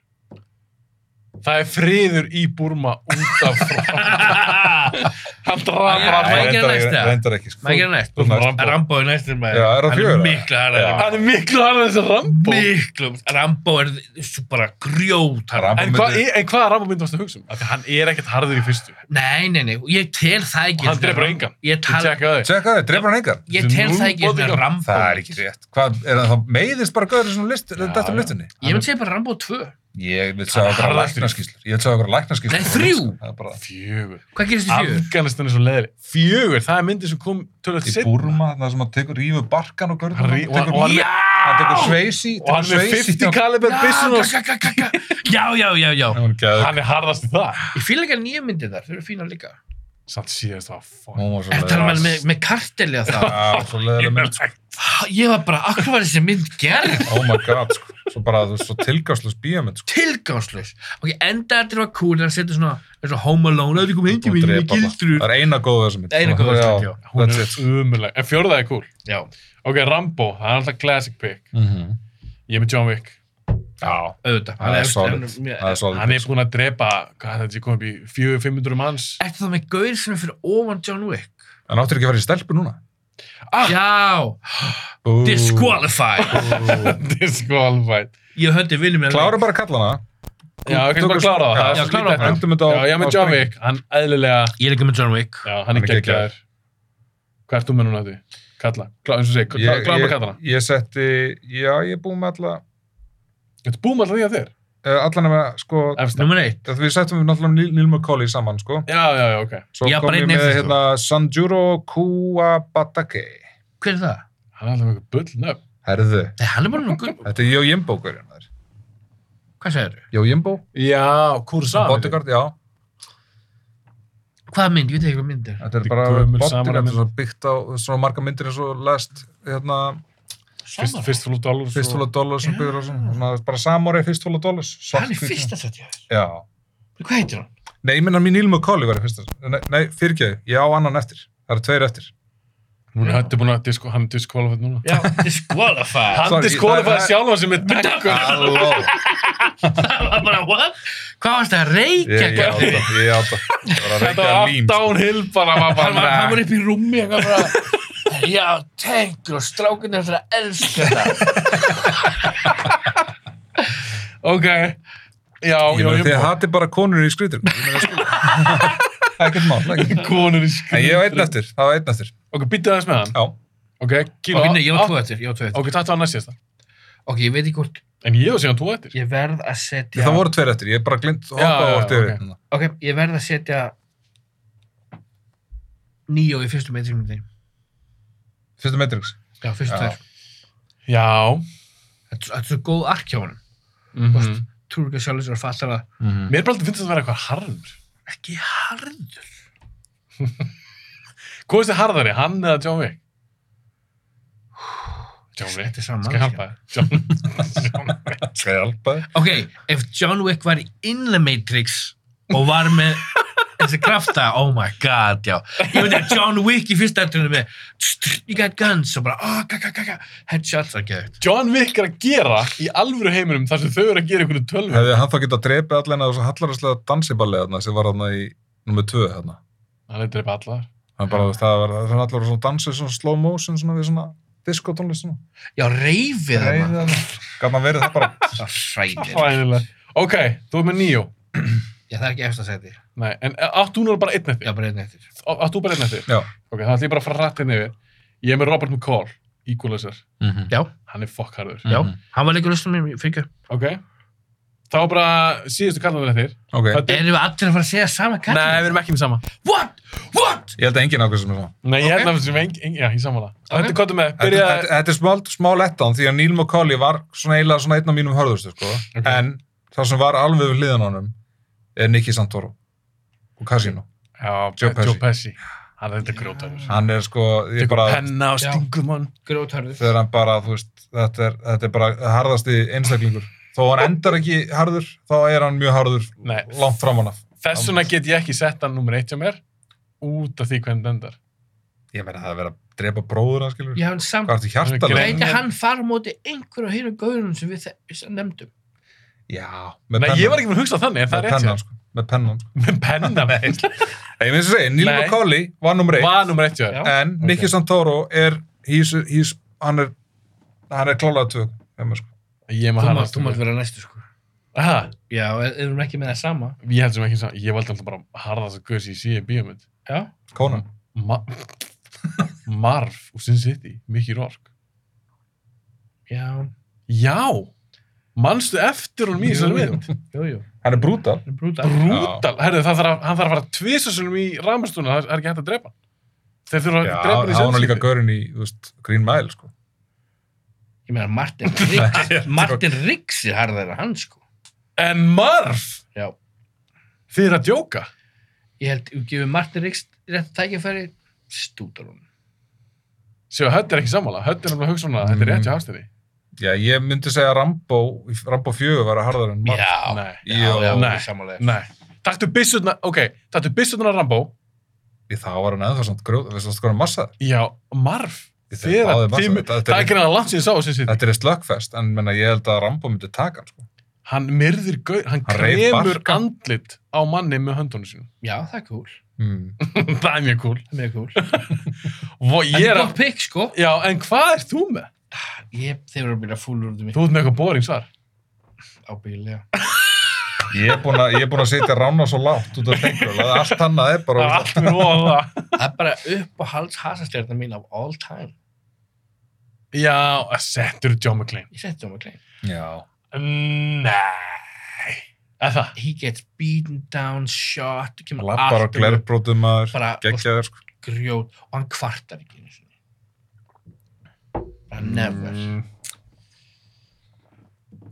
Speaker 2: Það er friður í Burma út af frá. <laughs> Hann dramar
Speaker 1: Á
Speaker 2: alltaf.
Speaker 1: að gera næst, eða?
Speaker 3: Reyndar ekki, sko.
Speaker 1: Maður gerir næst.
Speaker 3: Þú næst.
Speaker 1: Rambo er næstur maður.
Speaker 3: Já, er það fjögur,
Speaker 1: Hann
Speaker 3: eða?
Speaker 1: er miklu harðari.
Speaker 3: Já.
Speaker 2: Hann er miklu harðið þessi Rambo.
Speaker 1: Miklu. Rambo er svo bara grjót
Speaker 3: Rambo.
Speaker 2: En, hva, en hvaða Rambo myndi varstu að hugsa um? Af því hann er ekkert harður í fyrstu.
Speaker 1: Nei, nei, nei. Ég tel það ekki.
Speaker 2: Hann drepur engan.
Speaker 1: Ég,
Speaker 2: Ég
Speaker 1: tal,
Speaker 2: tjekka þig.
Speaker 3: Tjekka það, dreifur hann engar?
Speaker 1: ég tel það ekki
Speaker 2: Nú,
Speaker 1: svona Rambo.
Speaker 3: Það er ekki rétt. Hvað, er það þá meiðist bara gauður í svona list,
Speaker 2: Já,
Speaker 3: þetta
Speaker 2: já.
Speaker 3: um listinni?
Speaker 1: Ég myndi segja bara Rambo 2.
Speaker 3: Ég vil segja okkur að
Speaker 2: harðastur.
Speaker 3: læknaskýslur. Ég vil segja okkur að læknaskýslur.
Speaker 1: Nei, þrjú.
Speaker 3: Það er bara
Speaker 2: Fjögur.
Speaker 1: Hvað gerist í fjögur?
Speaker 2: Afganistan er svo leðri. Fjögur, það er myndið sem kom tölvöld
Speaker 3: í
Speaker 2: sitt.
Speaker 3: Burma, það sem hann tekur rífu barkan og
Speaker 2: Hann
Speaker 3: görðum.
Speaker 2: rí- og- og hann-
Speaker 1: Já!
Speaker 3: Hann tekur sveisi.
Speaker 2: Og hann er 50 kaliber byssun og...
Speaker 1: Já, ka- ka- ka-
Speaker 3: <laughs>
Speaker 1: ka. Já, já, já, já.
Speaker 3: Hún gæði.
Speaker 2: Hann er harðast í það.
Speaker 1: Ég fíla ekki að nýja myndið þar. Þau eru fína líka.
Speaker 2: Samt síðast var fuck.
Speaker 3: Hún var svo
Speaker 1: Þetta er alveg um með, með kartelja
Speaker 3: <laughs>
Speaker 1: það.
Speaker 3: Já, svo leiðilega mynd.
Speaker 1: Ég var bara, akkur var þessi mynd gerð?
Speaker 3: Oh my god, sko. Svo bara, þú veist, svo tilgáðslega bíómynd, sko.
Speaker 1: Tilgangslaus. Ok, enda þetta var cool, hann setur svona, er svona home alone, að við komum heim til mín, við
Speaker 3: Drepa bara.
Speaker 1: gildur.
Speaker 3: Það er eina góð þessum mynd. sko.
Speaker 1: Eina góða við þessa mynd, já.
Speaker 2: Hún er umurleg. En fjórða er cool.
Speaker 1: Já.
Speaker 2: Ok, Rambo, það er alltaf classic pick.
Speaker 3: mynd.
Speaker 2: Ég er með John Wick.
Speaker 3: Já.
Speaker 1: auðvitað.
Speaker 3: Það er
Speaker 1: Hann
Speaker 3: solid.
Speaker 1: hann- mér-
Speaker 3: Það er solid.
Speaker 2: Hann er búinn að drepa, hvað er þetta, ég kom upp í 400-500 manns. <laughs>
Speaker 1: Ertu þá með gaur sem er fyrir ofan John Wick?
Speaker 3: En áttur ekki að fara í stelpu núna?
Speaker 2: Ah.
Speaker 1: Já,
Speaker 3: Bú.
Speaker 1: sko- disqualified.
Speaker 2: sko Disqualified.
Speaker 1: Ég höndi vinnum með
Speaker 3: Klára bara kallana.
Speaker 2: Já, ok, bara klára það. það.
Speaker 1: Já,
Speaker 2: er svo
Speaker 1: klára
Speaker 2: lítið
Speaker 1: það.
Speaker 2: eftir.
Speaker 3: Endum þetta á...
Speaker 2: Já, ég er
Speaker 3: á
Speaker 2: með John
Speaker 3: sprengi.
Speaker 2: Wick, hann eðlilega,
Speaker 1: Ég er líka með John Wick.
Speaker 2: já, hann er
Speaker 3: er geggjaður.
Speaker 2: geggjaður. Hvað ert þú með núna þetta? Kalla, klára, eins og segja, klára
Speaker 3: Ég-
Speaker 2: klára bara
Speaker 3: ég-
Speaker 2: kallana.
Speaker 3: Ég setti... Já, ég er búinn með alla...
Speaker 2: Þetta búum alltaf því að þér,
Speaker 3: eh, Alla nema, sko...
Speaker 2: efst.
Speaker 1: Númer eitt.
Speaker 3: Það við settum við náttúrulega Neil- Neil McCauley saman, sko.
Speaker 2: Já, já, já, ok.
Speaker 3: Svo
Speaker 1: Já,
Speaker 3: kom
Speaker 1: bara
Speaker 3: ég
Speaker 1: einn
Speaker 3: með,
Speaker 1: eftir, sko.
Speaker 3: hérna, Sanjuro Kuwabatake.
Speaker 1: Hver er það?
Speaker 2: Hann er alltaf með eitthvað bull nöfn.
Speaker 3: Herðu.
Speaker 1: Nei, hann er bara nú gull.
Speaker 3: Þetta er Jó Jimbo, hverjum það er.
Speaker 1: Hvað segir þú?
Speaker 3: Jó Jimbo.
Speaker 2: Já, Kurosawa.
Speaker 3: Bodyguard, já.
Speaker 1: Hvað mynd? Ég veit ekki hvað mynd er.
Speaker 3: Þetta er
Speaker 2: Þetta er
Speaker 3: bara
Speaker 2: gömul
Speaker 3: bodyguard,
Speaker 2: samanmynd.
Speaker 3: þetta er svo byggt á svona marga myndir eins og last, hérna,
Speaker 2: Fyrst, fyrst fólk dálur.
Speaker 3: fyrstfóla dollars sem byggur á svona, svona bara samóri fyrstfóla dollars.
Speaker 1: Hann er fyrsta sett ég þess.
Speaker 3: Já.
Speaker 1: Hvað heitir hann?
Speaker 3: Nei, ég minna mín Neil McCauley verið fyrsta. Nei, nei fyrirgeðu, ég á annan eftir. Það eru tveir eftir.
Speaker 2: Núna, þetta er búin að disko, hann er disqualified núna.
Speaker 1: Já, disqualified.
Speaker 2: Hann
Speaker 3: Sorry,
Speaker 2: disqualified
Speaker 3: það-
Speaker 2: sjálfan sem er daggur.
Speaker 3: Halló.
Speaker 1: Það var bara, what? Hvað varst það að
Speaker 3: Ég
Speaker 1: reykja?
Speaker 3: ég á
Speaker 1: gæði?
Speaker 3: það, ég á það. Ég var að
Speaker 2: Þetta
Speaker 3: reyka
Speaker 2: var allt
Speaker 3: lím.
Speaker 2: downhill bara. var
Speaker 1: Hann var, hann var
Speaker 2: bara-
Speaker 1: upp í rúmi og hann bara, já, tengur og strákunni eftir að elska það.
Speaker 2: Ok. Já,
Speaker 3: Ég
Speaker 2: já,
Speaker 3: meina,
Speaker 2: ég
Speaker 3: Þið hati bara konur í skrítur. Ég meina, sko. <laughs> Ekkert mál, ekkert.
Speaker 2: Konur í
Speaker 3: En
Speaker 2: skrið.
Speaker 3: ég á einn eftir, það var einn eftir.
Speaker 2: Ok, býttu aðeins með hann.
Speaker 3: Já.
Speaker 2: Ok, kýla.
Speaker 1: Ok, nei, ég var tvo eftir, ég var tvo eftir.
Speaker 2: Ok, þetta var næst síðasta.
Speaker 1: Ok, ég veit ekki hvort,
Speaker 2: En ég var síðan tvo eftir.
Speaker 1: ég verð að setja...
Speaker 3: Það voru tveir eftir, ég bara glind hoppa
Speaker 2: já,
Speaker 3: og orðið
Speaker 2: ok.
Speaker 3: yfir. hérna.
Speaker 1: Ok, ég verð að setja nýjó í fyrstu metriðmyndinni.
Speaker 3: Fyrstu Matrix.
Speaker 1: Já, fyrstu
Speaker 3: Já.
Speaker 1: þær.
Speaker 2: Já.
Speaker 1: Þetta þetta er svo góð ark hjá honum.
Speaker 2: Mhm.
Speaker 1: Túrika sjálfur sér að fatta það.
Speaker 2: Mér er bara alltaf finnst þetta að vera eitthvað harður.
Speaker 1: Ekki harður.
Speaker 2: Hvað er þetta harðari, hann eða John Wick? John Wick.
Speaker 1: Þetta er saman.
Speaker 2: Skal ég hjálpa þér? John
Speaker 1: <laughs>
Speaker 3: Skal ég alpa þið?
Speaker 1: Ok, ef John Wick var in the Matrix og var með þessi krafta, oh my god, já. Ég veit að John Wick í fyrsta aðtunum með "Tst, you got guns og bara, ah, oh, kaka, kaka, headshots, ok.
Speaker 2: John Wick er að gera í alvöru heiminum þar sem þau eru að gera einhvern tölvu.
Speaker 3: Hefði hann þá getað drepið allan að þessu hallaræslega dansiballi þarna sem var þarna í nummer 2 þarna.
Speaker 2: Hann er að drepa allar.
Speaker 3: Hann bara, þú veist, það var þannig allar voru svona dansið svona slow motion svona við svona diskotónlist svona.
Speaker 1: Já, reyfið
Speaker 3: Reyðið
Speaker 1: hana.
Speaker 3: þarna. Gat hann verið það bara.
Speaker 1: Hræðir.
Speaker 2: Hræðilega. Ok, þú er með nýjó.
Speaker 1: Já, það er ekki eftir að setja.
Speaker 2: Nei, en eh, átt hún er bara einn eftir?
Speaker 1: Já, bara einn eftir.
Speaker 2: Á- Átt þú bara einn eftir?
Speaker 3: Já.
Speaker 2: Ok, það ætlum ég bara að fara rætt hérna yfir. Ég er með Robert McCall, equalizer.
Speaker 1: Já,
Speaker 2: Hann er fokkharður.
Speaker 1: já,
Speaker 3: Mhm.
Speaker 1: hann var leikur lustum mér fyrir
Speaker 2: Ok. Þá er bara síðustu kallanir eftir.
Speaker 3: Ok.
Speaker 2: Hvað-
Speaker 1: Erum við allir að fara að segja sama kall?
Speaker 2: Nei, við erum ekki með sama.
Speaker 1: What? What?
Speaker 3: Ég held að enginn ákveð sem er svona.
Speaker 2: Nei, ég
Speaker 1: Ok.
Speaker 2: held að við sem eng, eng, já, ég sammála.
Speaker 1: Ok.
Speaker 2: Þetta er kottum með,
Speaker 3: Þetta,
Speaker 2: byrja,
Speaker 3: þetta, þetta er smá, smá lettan því að Neil McCauley var svona eiginlega svona einn af mínum hörðustu sko.
Speaker 2: Ok.
Speaker 3: En það sem var alveg við hliðan á honum er Nicky Santoro og Casino.
Speaker 2: já,
Speaker 3: Joe Pesci.
Speaker 2: Joe Pesci. Hann er þetta grótarur.
Speaker 3: Hann er sko, ég
Speaker 2: Tekur
Speaker 3: bara,
Speaker 2: penna og
Speaker 1: Já.
Speaker 2: stingum hann.
Speaker 1: Grótarður.
Speaker 3: þegar hann bara, þú veist, þetta er, þetta er bara harðasti einstaklingur. Þó hann endar ekki harður, þá er hann mjög harður
Speaker 2: Nei.
Speaker 3: langt framan af.
Speaker 2: Þess vegna get ég ekki sett hann nummer eitt hjá mér út af því hvernig þetta endar.
Speaker 3: Ég meina það er verið að drepa bróður að skilur.
Speaker 1: Já, en samt,
Speaker 3: Hvað ertu
Speaker 2: Hann er
Speaker 3: hjartalega?
Speaker 2: grein.
Speaker 1: gæti hann fara á móti einhverju af hinu gauðunum sem við þe- sem nefndum?
Speaker 3: Já, með
Speaker 2: Nei, ég var ekki með að hugsa þannig, en það er
Speaker 3: með
Speaker 2: rétt hjá.
Speaker 3: pennan,
Speaker 2: þér.
Speaker 3: sko. með pennan sko.
Speaker 2: Með penna með.
Speaker 3: Ég finnst að segja, Neil
Speaker 2: Nei.
Speaker 3: McCauley var nummer eitt
Speaker 2: Var nummer eitt hjá þér.
Speaker 1: Já.
Speaker 3: en Nicky Santoro er he's, he's, hann er hann er klálega tvö hjá mér, sko.
Speaker 2: Ég
Speaker 1: Þú
Speaker 2: maður hann.
Speaker 1: mátt- Þú mátt vera næstu sko.
Speaker 2: Aha,
Speaker 1: Já, er- erum ekki með það sama?
Speaker 2: ég held sem ekki saman. Ég valdi alltaf bara harðast að guðs í síðan bíómynd.
Speaker 1: Já.
Speaker 3: Conan
Speaker 2: Ma Marf úr Sin City, Mickey Rourke.
Speaker 1: Já.
Speaker 2: Já, mannstu eftir hún mjög sem
Speaker 1: Jú,
Speaker 2: mynd.
Speaker 1: Jú, jú.
Speaker 3: hann er brútal
Speaker 1: Það er brútal.
Speaker 2: Brútal. Herðu, það þarf að, hann þarf að fara tvisasunum í ramastúna, það er ekki hægt að drepa hann. Þeir þurfa að
Speaker 3: Já,
Speaker 2: drepa hann í
Speaker 3: hann var nú líka
Speaker 2: sjálfsvíti.
Speaker 3: gaurinn í þú veist, Green Mile sko.
Speaker 1: Ég meina Martin Riggs. Martin Riggs er harðar en hann sko.
Speaker 2: En Marf,
Speaker 1: Já.
Speaker 2: þið er að djóka.
Speaker 1: Ég held, ég gefur Martin Riggs rétt tækifæri, stútar hún.
Speaker 2: Sjá, Hödd er ekki sammála. Hödd er nefnilega að hugsa hún að þetta er rétt hjá hafstinni.
Speaker 3: Já, ég myndi segja að Rambo Rambo 4 var að harðar en Mark
Speaker 1: Já.
Speaker 2: Nei.
Speaker 1: Já, já, já,
Speaker 2: Nei.
Speaker 1: samanlega.
Speaker 2: Nei. Taktu byssutna, ok, taktu byssutna Rambo.
Speaker 3: í þá var hann eða samt grjóð við sást skoðum massa
Speaker 2: Já, Marf.
Speaker 3: Ég
Speaker 2: Þið er
Speaker 3: þeim
Speaker 2: að,
Speaker 3: báðir
Speaker 2: þið,
Speaker 3: massa. Þetta
Speaker 2: það er
Speaker 3: er-
Speaker 1: hérna.
Speaker 2: ekki hann að langt síðan sá sem sitt.
Speaker 3: þetta er slökkfest en menna, ég held að Rambo myndi taka hann sko.
Speaker 2: Hann myrðir gau, hann
Speaker 3: Hann reif
Speaker 2: kremur
Speaker 3: barka.
Speaker 2: andlit á manni með höndunum sínum.
Speaker 1: Já, það er cool.
Speaker 3: mm.
Speaker 2: <laughs> það er mjög cool.
Speaker 1: Það er mjög cool.
Speaker 2: Vó,
Speaker 1: En það
Speaker 2: ég er
Speaker 1: er
Speaker 2: að,
Speaker 1: gott pikk sko.
Speaker 2: já, en hvað er þú með?
Speaker 1: Ég, þeir eru að byrja fúlur út um mig.
Speaker 2: Þú ert með eitthvað boring <laughs> svar.
Speaker 1: Ábyggilega.
Speaker 3: ég er búinn að- ég er búinn að setja rána svo lágt út af fengur að allt annað er bara
Speaker 2: Það er allt mér ofan það.
Speaker 1: Það er bara upp á hals hasastjarnar mín af all time.
Speaker 2: Já, settur John McClane.
Speaker 1: Ég setti John McClane.
Speaker 3: já
Speaker 2: Nei. Eða það?
Speaker 1: He gets beaten down, shot, kemur
Speaker 3: lappar
Speaker 1: alltaf
Speaker 3: og
Speaker 1: upp,
Speaker 3: glerbrótum maður
Speaker 1: bara og
Speaker 3: geggjaður sko.
Speaker 1: grjót og hann kvartar ekki einu sinni. Bara never.
Speaker 2: Mm.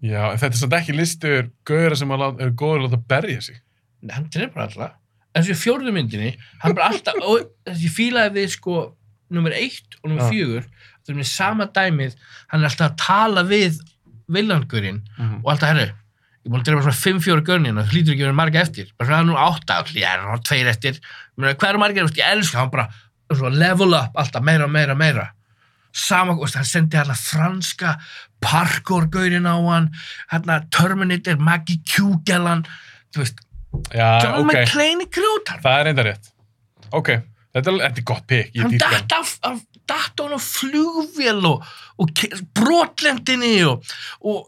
Speaker 2: Já, en þetta er samt ekki listur gauðra sem að lá- eru góður að láta berja sig.
Speaker 1: Nei, Hann drefur alltaf. En svo í fjórðu myndinni, hann bara alltaf, og þessi fílaði við sko nummer eitt og nummer
Speaker 2: Já.
Speaker 1: fjögur, það er með sama dæmið, hann er alltaf að tala við villangurinn
Speaker 2: Mm.
Speaker 3: Mhm.
Speaker 1: og alltaf herri ég er búin að drefa svona 5-4 görnina það hérna, hlýtur ekki að vera marga eftir bara svona það er nú 8 allir, ég er hann tveir eftir Ég meina, hvað eru margir, Vist, ég elska hann bara svona level up alltaf meira og meira og meira sama, veist, hann sendi hann franska parkour gaurin á hann hérna Terminator, Maggie Q-gellan þú veist,
Speaker 2: Já,
Speaker 1: John
Speaker 2: ok.
Speaker 1: McClane er grjótar
Speaker 2: Það er enda rétt. Ok, þetta er, þetta er gott pikk. Ég
Speaker 1: hann
Speaker 2: dýrka
Speaker 1: datt af, af datt á hann á flugvél og, og ke- brotlendinni og, og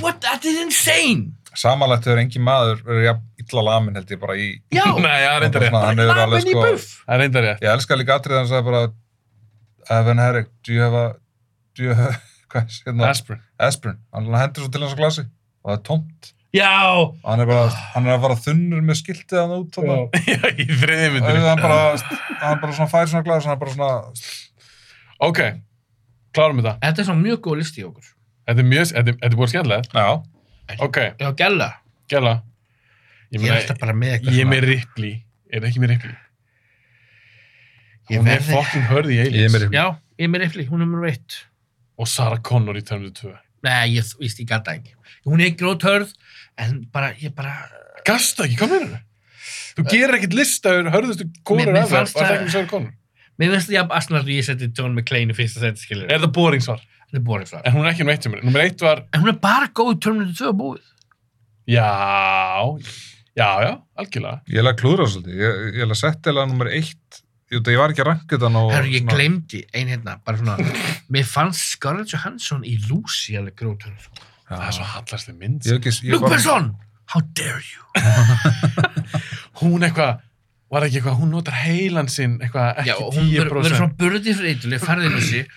Speaker 1: what, that is insane
Speaker 3: samanlegt hefur engin maður verið jafn illa lamin held ég bara í
Speaker 1: <laughs> já,
Speaker 2: <laughs> Nei, það er enda rétt.
Speaker 3: Svona, hann hefur
Speaker 1: bara lamin
Speaker 3: alveg
Speaker 1: í
Speaker 3: sko
Speaker 1: buff
Speaker 2: Það er enda rétt.
Speaker 3: ég elska líka atrið hans að bara Evan Herrick, do you have a do you have, <laughs> hvað er hérna
Speaker 2: Aspirin.
Speaker 3: Aspirin, hann hendur svo til hans á glasi og það er tómt
Speaker 1: Já,
Speaker 3: og hann er bara, hann er að fara þunnur með skiltið hann út þarna. og
Speaker 2: <laughs> Já, í þriðið myndinu.
Speaker 3: hann bara, hann bara svona fær svona glasi hann er bara svona,
Speaker 2: Ok, klárum þetta.
Speaker 1: þetta er svona mjög góð listi í okkur.
Speaker 2: Þetta er mjög, þetta er- þetta er búin skemmtilegt.
Speaker 3: já
Speaker 2: Ok,
Speaker 1: Já, gæla.
Speaker 2: gæla.
Speaker 1: Ég er alltaf bara með eitthvað
Speaker 2: Ég er
Speaker 1: svona-
Speaker 2: með Ripley. Er það ekki með Ripley?
Speaker 1: Ég
Speaker 2: Hún er
Speaker 1: verði-
Speaker 2: fucking hörð í Aliens.
Speaker 3: Ég er með Ripley.
Speaker 1: Já, ég er með Ripley, hún er nummer eitt.
Speaker 2: Og Sarah Connor í Terminator 2.
Speaker 1: Nei, ég víst, ég gata ekki. Hún er grótörð, en bara, ég bara...
Speaker 2: Gasta ekki, hvað meður þau? Þú gerir ekkert lista yfir hörðustu konur
Speaker 1: Mér- mér
Speaker 2: af þér og
Speaker 1: fannst
Speaker 2: það er
Speaker 1: það-
Speaker 2: ekki með Sarah Connor.
Speaker 1: Mér finnst það jafn aðsnart að ég seti John McClane í fyrsta seti, skilur.
Speaker 2: Er það boring svar?
Speaker 1: Þetta er boring frá.
Speaker 2: En hún er ekki nummer eitt hjá mér. Nummer eitt var,
Speaker 1: En hún er bara góð í törnum til tvö búið.
Speaker 2: já, já, já, algjörlega.
Speaker 3: ég er að klúðra svolítið, ég, ég er að setja eða nummer eitt, ég, ég var ekki að ranka þetta og
Speaker 1: Herru, ég glemdi ein hérna, bara
Speaker 2: <laughs>
Speaker 1: svona... mér fannst Scarlett Johansson í Lucy alveg grótörð.
Speaker 2: Það er svo hallarslið mynd.
Speaker 3: ég, hef ekki, ég,
Speaker 1: Luke
Speaker 3: var,
Speaker 1: Besson! How dare you!
Speaker 2: Hún eitthvað, var ekki eitthvað, hún notar heilan sinn eitthvað
Speaker 1: Já,
Speaker 2: ekki
Speaker 1: og hún verður
Speaker 2: 10%.
Speaker 1: verður svona burði freytileg, farðið með sig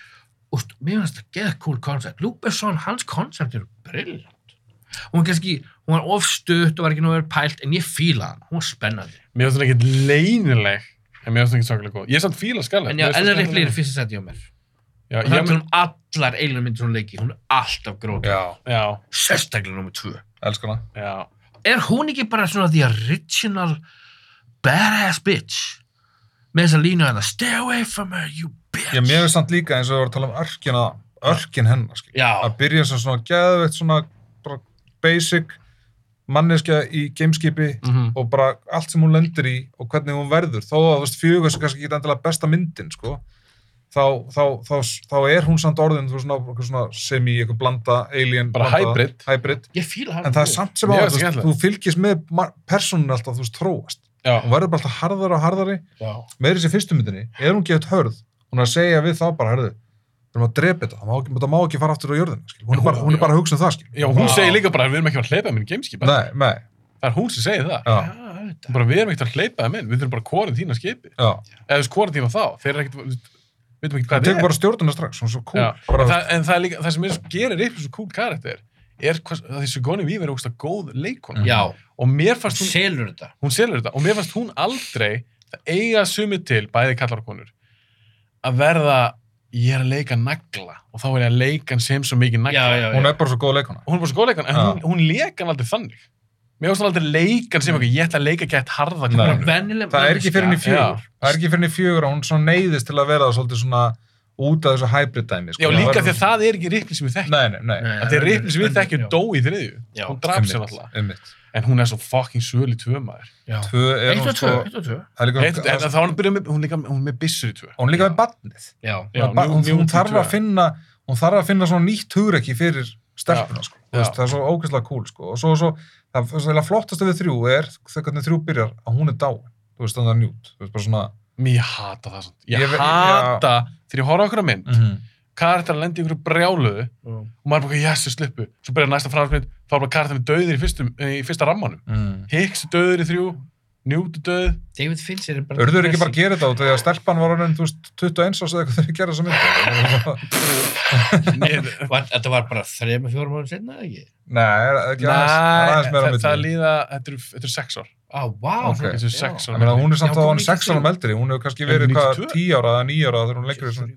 Speaker 1: og mér finnst það geða cool koncept Luke Besson, hans koncept eru brillant hún var kannski, hún var ofstutt og var ekki nú verið pælt, en ég fíla hann hún var spennandi,
Speaker 2: Mér finnst hún ekkert leynileg, en mér finnst hún ekkert svakalega góð. Ég er samt fíla skallet.
Speaker 1: en já, Ellen Ripley er fyrst að setja á mér,
Speaker 2: Já,
Speaker 1: hún
Speaker 2: ég,
Speaker 1: hættur um allar eilinu myndir hún leiki, hún er alltaf grót
Speaker 3: já,
Speaker 2: já,
Speaker 1: sérstaklega nummer tvö
Speaker 3: elskana
Speaker 2: já.
Speaker 1: er hún ekki bara svona the original badass bitch með þess að línu að það stay away from her, you bitch
Speaker 3: Já, mér finnst samt líka eins og við varum að tala um örkina, örkin hennar, skil.
Speaker 1: Já.
Speaker 3: Að byrja sem svona geðveitt, svona bara basic manneskja í gameskipi
Speaker 2: Mhm.
Speaker 3: og bara allt sem hún lendir í og hvernig hún verður, þó að þú veist fjögur sem kannski ekki endilega besta myndin, sko. þá, þá, þá, þá er hún samt orðin þú veist, svona, eitthvað svona sem í eitthvað blanda alien,
Speaker 2: Bara
Speaker 3: blanda,
Speaker 2: hybrid.
Speaker 3: hybrid
Speaker 1: Ég fíla hann.
Speaker 3: en það er samt sem
Speaker 2: Mér
Speaker 3: áður,
Speaker 2: finnst
Speaker 3: þú veist,
Speaker 2: skemmtilegt.
Speaker 3: þú fylgist með personin alltaf, þú veist, tróast
Speaker 2: Já,
Speaker 3: hún verður bara alltaf harðari og harðari
Speaker 1: Já.
Speaker 3: meira þessi fyrstu myndinni, ef hún gefur hörð hún er að segja við þá bara, herðu við erum að drepa þetta, það má, ekki- þetta má ekki fara aftur á jörðina skil. hún er bara, hún er bara að hugsa um það skil.
Speaker 2: já hún
Speaker 1: Vá.
Speaker 2: segir líka bara við erum ekki að hleypa minn gameskip.
Speaker 3: nei, nei,
Speaker 2: Það er hún sem segir það.
Speaker 3: já,
Speaker 1: auðvitað.
Speaker 2: Bara, við erum ekkert að hleypa það minn, við þurfum bara að kóra þína skipi.
Speaker 3: já
Speaker 2: Eða þess kóra þína þá, þeir eru ekkert, við veitum ekkert
Speaker 3: hún
Speaker 2: hvað það
Speaker 3: tekur
Speaker 2: er.
Speaker 3: bara stjórnuna strax, hún er svo cool
Speaker 2: Já,
Speaker 3: bara,
Speaker 2: en, það, en það er líka, það sem er, gerir ykkur svo cool karakter er hvað, að því Sigourney Weaver er ógst góð leikona.
Speaker 1: Já,
Speaker 2: Og mér
Speaker 1: hann
Speaker 2: fannst hún
Speaker 1: selur þetta.
Speaker 2: hún selur þetta og mér fannst hún aldrei það eiga sumi til, bæði kallar og konur að verða ég er að leika nagla og þá er ég að leika hann sem svo mikið nagla
Speaker 1: Já, já, já.
Speaker 3: hún er bara svo góð leikona
Speaker 2: og hún er bara svo góð leikan, en
Speaker 3: Já.
Speaker 2: hún, hún leika hann aldrei þannig mér fannst hún aldrei leika hann sem eitthvað ég ætla að leika gett harða
Speaker 3: Nei.
Speaker 2: konur
Speaker 1: Vennileg
Speaker 3: það er ekki fyrir henni í
Speaker 2: Já.
Speaker 3: fjögur það er ekki fyrir henni í fjögur að hún svona neyðist til að vera svolítið svona út af þessu hybrid dæmi sko.
Speaker 2: já, líka því að það er ekki ripplin sem við þekkjum
Speaker 3: nei, nei, nei,
Speaker 1: Nei.
Speaker 2: þetta er ripplin sem við
Speaker 1: Önnur-
Speaker 2: þekkjum
Speaker 1: já.
Speaker 2: dó í þriðju
Speaker 1: Já.
Speaker 2: hún draf sér alltaf,
Speaker 3: einmitt
Speaker 2: en hún er svo fucking söl í tvö maður
Speaker 1: Eitt
Speaker 3: tvö er hún
Speaker 1: og tvö,
Speaker 3: sko
Speaker 1: eitt og tvö.
Speaker 3: það er líka-
Speaker 2: en, en þá hún byrja með, hún líka hún er með byssur í tvö
Speaker 3: hún er líka með badnið
Speaker 1: Já.
Speaker 2: Já,
Speaker 3: Ba- hún,
Speaker 2: njú-
Speaker 3: hún þarf
Speaker 2: njú-
Speaker 3: að finna hún þarf að finna svona nýtt hugrekki fyrir stelpuna sko. Þú
Speaker 2: Já.
Speaker 3: veist, það er svo ógeðslega cool sko. og svo, svo, það, það, það flottasta við þrjú er þegar hvernig þrjú byrjar að hún er dáin þú veist þannig að njút þú veist bara svona
Speaker 2: mér hata það svona ég,
Speaker 3: Ég ve-
Speaker 2: hata þegar ég horfa okkur á mynd
Speaker 3: mm -hmm.
Speaker 2: karakter að lenda í einhverju brjáluðu og maður er bara, jæssu, sluppu svo byrjar næsta framhansmynd, þá er bara karakter með döðir í, fyrstum, eh, í fyrsta rammanum
Speaker 3: mm.
Speaker 2: Hicks er döður í þrjú, Newt er döð
Speaker 1: David Fincher er bara...
Speaker 3: Örður ekki bara að gera þetta út af því að stelpan var orðin, þú veist, 21 árs eða eitthvað þegar ég gera þessa mynd.
Speaker 2: Mér-
Speaker 1: Var, þetta var bara þrema, fjórum árum sinna, ekki?
Speaker 3: Nei, er það ekki aðeins, það er
Speaker 2: Nei,
Speaker 3: aðeins meira
Speaker 2: það,
Speaker 3: myndi.
Speaker 2: það líða þetta eru- þetta eru sex ár
Speaker 1: Á, vá.
Speaker 3: Ok.
Speaker 2: þetta eru sex
Speaker 3: Ég meina,
Speaker 2: ár
Speaker 3: hún er samt
Speaker 1: Já,
Speaker 3: að
Speaker 1: hún
Speaker 3: hann
Speaker 1: er
Speaker 3: 6
Speaker 1: 92.
Speaker 3: ára meldri, hún hefur kannski
Speaker 2: En
Speaker 3: verið hvað
Speaker 2: 92?
Speaker 3: 10 ára eða 9 ára þegar hún leikur þessu.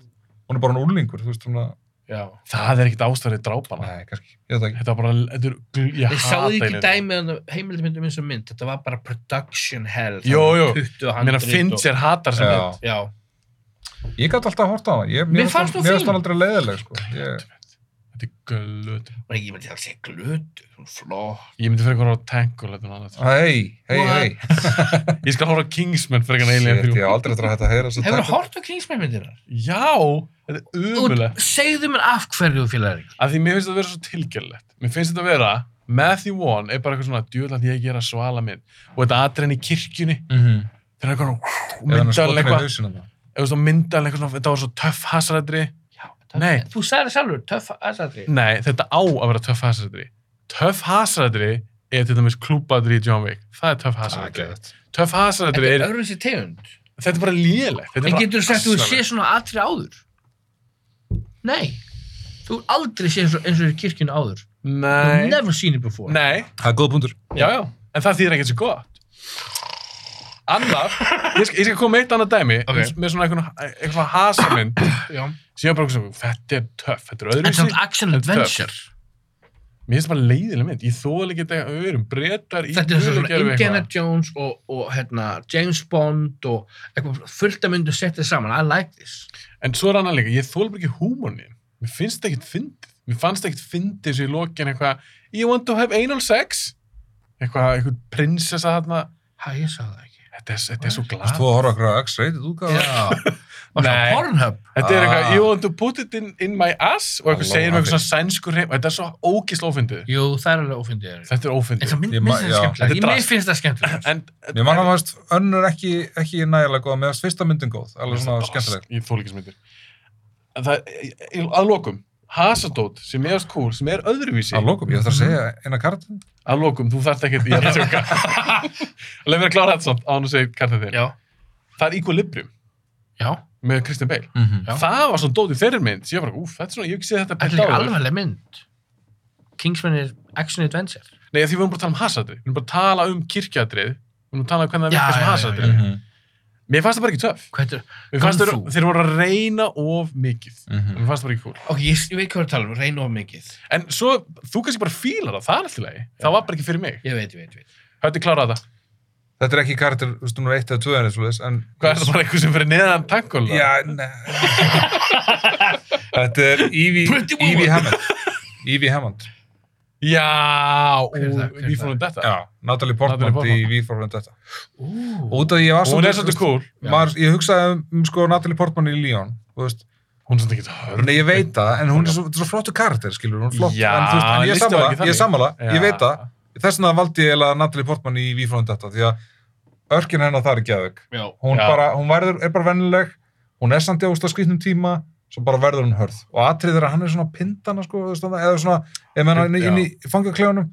Speaker 3: Hún er bara hún úrlingur, þú veist, hún að,
Speaker 1: Já.
Speaker 2: það er ekkit ástæðið drápana
Speaker 3: nei, kannski, ég veit það ekki.
Speaker 2: þetta var bara, þetta eru, gl- ég
Speaker 1: Ég
Speaker 2: hata sko.
Speaker 1: sáði ekki
Speaker 2: eiginlega þetta.
Speaker 1: dæmið heimildmyndum eins og mynd, þetta var bara production hell.
Speaker 2: Jó,
Speaker 1: það var
Speaker 2: jó.
Speaker 1: 20
Speaker 2: Ég meina,
Speaker 1: handrit og-
Speaker 2: Fincher hatar sem
Speaker 3: Já.
Speaker 2: mynd
Speaker 1: Já,
Speaker 3: Ég gæti alltaf að horta á hana,
Speaker 1: Mér
Speaker 3: ég, mér
Speaker 1: fannst
Speaker 3: fannst
Speaker 1: hún
Speaker 3: hún- mér fannst
Speaker 1: fín.
Speaker 3: hún aldrei leiðileg, sko. Ég,
Speaker 2: þetta er glöð
Speaker 1: og ekki, ég myndi það að segja glötu, svona flott.
Speaker 2: ég myndi fyrir að horfa á Tangle þetta er annað.
Speaker 3: hei, hei, hei.
Speaker 2: ég skal horfa á Kingsman fyrir að eiginlega
Speaker 3: Shit, ég
Speaker 2: þrjú
Speaker 3: hef aldrei eftir að hætta að heyra þess
Speaker 1: Hefur þú hort á Kingsman myndinar?
Speaker 2: já, þetta er umulega
Speaker 1: Segðu mér af hverju þú fílar ekki.
Speaker 2: að því mér finnst þetta að vera svo tilgjörlegt mér finnst þetta að vera Matthew Vaughn er bara eitthvað svona djúðlant ég að gera svala minn og þetta atrenn í kirkjunni
Speaker 3: Mhm.
Speaker 2: þegar eitthvað svona og mynda hann eitthvað
Speaker 3: það?
Speaker 2: eða svona mynda hann eitthvað svona þetta var svo töff hasrættri
Speaker 1: Já, það-
Speaker 2: Nei.
Speaker 1: Þú sagði það sjálfur, töff aðsatri.
Speaker 2: nei þetta á að vera töff hasrættri töff hasrættri er til dæmis klúbadri í John Wick það er töff hasrættri töff hasrættri
Speaker 1: Þetta er
Speaker 2: er
Speaker 1: öðruvísi tegund.
Speaker 2: þetta er bara lélegt þetta er
Speaker 1: En
Speaker 2: bara
Speaker 1: getur þú sagt að þú sé
Speaker 2: asnalegt.
Speaker 1: svona atri áður? Nei. Þú hefur aldrei sé eins og, eins og í kirkjunni áður. You've
Speaker 2: nei
Speaker 1: never seen it before.
Speaker 2: nei
Speaker 3: Það er góð punktur.
Speaker 2: Já, já, en það þýðir ekkert sér gott. Annar, ég skal, ég skal koma með eitt annað dæmi
Speaker 1: Ok.
Speaker 2: með svona eitthvað, eitthvað svona hasamynd
Speaker 1: Já.
Speaker 2: sem ég var bara eitthvað, svona, þetta er töff, þetta er
Speaker 1: En samt
Speaker 2: öðruvísi.
Speaker 1: action
Speaker 2: en töff.
Speaker 1: adventure.
Speaker 2: Mér finnst það bara leiðileg mynd, ég þóðal ekki þetta við erum breytar í
Speaker 1: Þetta er svona
Speaker 2: guðlegerfi
Speaker 1: Indiana
Speaker 2: eitthvað.
Speaker 1: Jones og, og hérna, James Bond og eitthvað fullt að myndu setja saman. I like this.
Speaker 2: En svo er annað líka, ég þóðal bara ekki húmónin. Mér finnst það ekkert fyndið. Mér fannst það ekkert fyndið svo í lokin eitthvað, you want to have anal sex? Eitthvað, eitthvað prinsessa þarna.
Speaker 1: Hæ, ég sagði það ekki.
Speaker 2: Þetta er, þetta er svo
Speaker 3: Þú veist,
Speaker 2: glad.
Speaker 3: þú að horfa okkur á X-rated útgáðu.
Speaker 1: Já. Og svo
Speaker 2: Nei.
Speaker 1: Pornhub.
Speaker 2: Þetta er eitthvað,
Speaker 3: Ah.
Speaker 2: you want to put it in, in my ass og eitthvað
Speaker 3: Halló,
Speaker 2: segir með eitthvað
Speaker 3: afi.
Speaker 2: svona sænskur heim og þetta er svo ógislega ófyndið.
Speaker 1: Jú, það er alveg ófindið.
Speaker 2: Þetta er
Speaker 1: En
Speaker 2: ófyndið.
Speaker 1: það mynd, mynd
Speaker 3: Ég ma-
Speaker 1: það
Speaker 3: já.
Speaker 1: skemmtilegt.
Speaker 2: Þetta er
Speaker 1: Ég mér
Speaker 2: drasl.
Speaker 1: finnst það skemmtilegt.
Speaker 2: En
Speaker 3: Mér manna að veist, önnur ekki, ekki nægilega góð, meðast fyrsta myndin góð, alveg svona
Speaker 2: Þetta er
Speaker 3: skemmtileg.
Speaker 2: Ég þól ekki sem myndir. En það, í- í- að lokum, Hasadót sem er ást kúl, sem er öðruvísi.
Speaker 3: Að lokum, ég ætla
Speaker 2: Mm-hmm.
Speaker 3: að segja eina kartin.
Speaker 2: Að lokum, þú þarft ekkert,
Speaker 3: <laughs>
Speaker 2: ég er að tjóka. Leif mér að klára þetta samt á hann og segja kartið þér.
Speaker 1: Já.
Speaker 2: Það er Equilibrium
Speaker 1: Já.
Speaker 2: með Christian Bale.
Speaker 1: Já.
Speaker 2: Það var svona dót í þeirri mynd, sem ég var bara, úf, þetta er svona, ég hef ekki séð þetta
Speaker 1: Mhm. Þetta er líka alveg mynd. Kingsman er action adventure.
Speaker 2: Nei, því við erum bara að tala um hasadrið, við erum bara að tala um kirkjadrið, við erum að tala um hvernig það
Speaker 1: Já,
Speaker 2: virkar
Speaker 1: já,
Speaker 2: sem
Speaker 1: já,
Speaker 2: hasadrið. Mér fannst það bara ekki töff.
Speaker 1: Hvað heitir það?
Speaker 2: Mér fannst
Speaker 1: Gunfu.
Speaker 2: þeir, þeir voru að reyna of mikið.
Speaker 3: Mhm.
Speaker 2: Mér fannst það bara ekki cool.
Speaker 1: Ok, ég, ég veit hvað við tala um, reyna of mikið.
Speaker 2: En svo, þú kannski bara fílar það, það er alltaf leið. Það var bara ekki fyrir mig.
Speaker 1: Ég veit, ég veit, ég veit.
Speaker 2: Hætti klárað það.
Speaker 3: Þetta er ekki kartin, þú veist, hún er eitt eða tvö henni, svo leis, en...
Speaker 2: Hvað er það bara eitthvað sem fyrir neðan takkól?
Speaker 3: Já, nei. <laughs> Þetta er Evie,
Speaker 1: Pretty woman.
Speaker 3: Evie Hammond. Evie Hammond.
Speaker 2: Já, og
Speaker 1: Hver er það? Hver er
Speaker 2: við fórum um þetta.
Speaker 3: Já, Natalie Portman,
Speaker 2: Natalie Portman.
Speaker 3: í Evie Forland þetta.
Speaker 1: Ú.
Speaker 3: Út af því ég var
Speaker 2: Og hún er svolítið cool.
Speaker 1: Já.
Speaker 3: Maður, ég hugsaði um, um sko Natalie Portman í Leon, þú þú veist,
Speaker 2: Hún er samt ekki hörn.
Speaker 3: Nei, ég veit það, en hún er svo, þetta er svo flottu karakter, skilur, hún er flott,
Speaker 2: Já,
Speaker 3: en, þú veist, en ég er
Speaker 2: lýstu það ekki
Speaker 3: sammála, ég
Speaker 2: þannig.
Speaker 3: er sammála,
Speaker 2: Já.
Speaker 3: ég veit það, þess vegna valdi ég eiginlega Natalie Portman í Vífrón þetta, því að örkin hennar það er ekki aðeik,
Speaker 1: Já.
Speaker 3: hún
Speaker 2: Já.
Speaker 3: bara, hún verður, er bara vennileg, hún er samt í ást að skrýtnum tíma, svo bara verður hún hörð, og atrið er að hann er svona pindana, sko, þú veist, þarna, eða svona, ef hann er inn í- inn í fangaklefunum,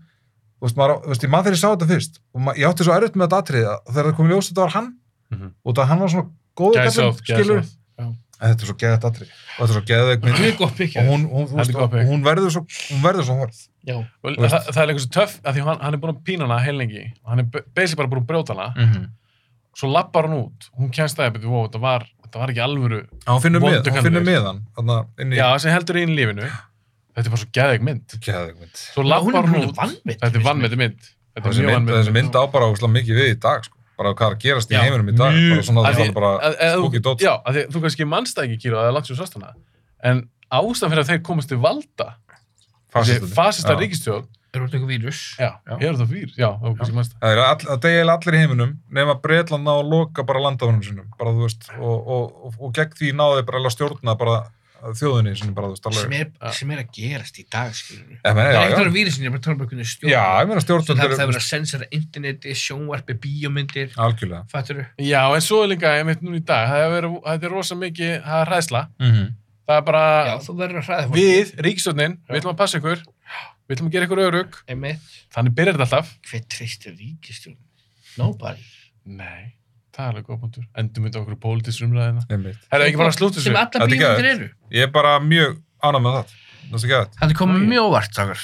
Speaker 3: þú veist, maður, á- þú veist, ég maður þegar ég sá þetta fyrst, og ma- ég átti svo erfitt með þetta atrið, að þegar það kom í ljós að þetta var hann,
Speaker 2: Mhm.
Speaker 3: út af að hann var svona góður
Speaker 2: Gæsóð,
Speaker 3: kallinn, skilurðu.
Speaker 2: gæsóð.
Speaker 3: En þetta er svo geðið atrið, og þetta er svo geðið mynd,
Speaker 1: Mjög gott pikk
Speaker 3: og hún, hún, þú
Speaker 2: Þetta er
Speaker 3: veist,
Speaker 2: gott pick.
Speaker 3: og hún verður svo, hún verður svo hörð
Speaker 1: Já.
Speaker 2: Og
Speaker 3: Þú veist.
Speaker 2: Það, það er eitthvað svo töff að því hann, hann er búin að pína hana heilningi og hann er b- basically bara búin að brjóta hana
Speaker 3: mm -hmm.
Speaker 2: svo lappar hann út, hún kemst það wow, þetta, var, þetta var ekki alvöru
Speaker 3: hún finnur
Speaker 2: Vondur
Speaker 3: mið, hún
Speaker 2: kallinn.
Speaker 3: finnur miðan þannig að inn í
Speaker 2: já, sem heldur inn í lífinu þetta er bara svo geðveik mynd
Speaker 3: geðugmynd
Speaker 2: svo
Speaker 1: Hún
Speaker 2: lappar
Speaker 1: er
Speaker 2: hann
Speaker 1: hún
Speaker 2: út,
Speaker 1: vannmynd.
Speaker 2: þetta er vannmeti mynd þetta er
Speaker 3: þessi
Speaker 2: mjög
Speaker 3: mynd, þessi
Speaker 2: vannmeti
Speaker 3: mynd á bara óslega mikið við í dag sko. bara hvað er að gerast í
Speaker 1: Já,
Speaker 3: heiminum í dag bara svona
Speaker 2: Af
Speaker 3: það
Speaker 2: því-
Speaker 3: er bara
Speaker 2: að- að-
Speaker 3: spooky dot.
Speaker 2: já, að því, þú kannski mannst það ekki kýra það er langt sér svastana en ástæðan fyrir að þeir komast til valda
Speaker 3: fasistandi.
Speaker 2: fasista
Speaker 3: Já.
Speaker 2: ríkistjóð
Speaker 1: Er hún eitthvað vírus?
Speaker 2: já,
Speaker 1: Já.
Speaker 2: er það fyrir, já, þú kannski mannst það
Speaker 3: það er all, að degja eiginlega allir í heiminum nema Breitland ná að loka bara landafunum sinum bara þú veist og, og, og, og gegn því náðu þeir bara eiginlega að stjórna bara þjóðinni sinni bara þú veist
Speaker 1: Sem
Speaker 3: alveg
Speaker 1: er, sem er að gerast í dag, skilur við.
Speaker 3: Ég meina,
Speaker 1: Það er
Speaker 3: já,
Speaker 1: ekkert að
Speaker 3: já.
Speaker 1: vera vírusin, ég er bara að tala um einhvern stjórn.
Speaker 3: já, ég meina
Speaker 1: Það er
Speaker 3: stjórnvöld
Speaker 1: það að vera
Speaker 3: eru
Speaker 1: að sensora interneti, sjónvarpi, bíómyndir,
Speaker 3: algjörlega
Speaker 1: fattur þú?
Speaker 2: já, en svo er líka, ég núna í dag það er verið, þetta er rosa mikið, það er hræðsla
Speaker 3: mm
Speaker 1: Mhm.
Speaker 3: -hmm.
Speaker 2: það er bara,
Speaker 1: Já, þú verður að hræða
Speaker 2: við, ríkistjóðnin við ætlum að passa ykkur, við ætlum að gera ykkur örug
Speaker 1: Einmitt,
Speaker 2: þannig byrjar þetta alltaf
Speaker 1: hver treystir ríkistjórn? Nobody.
Speaker 2: nei, það er alveg góð punktur endum við okkur pólitísrumlaðina Það er ekki bara að slúta þessu.
Speaker 1: Sem alla
Speaker 3: Þetta er
Speaker 1: bíómyndir
Speaker 3: geðveikt.
Speaker 1: eru.
Speaker 3: ég er bara mjög ánægð með það það er ekki
Speaker 1: Þetta kom
Speaker 2: Æi.
Speaker 1: mjög óvart, takar.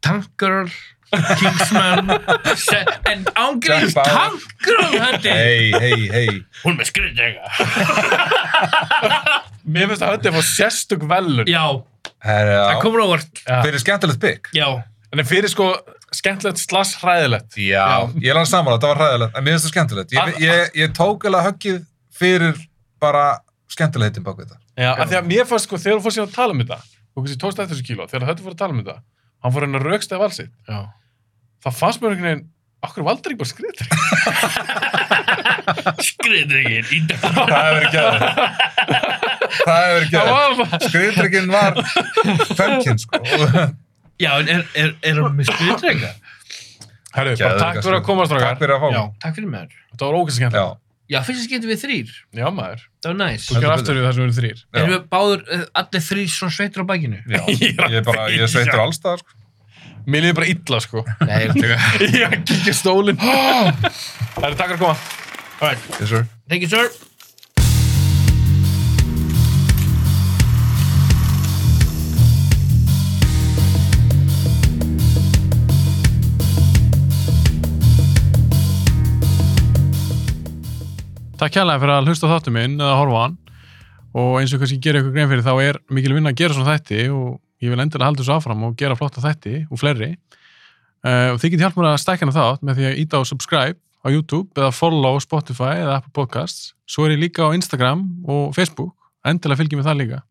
Speaker 1: Tank Girl, Kingsman, <laughs> se- en ángríns
Speaker 3: Jack Bauer.
Speaker 1: Tank Girl, hætti.
Speaker 3: hei, hei, hei
Speaker 1: Hún er með skrýtdega.
Speaker 2: Mér finnst að þetta er fór sérstök velun.
Speaker 1: Já, það
Speaker 3: Herra,
Speaker 1: komur óvart.
Speaker 2: Já.
Speaker 3: fyrir skemmtilegt bygg
Speaker 1: Já,
Speaker 2: En það fyrir sko skemmtilegt slags hræðilegt.
Speaker 3: Já, ég er alveg saman, þetta var hræðilegt en mér finnst það skemmtilegt ég,
Speaker 2: Að-
Speaker 3: ég, ég tók alveg höggið fyrir bara skemmtilegðin bak við þetta
Speaker 2: Já, af því að mér fannst sko þegar þú fórst síðan að tala um þetta, þú kannski tókst eftir þessu kíló, þegar þetta fór að tala um þetta, hann fór henni að rauksta af allsitt.
Speaker 1: já.
Speaker 2: Það fannst mér einhvern veginn, okkur valdur ekki bara skriðtri.
Speaker 3: <laughs>
Speaker 1: Skrýtdegin í dag.
Speaker 3: Það hefur ekki aðeins Það hefur ekki
Speaker 2: Það
Speaker 3: aðeins
Speaker 2: var bara...
Speaker 3: Skriðdrykkinn var fennkinn
Speaker 2: <laughs>
Speaker 3: sko
Speaker 1: Já, en er, er, er hún með skrýtdega?
Speaker 2: Herru, bara takk fyrir að koma,
Speaker 3: Takk
Speaker 2: strákar.
Speaker 3: fyrir að fá
Speaker 1: Já,
Speaker 3: mig.
Speaker 1: takk fyrir maður.
Speaker 2: Þetta var ógæst
Speaker 3: Já,
Speaker 2: skemmtilegt.
Speaker 1: Já, fyrst að getum við þrýr.
Speaker 2: Já, maður.
Speaker 1: Það var næs.
Speaker 2: Þú
Speaker 3: Heldur betur.
Speaker 2: kemur aftur við það sem eru þrýr.
Speaker 3: já.
Speaker 1: Erum við báður, eh, allir þrýr svona sveitur á bækinu?
Speaker 3: Já, ég er bara, ég er sveitur allstað sko.
Speaker 2: Mér líður bara illa,
Speaker 3: <laughs>
Speaker 2: sko.
Speaker 1: Nei, ég er að taka.
Speaker 2: Ég kíkja <gasps> stólinn. Herru, takk fyrir að koma.
Speaker 1: All right.
Speaker 3: Yes, sir.
Speaker 1: Thank you, sir.
Speaker 2: Takk hérlega fyrir að hlusta á þáttu minn eða horfa á hann og eins og kannski gera ykkur grein fyrir þá er mikil vinna að gera svona þætti og ég vil endilega halda þessu áfram og gera flotta þætti og fleiri uh, og þið getið hjálp mér að stækja hana þátt með því að íta á subscribe á YouTube eða follow á Spotify eða Apple Podcasts svo er ég líka á Instagram og Facebook endilega fylgjum við það líka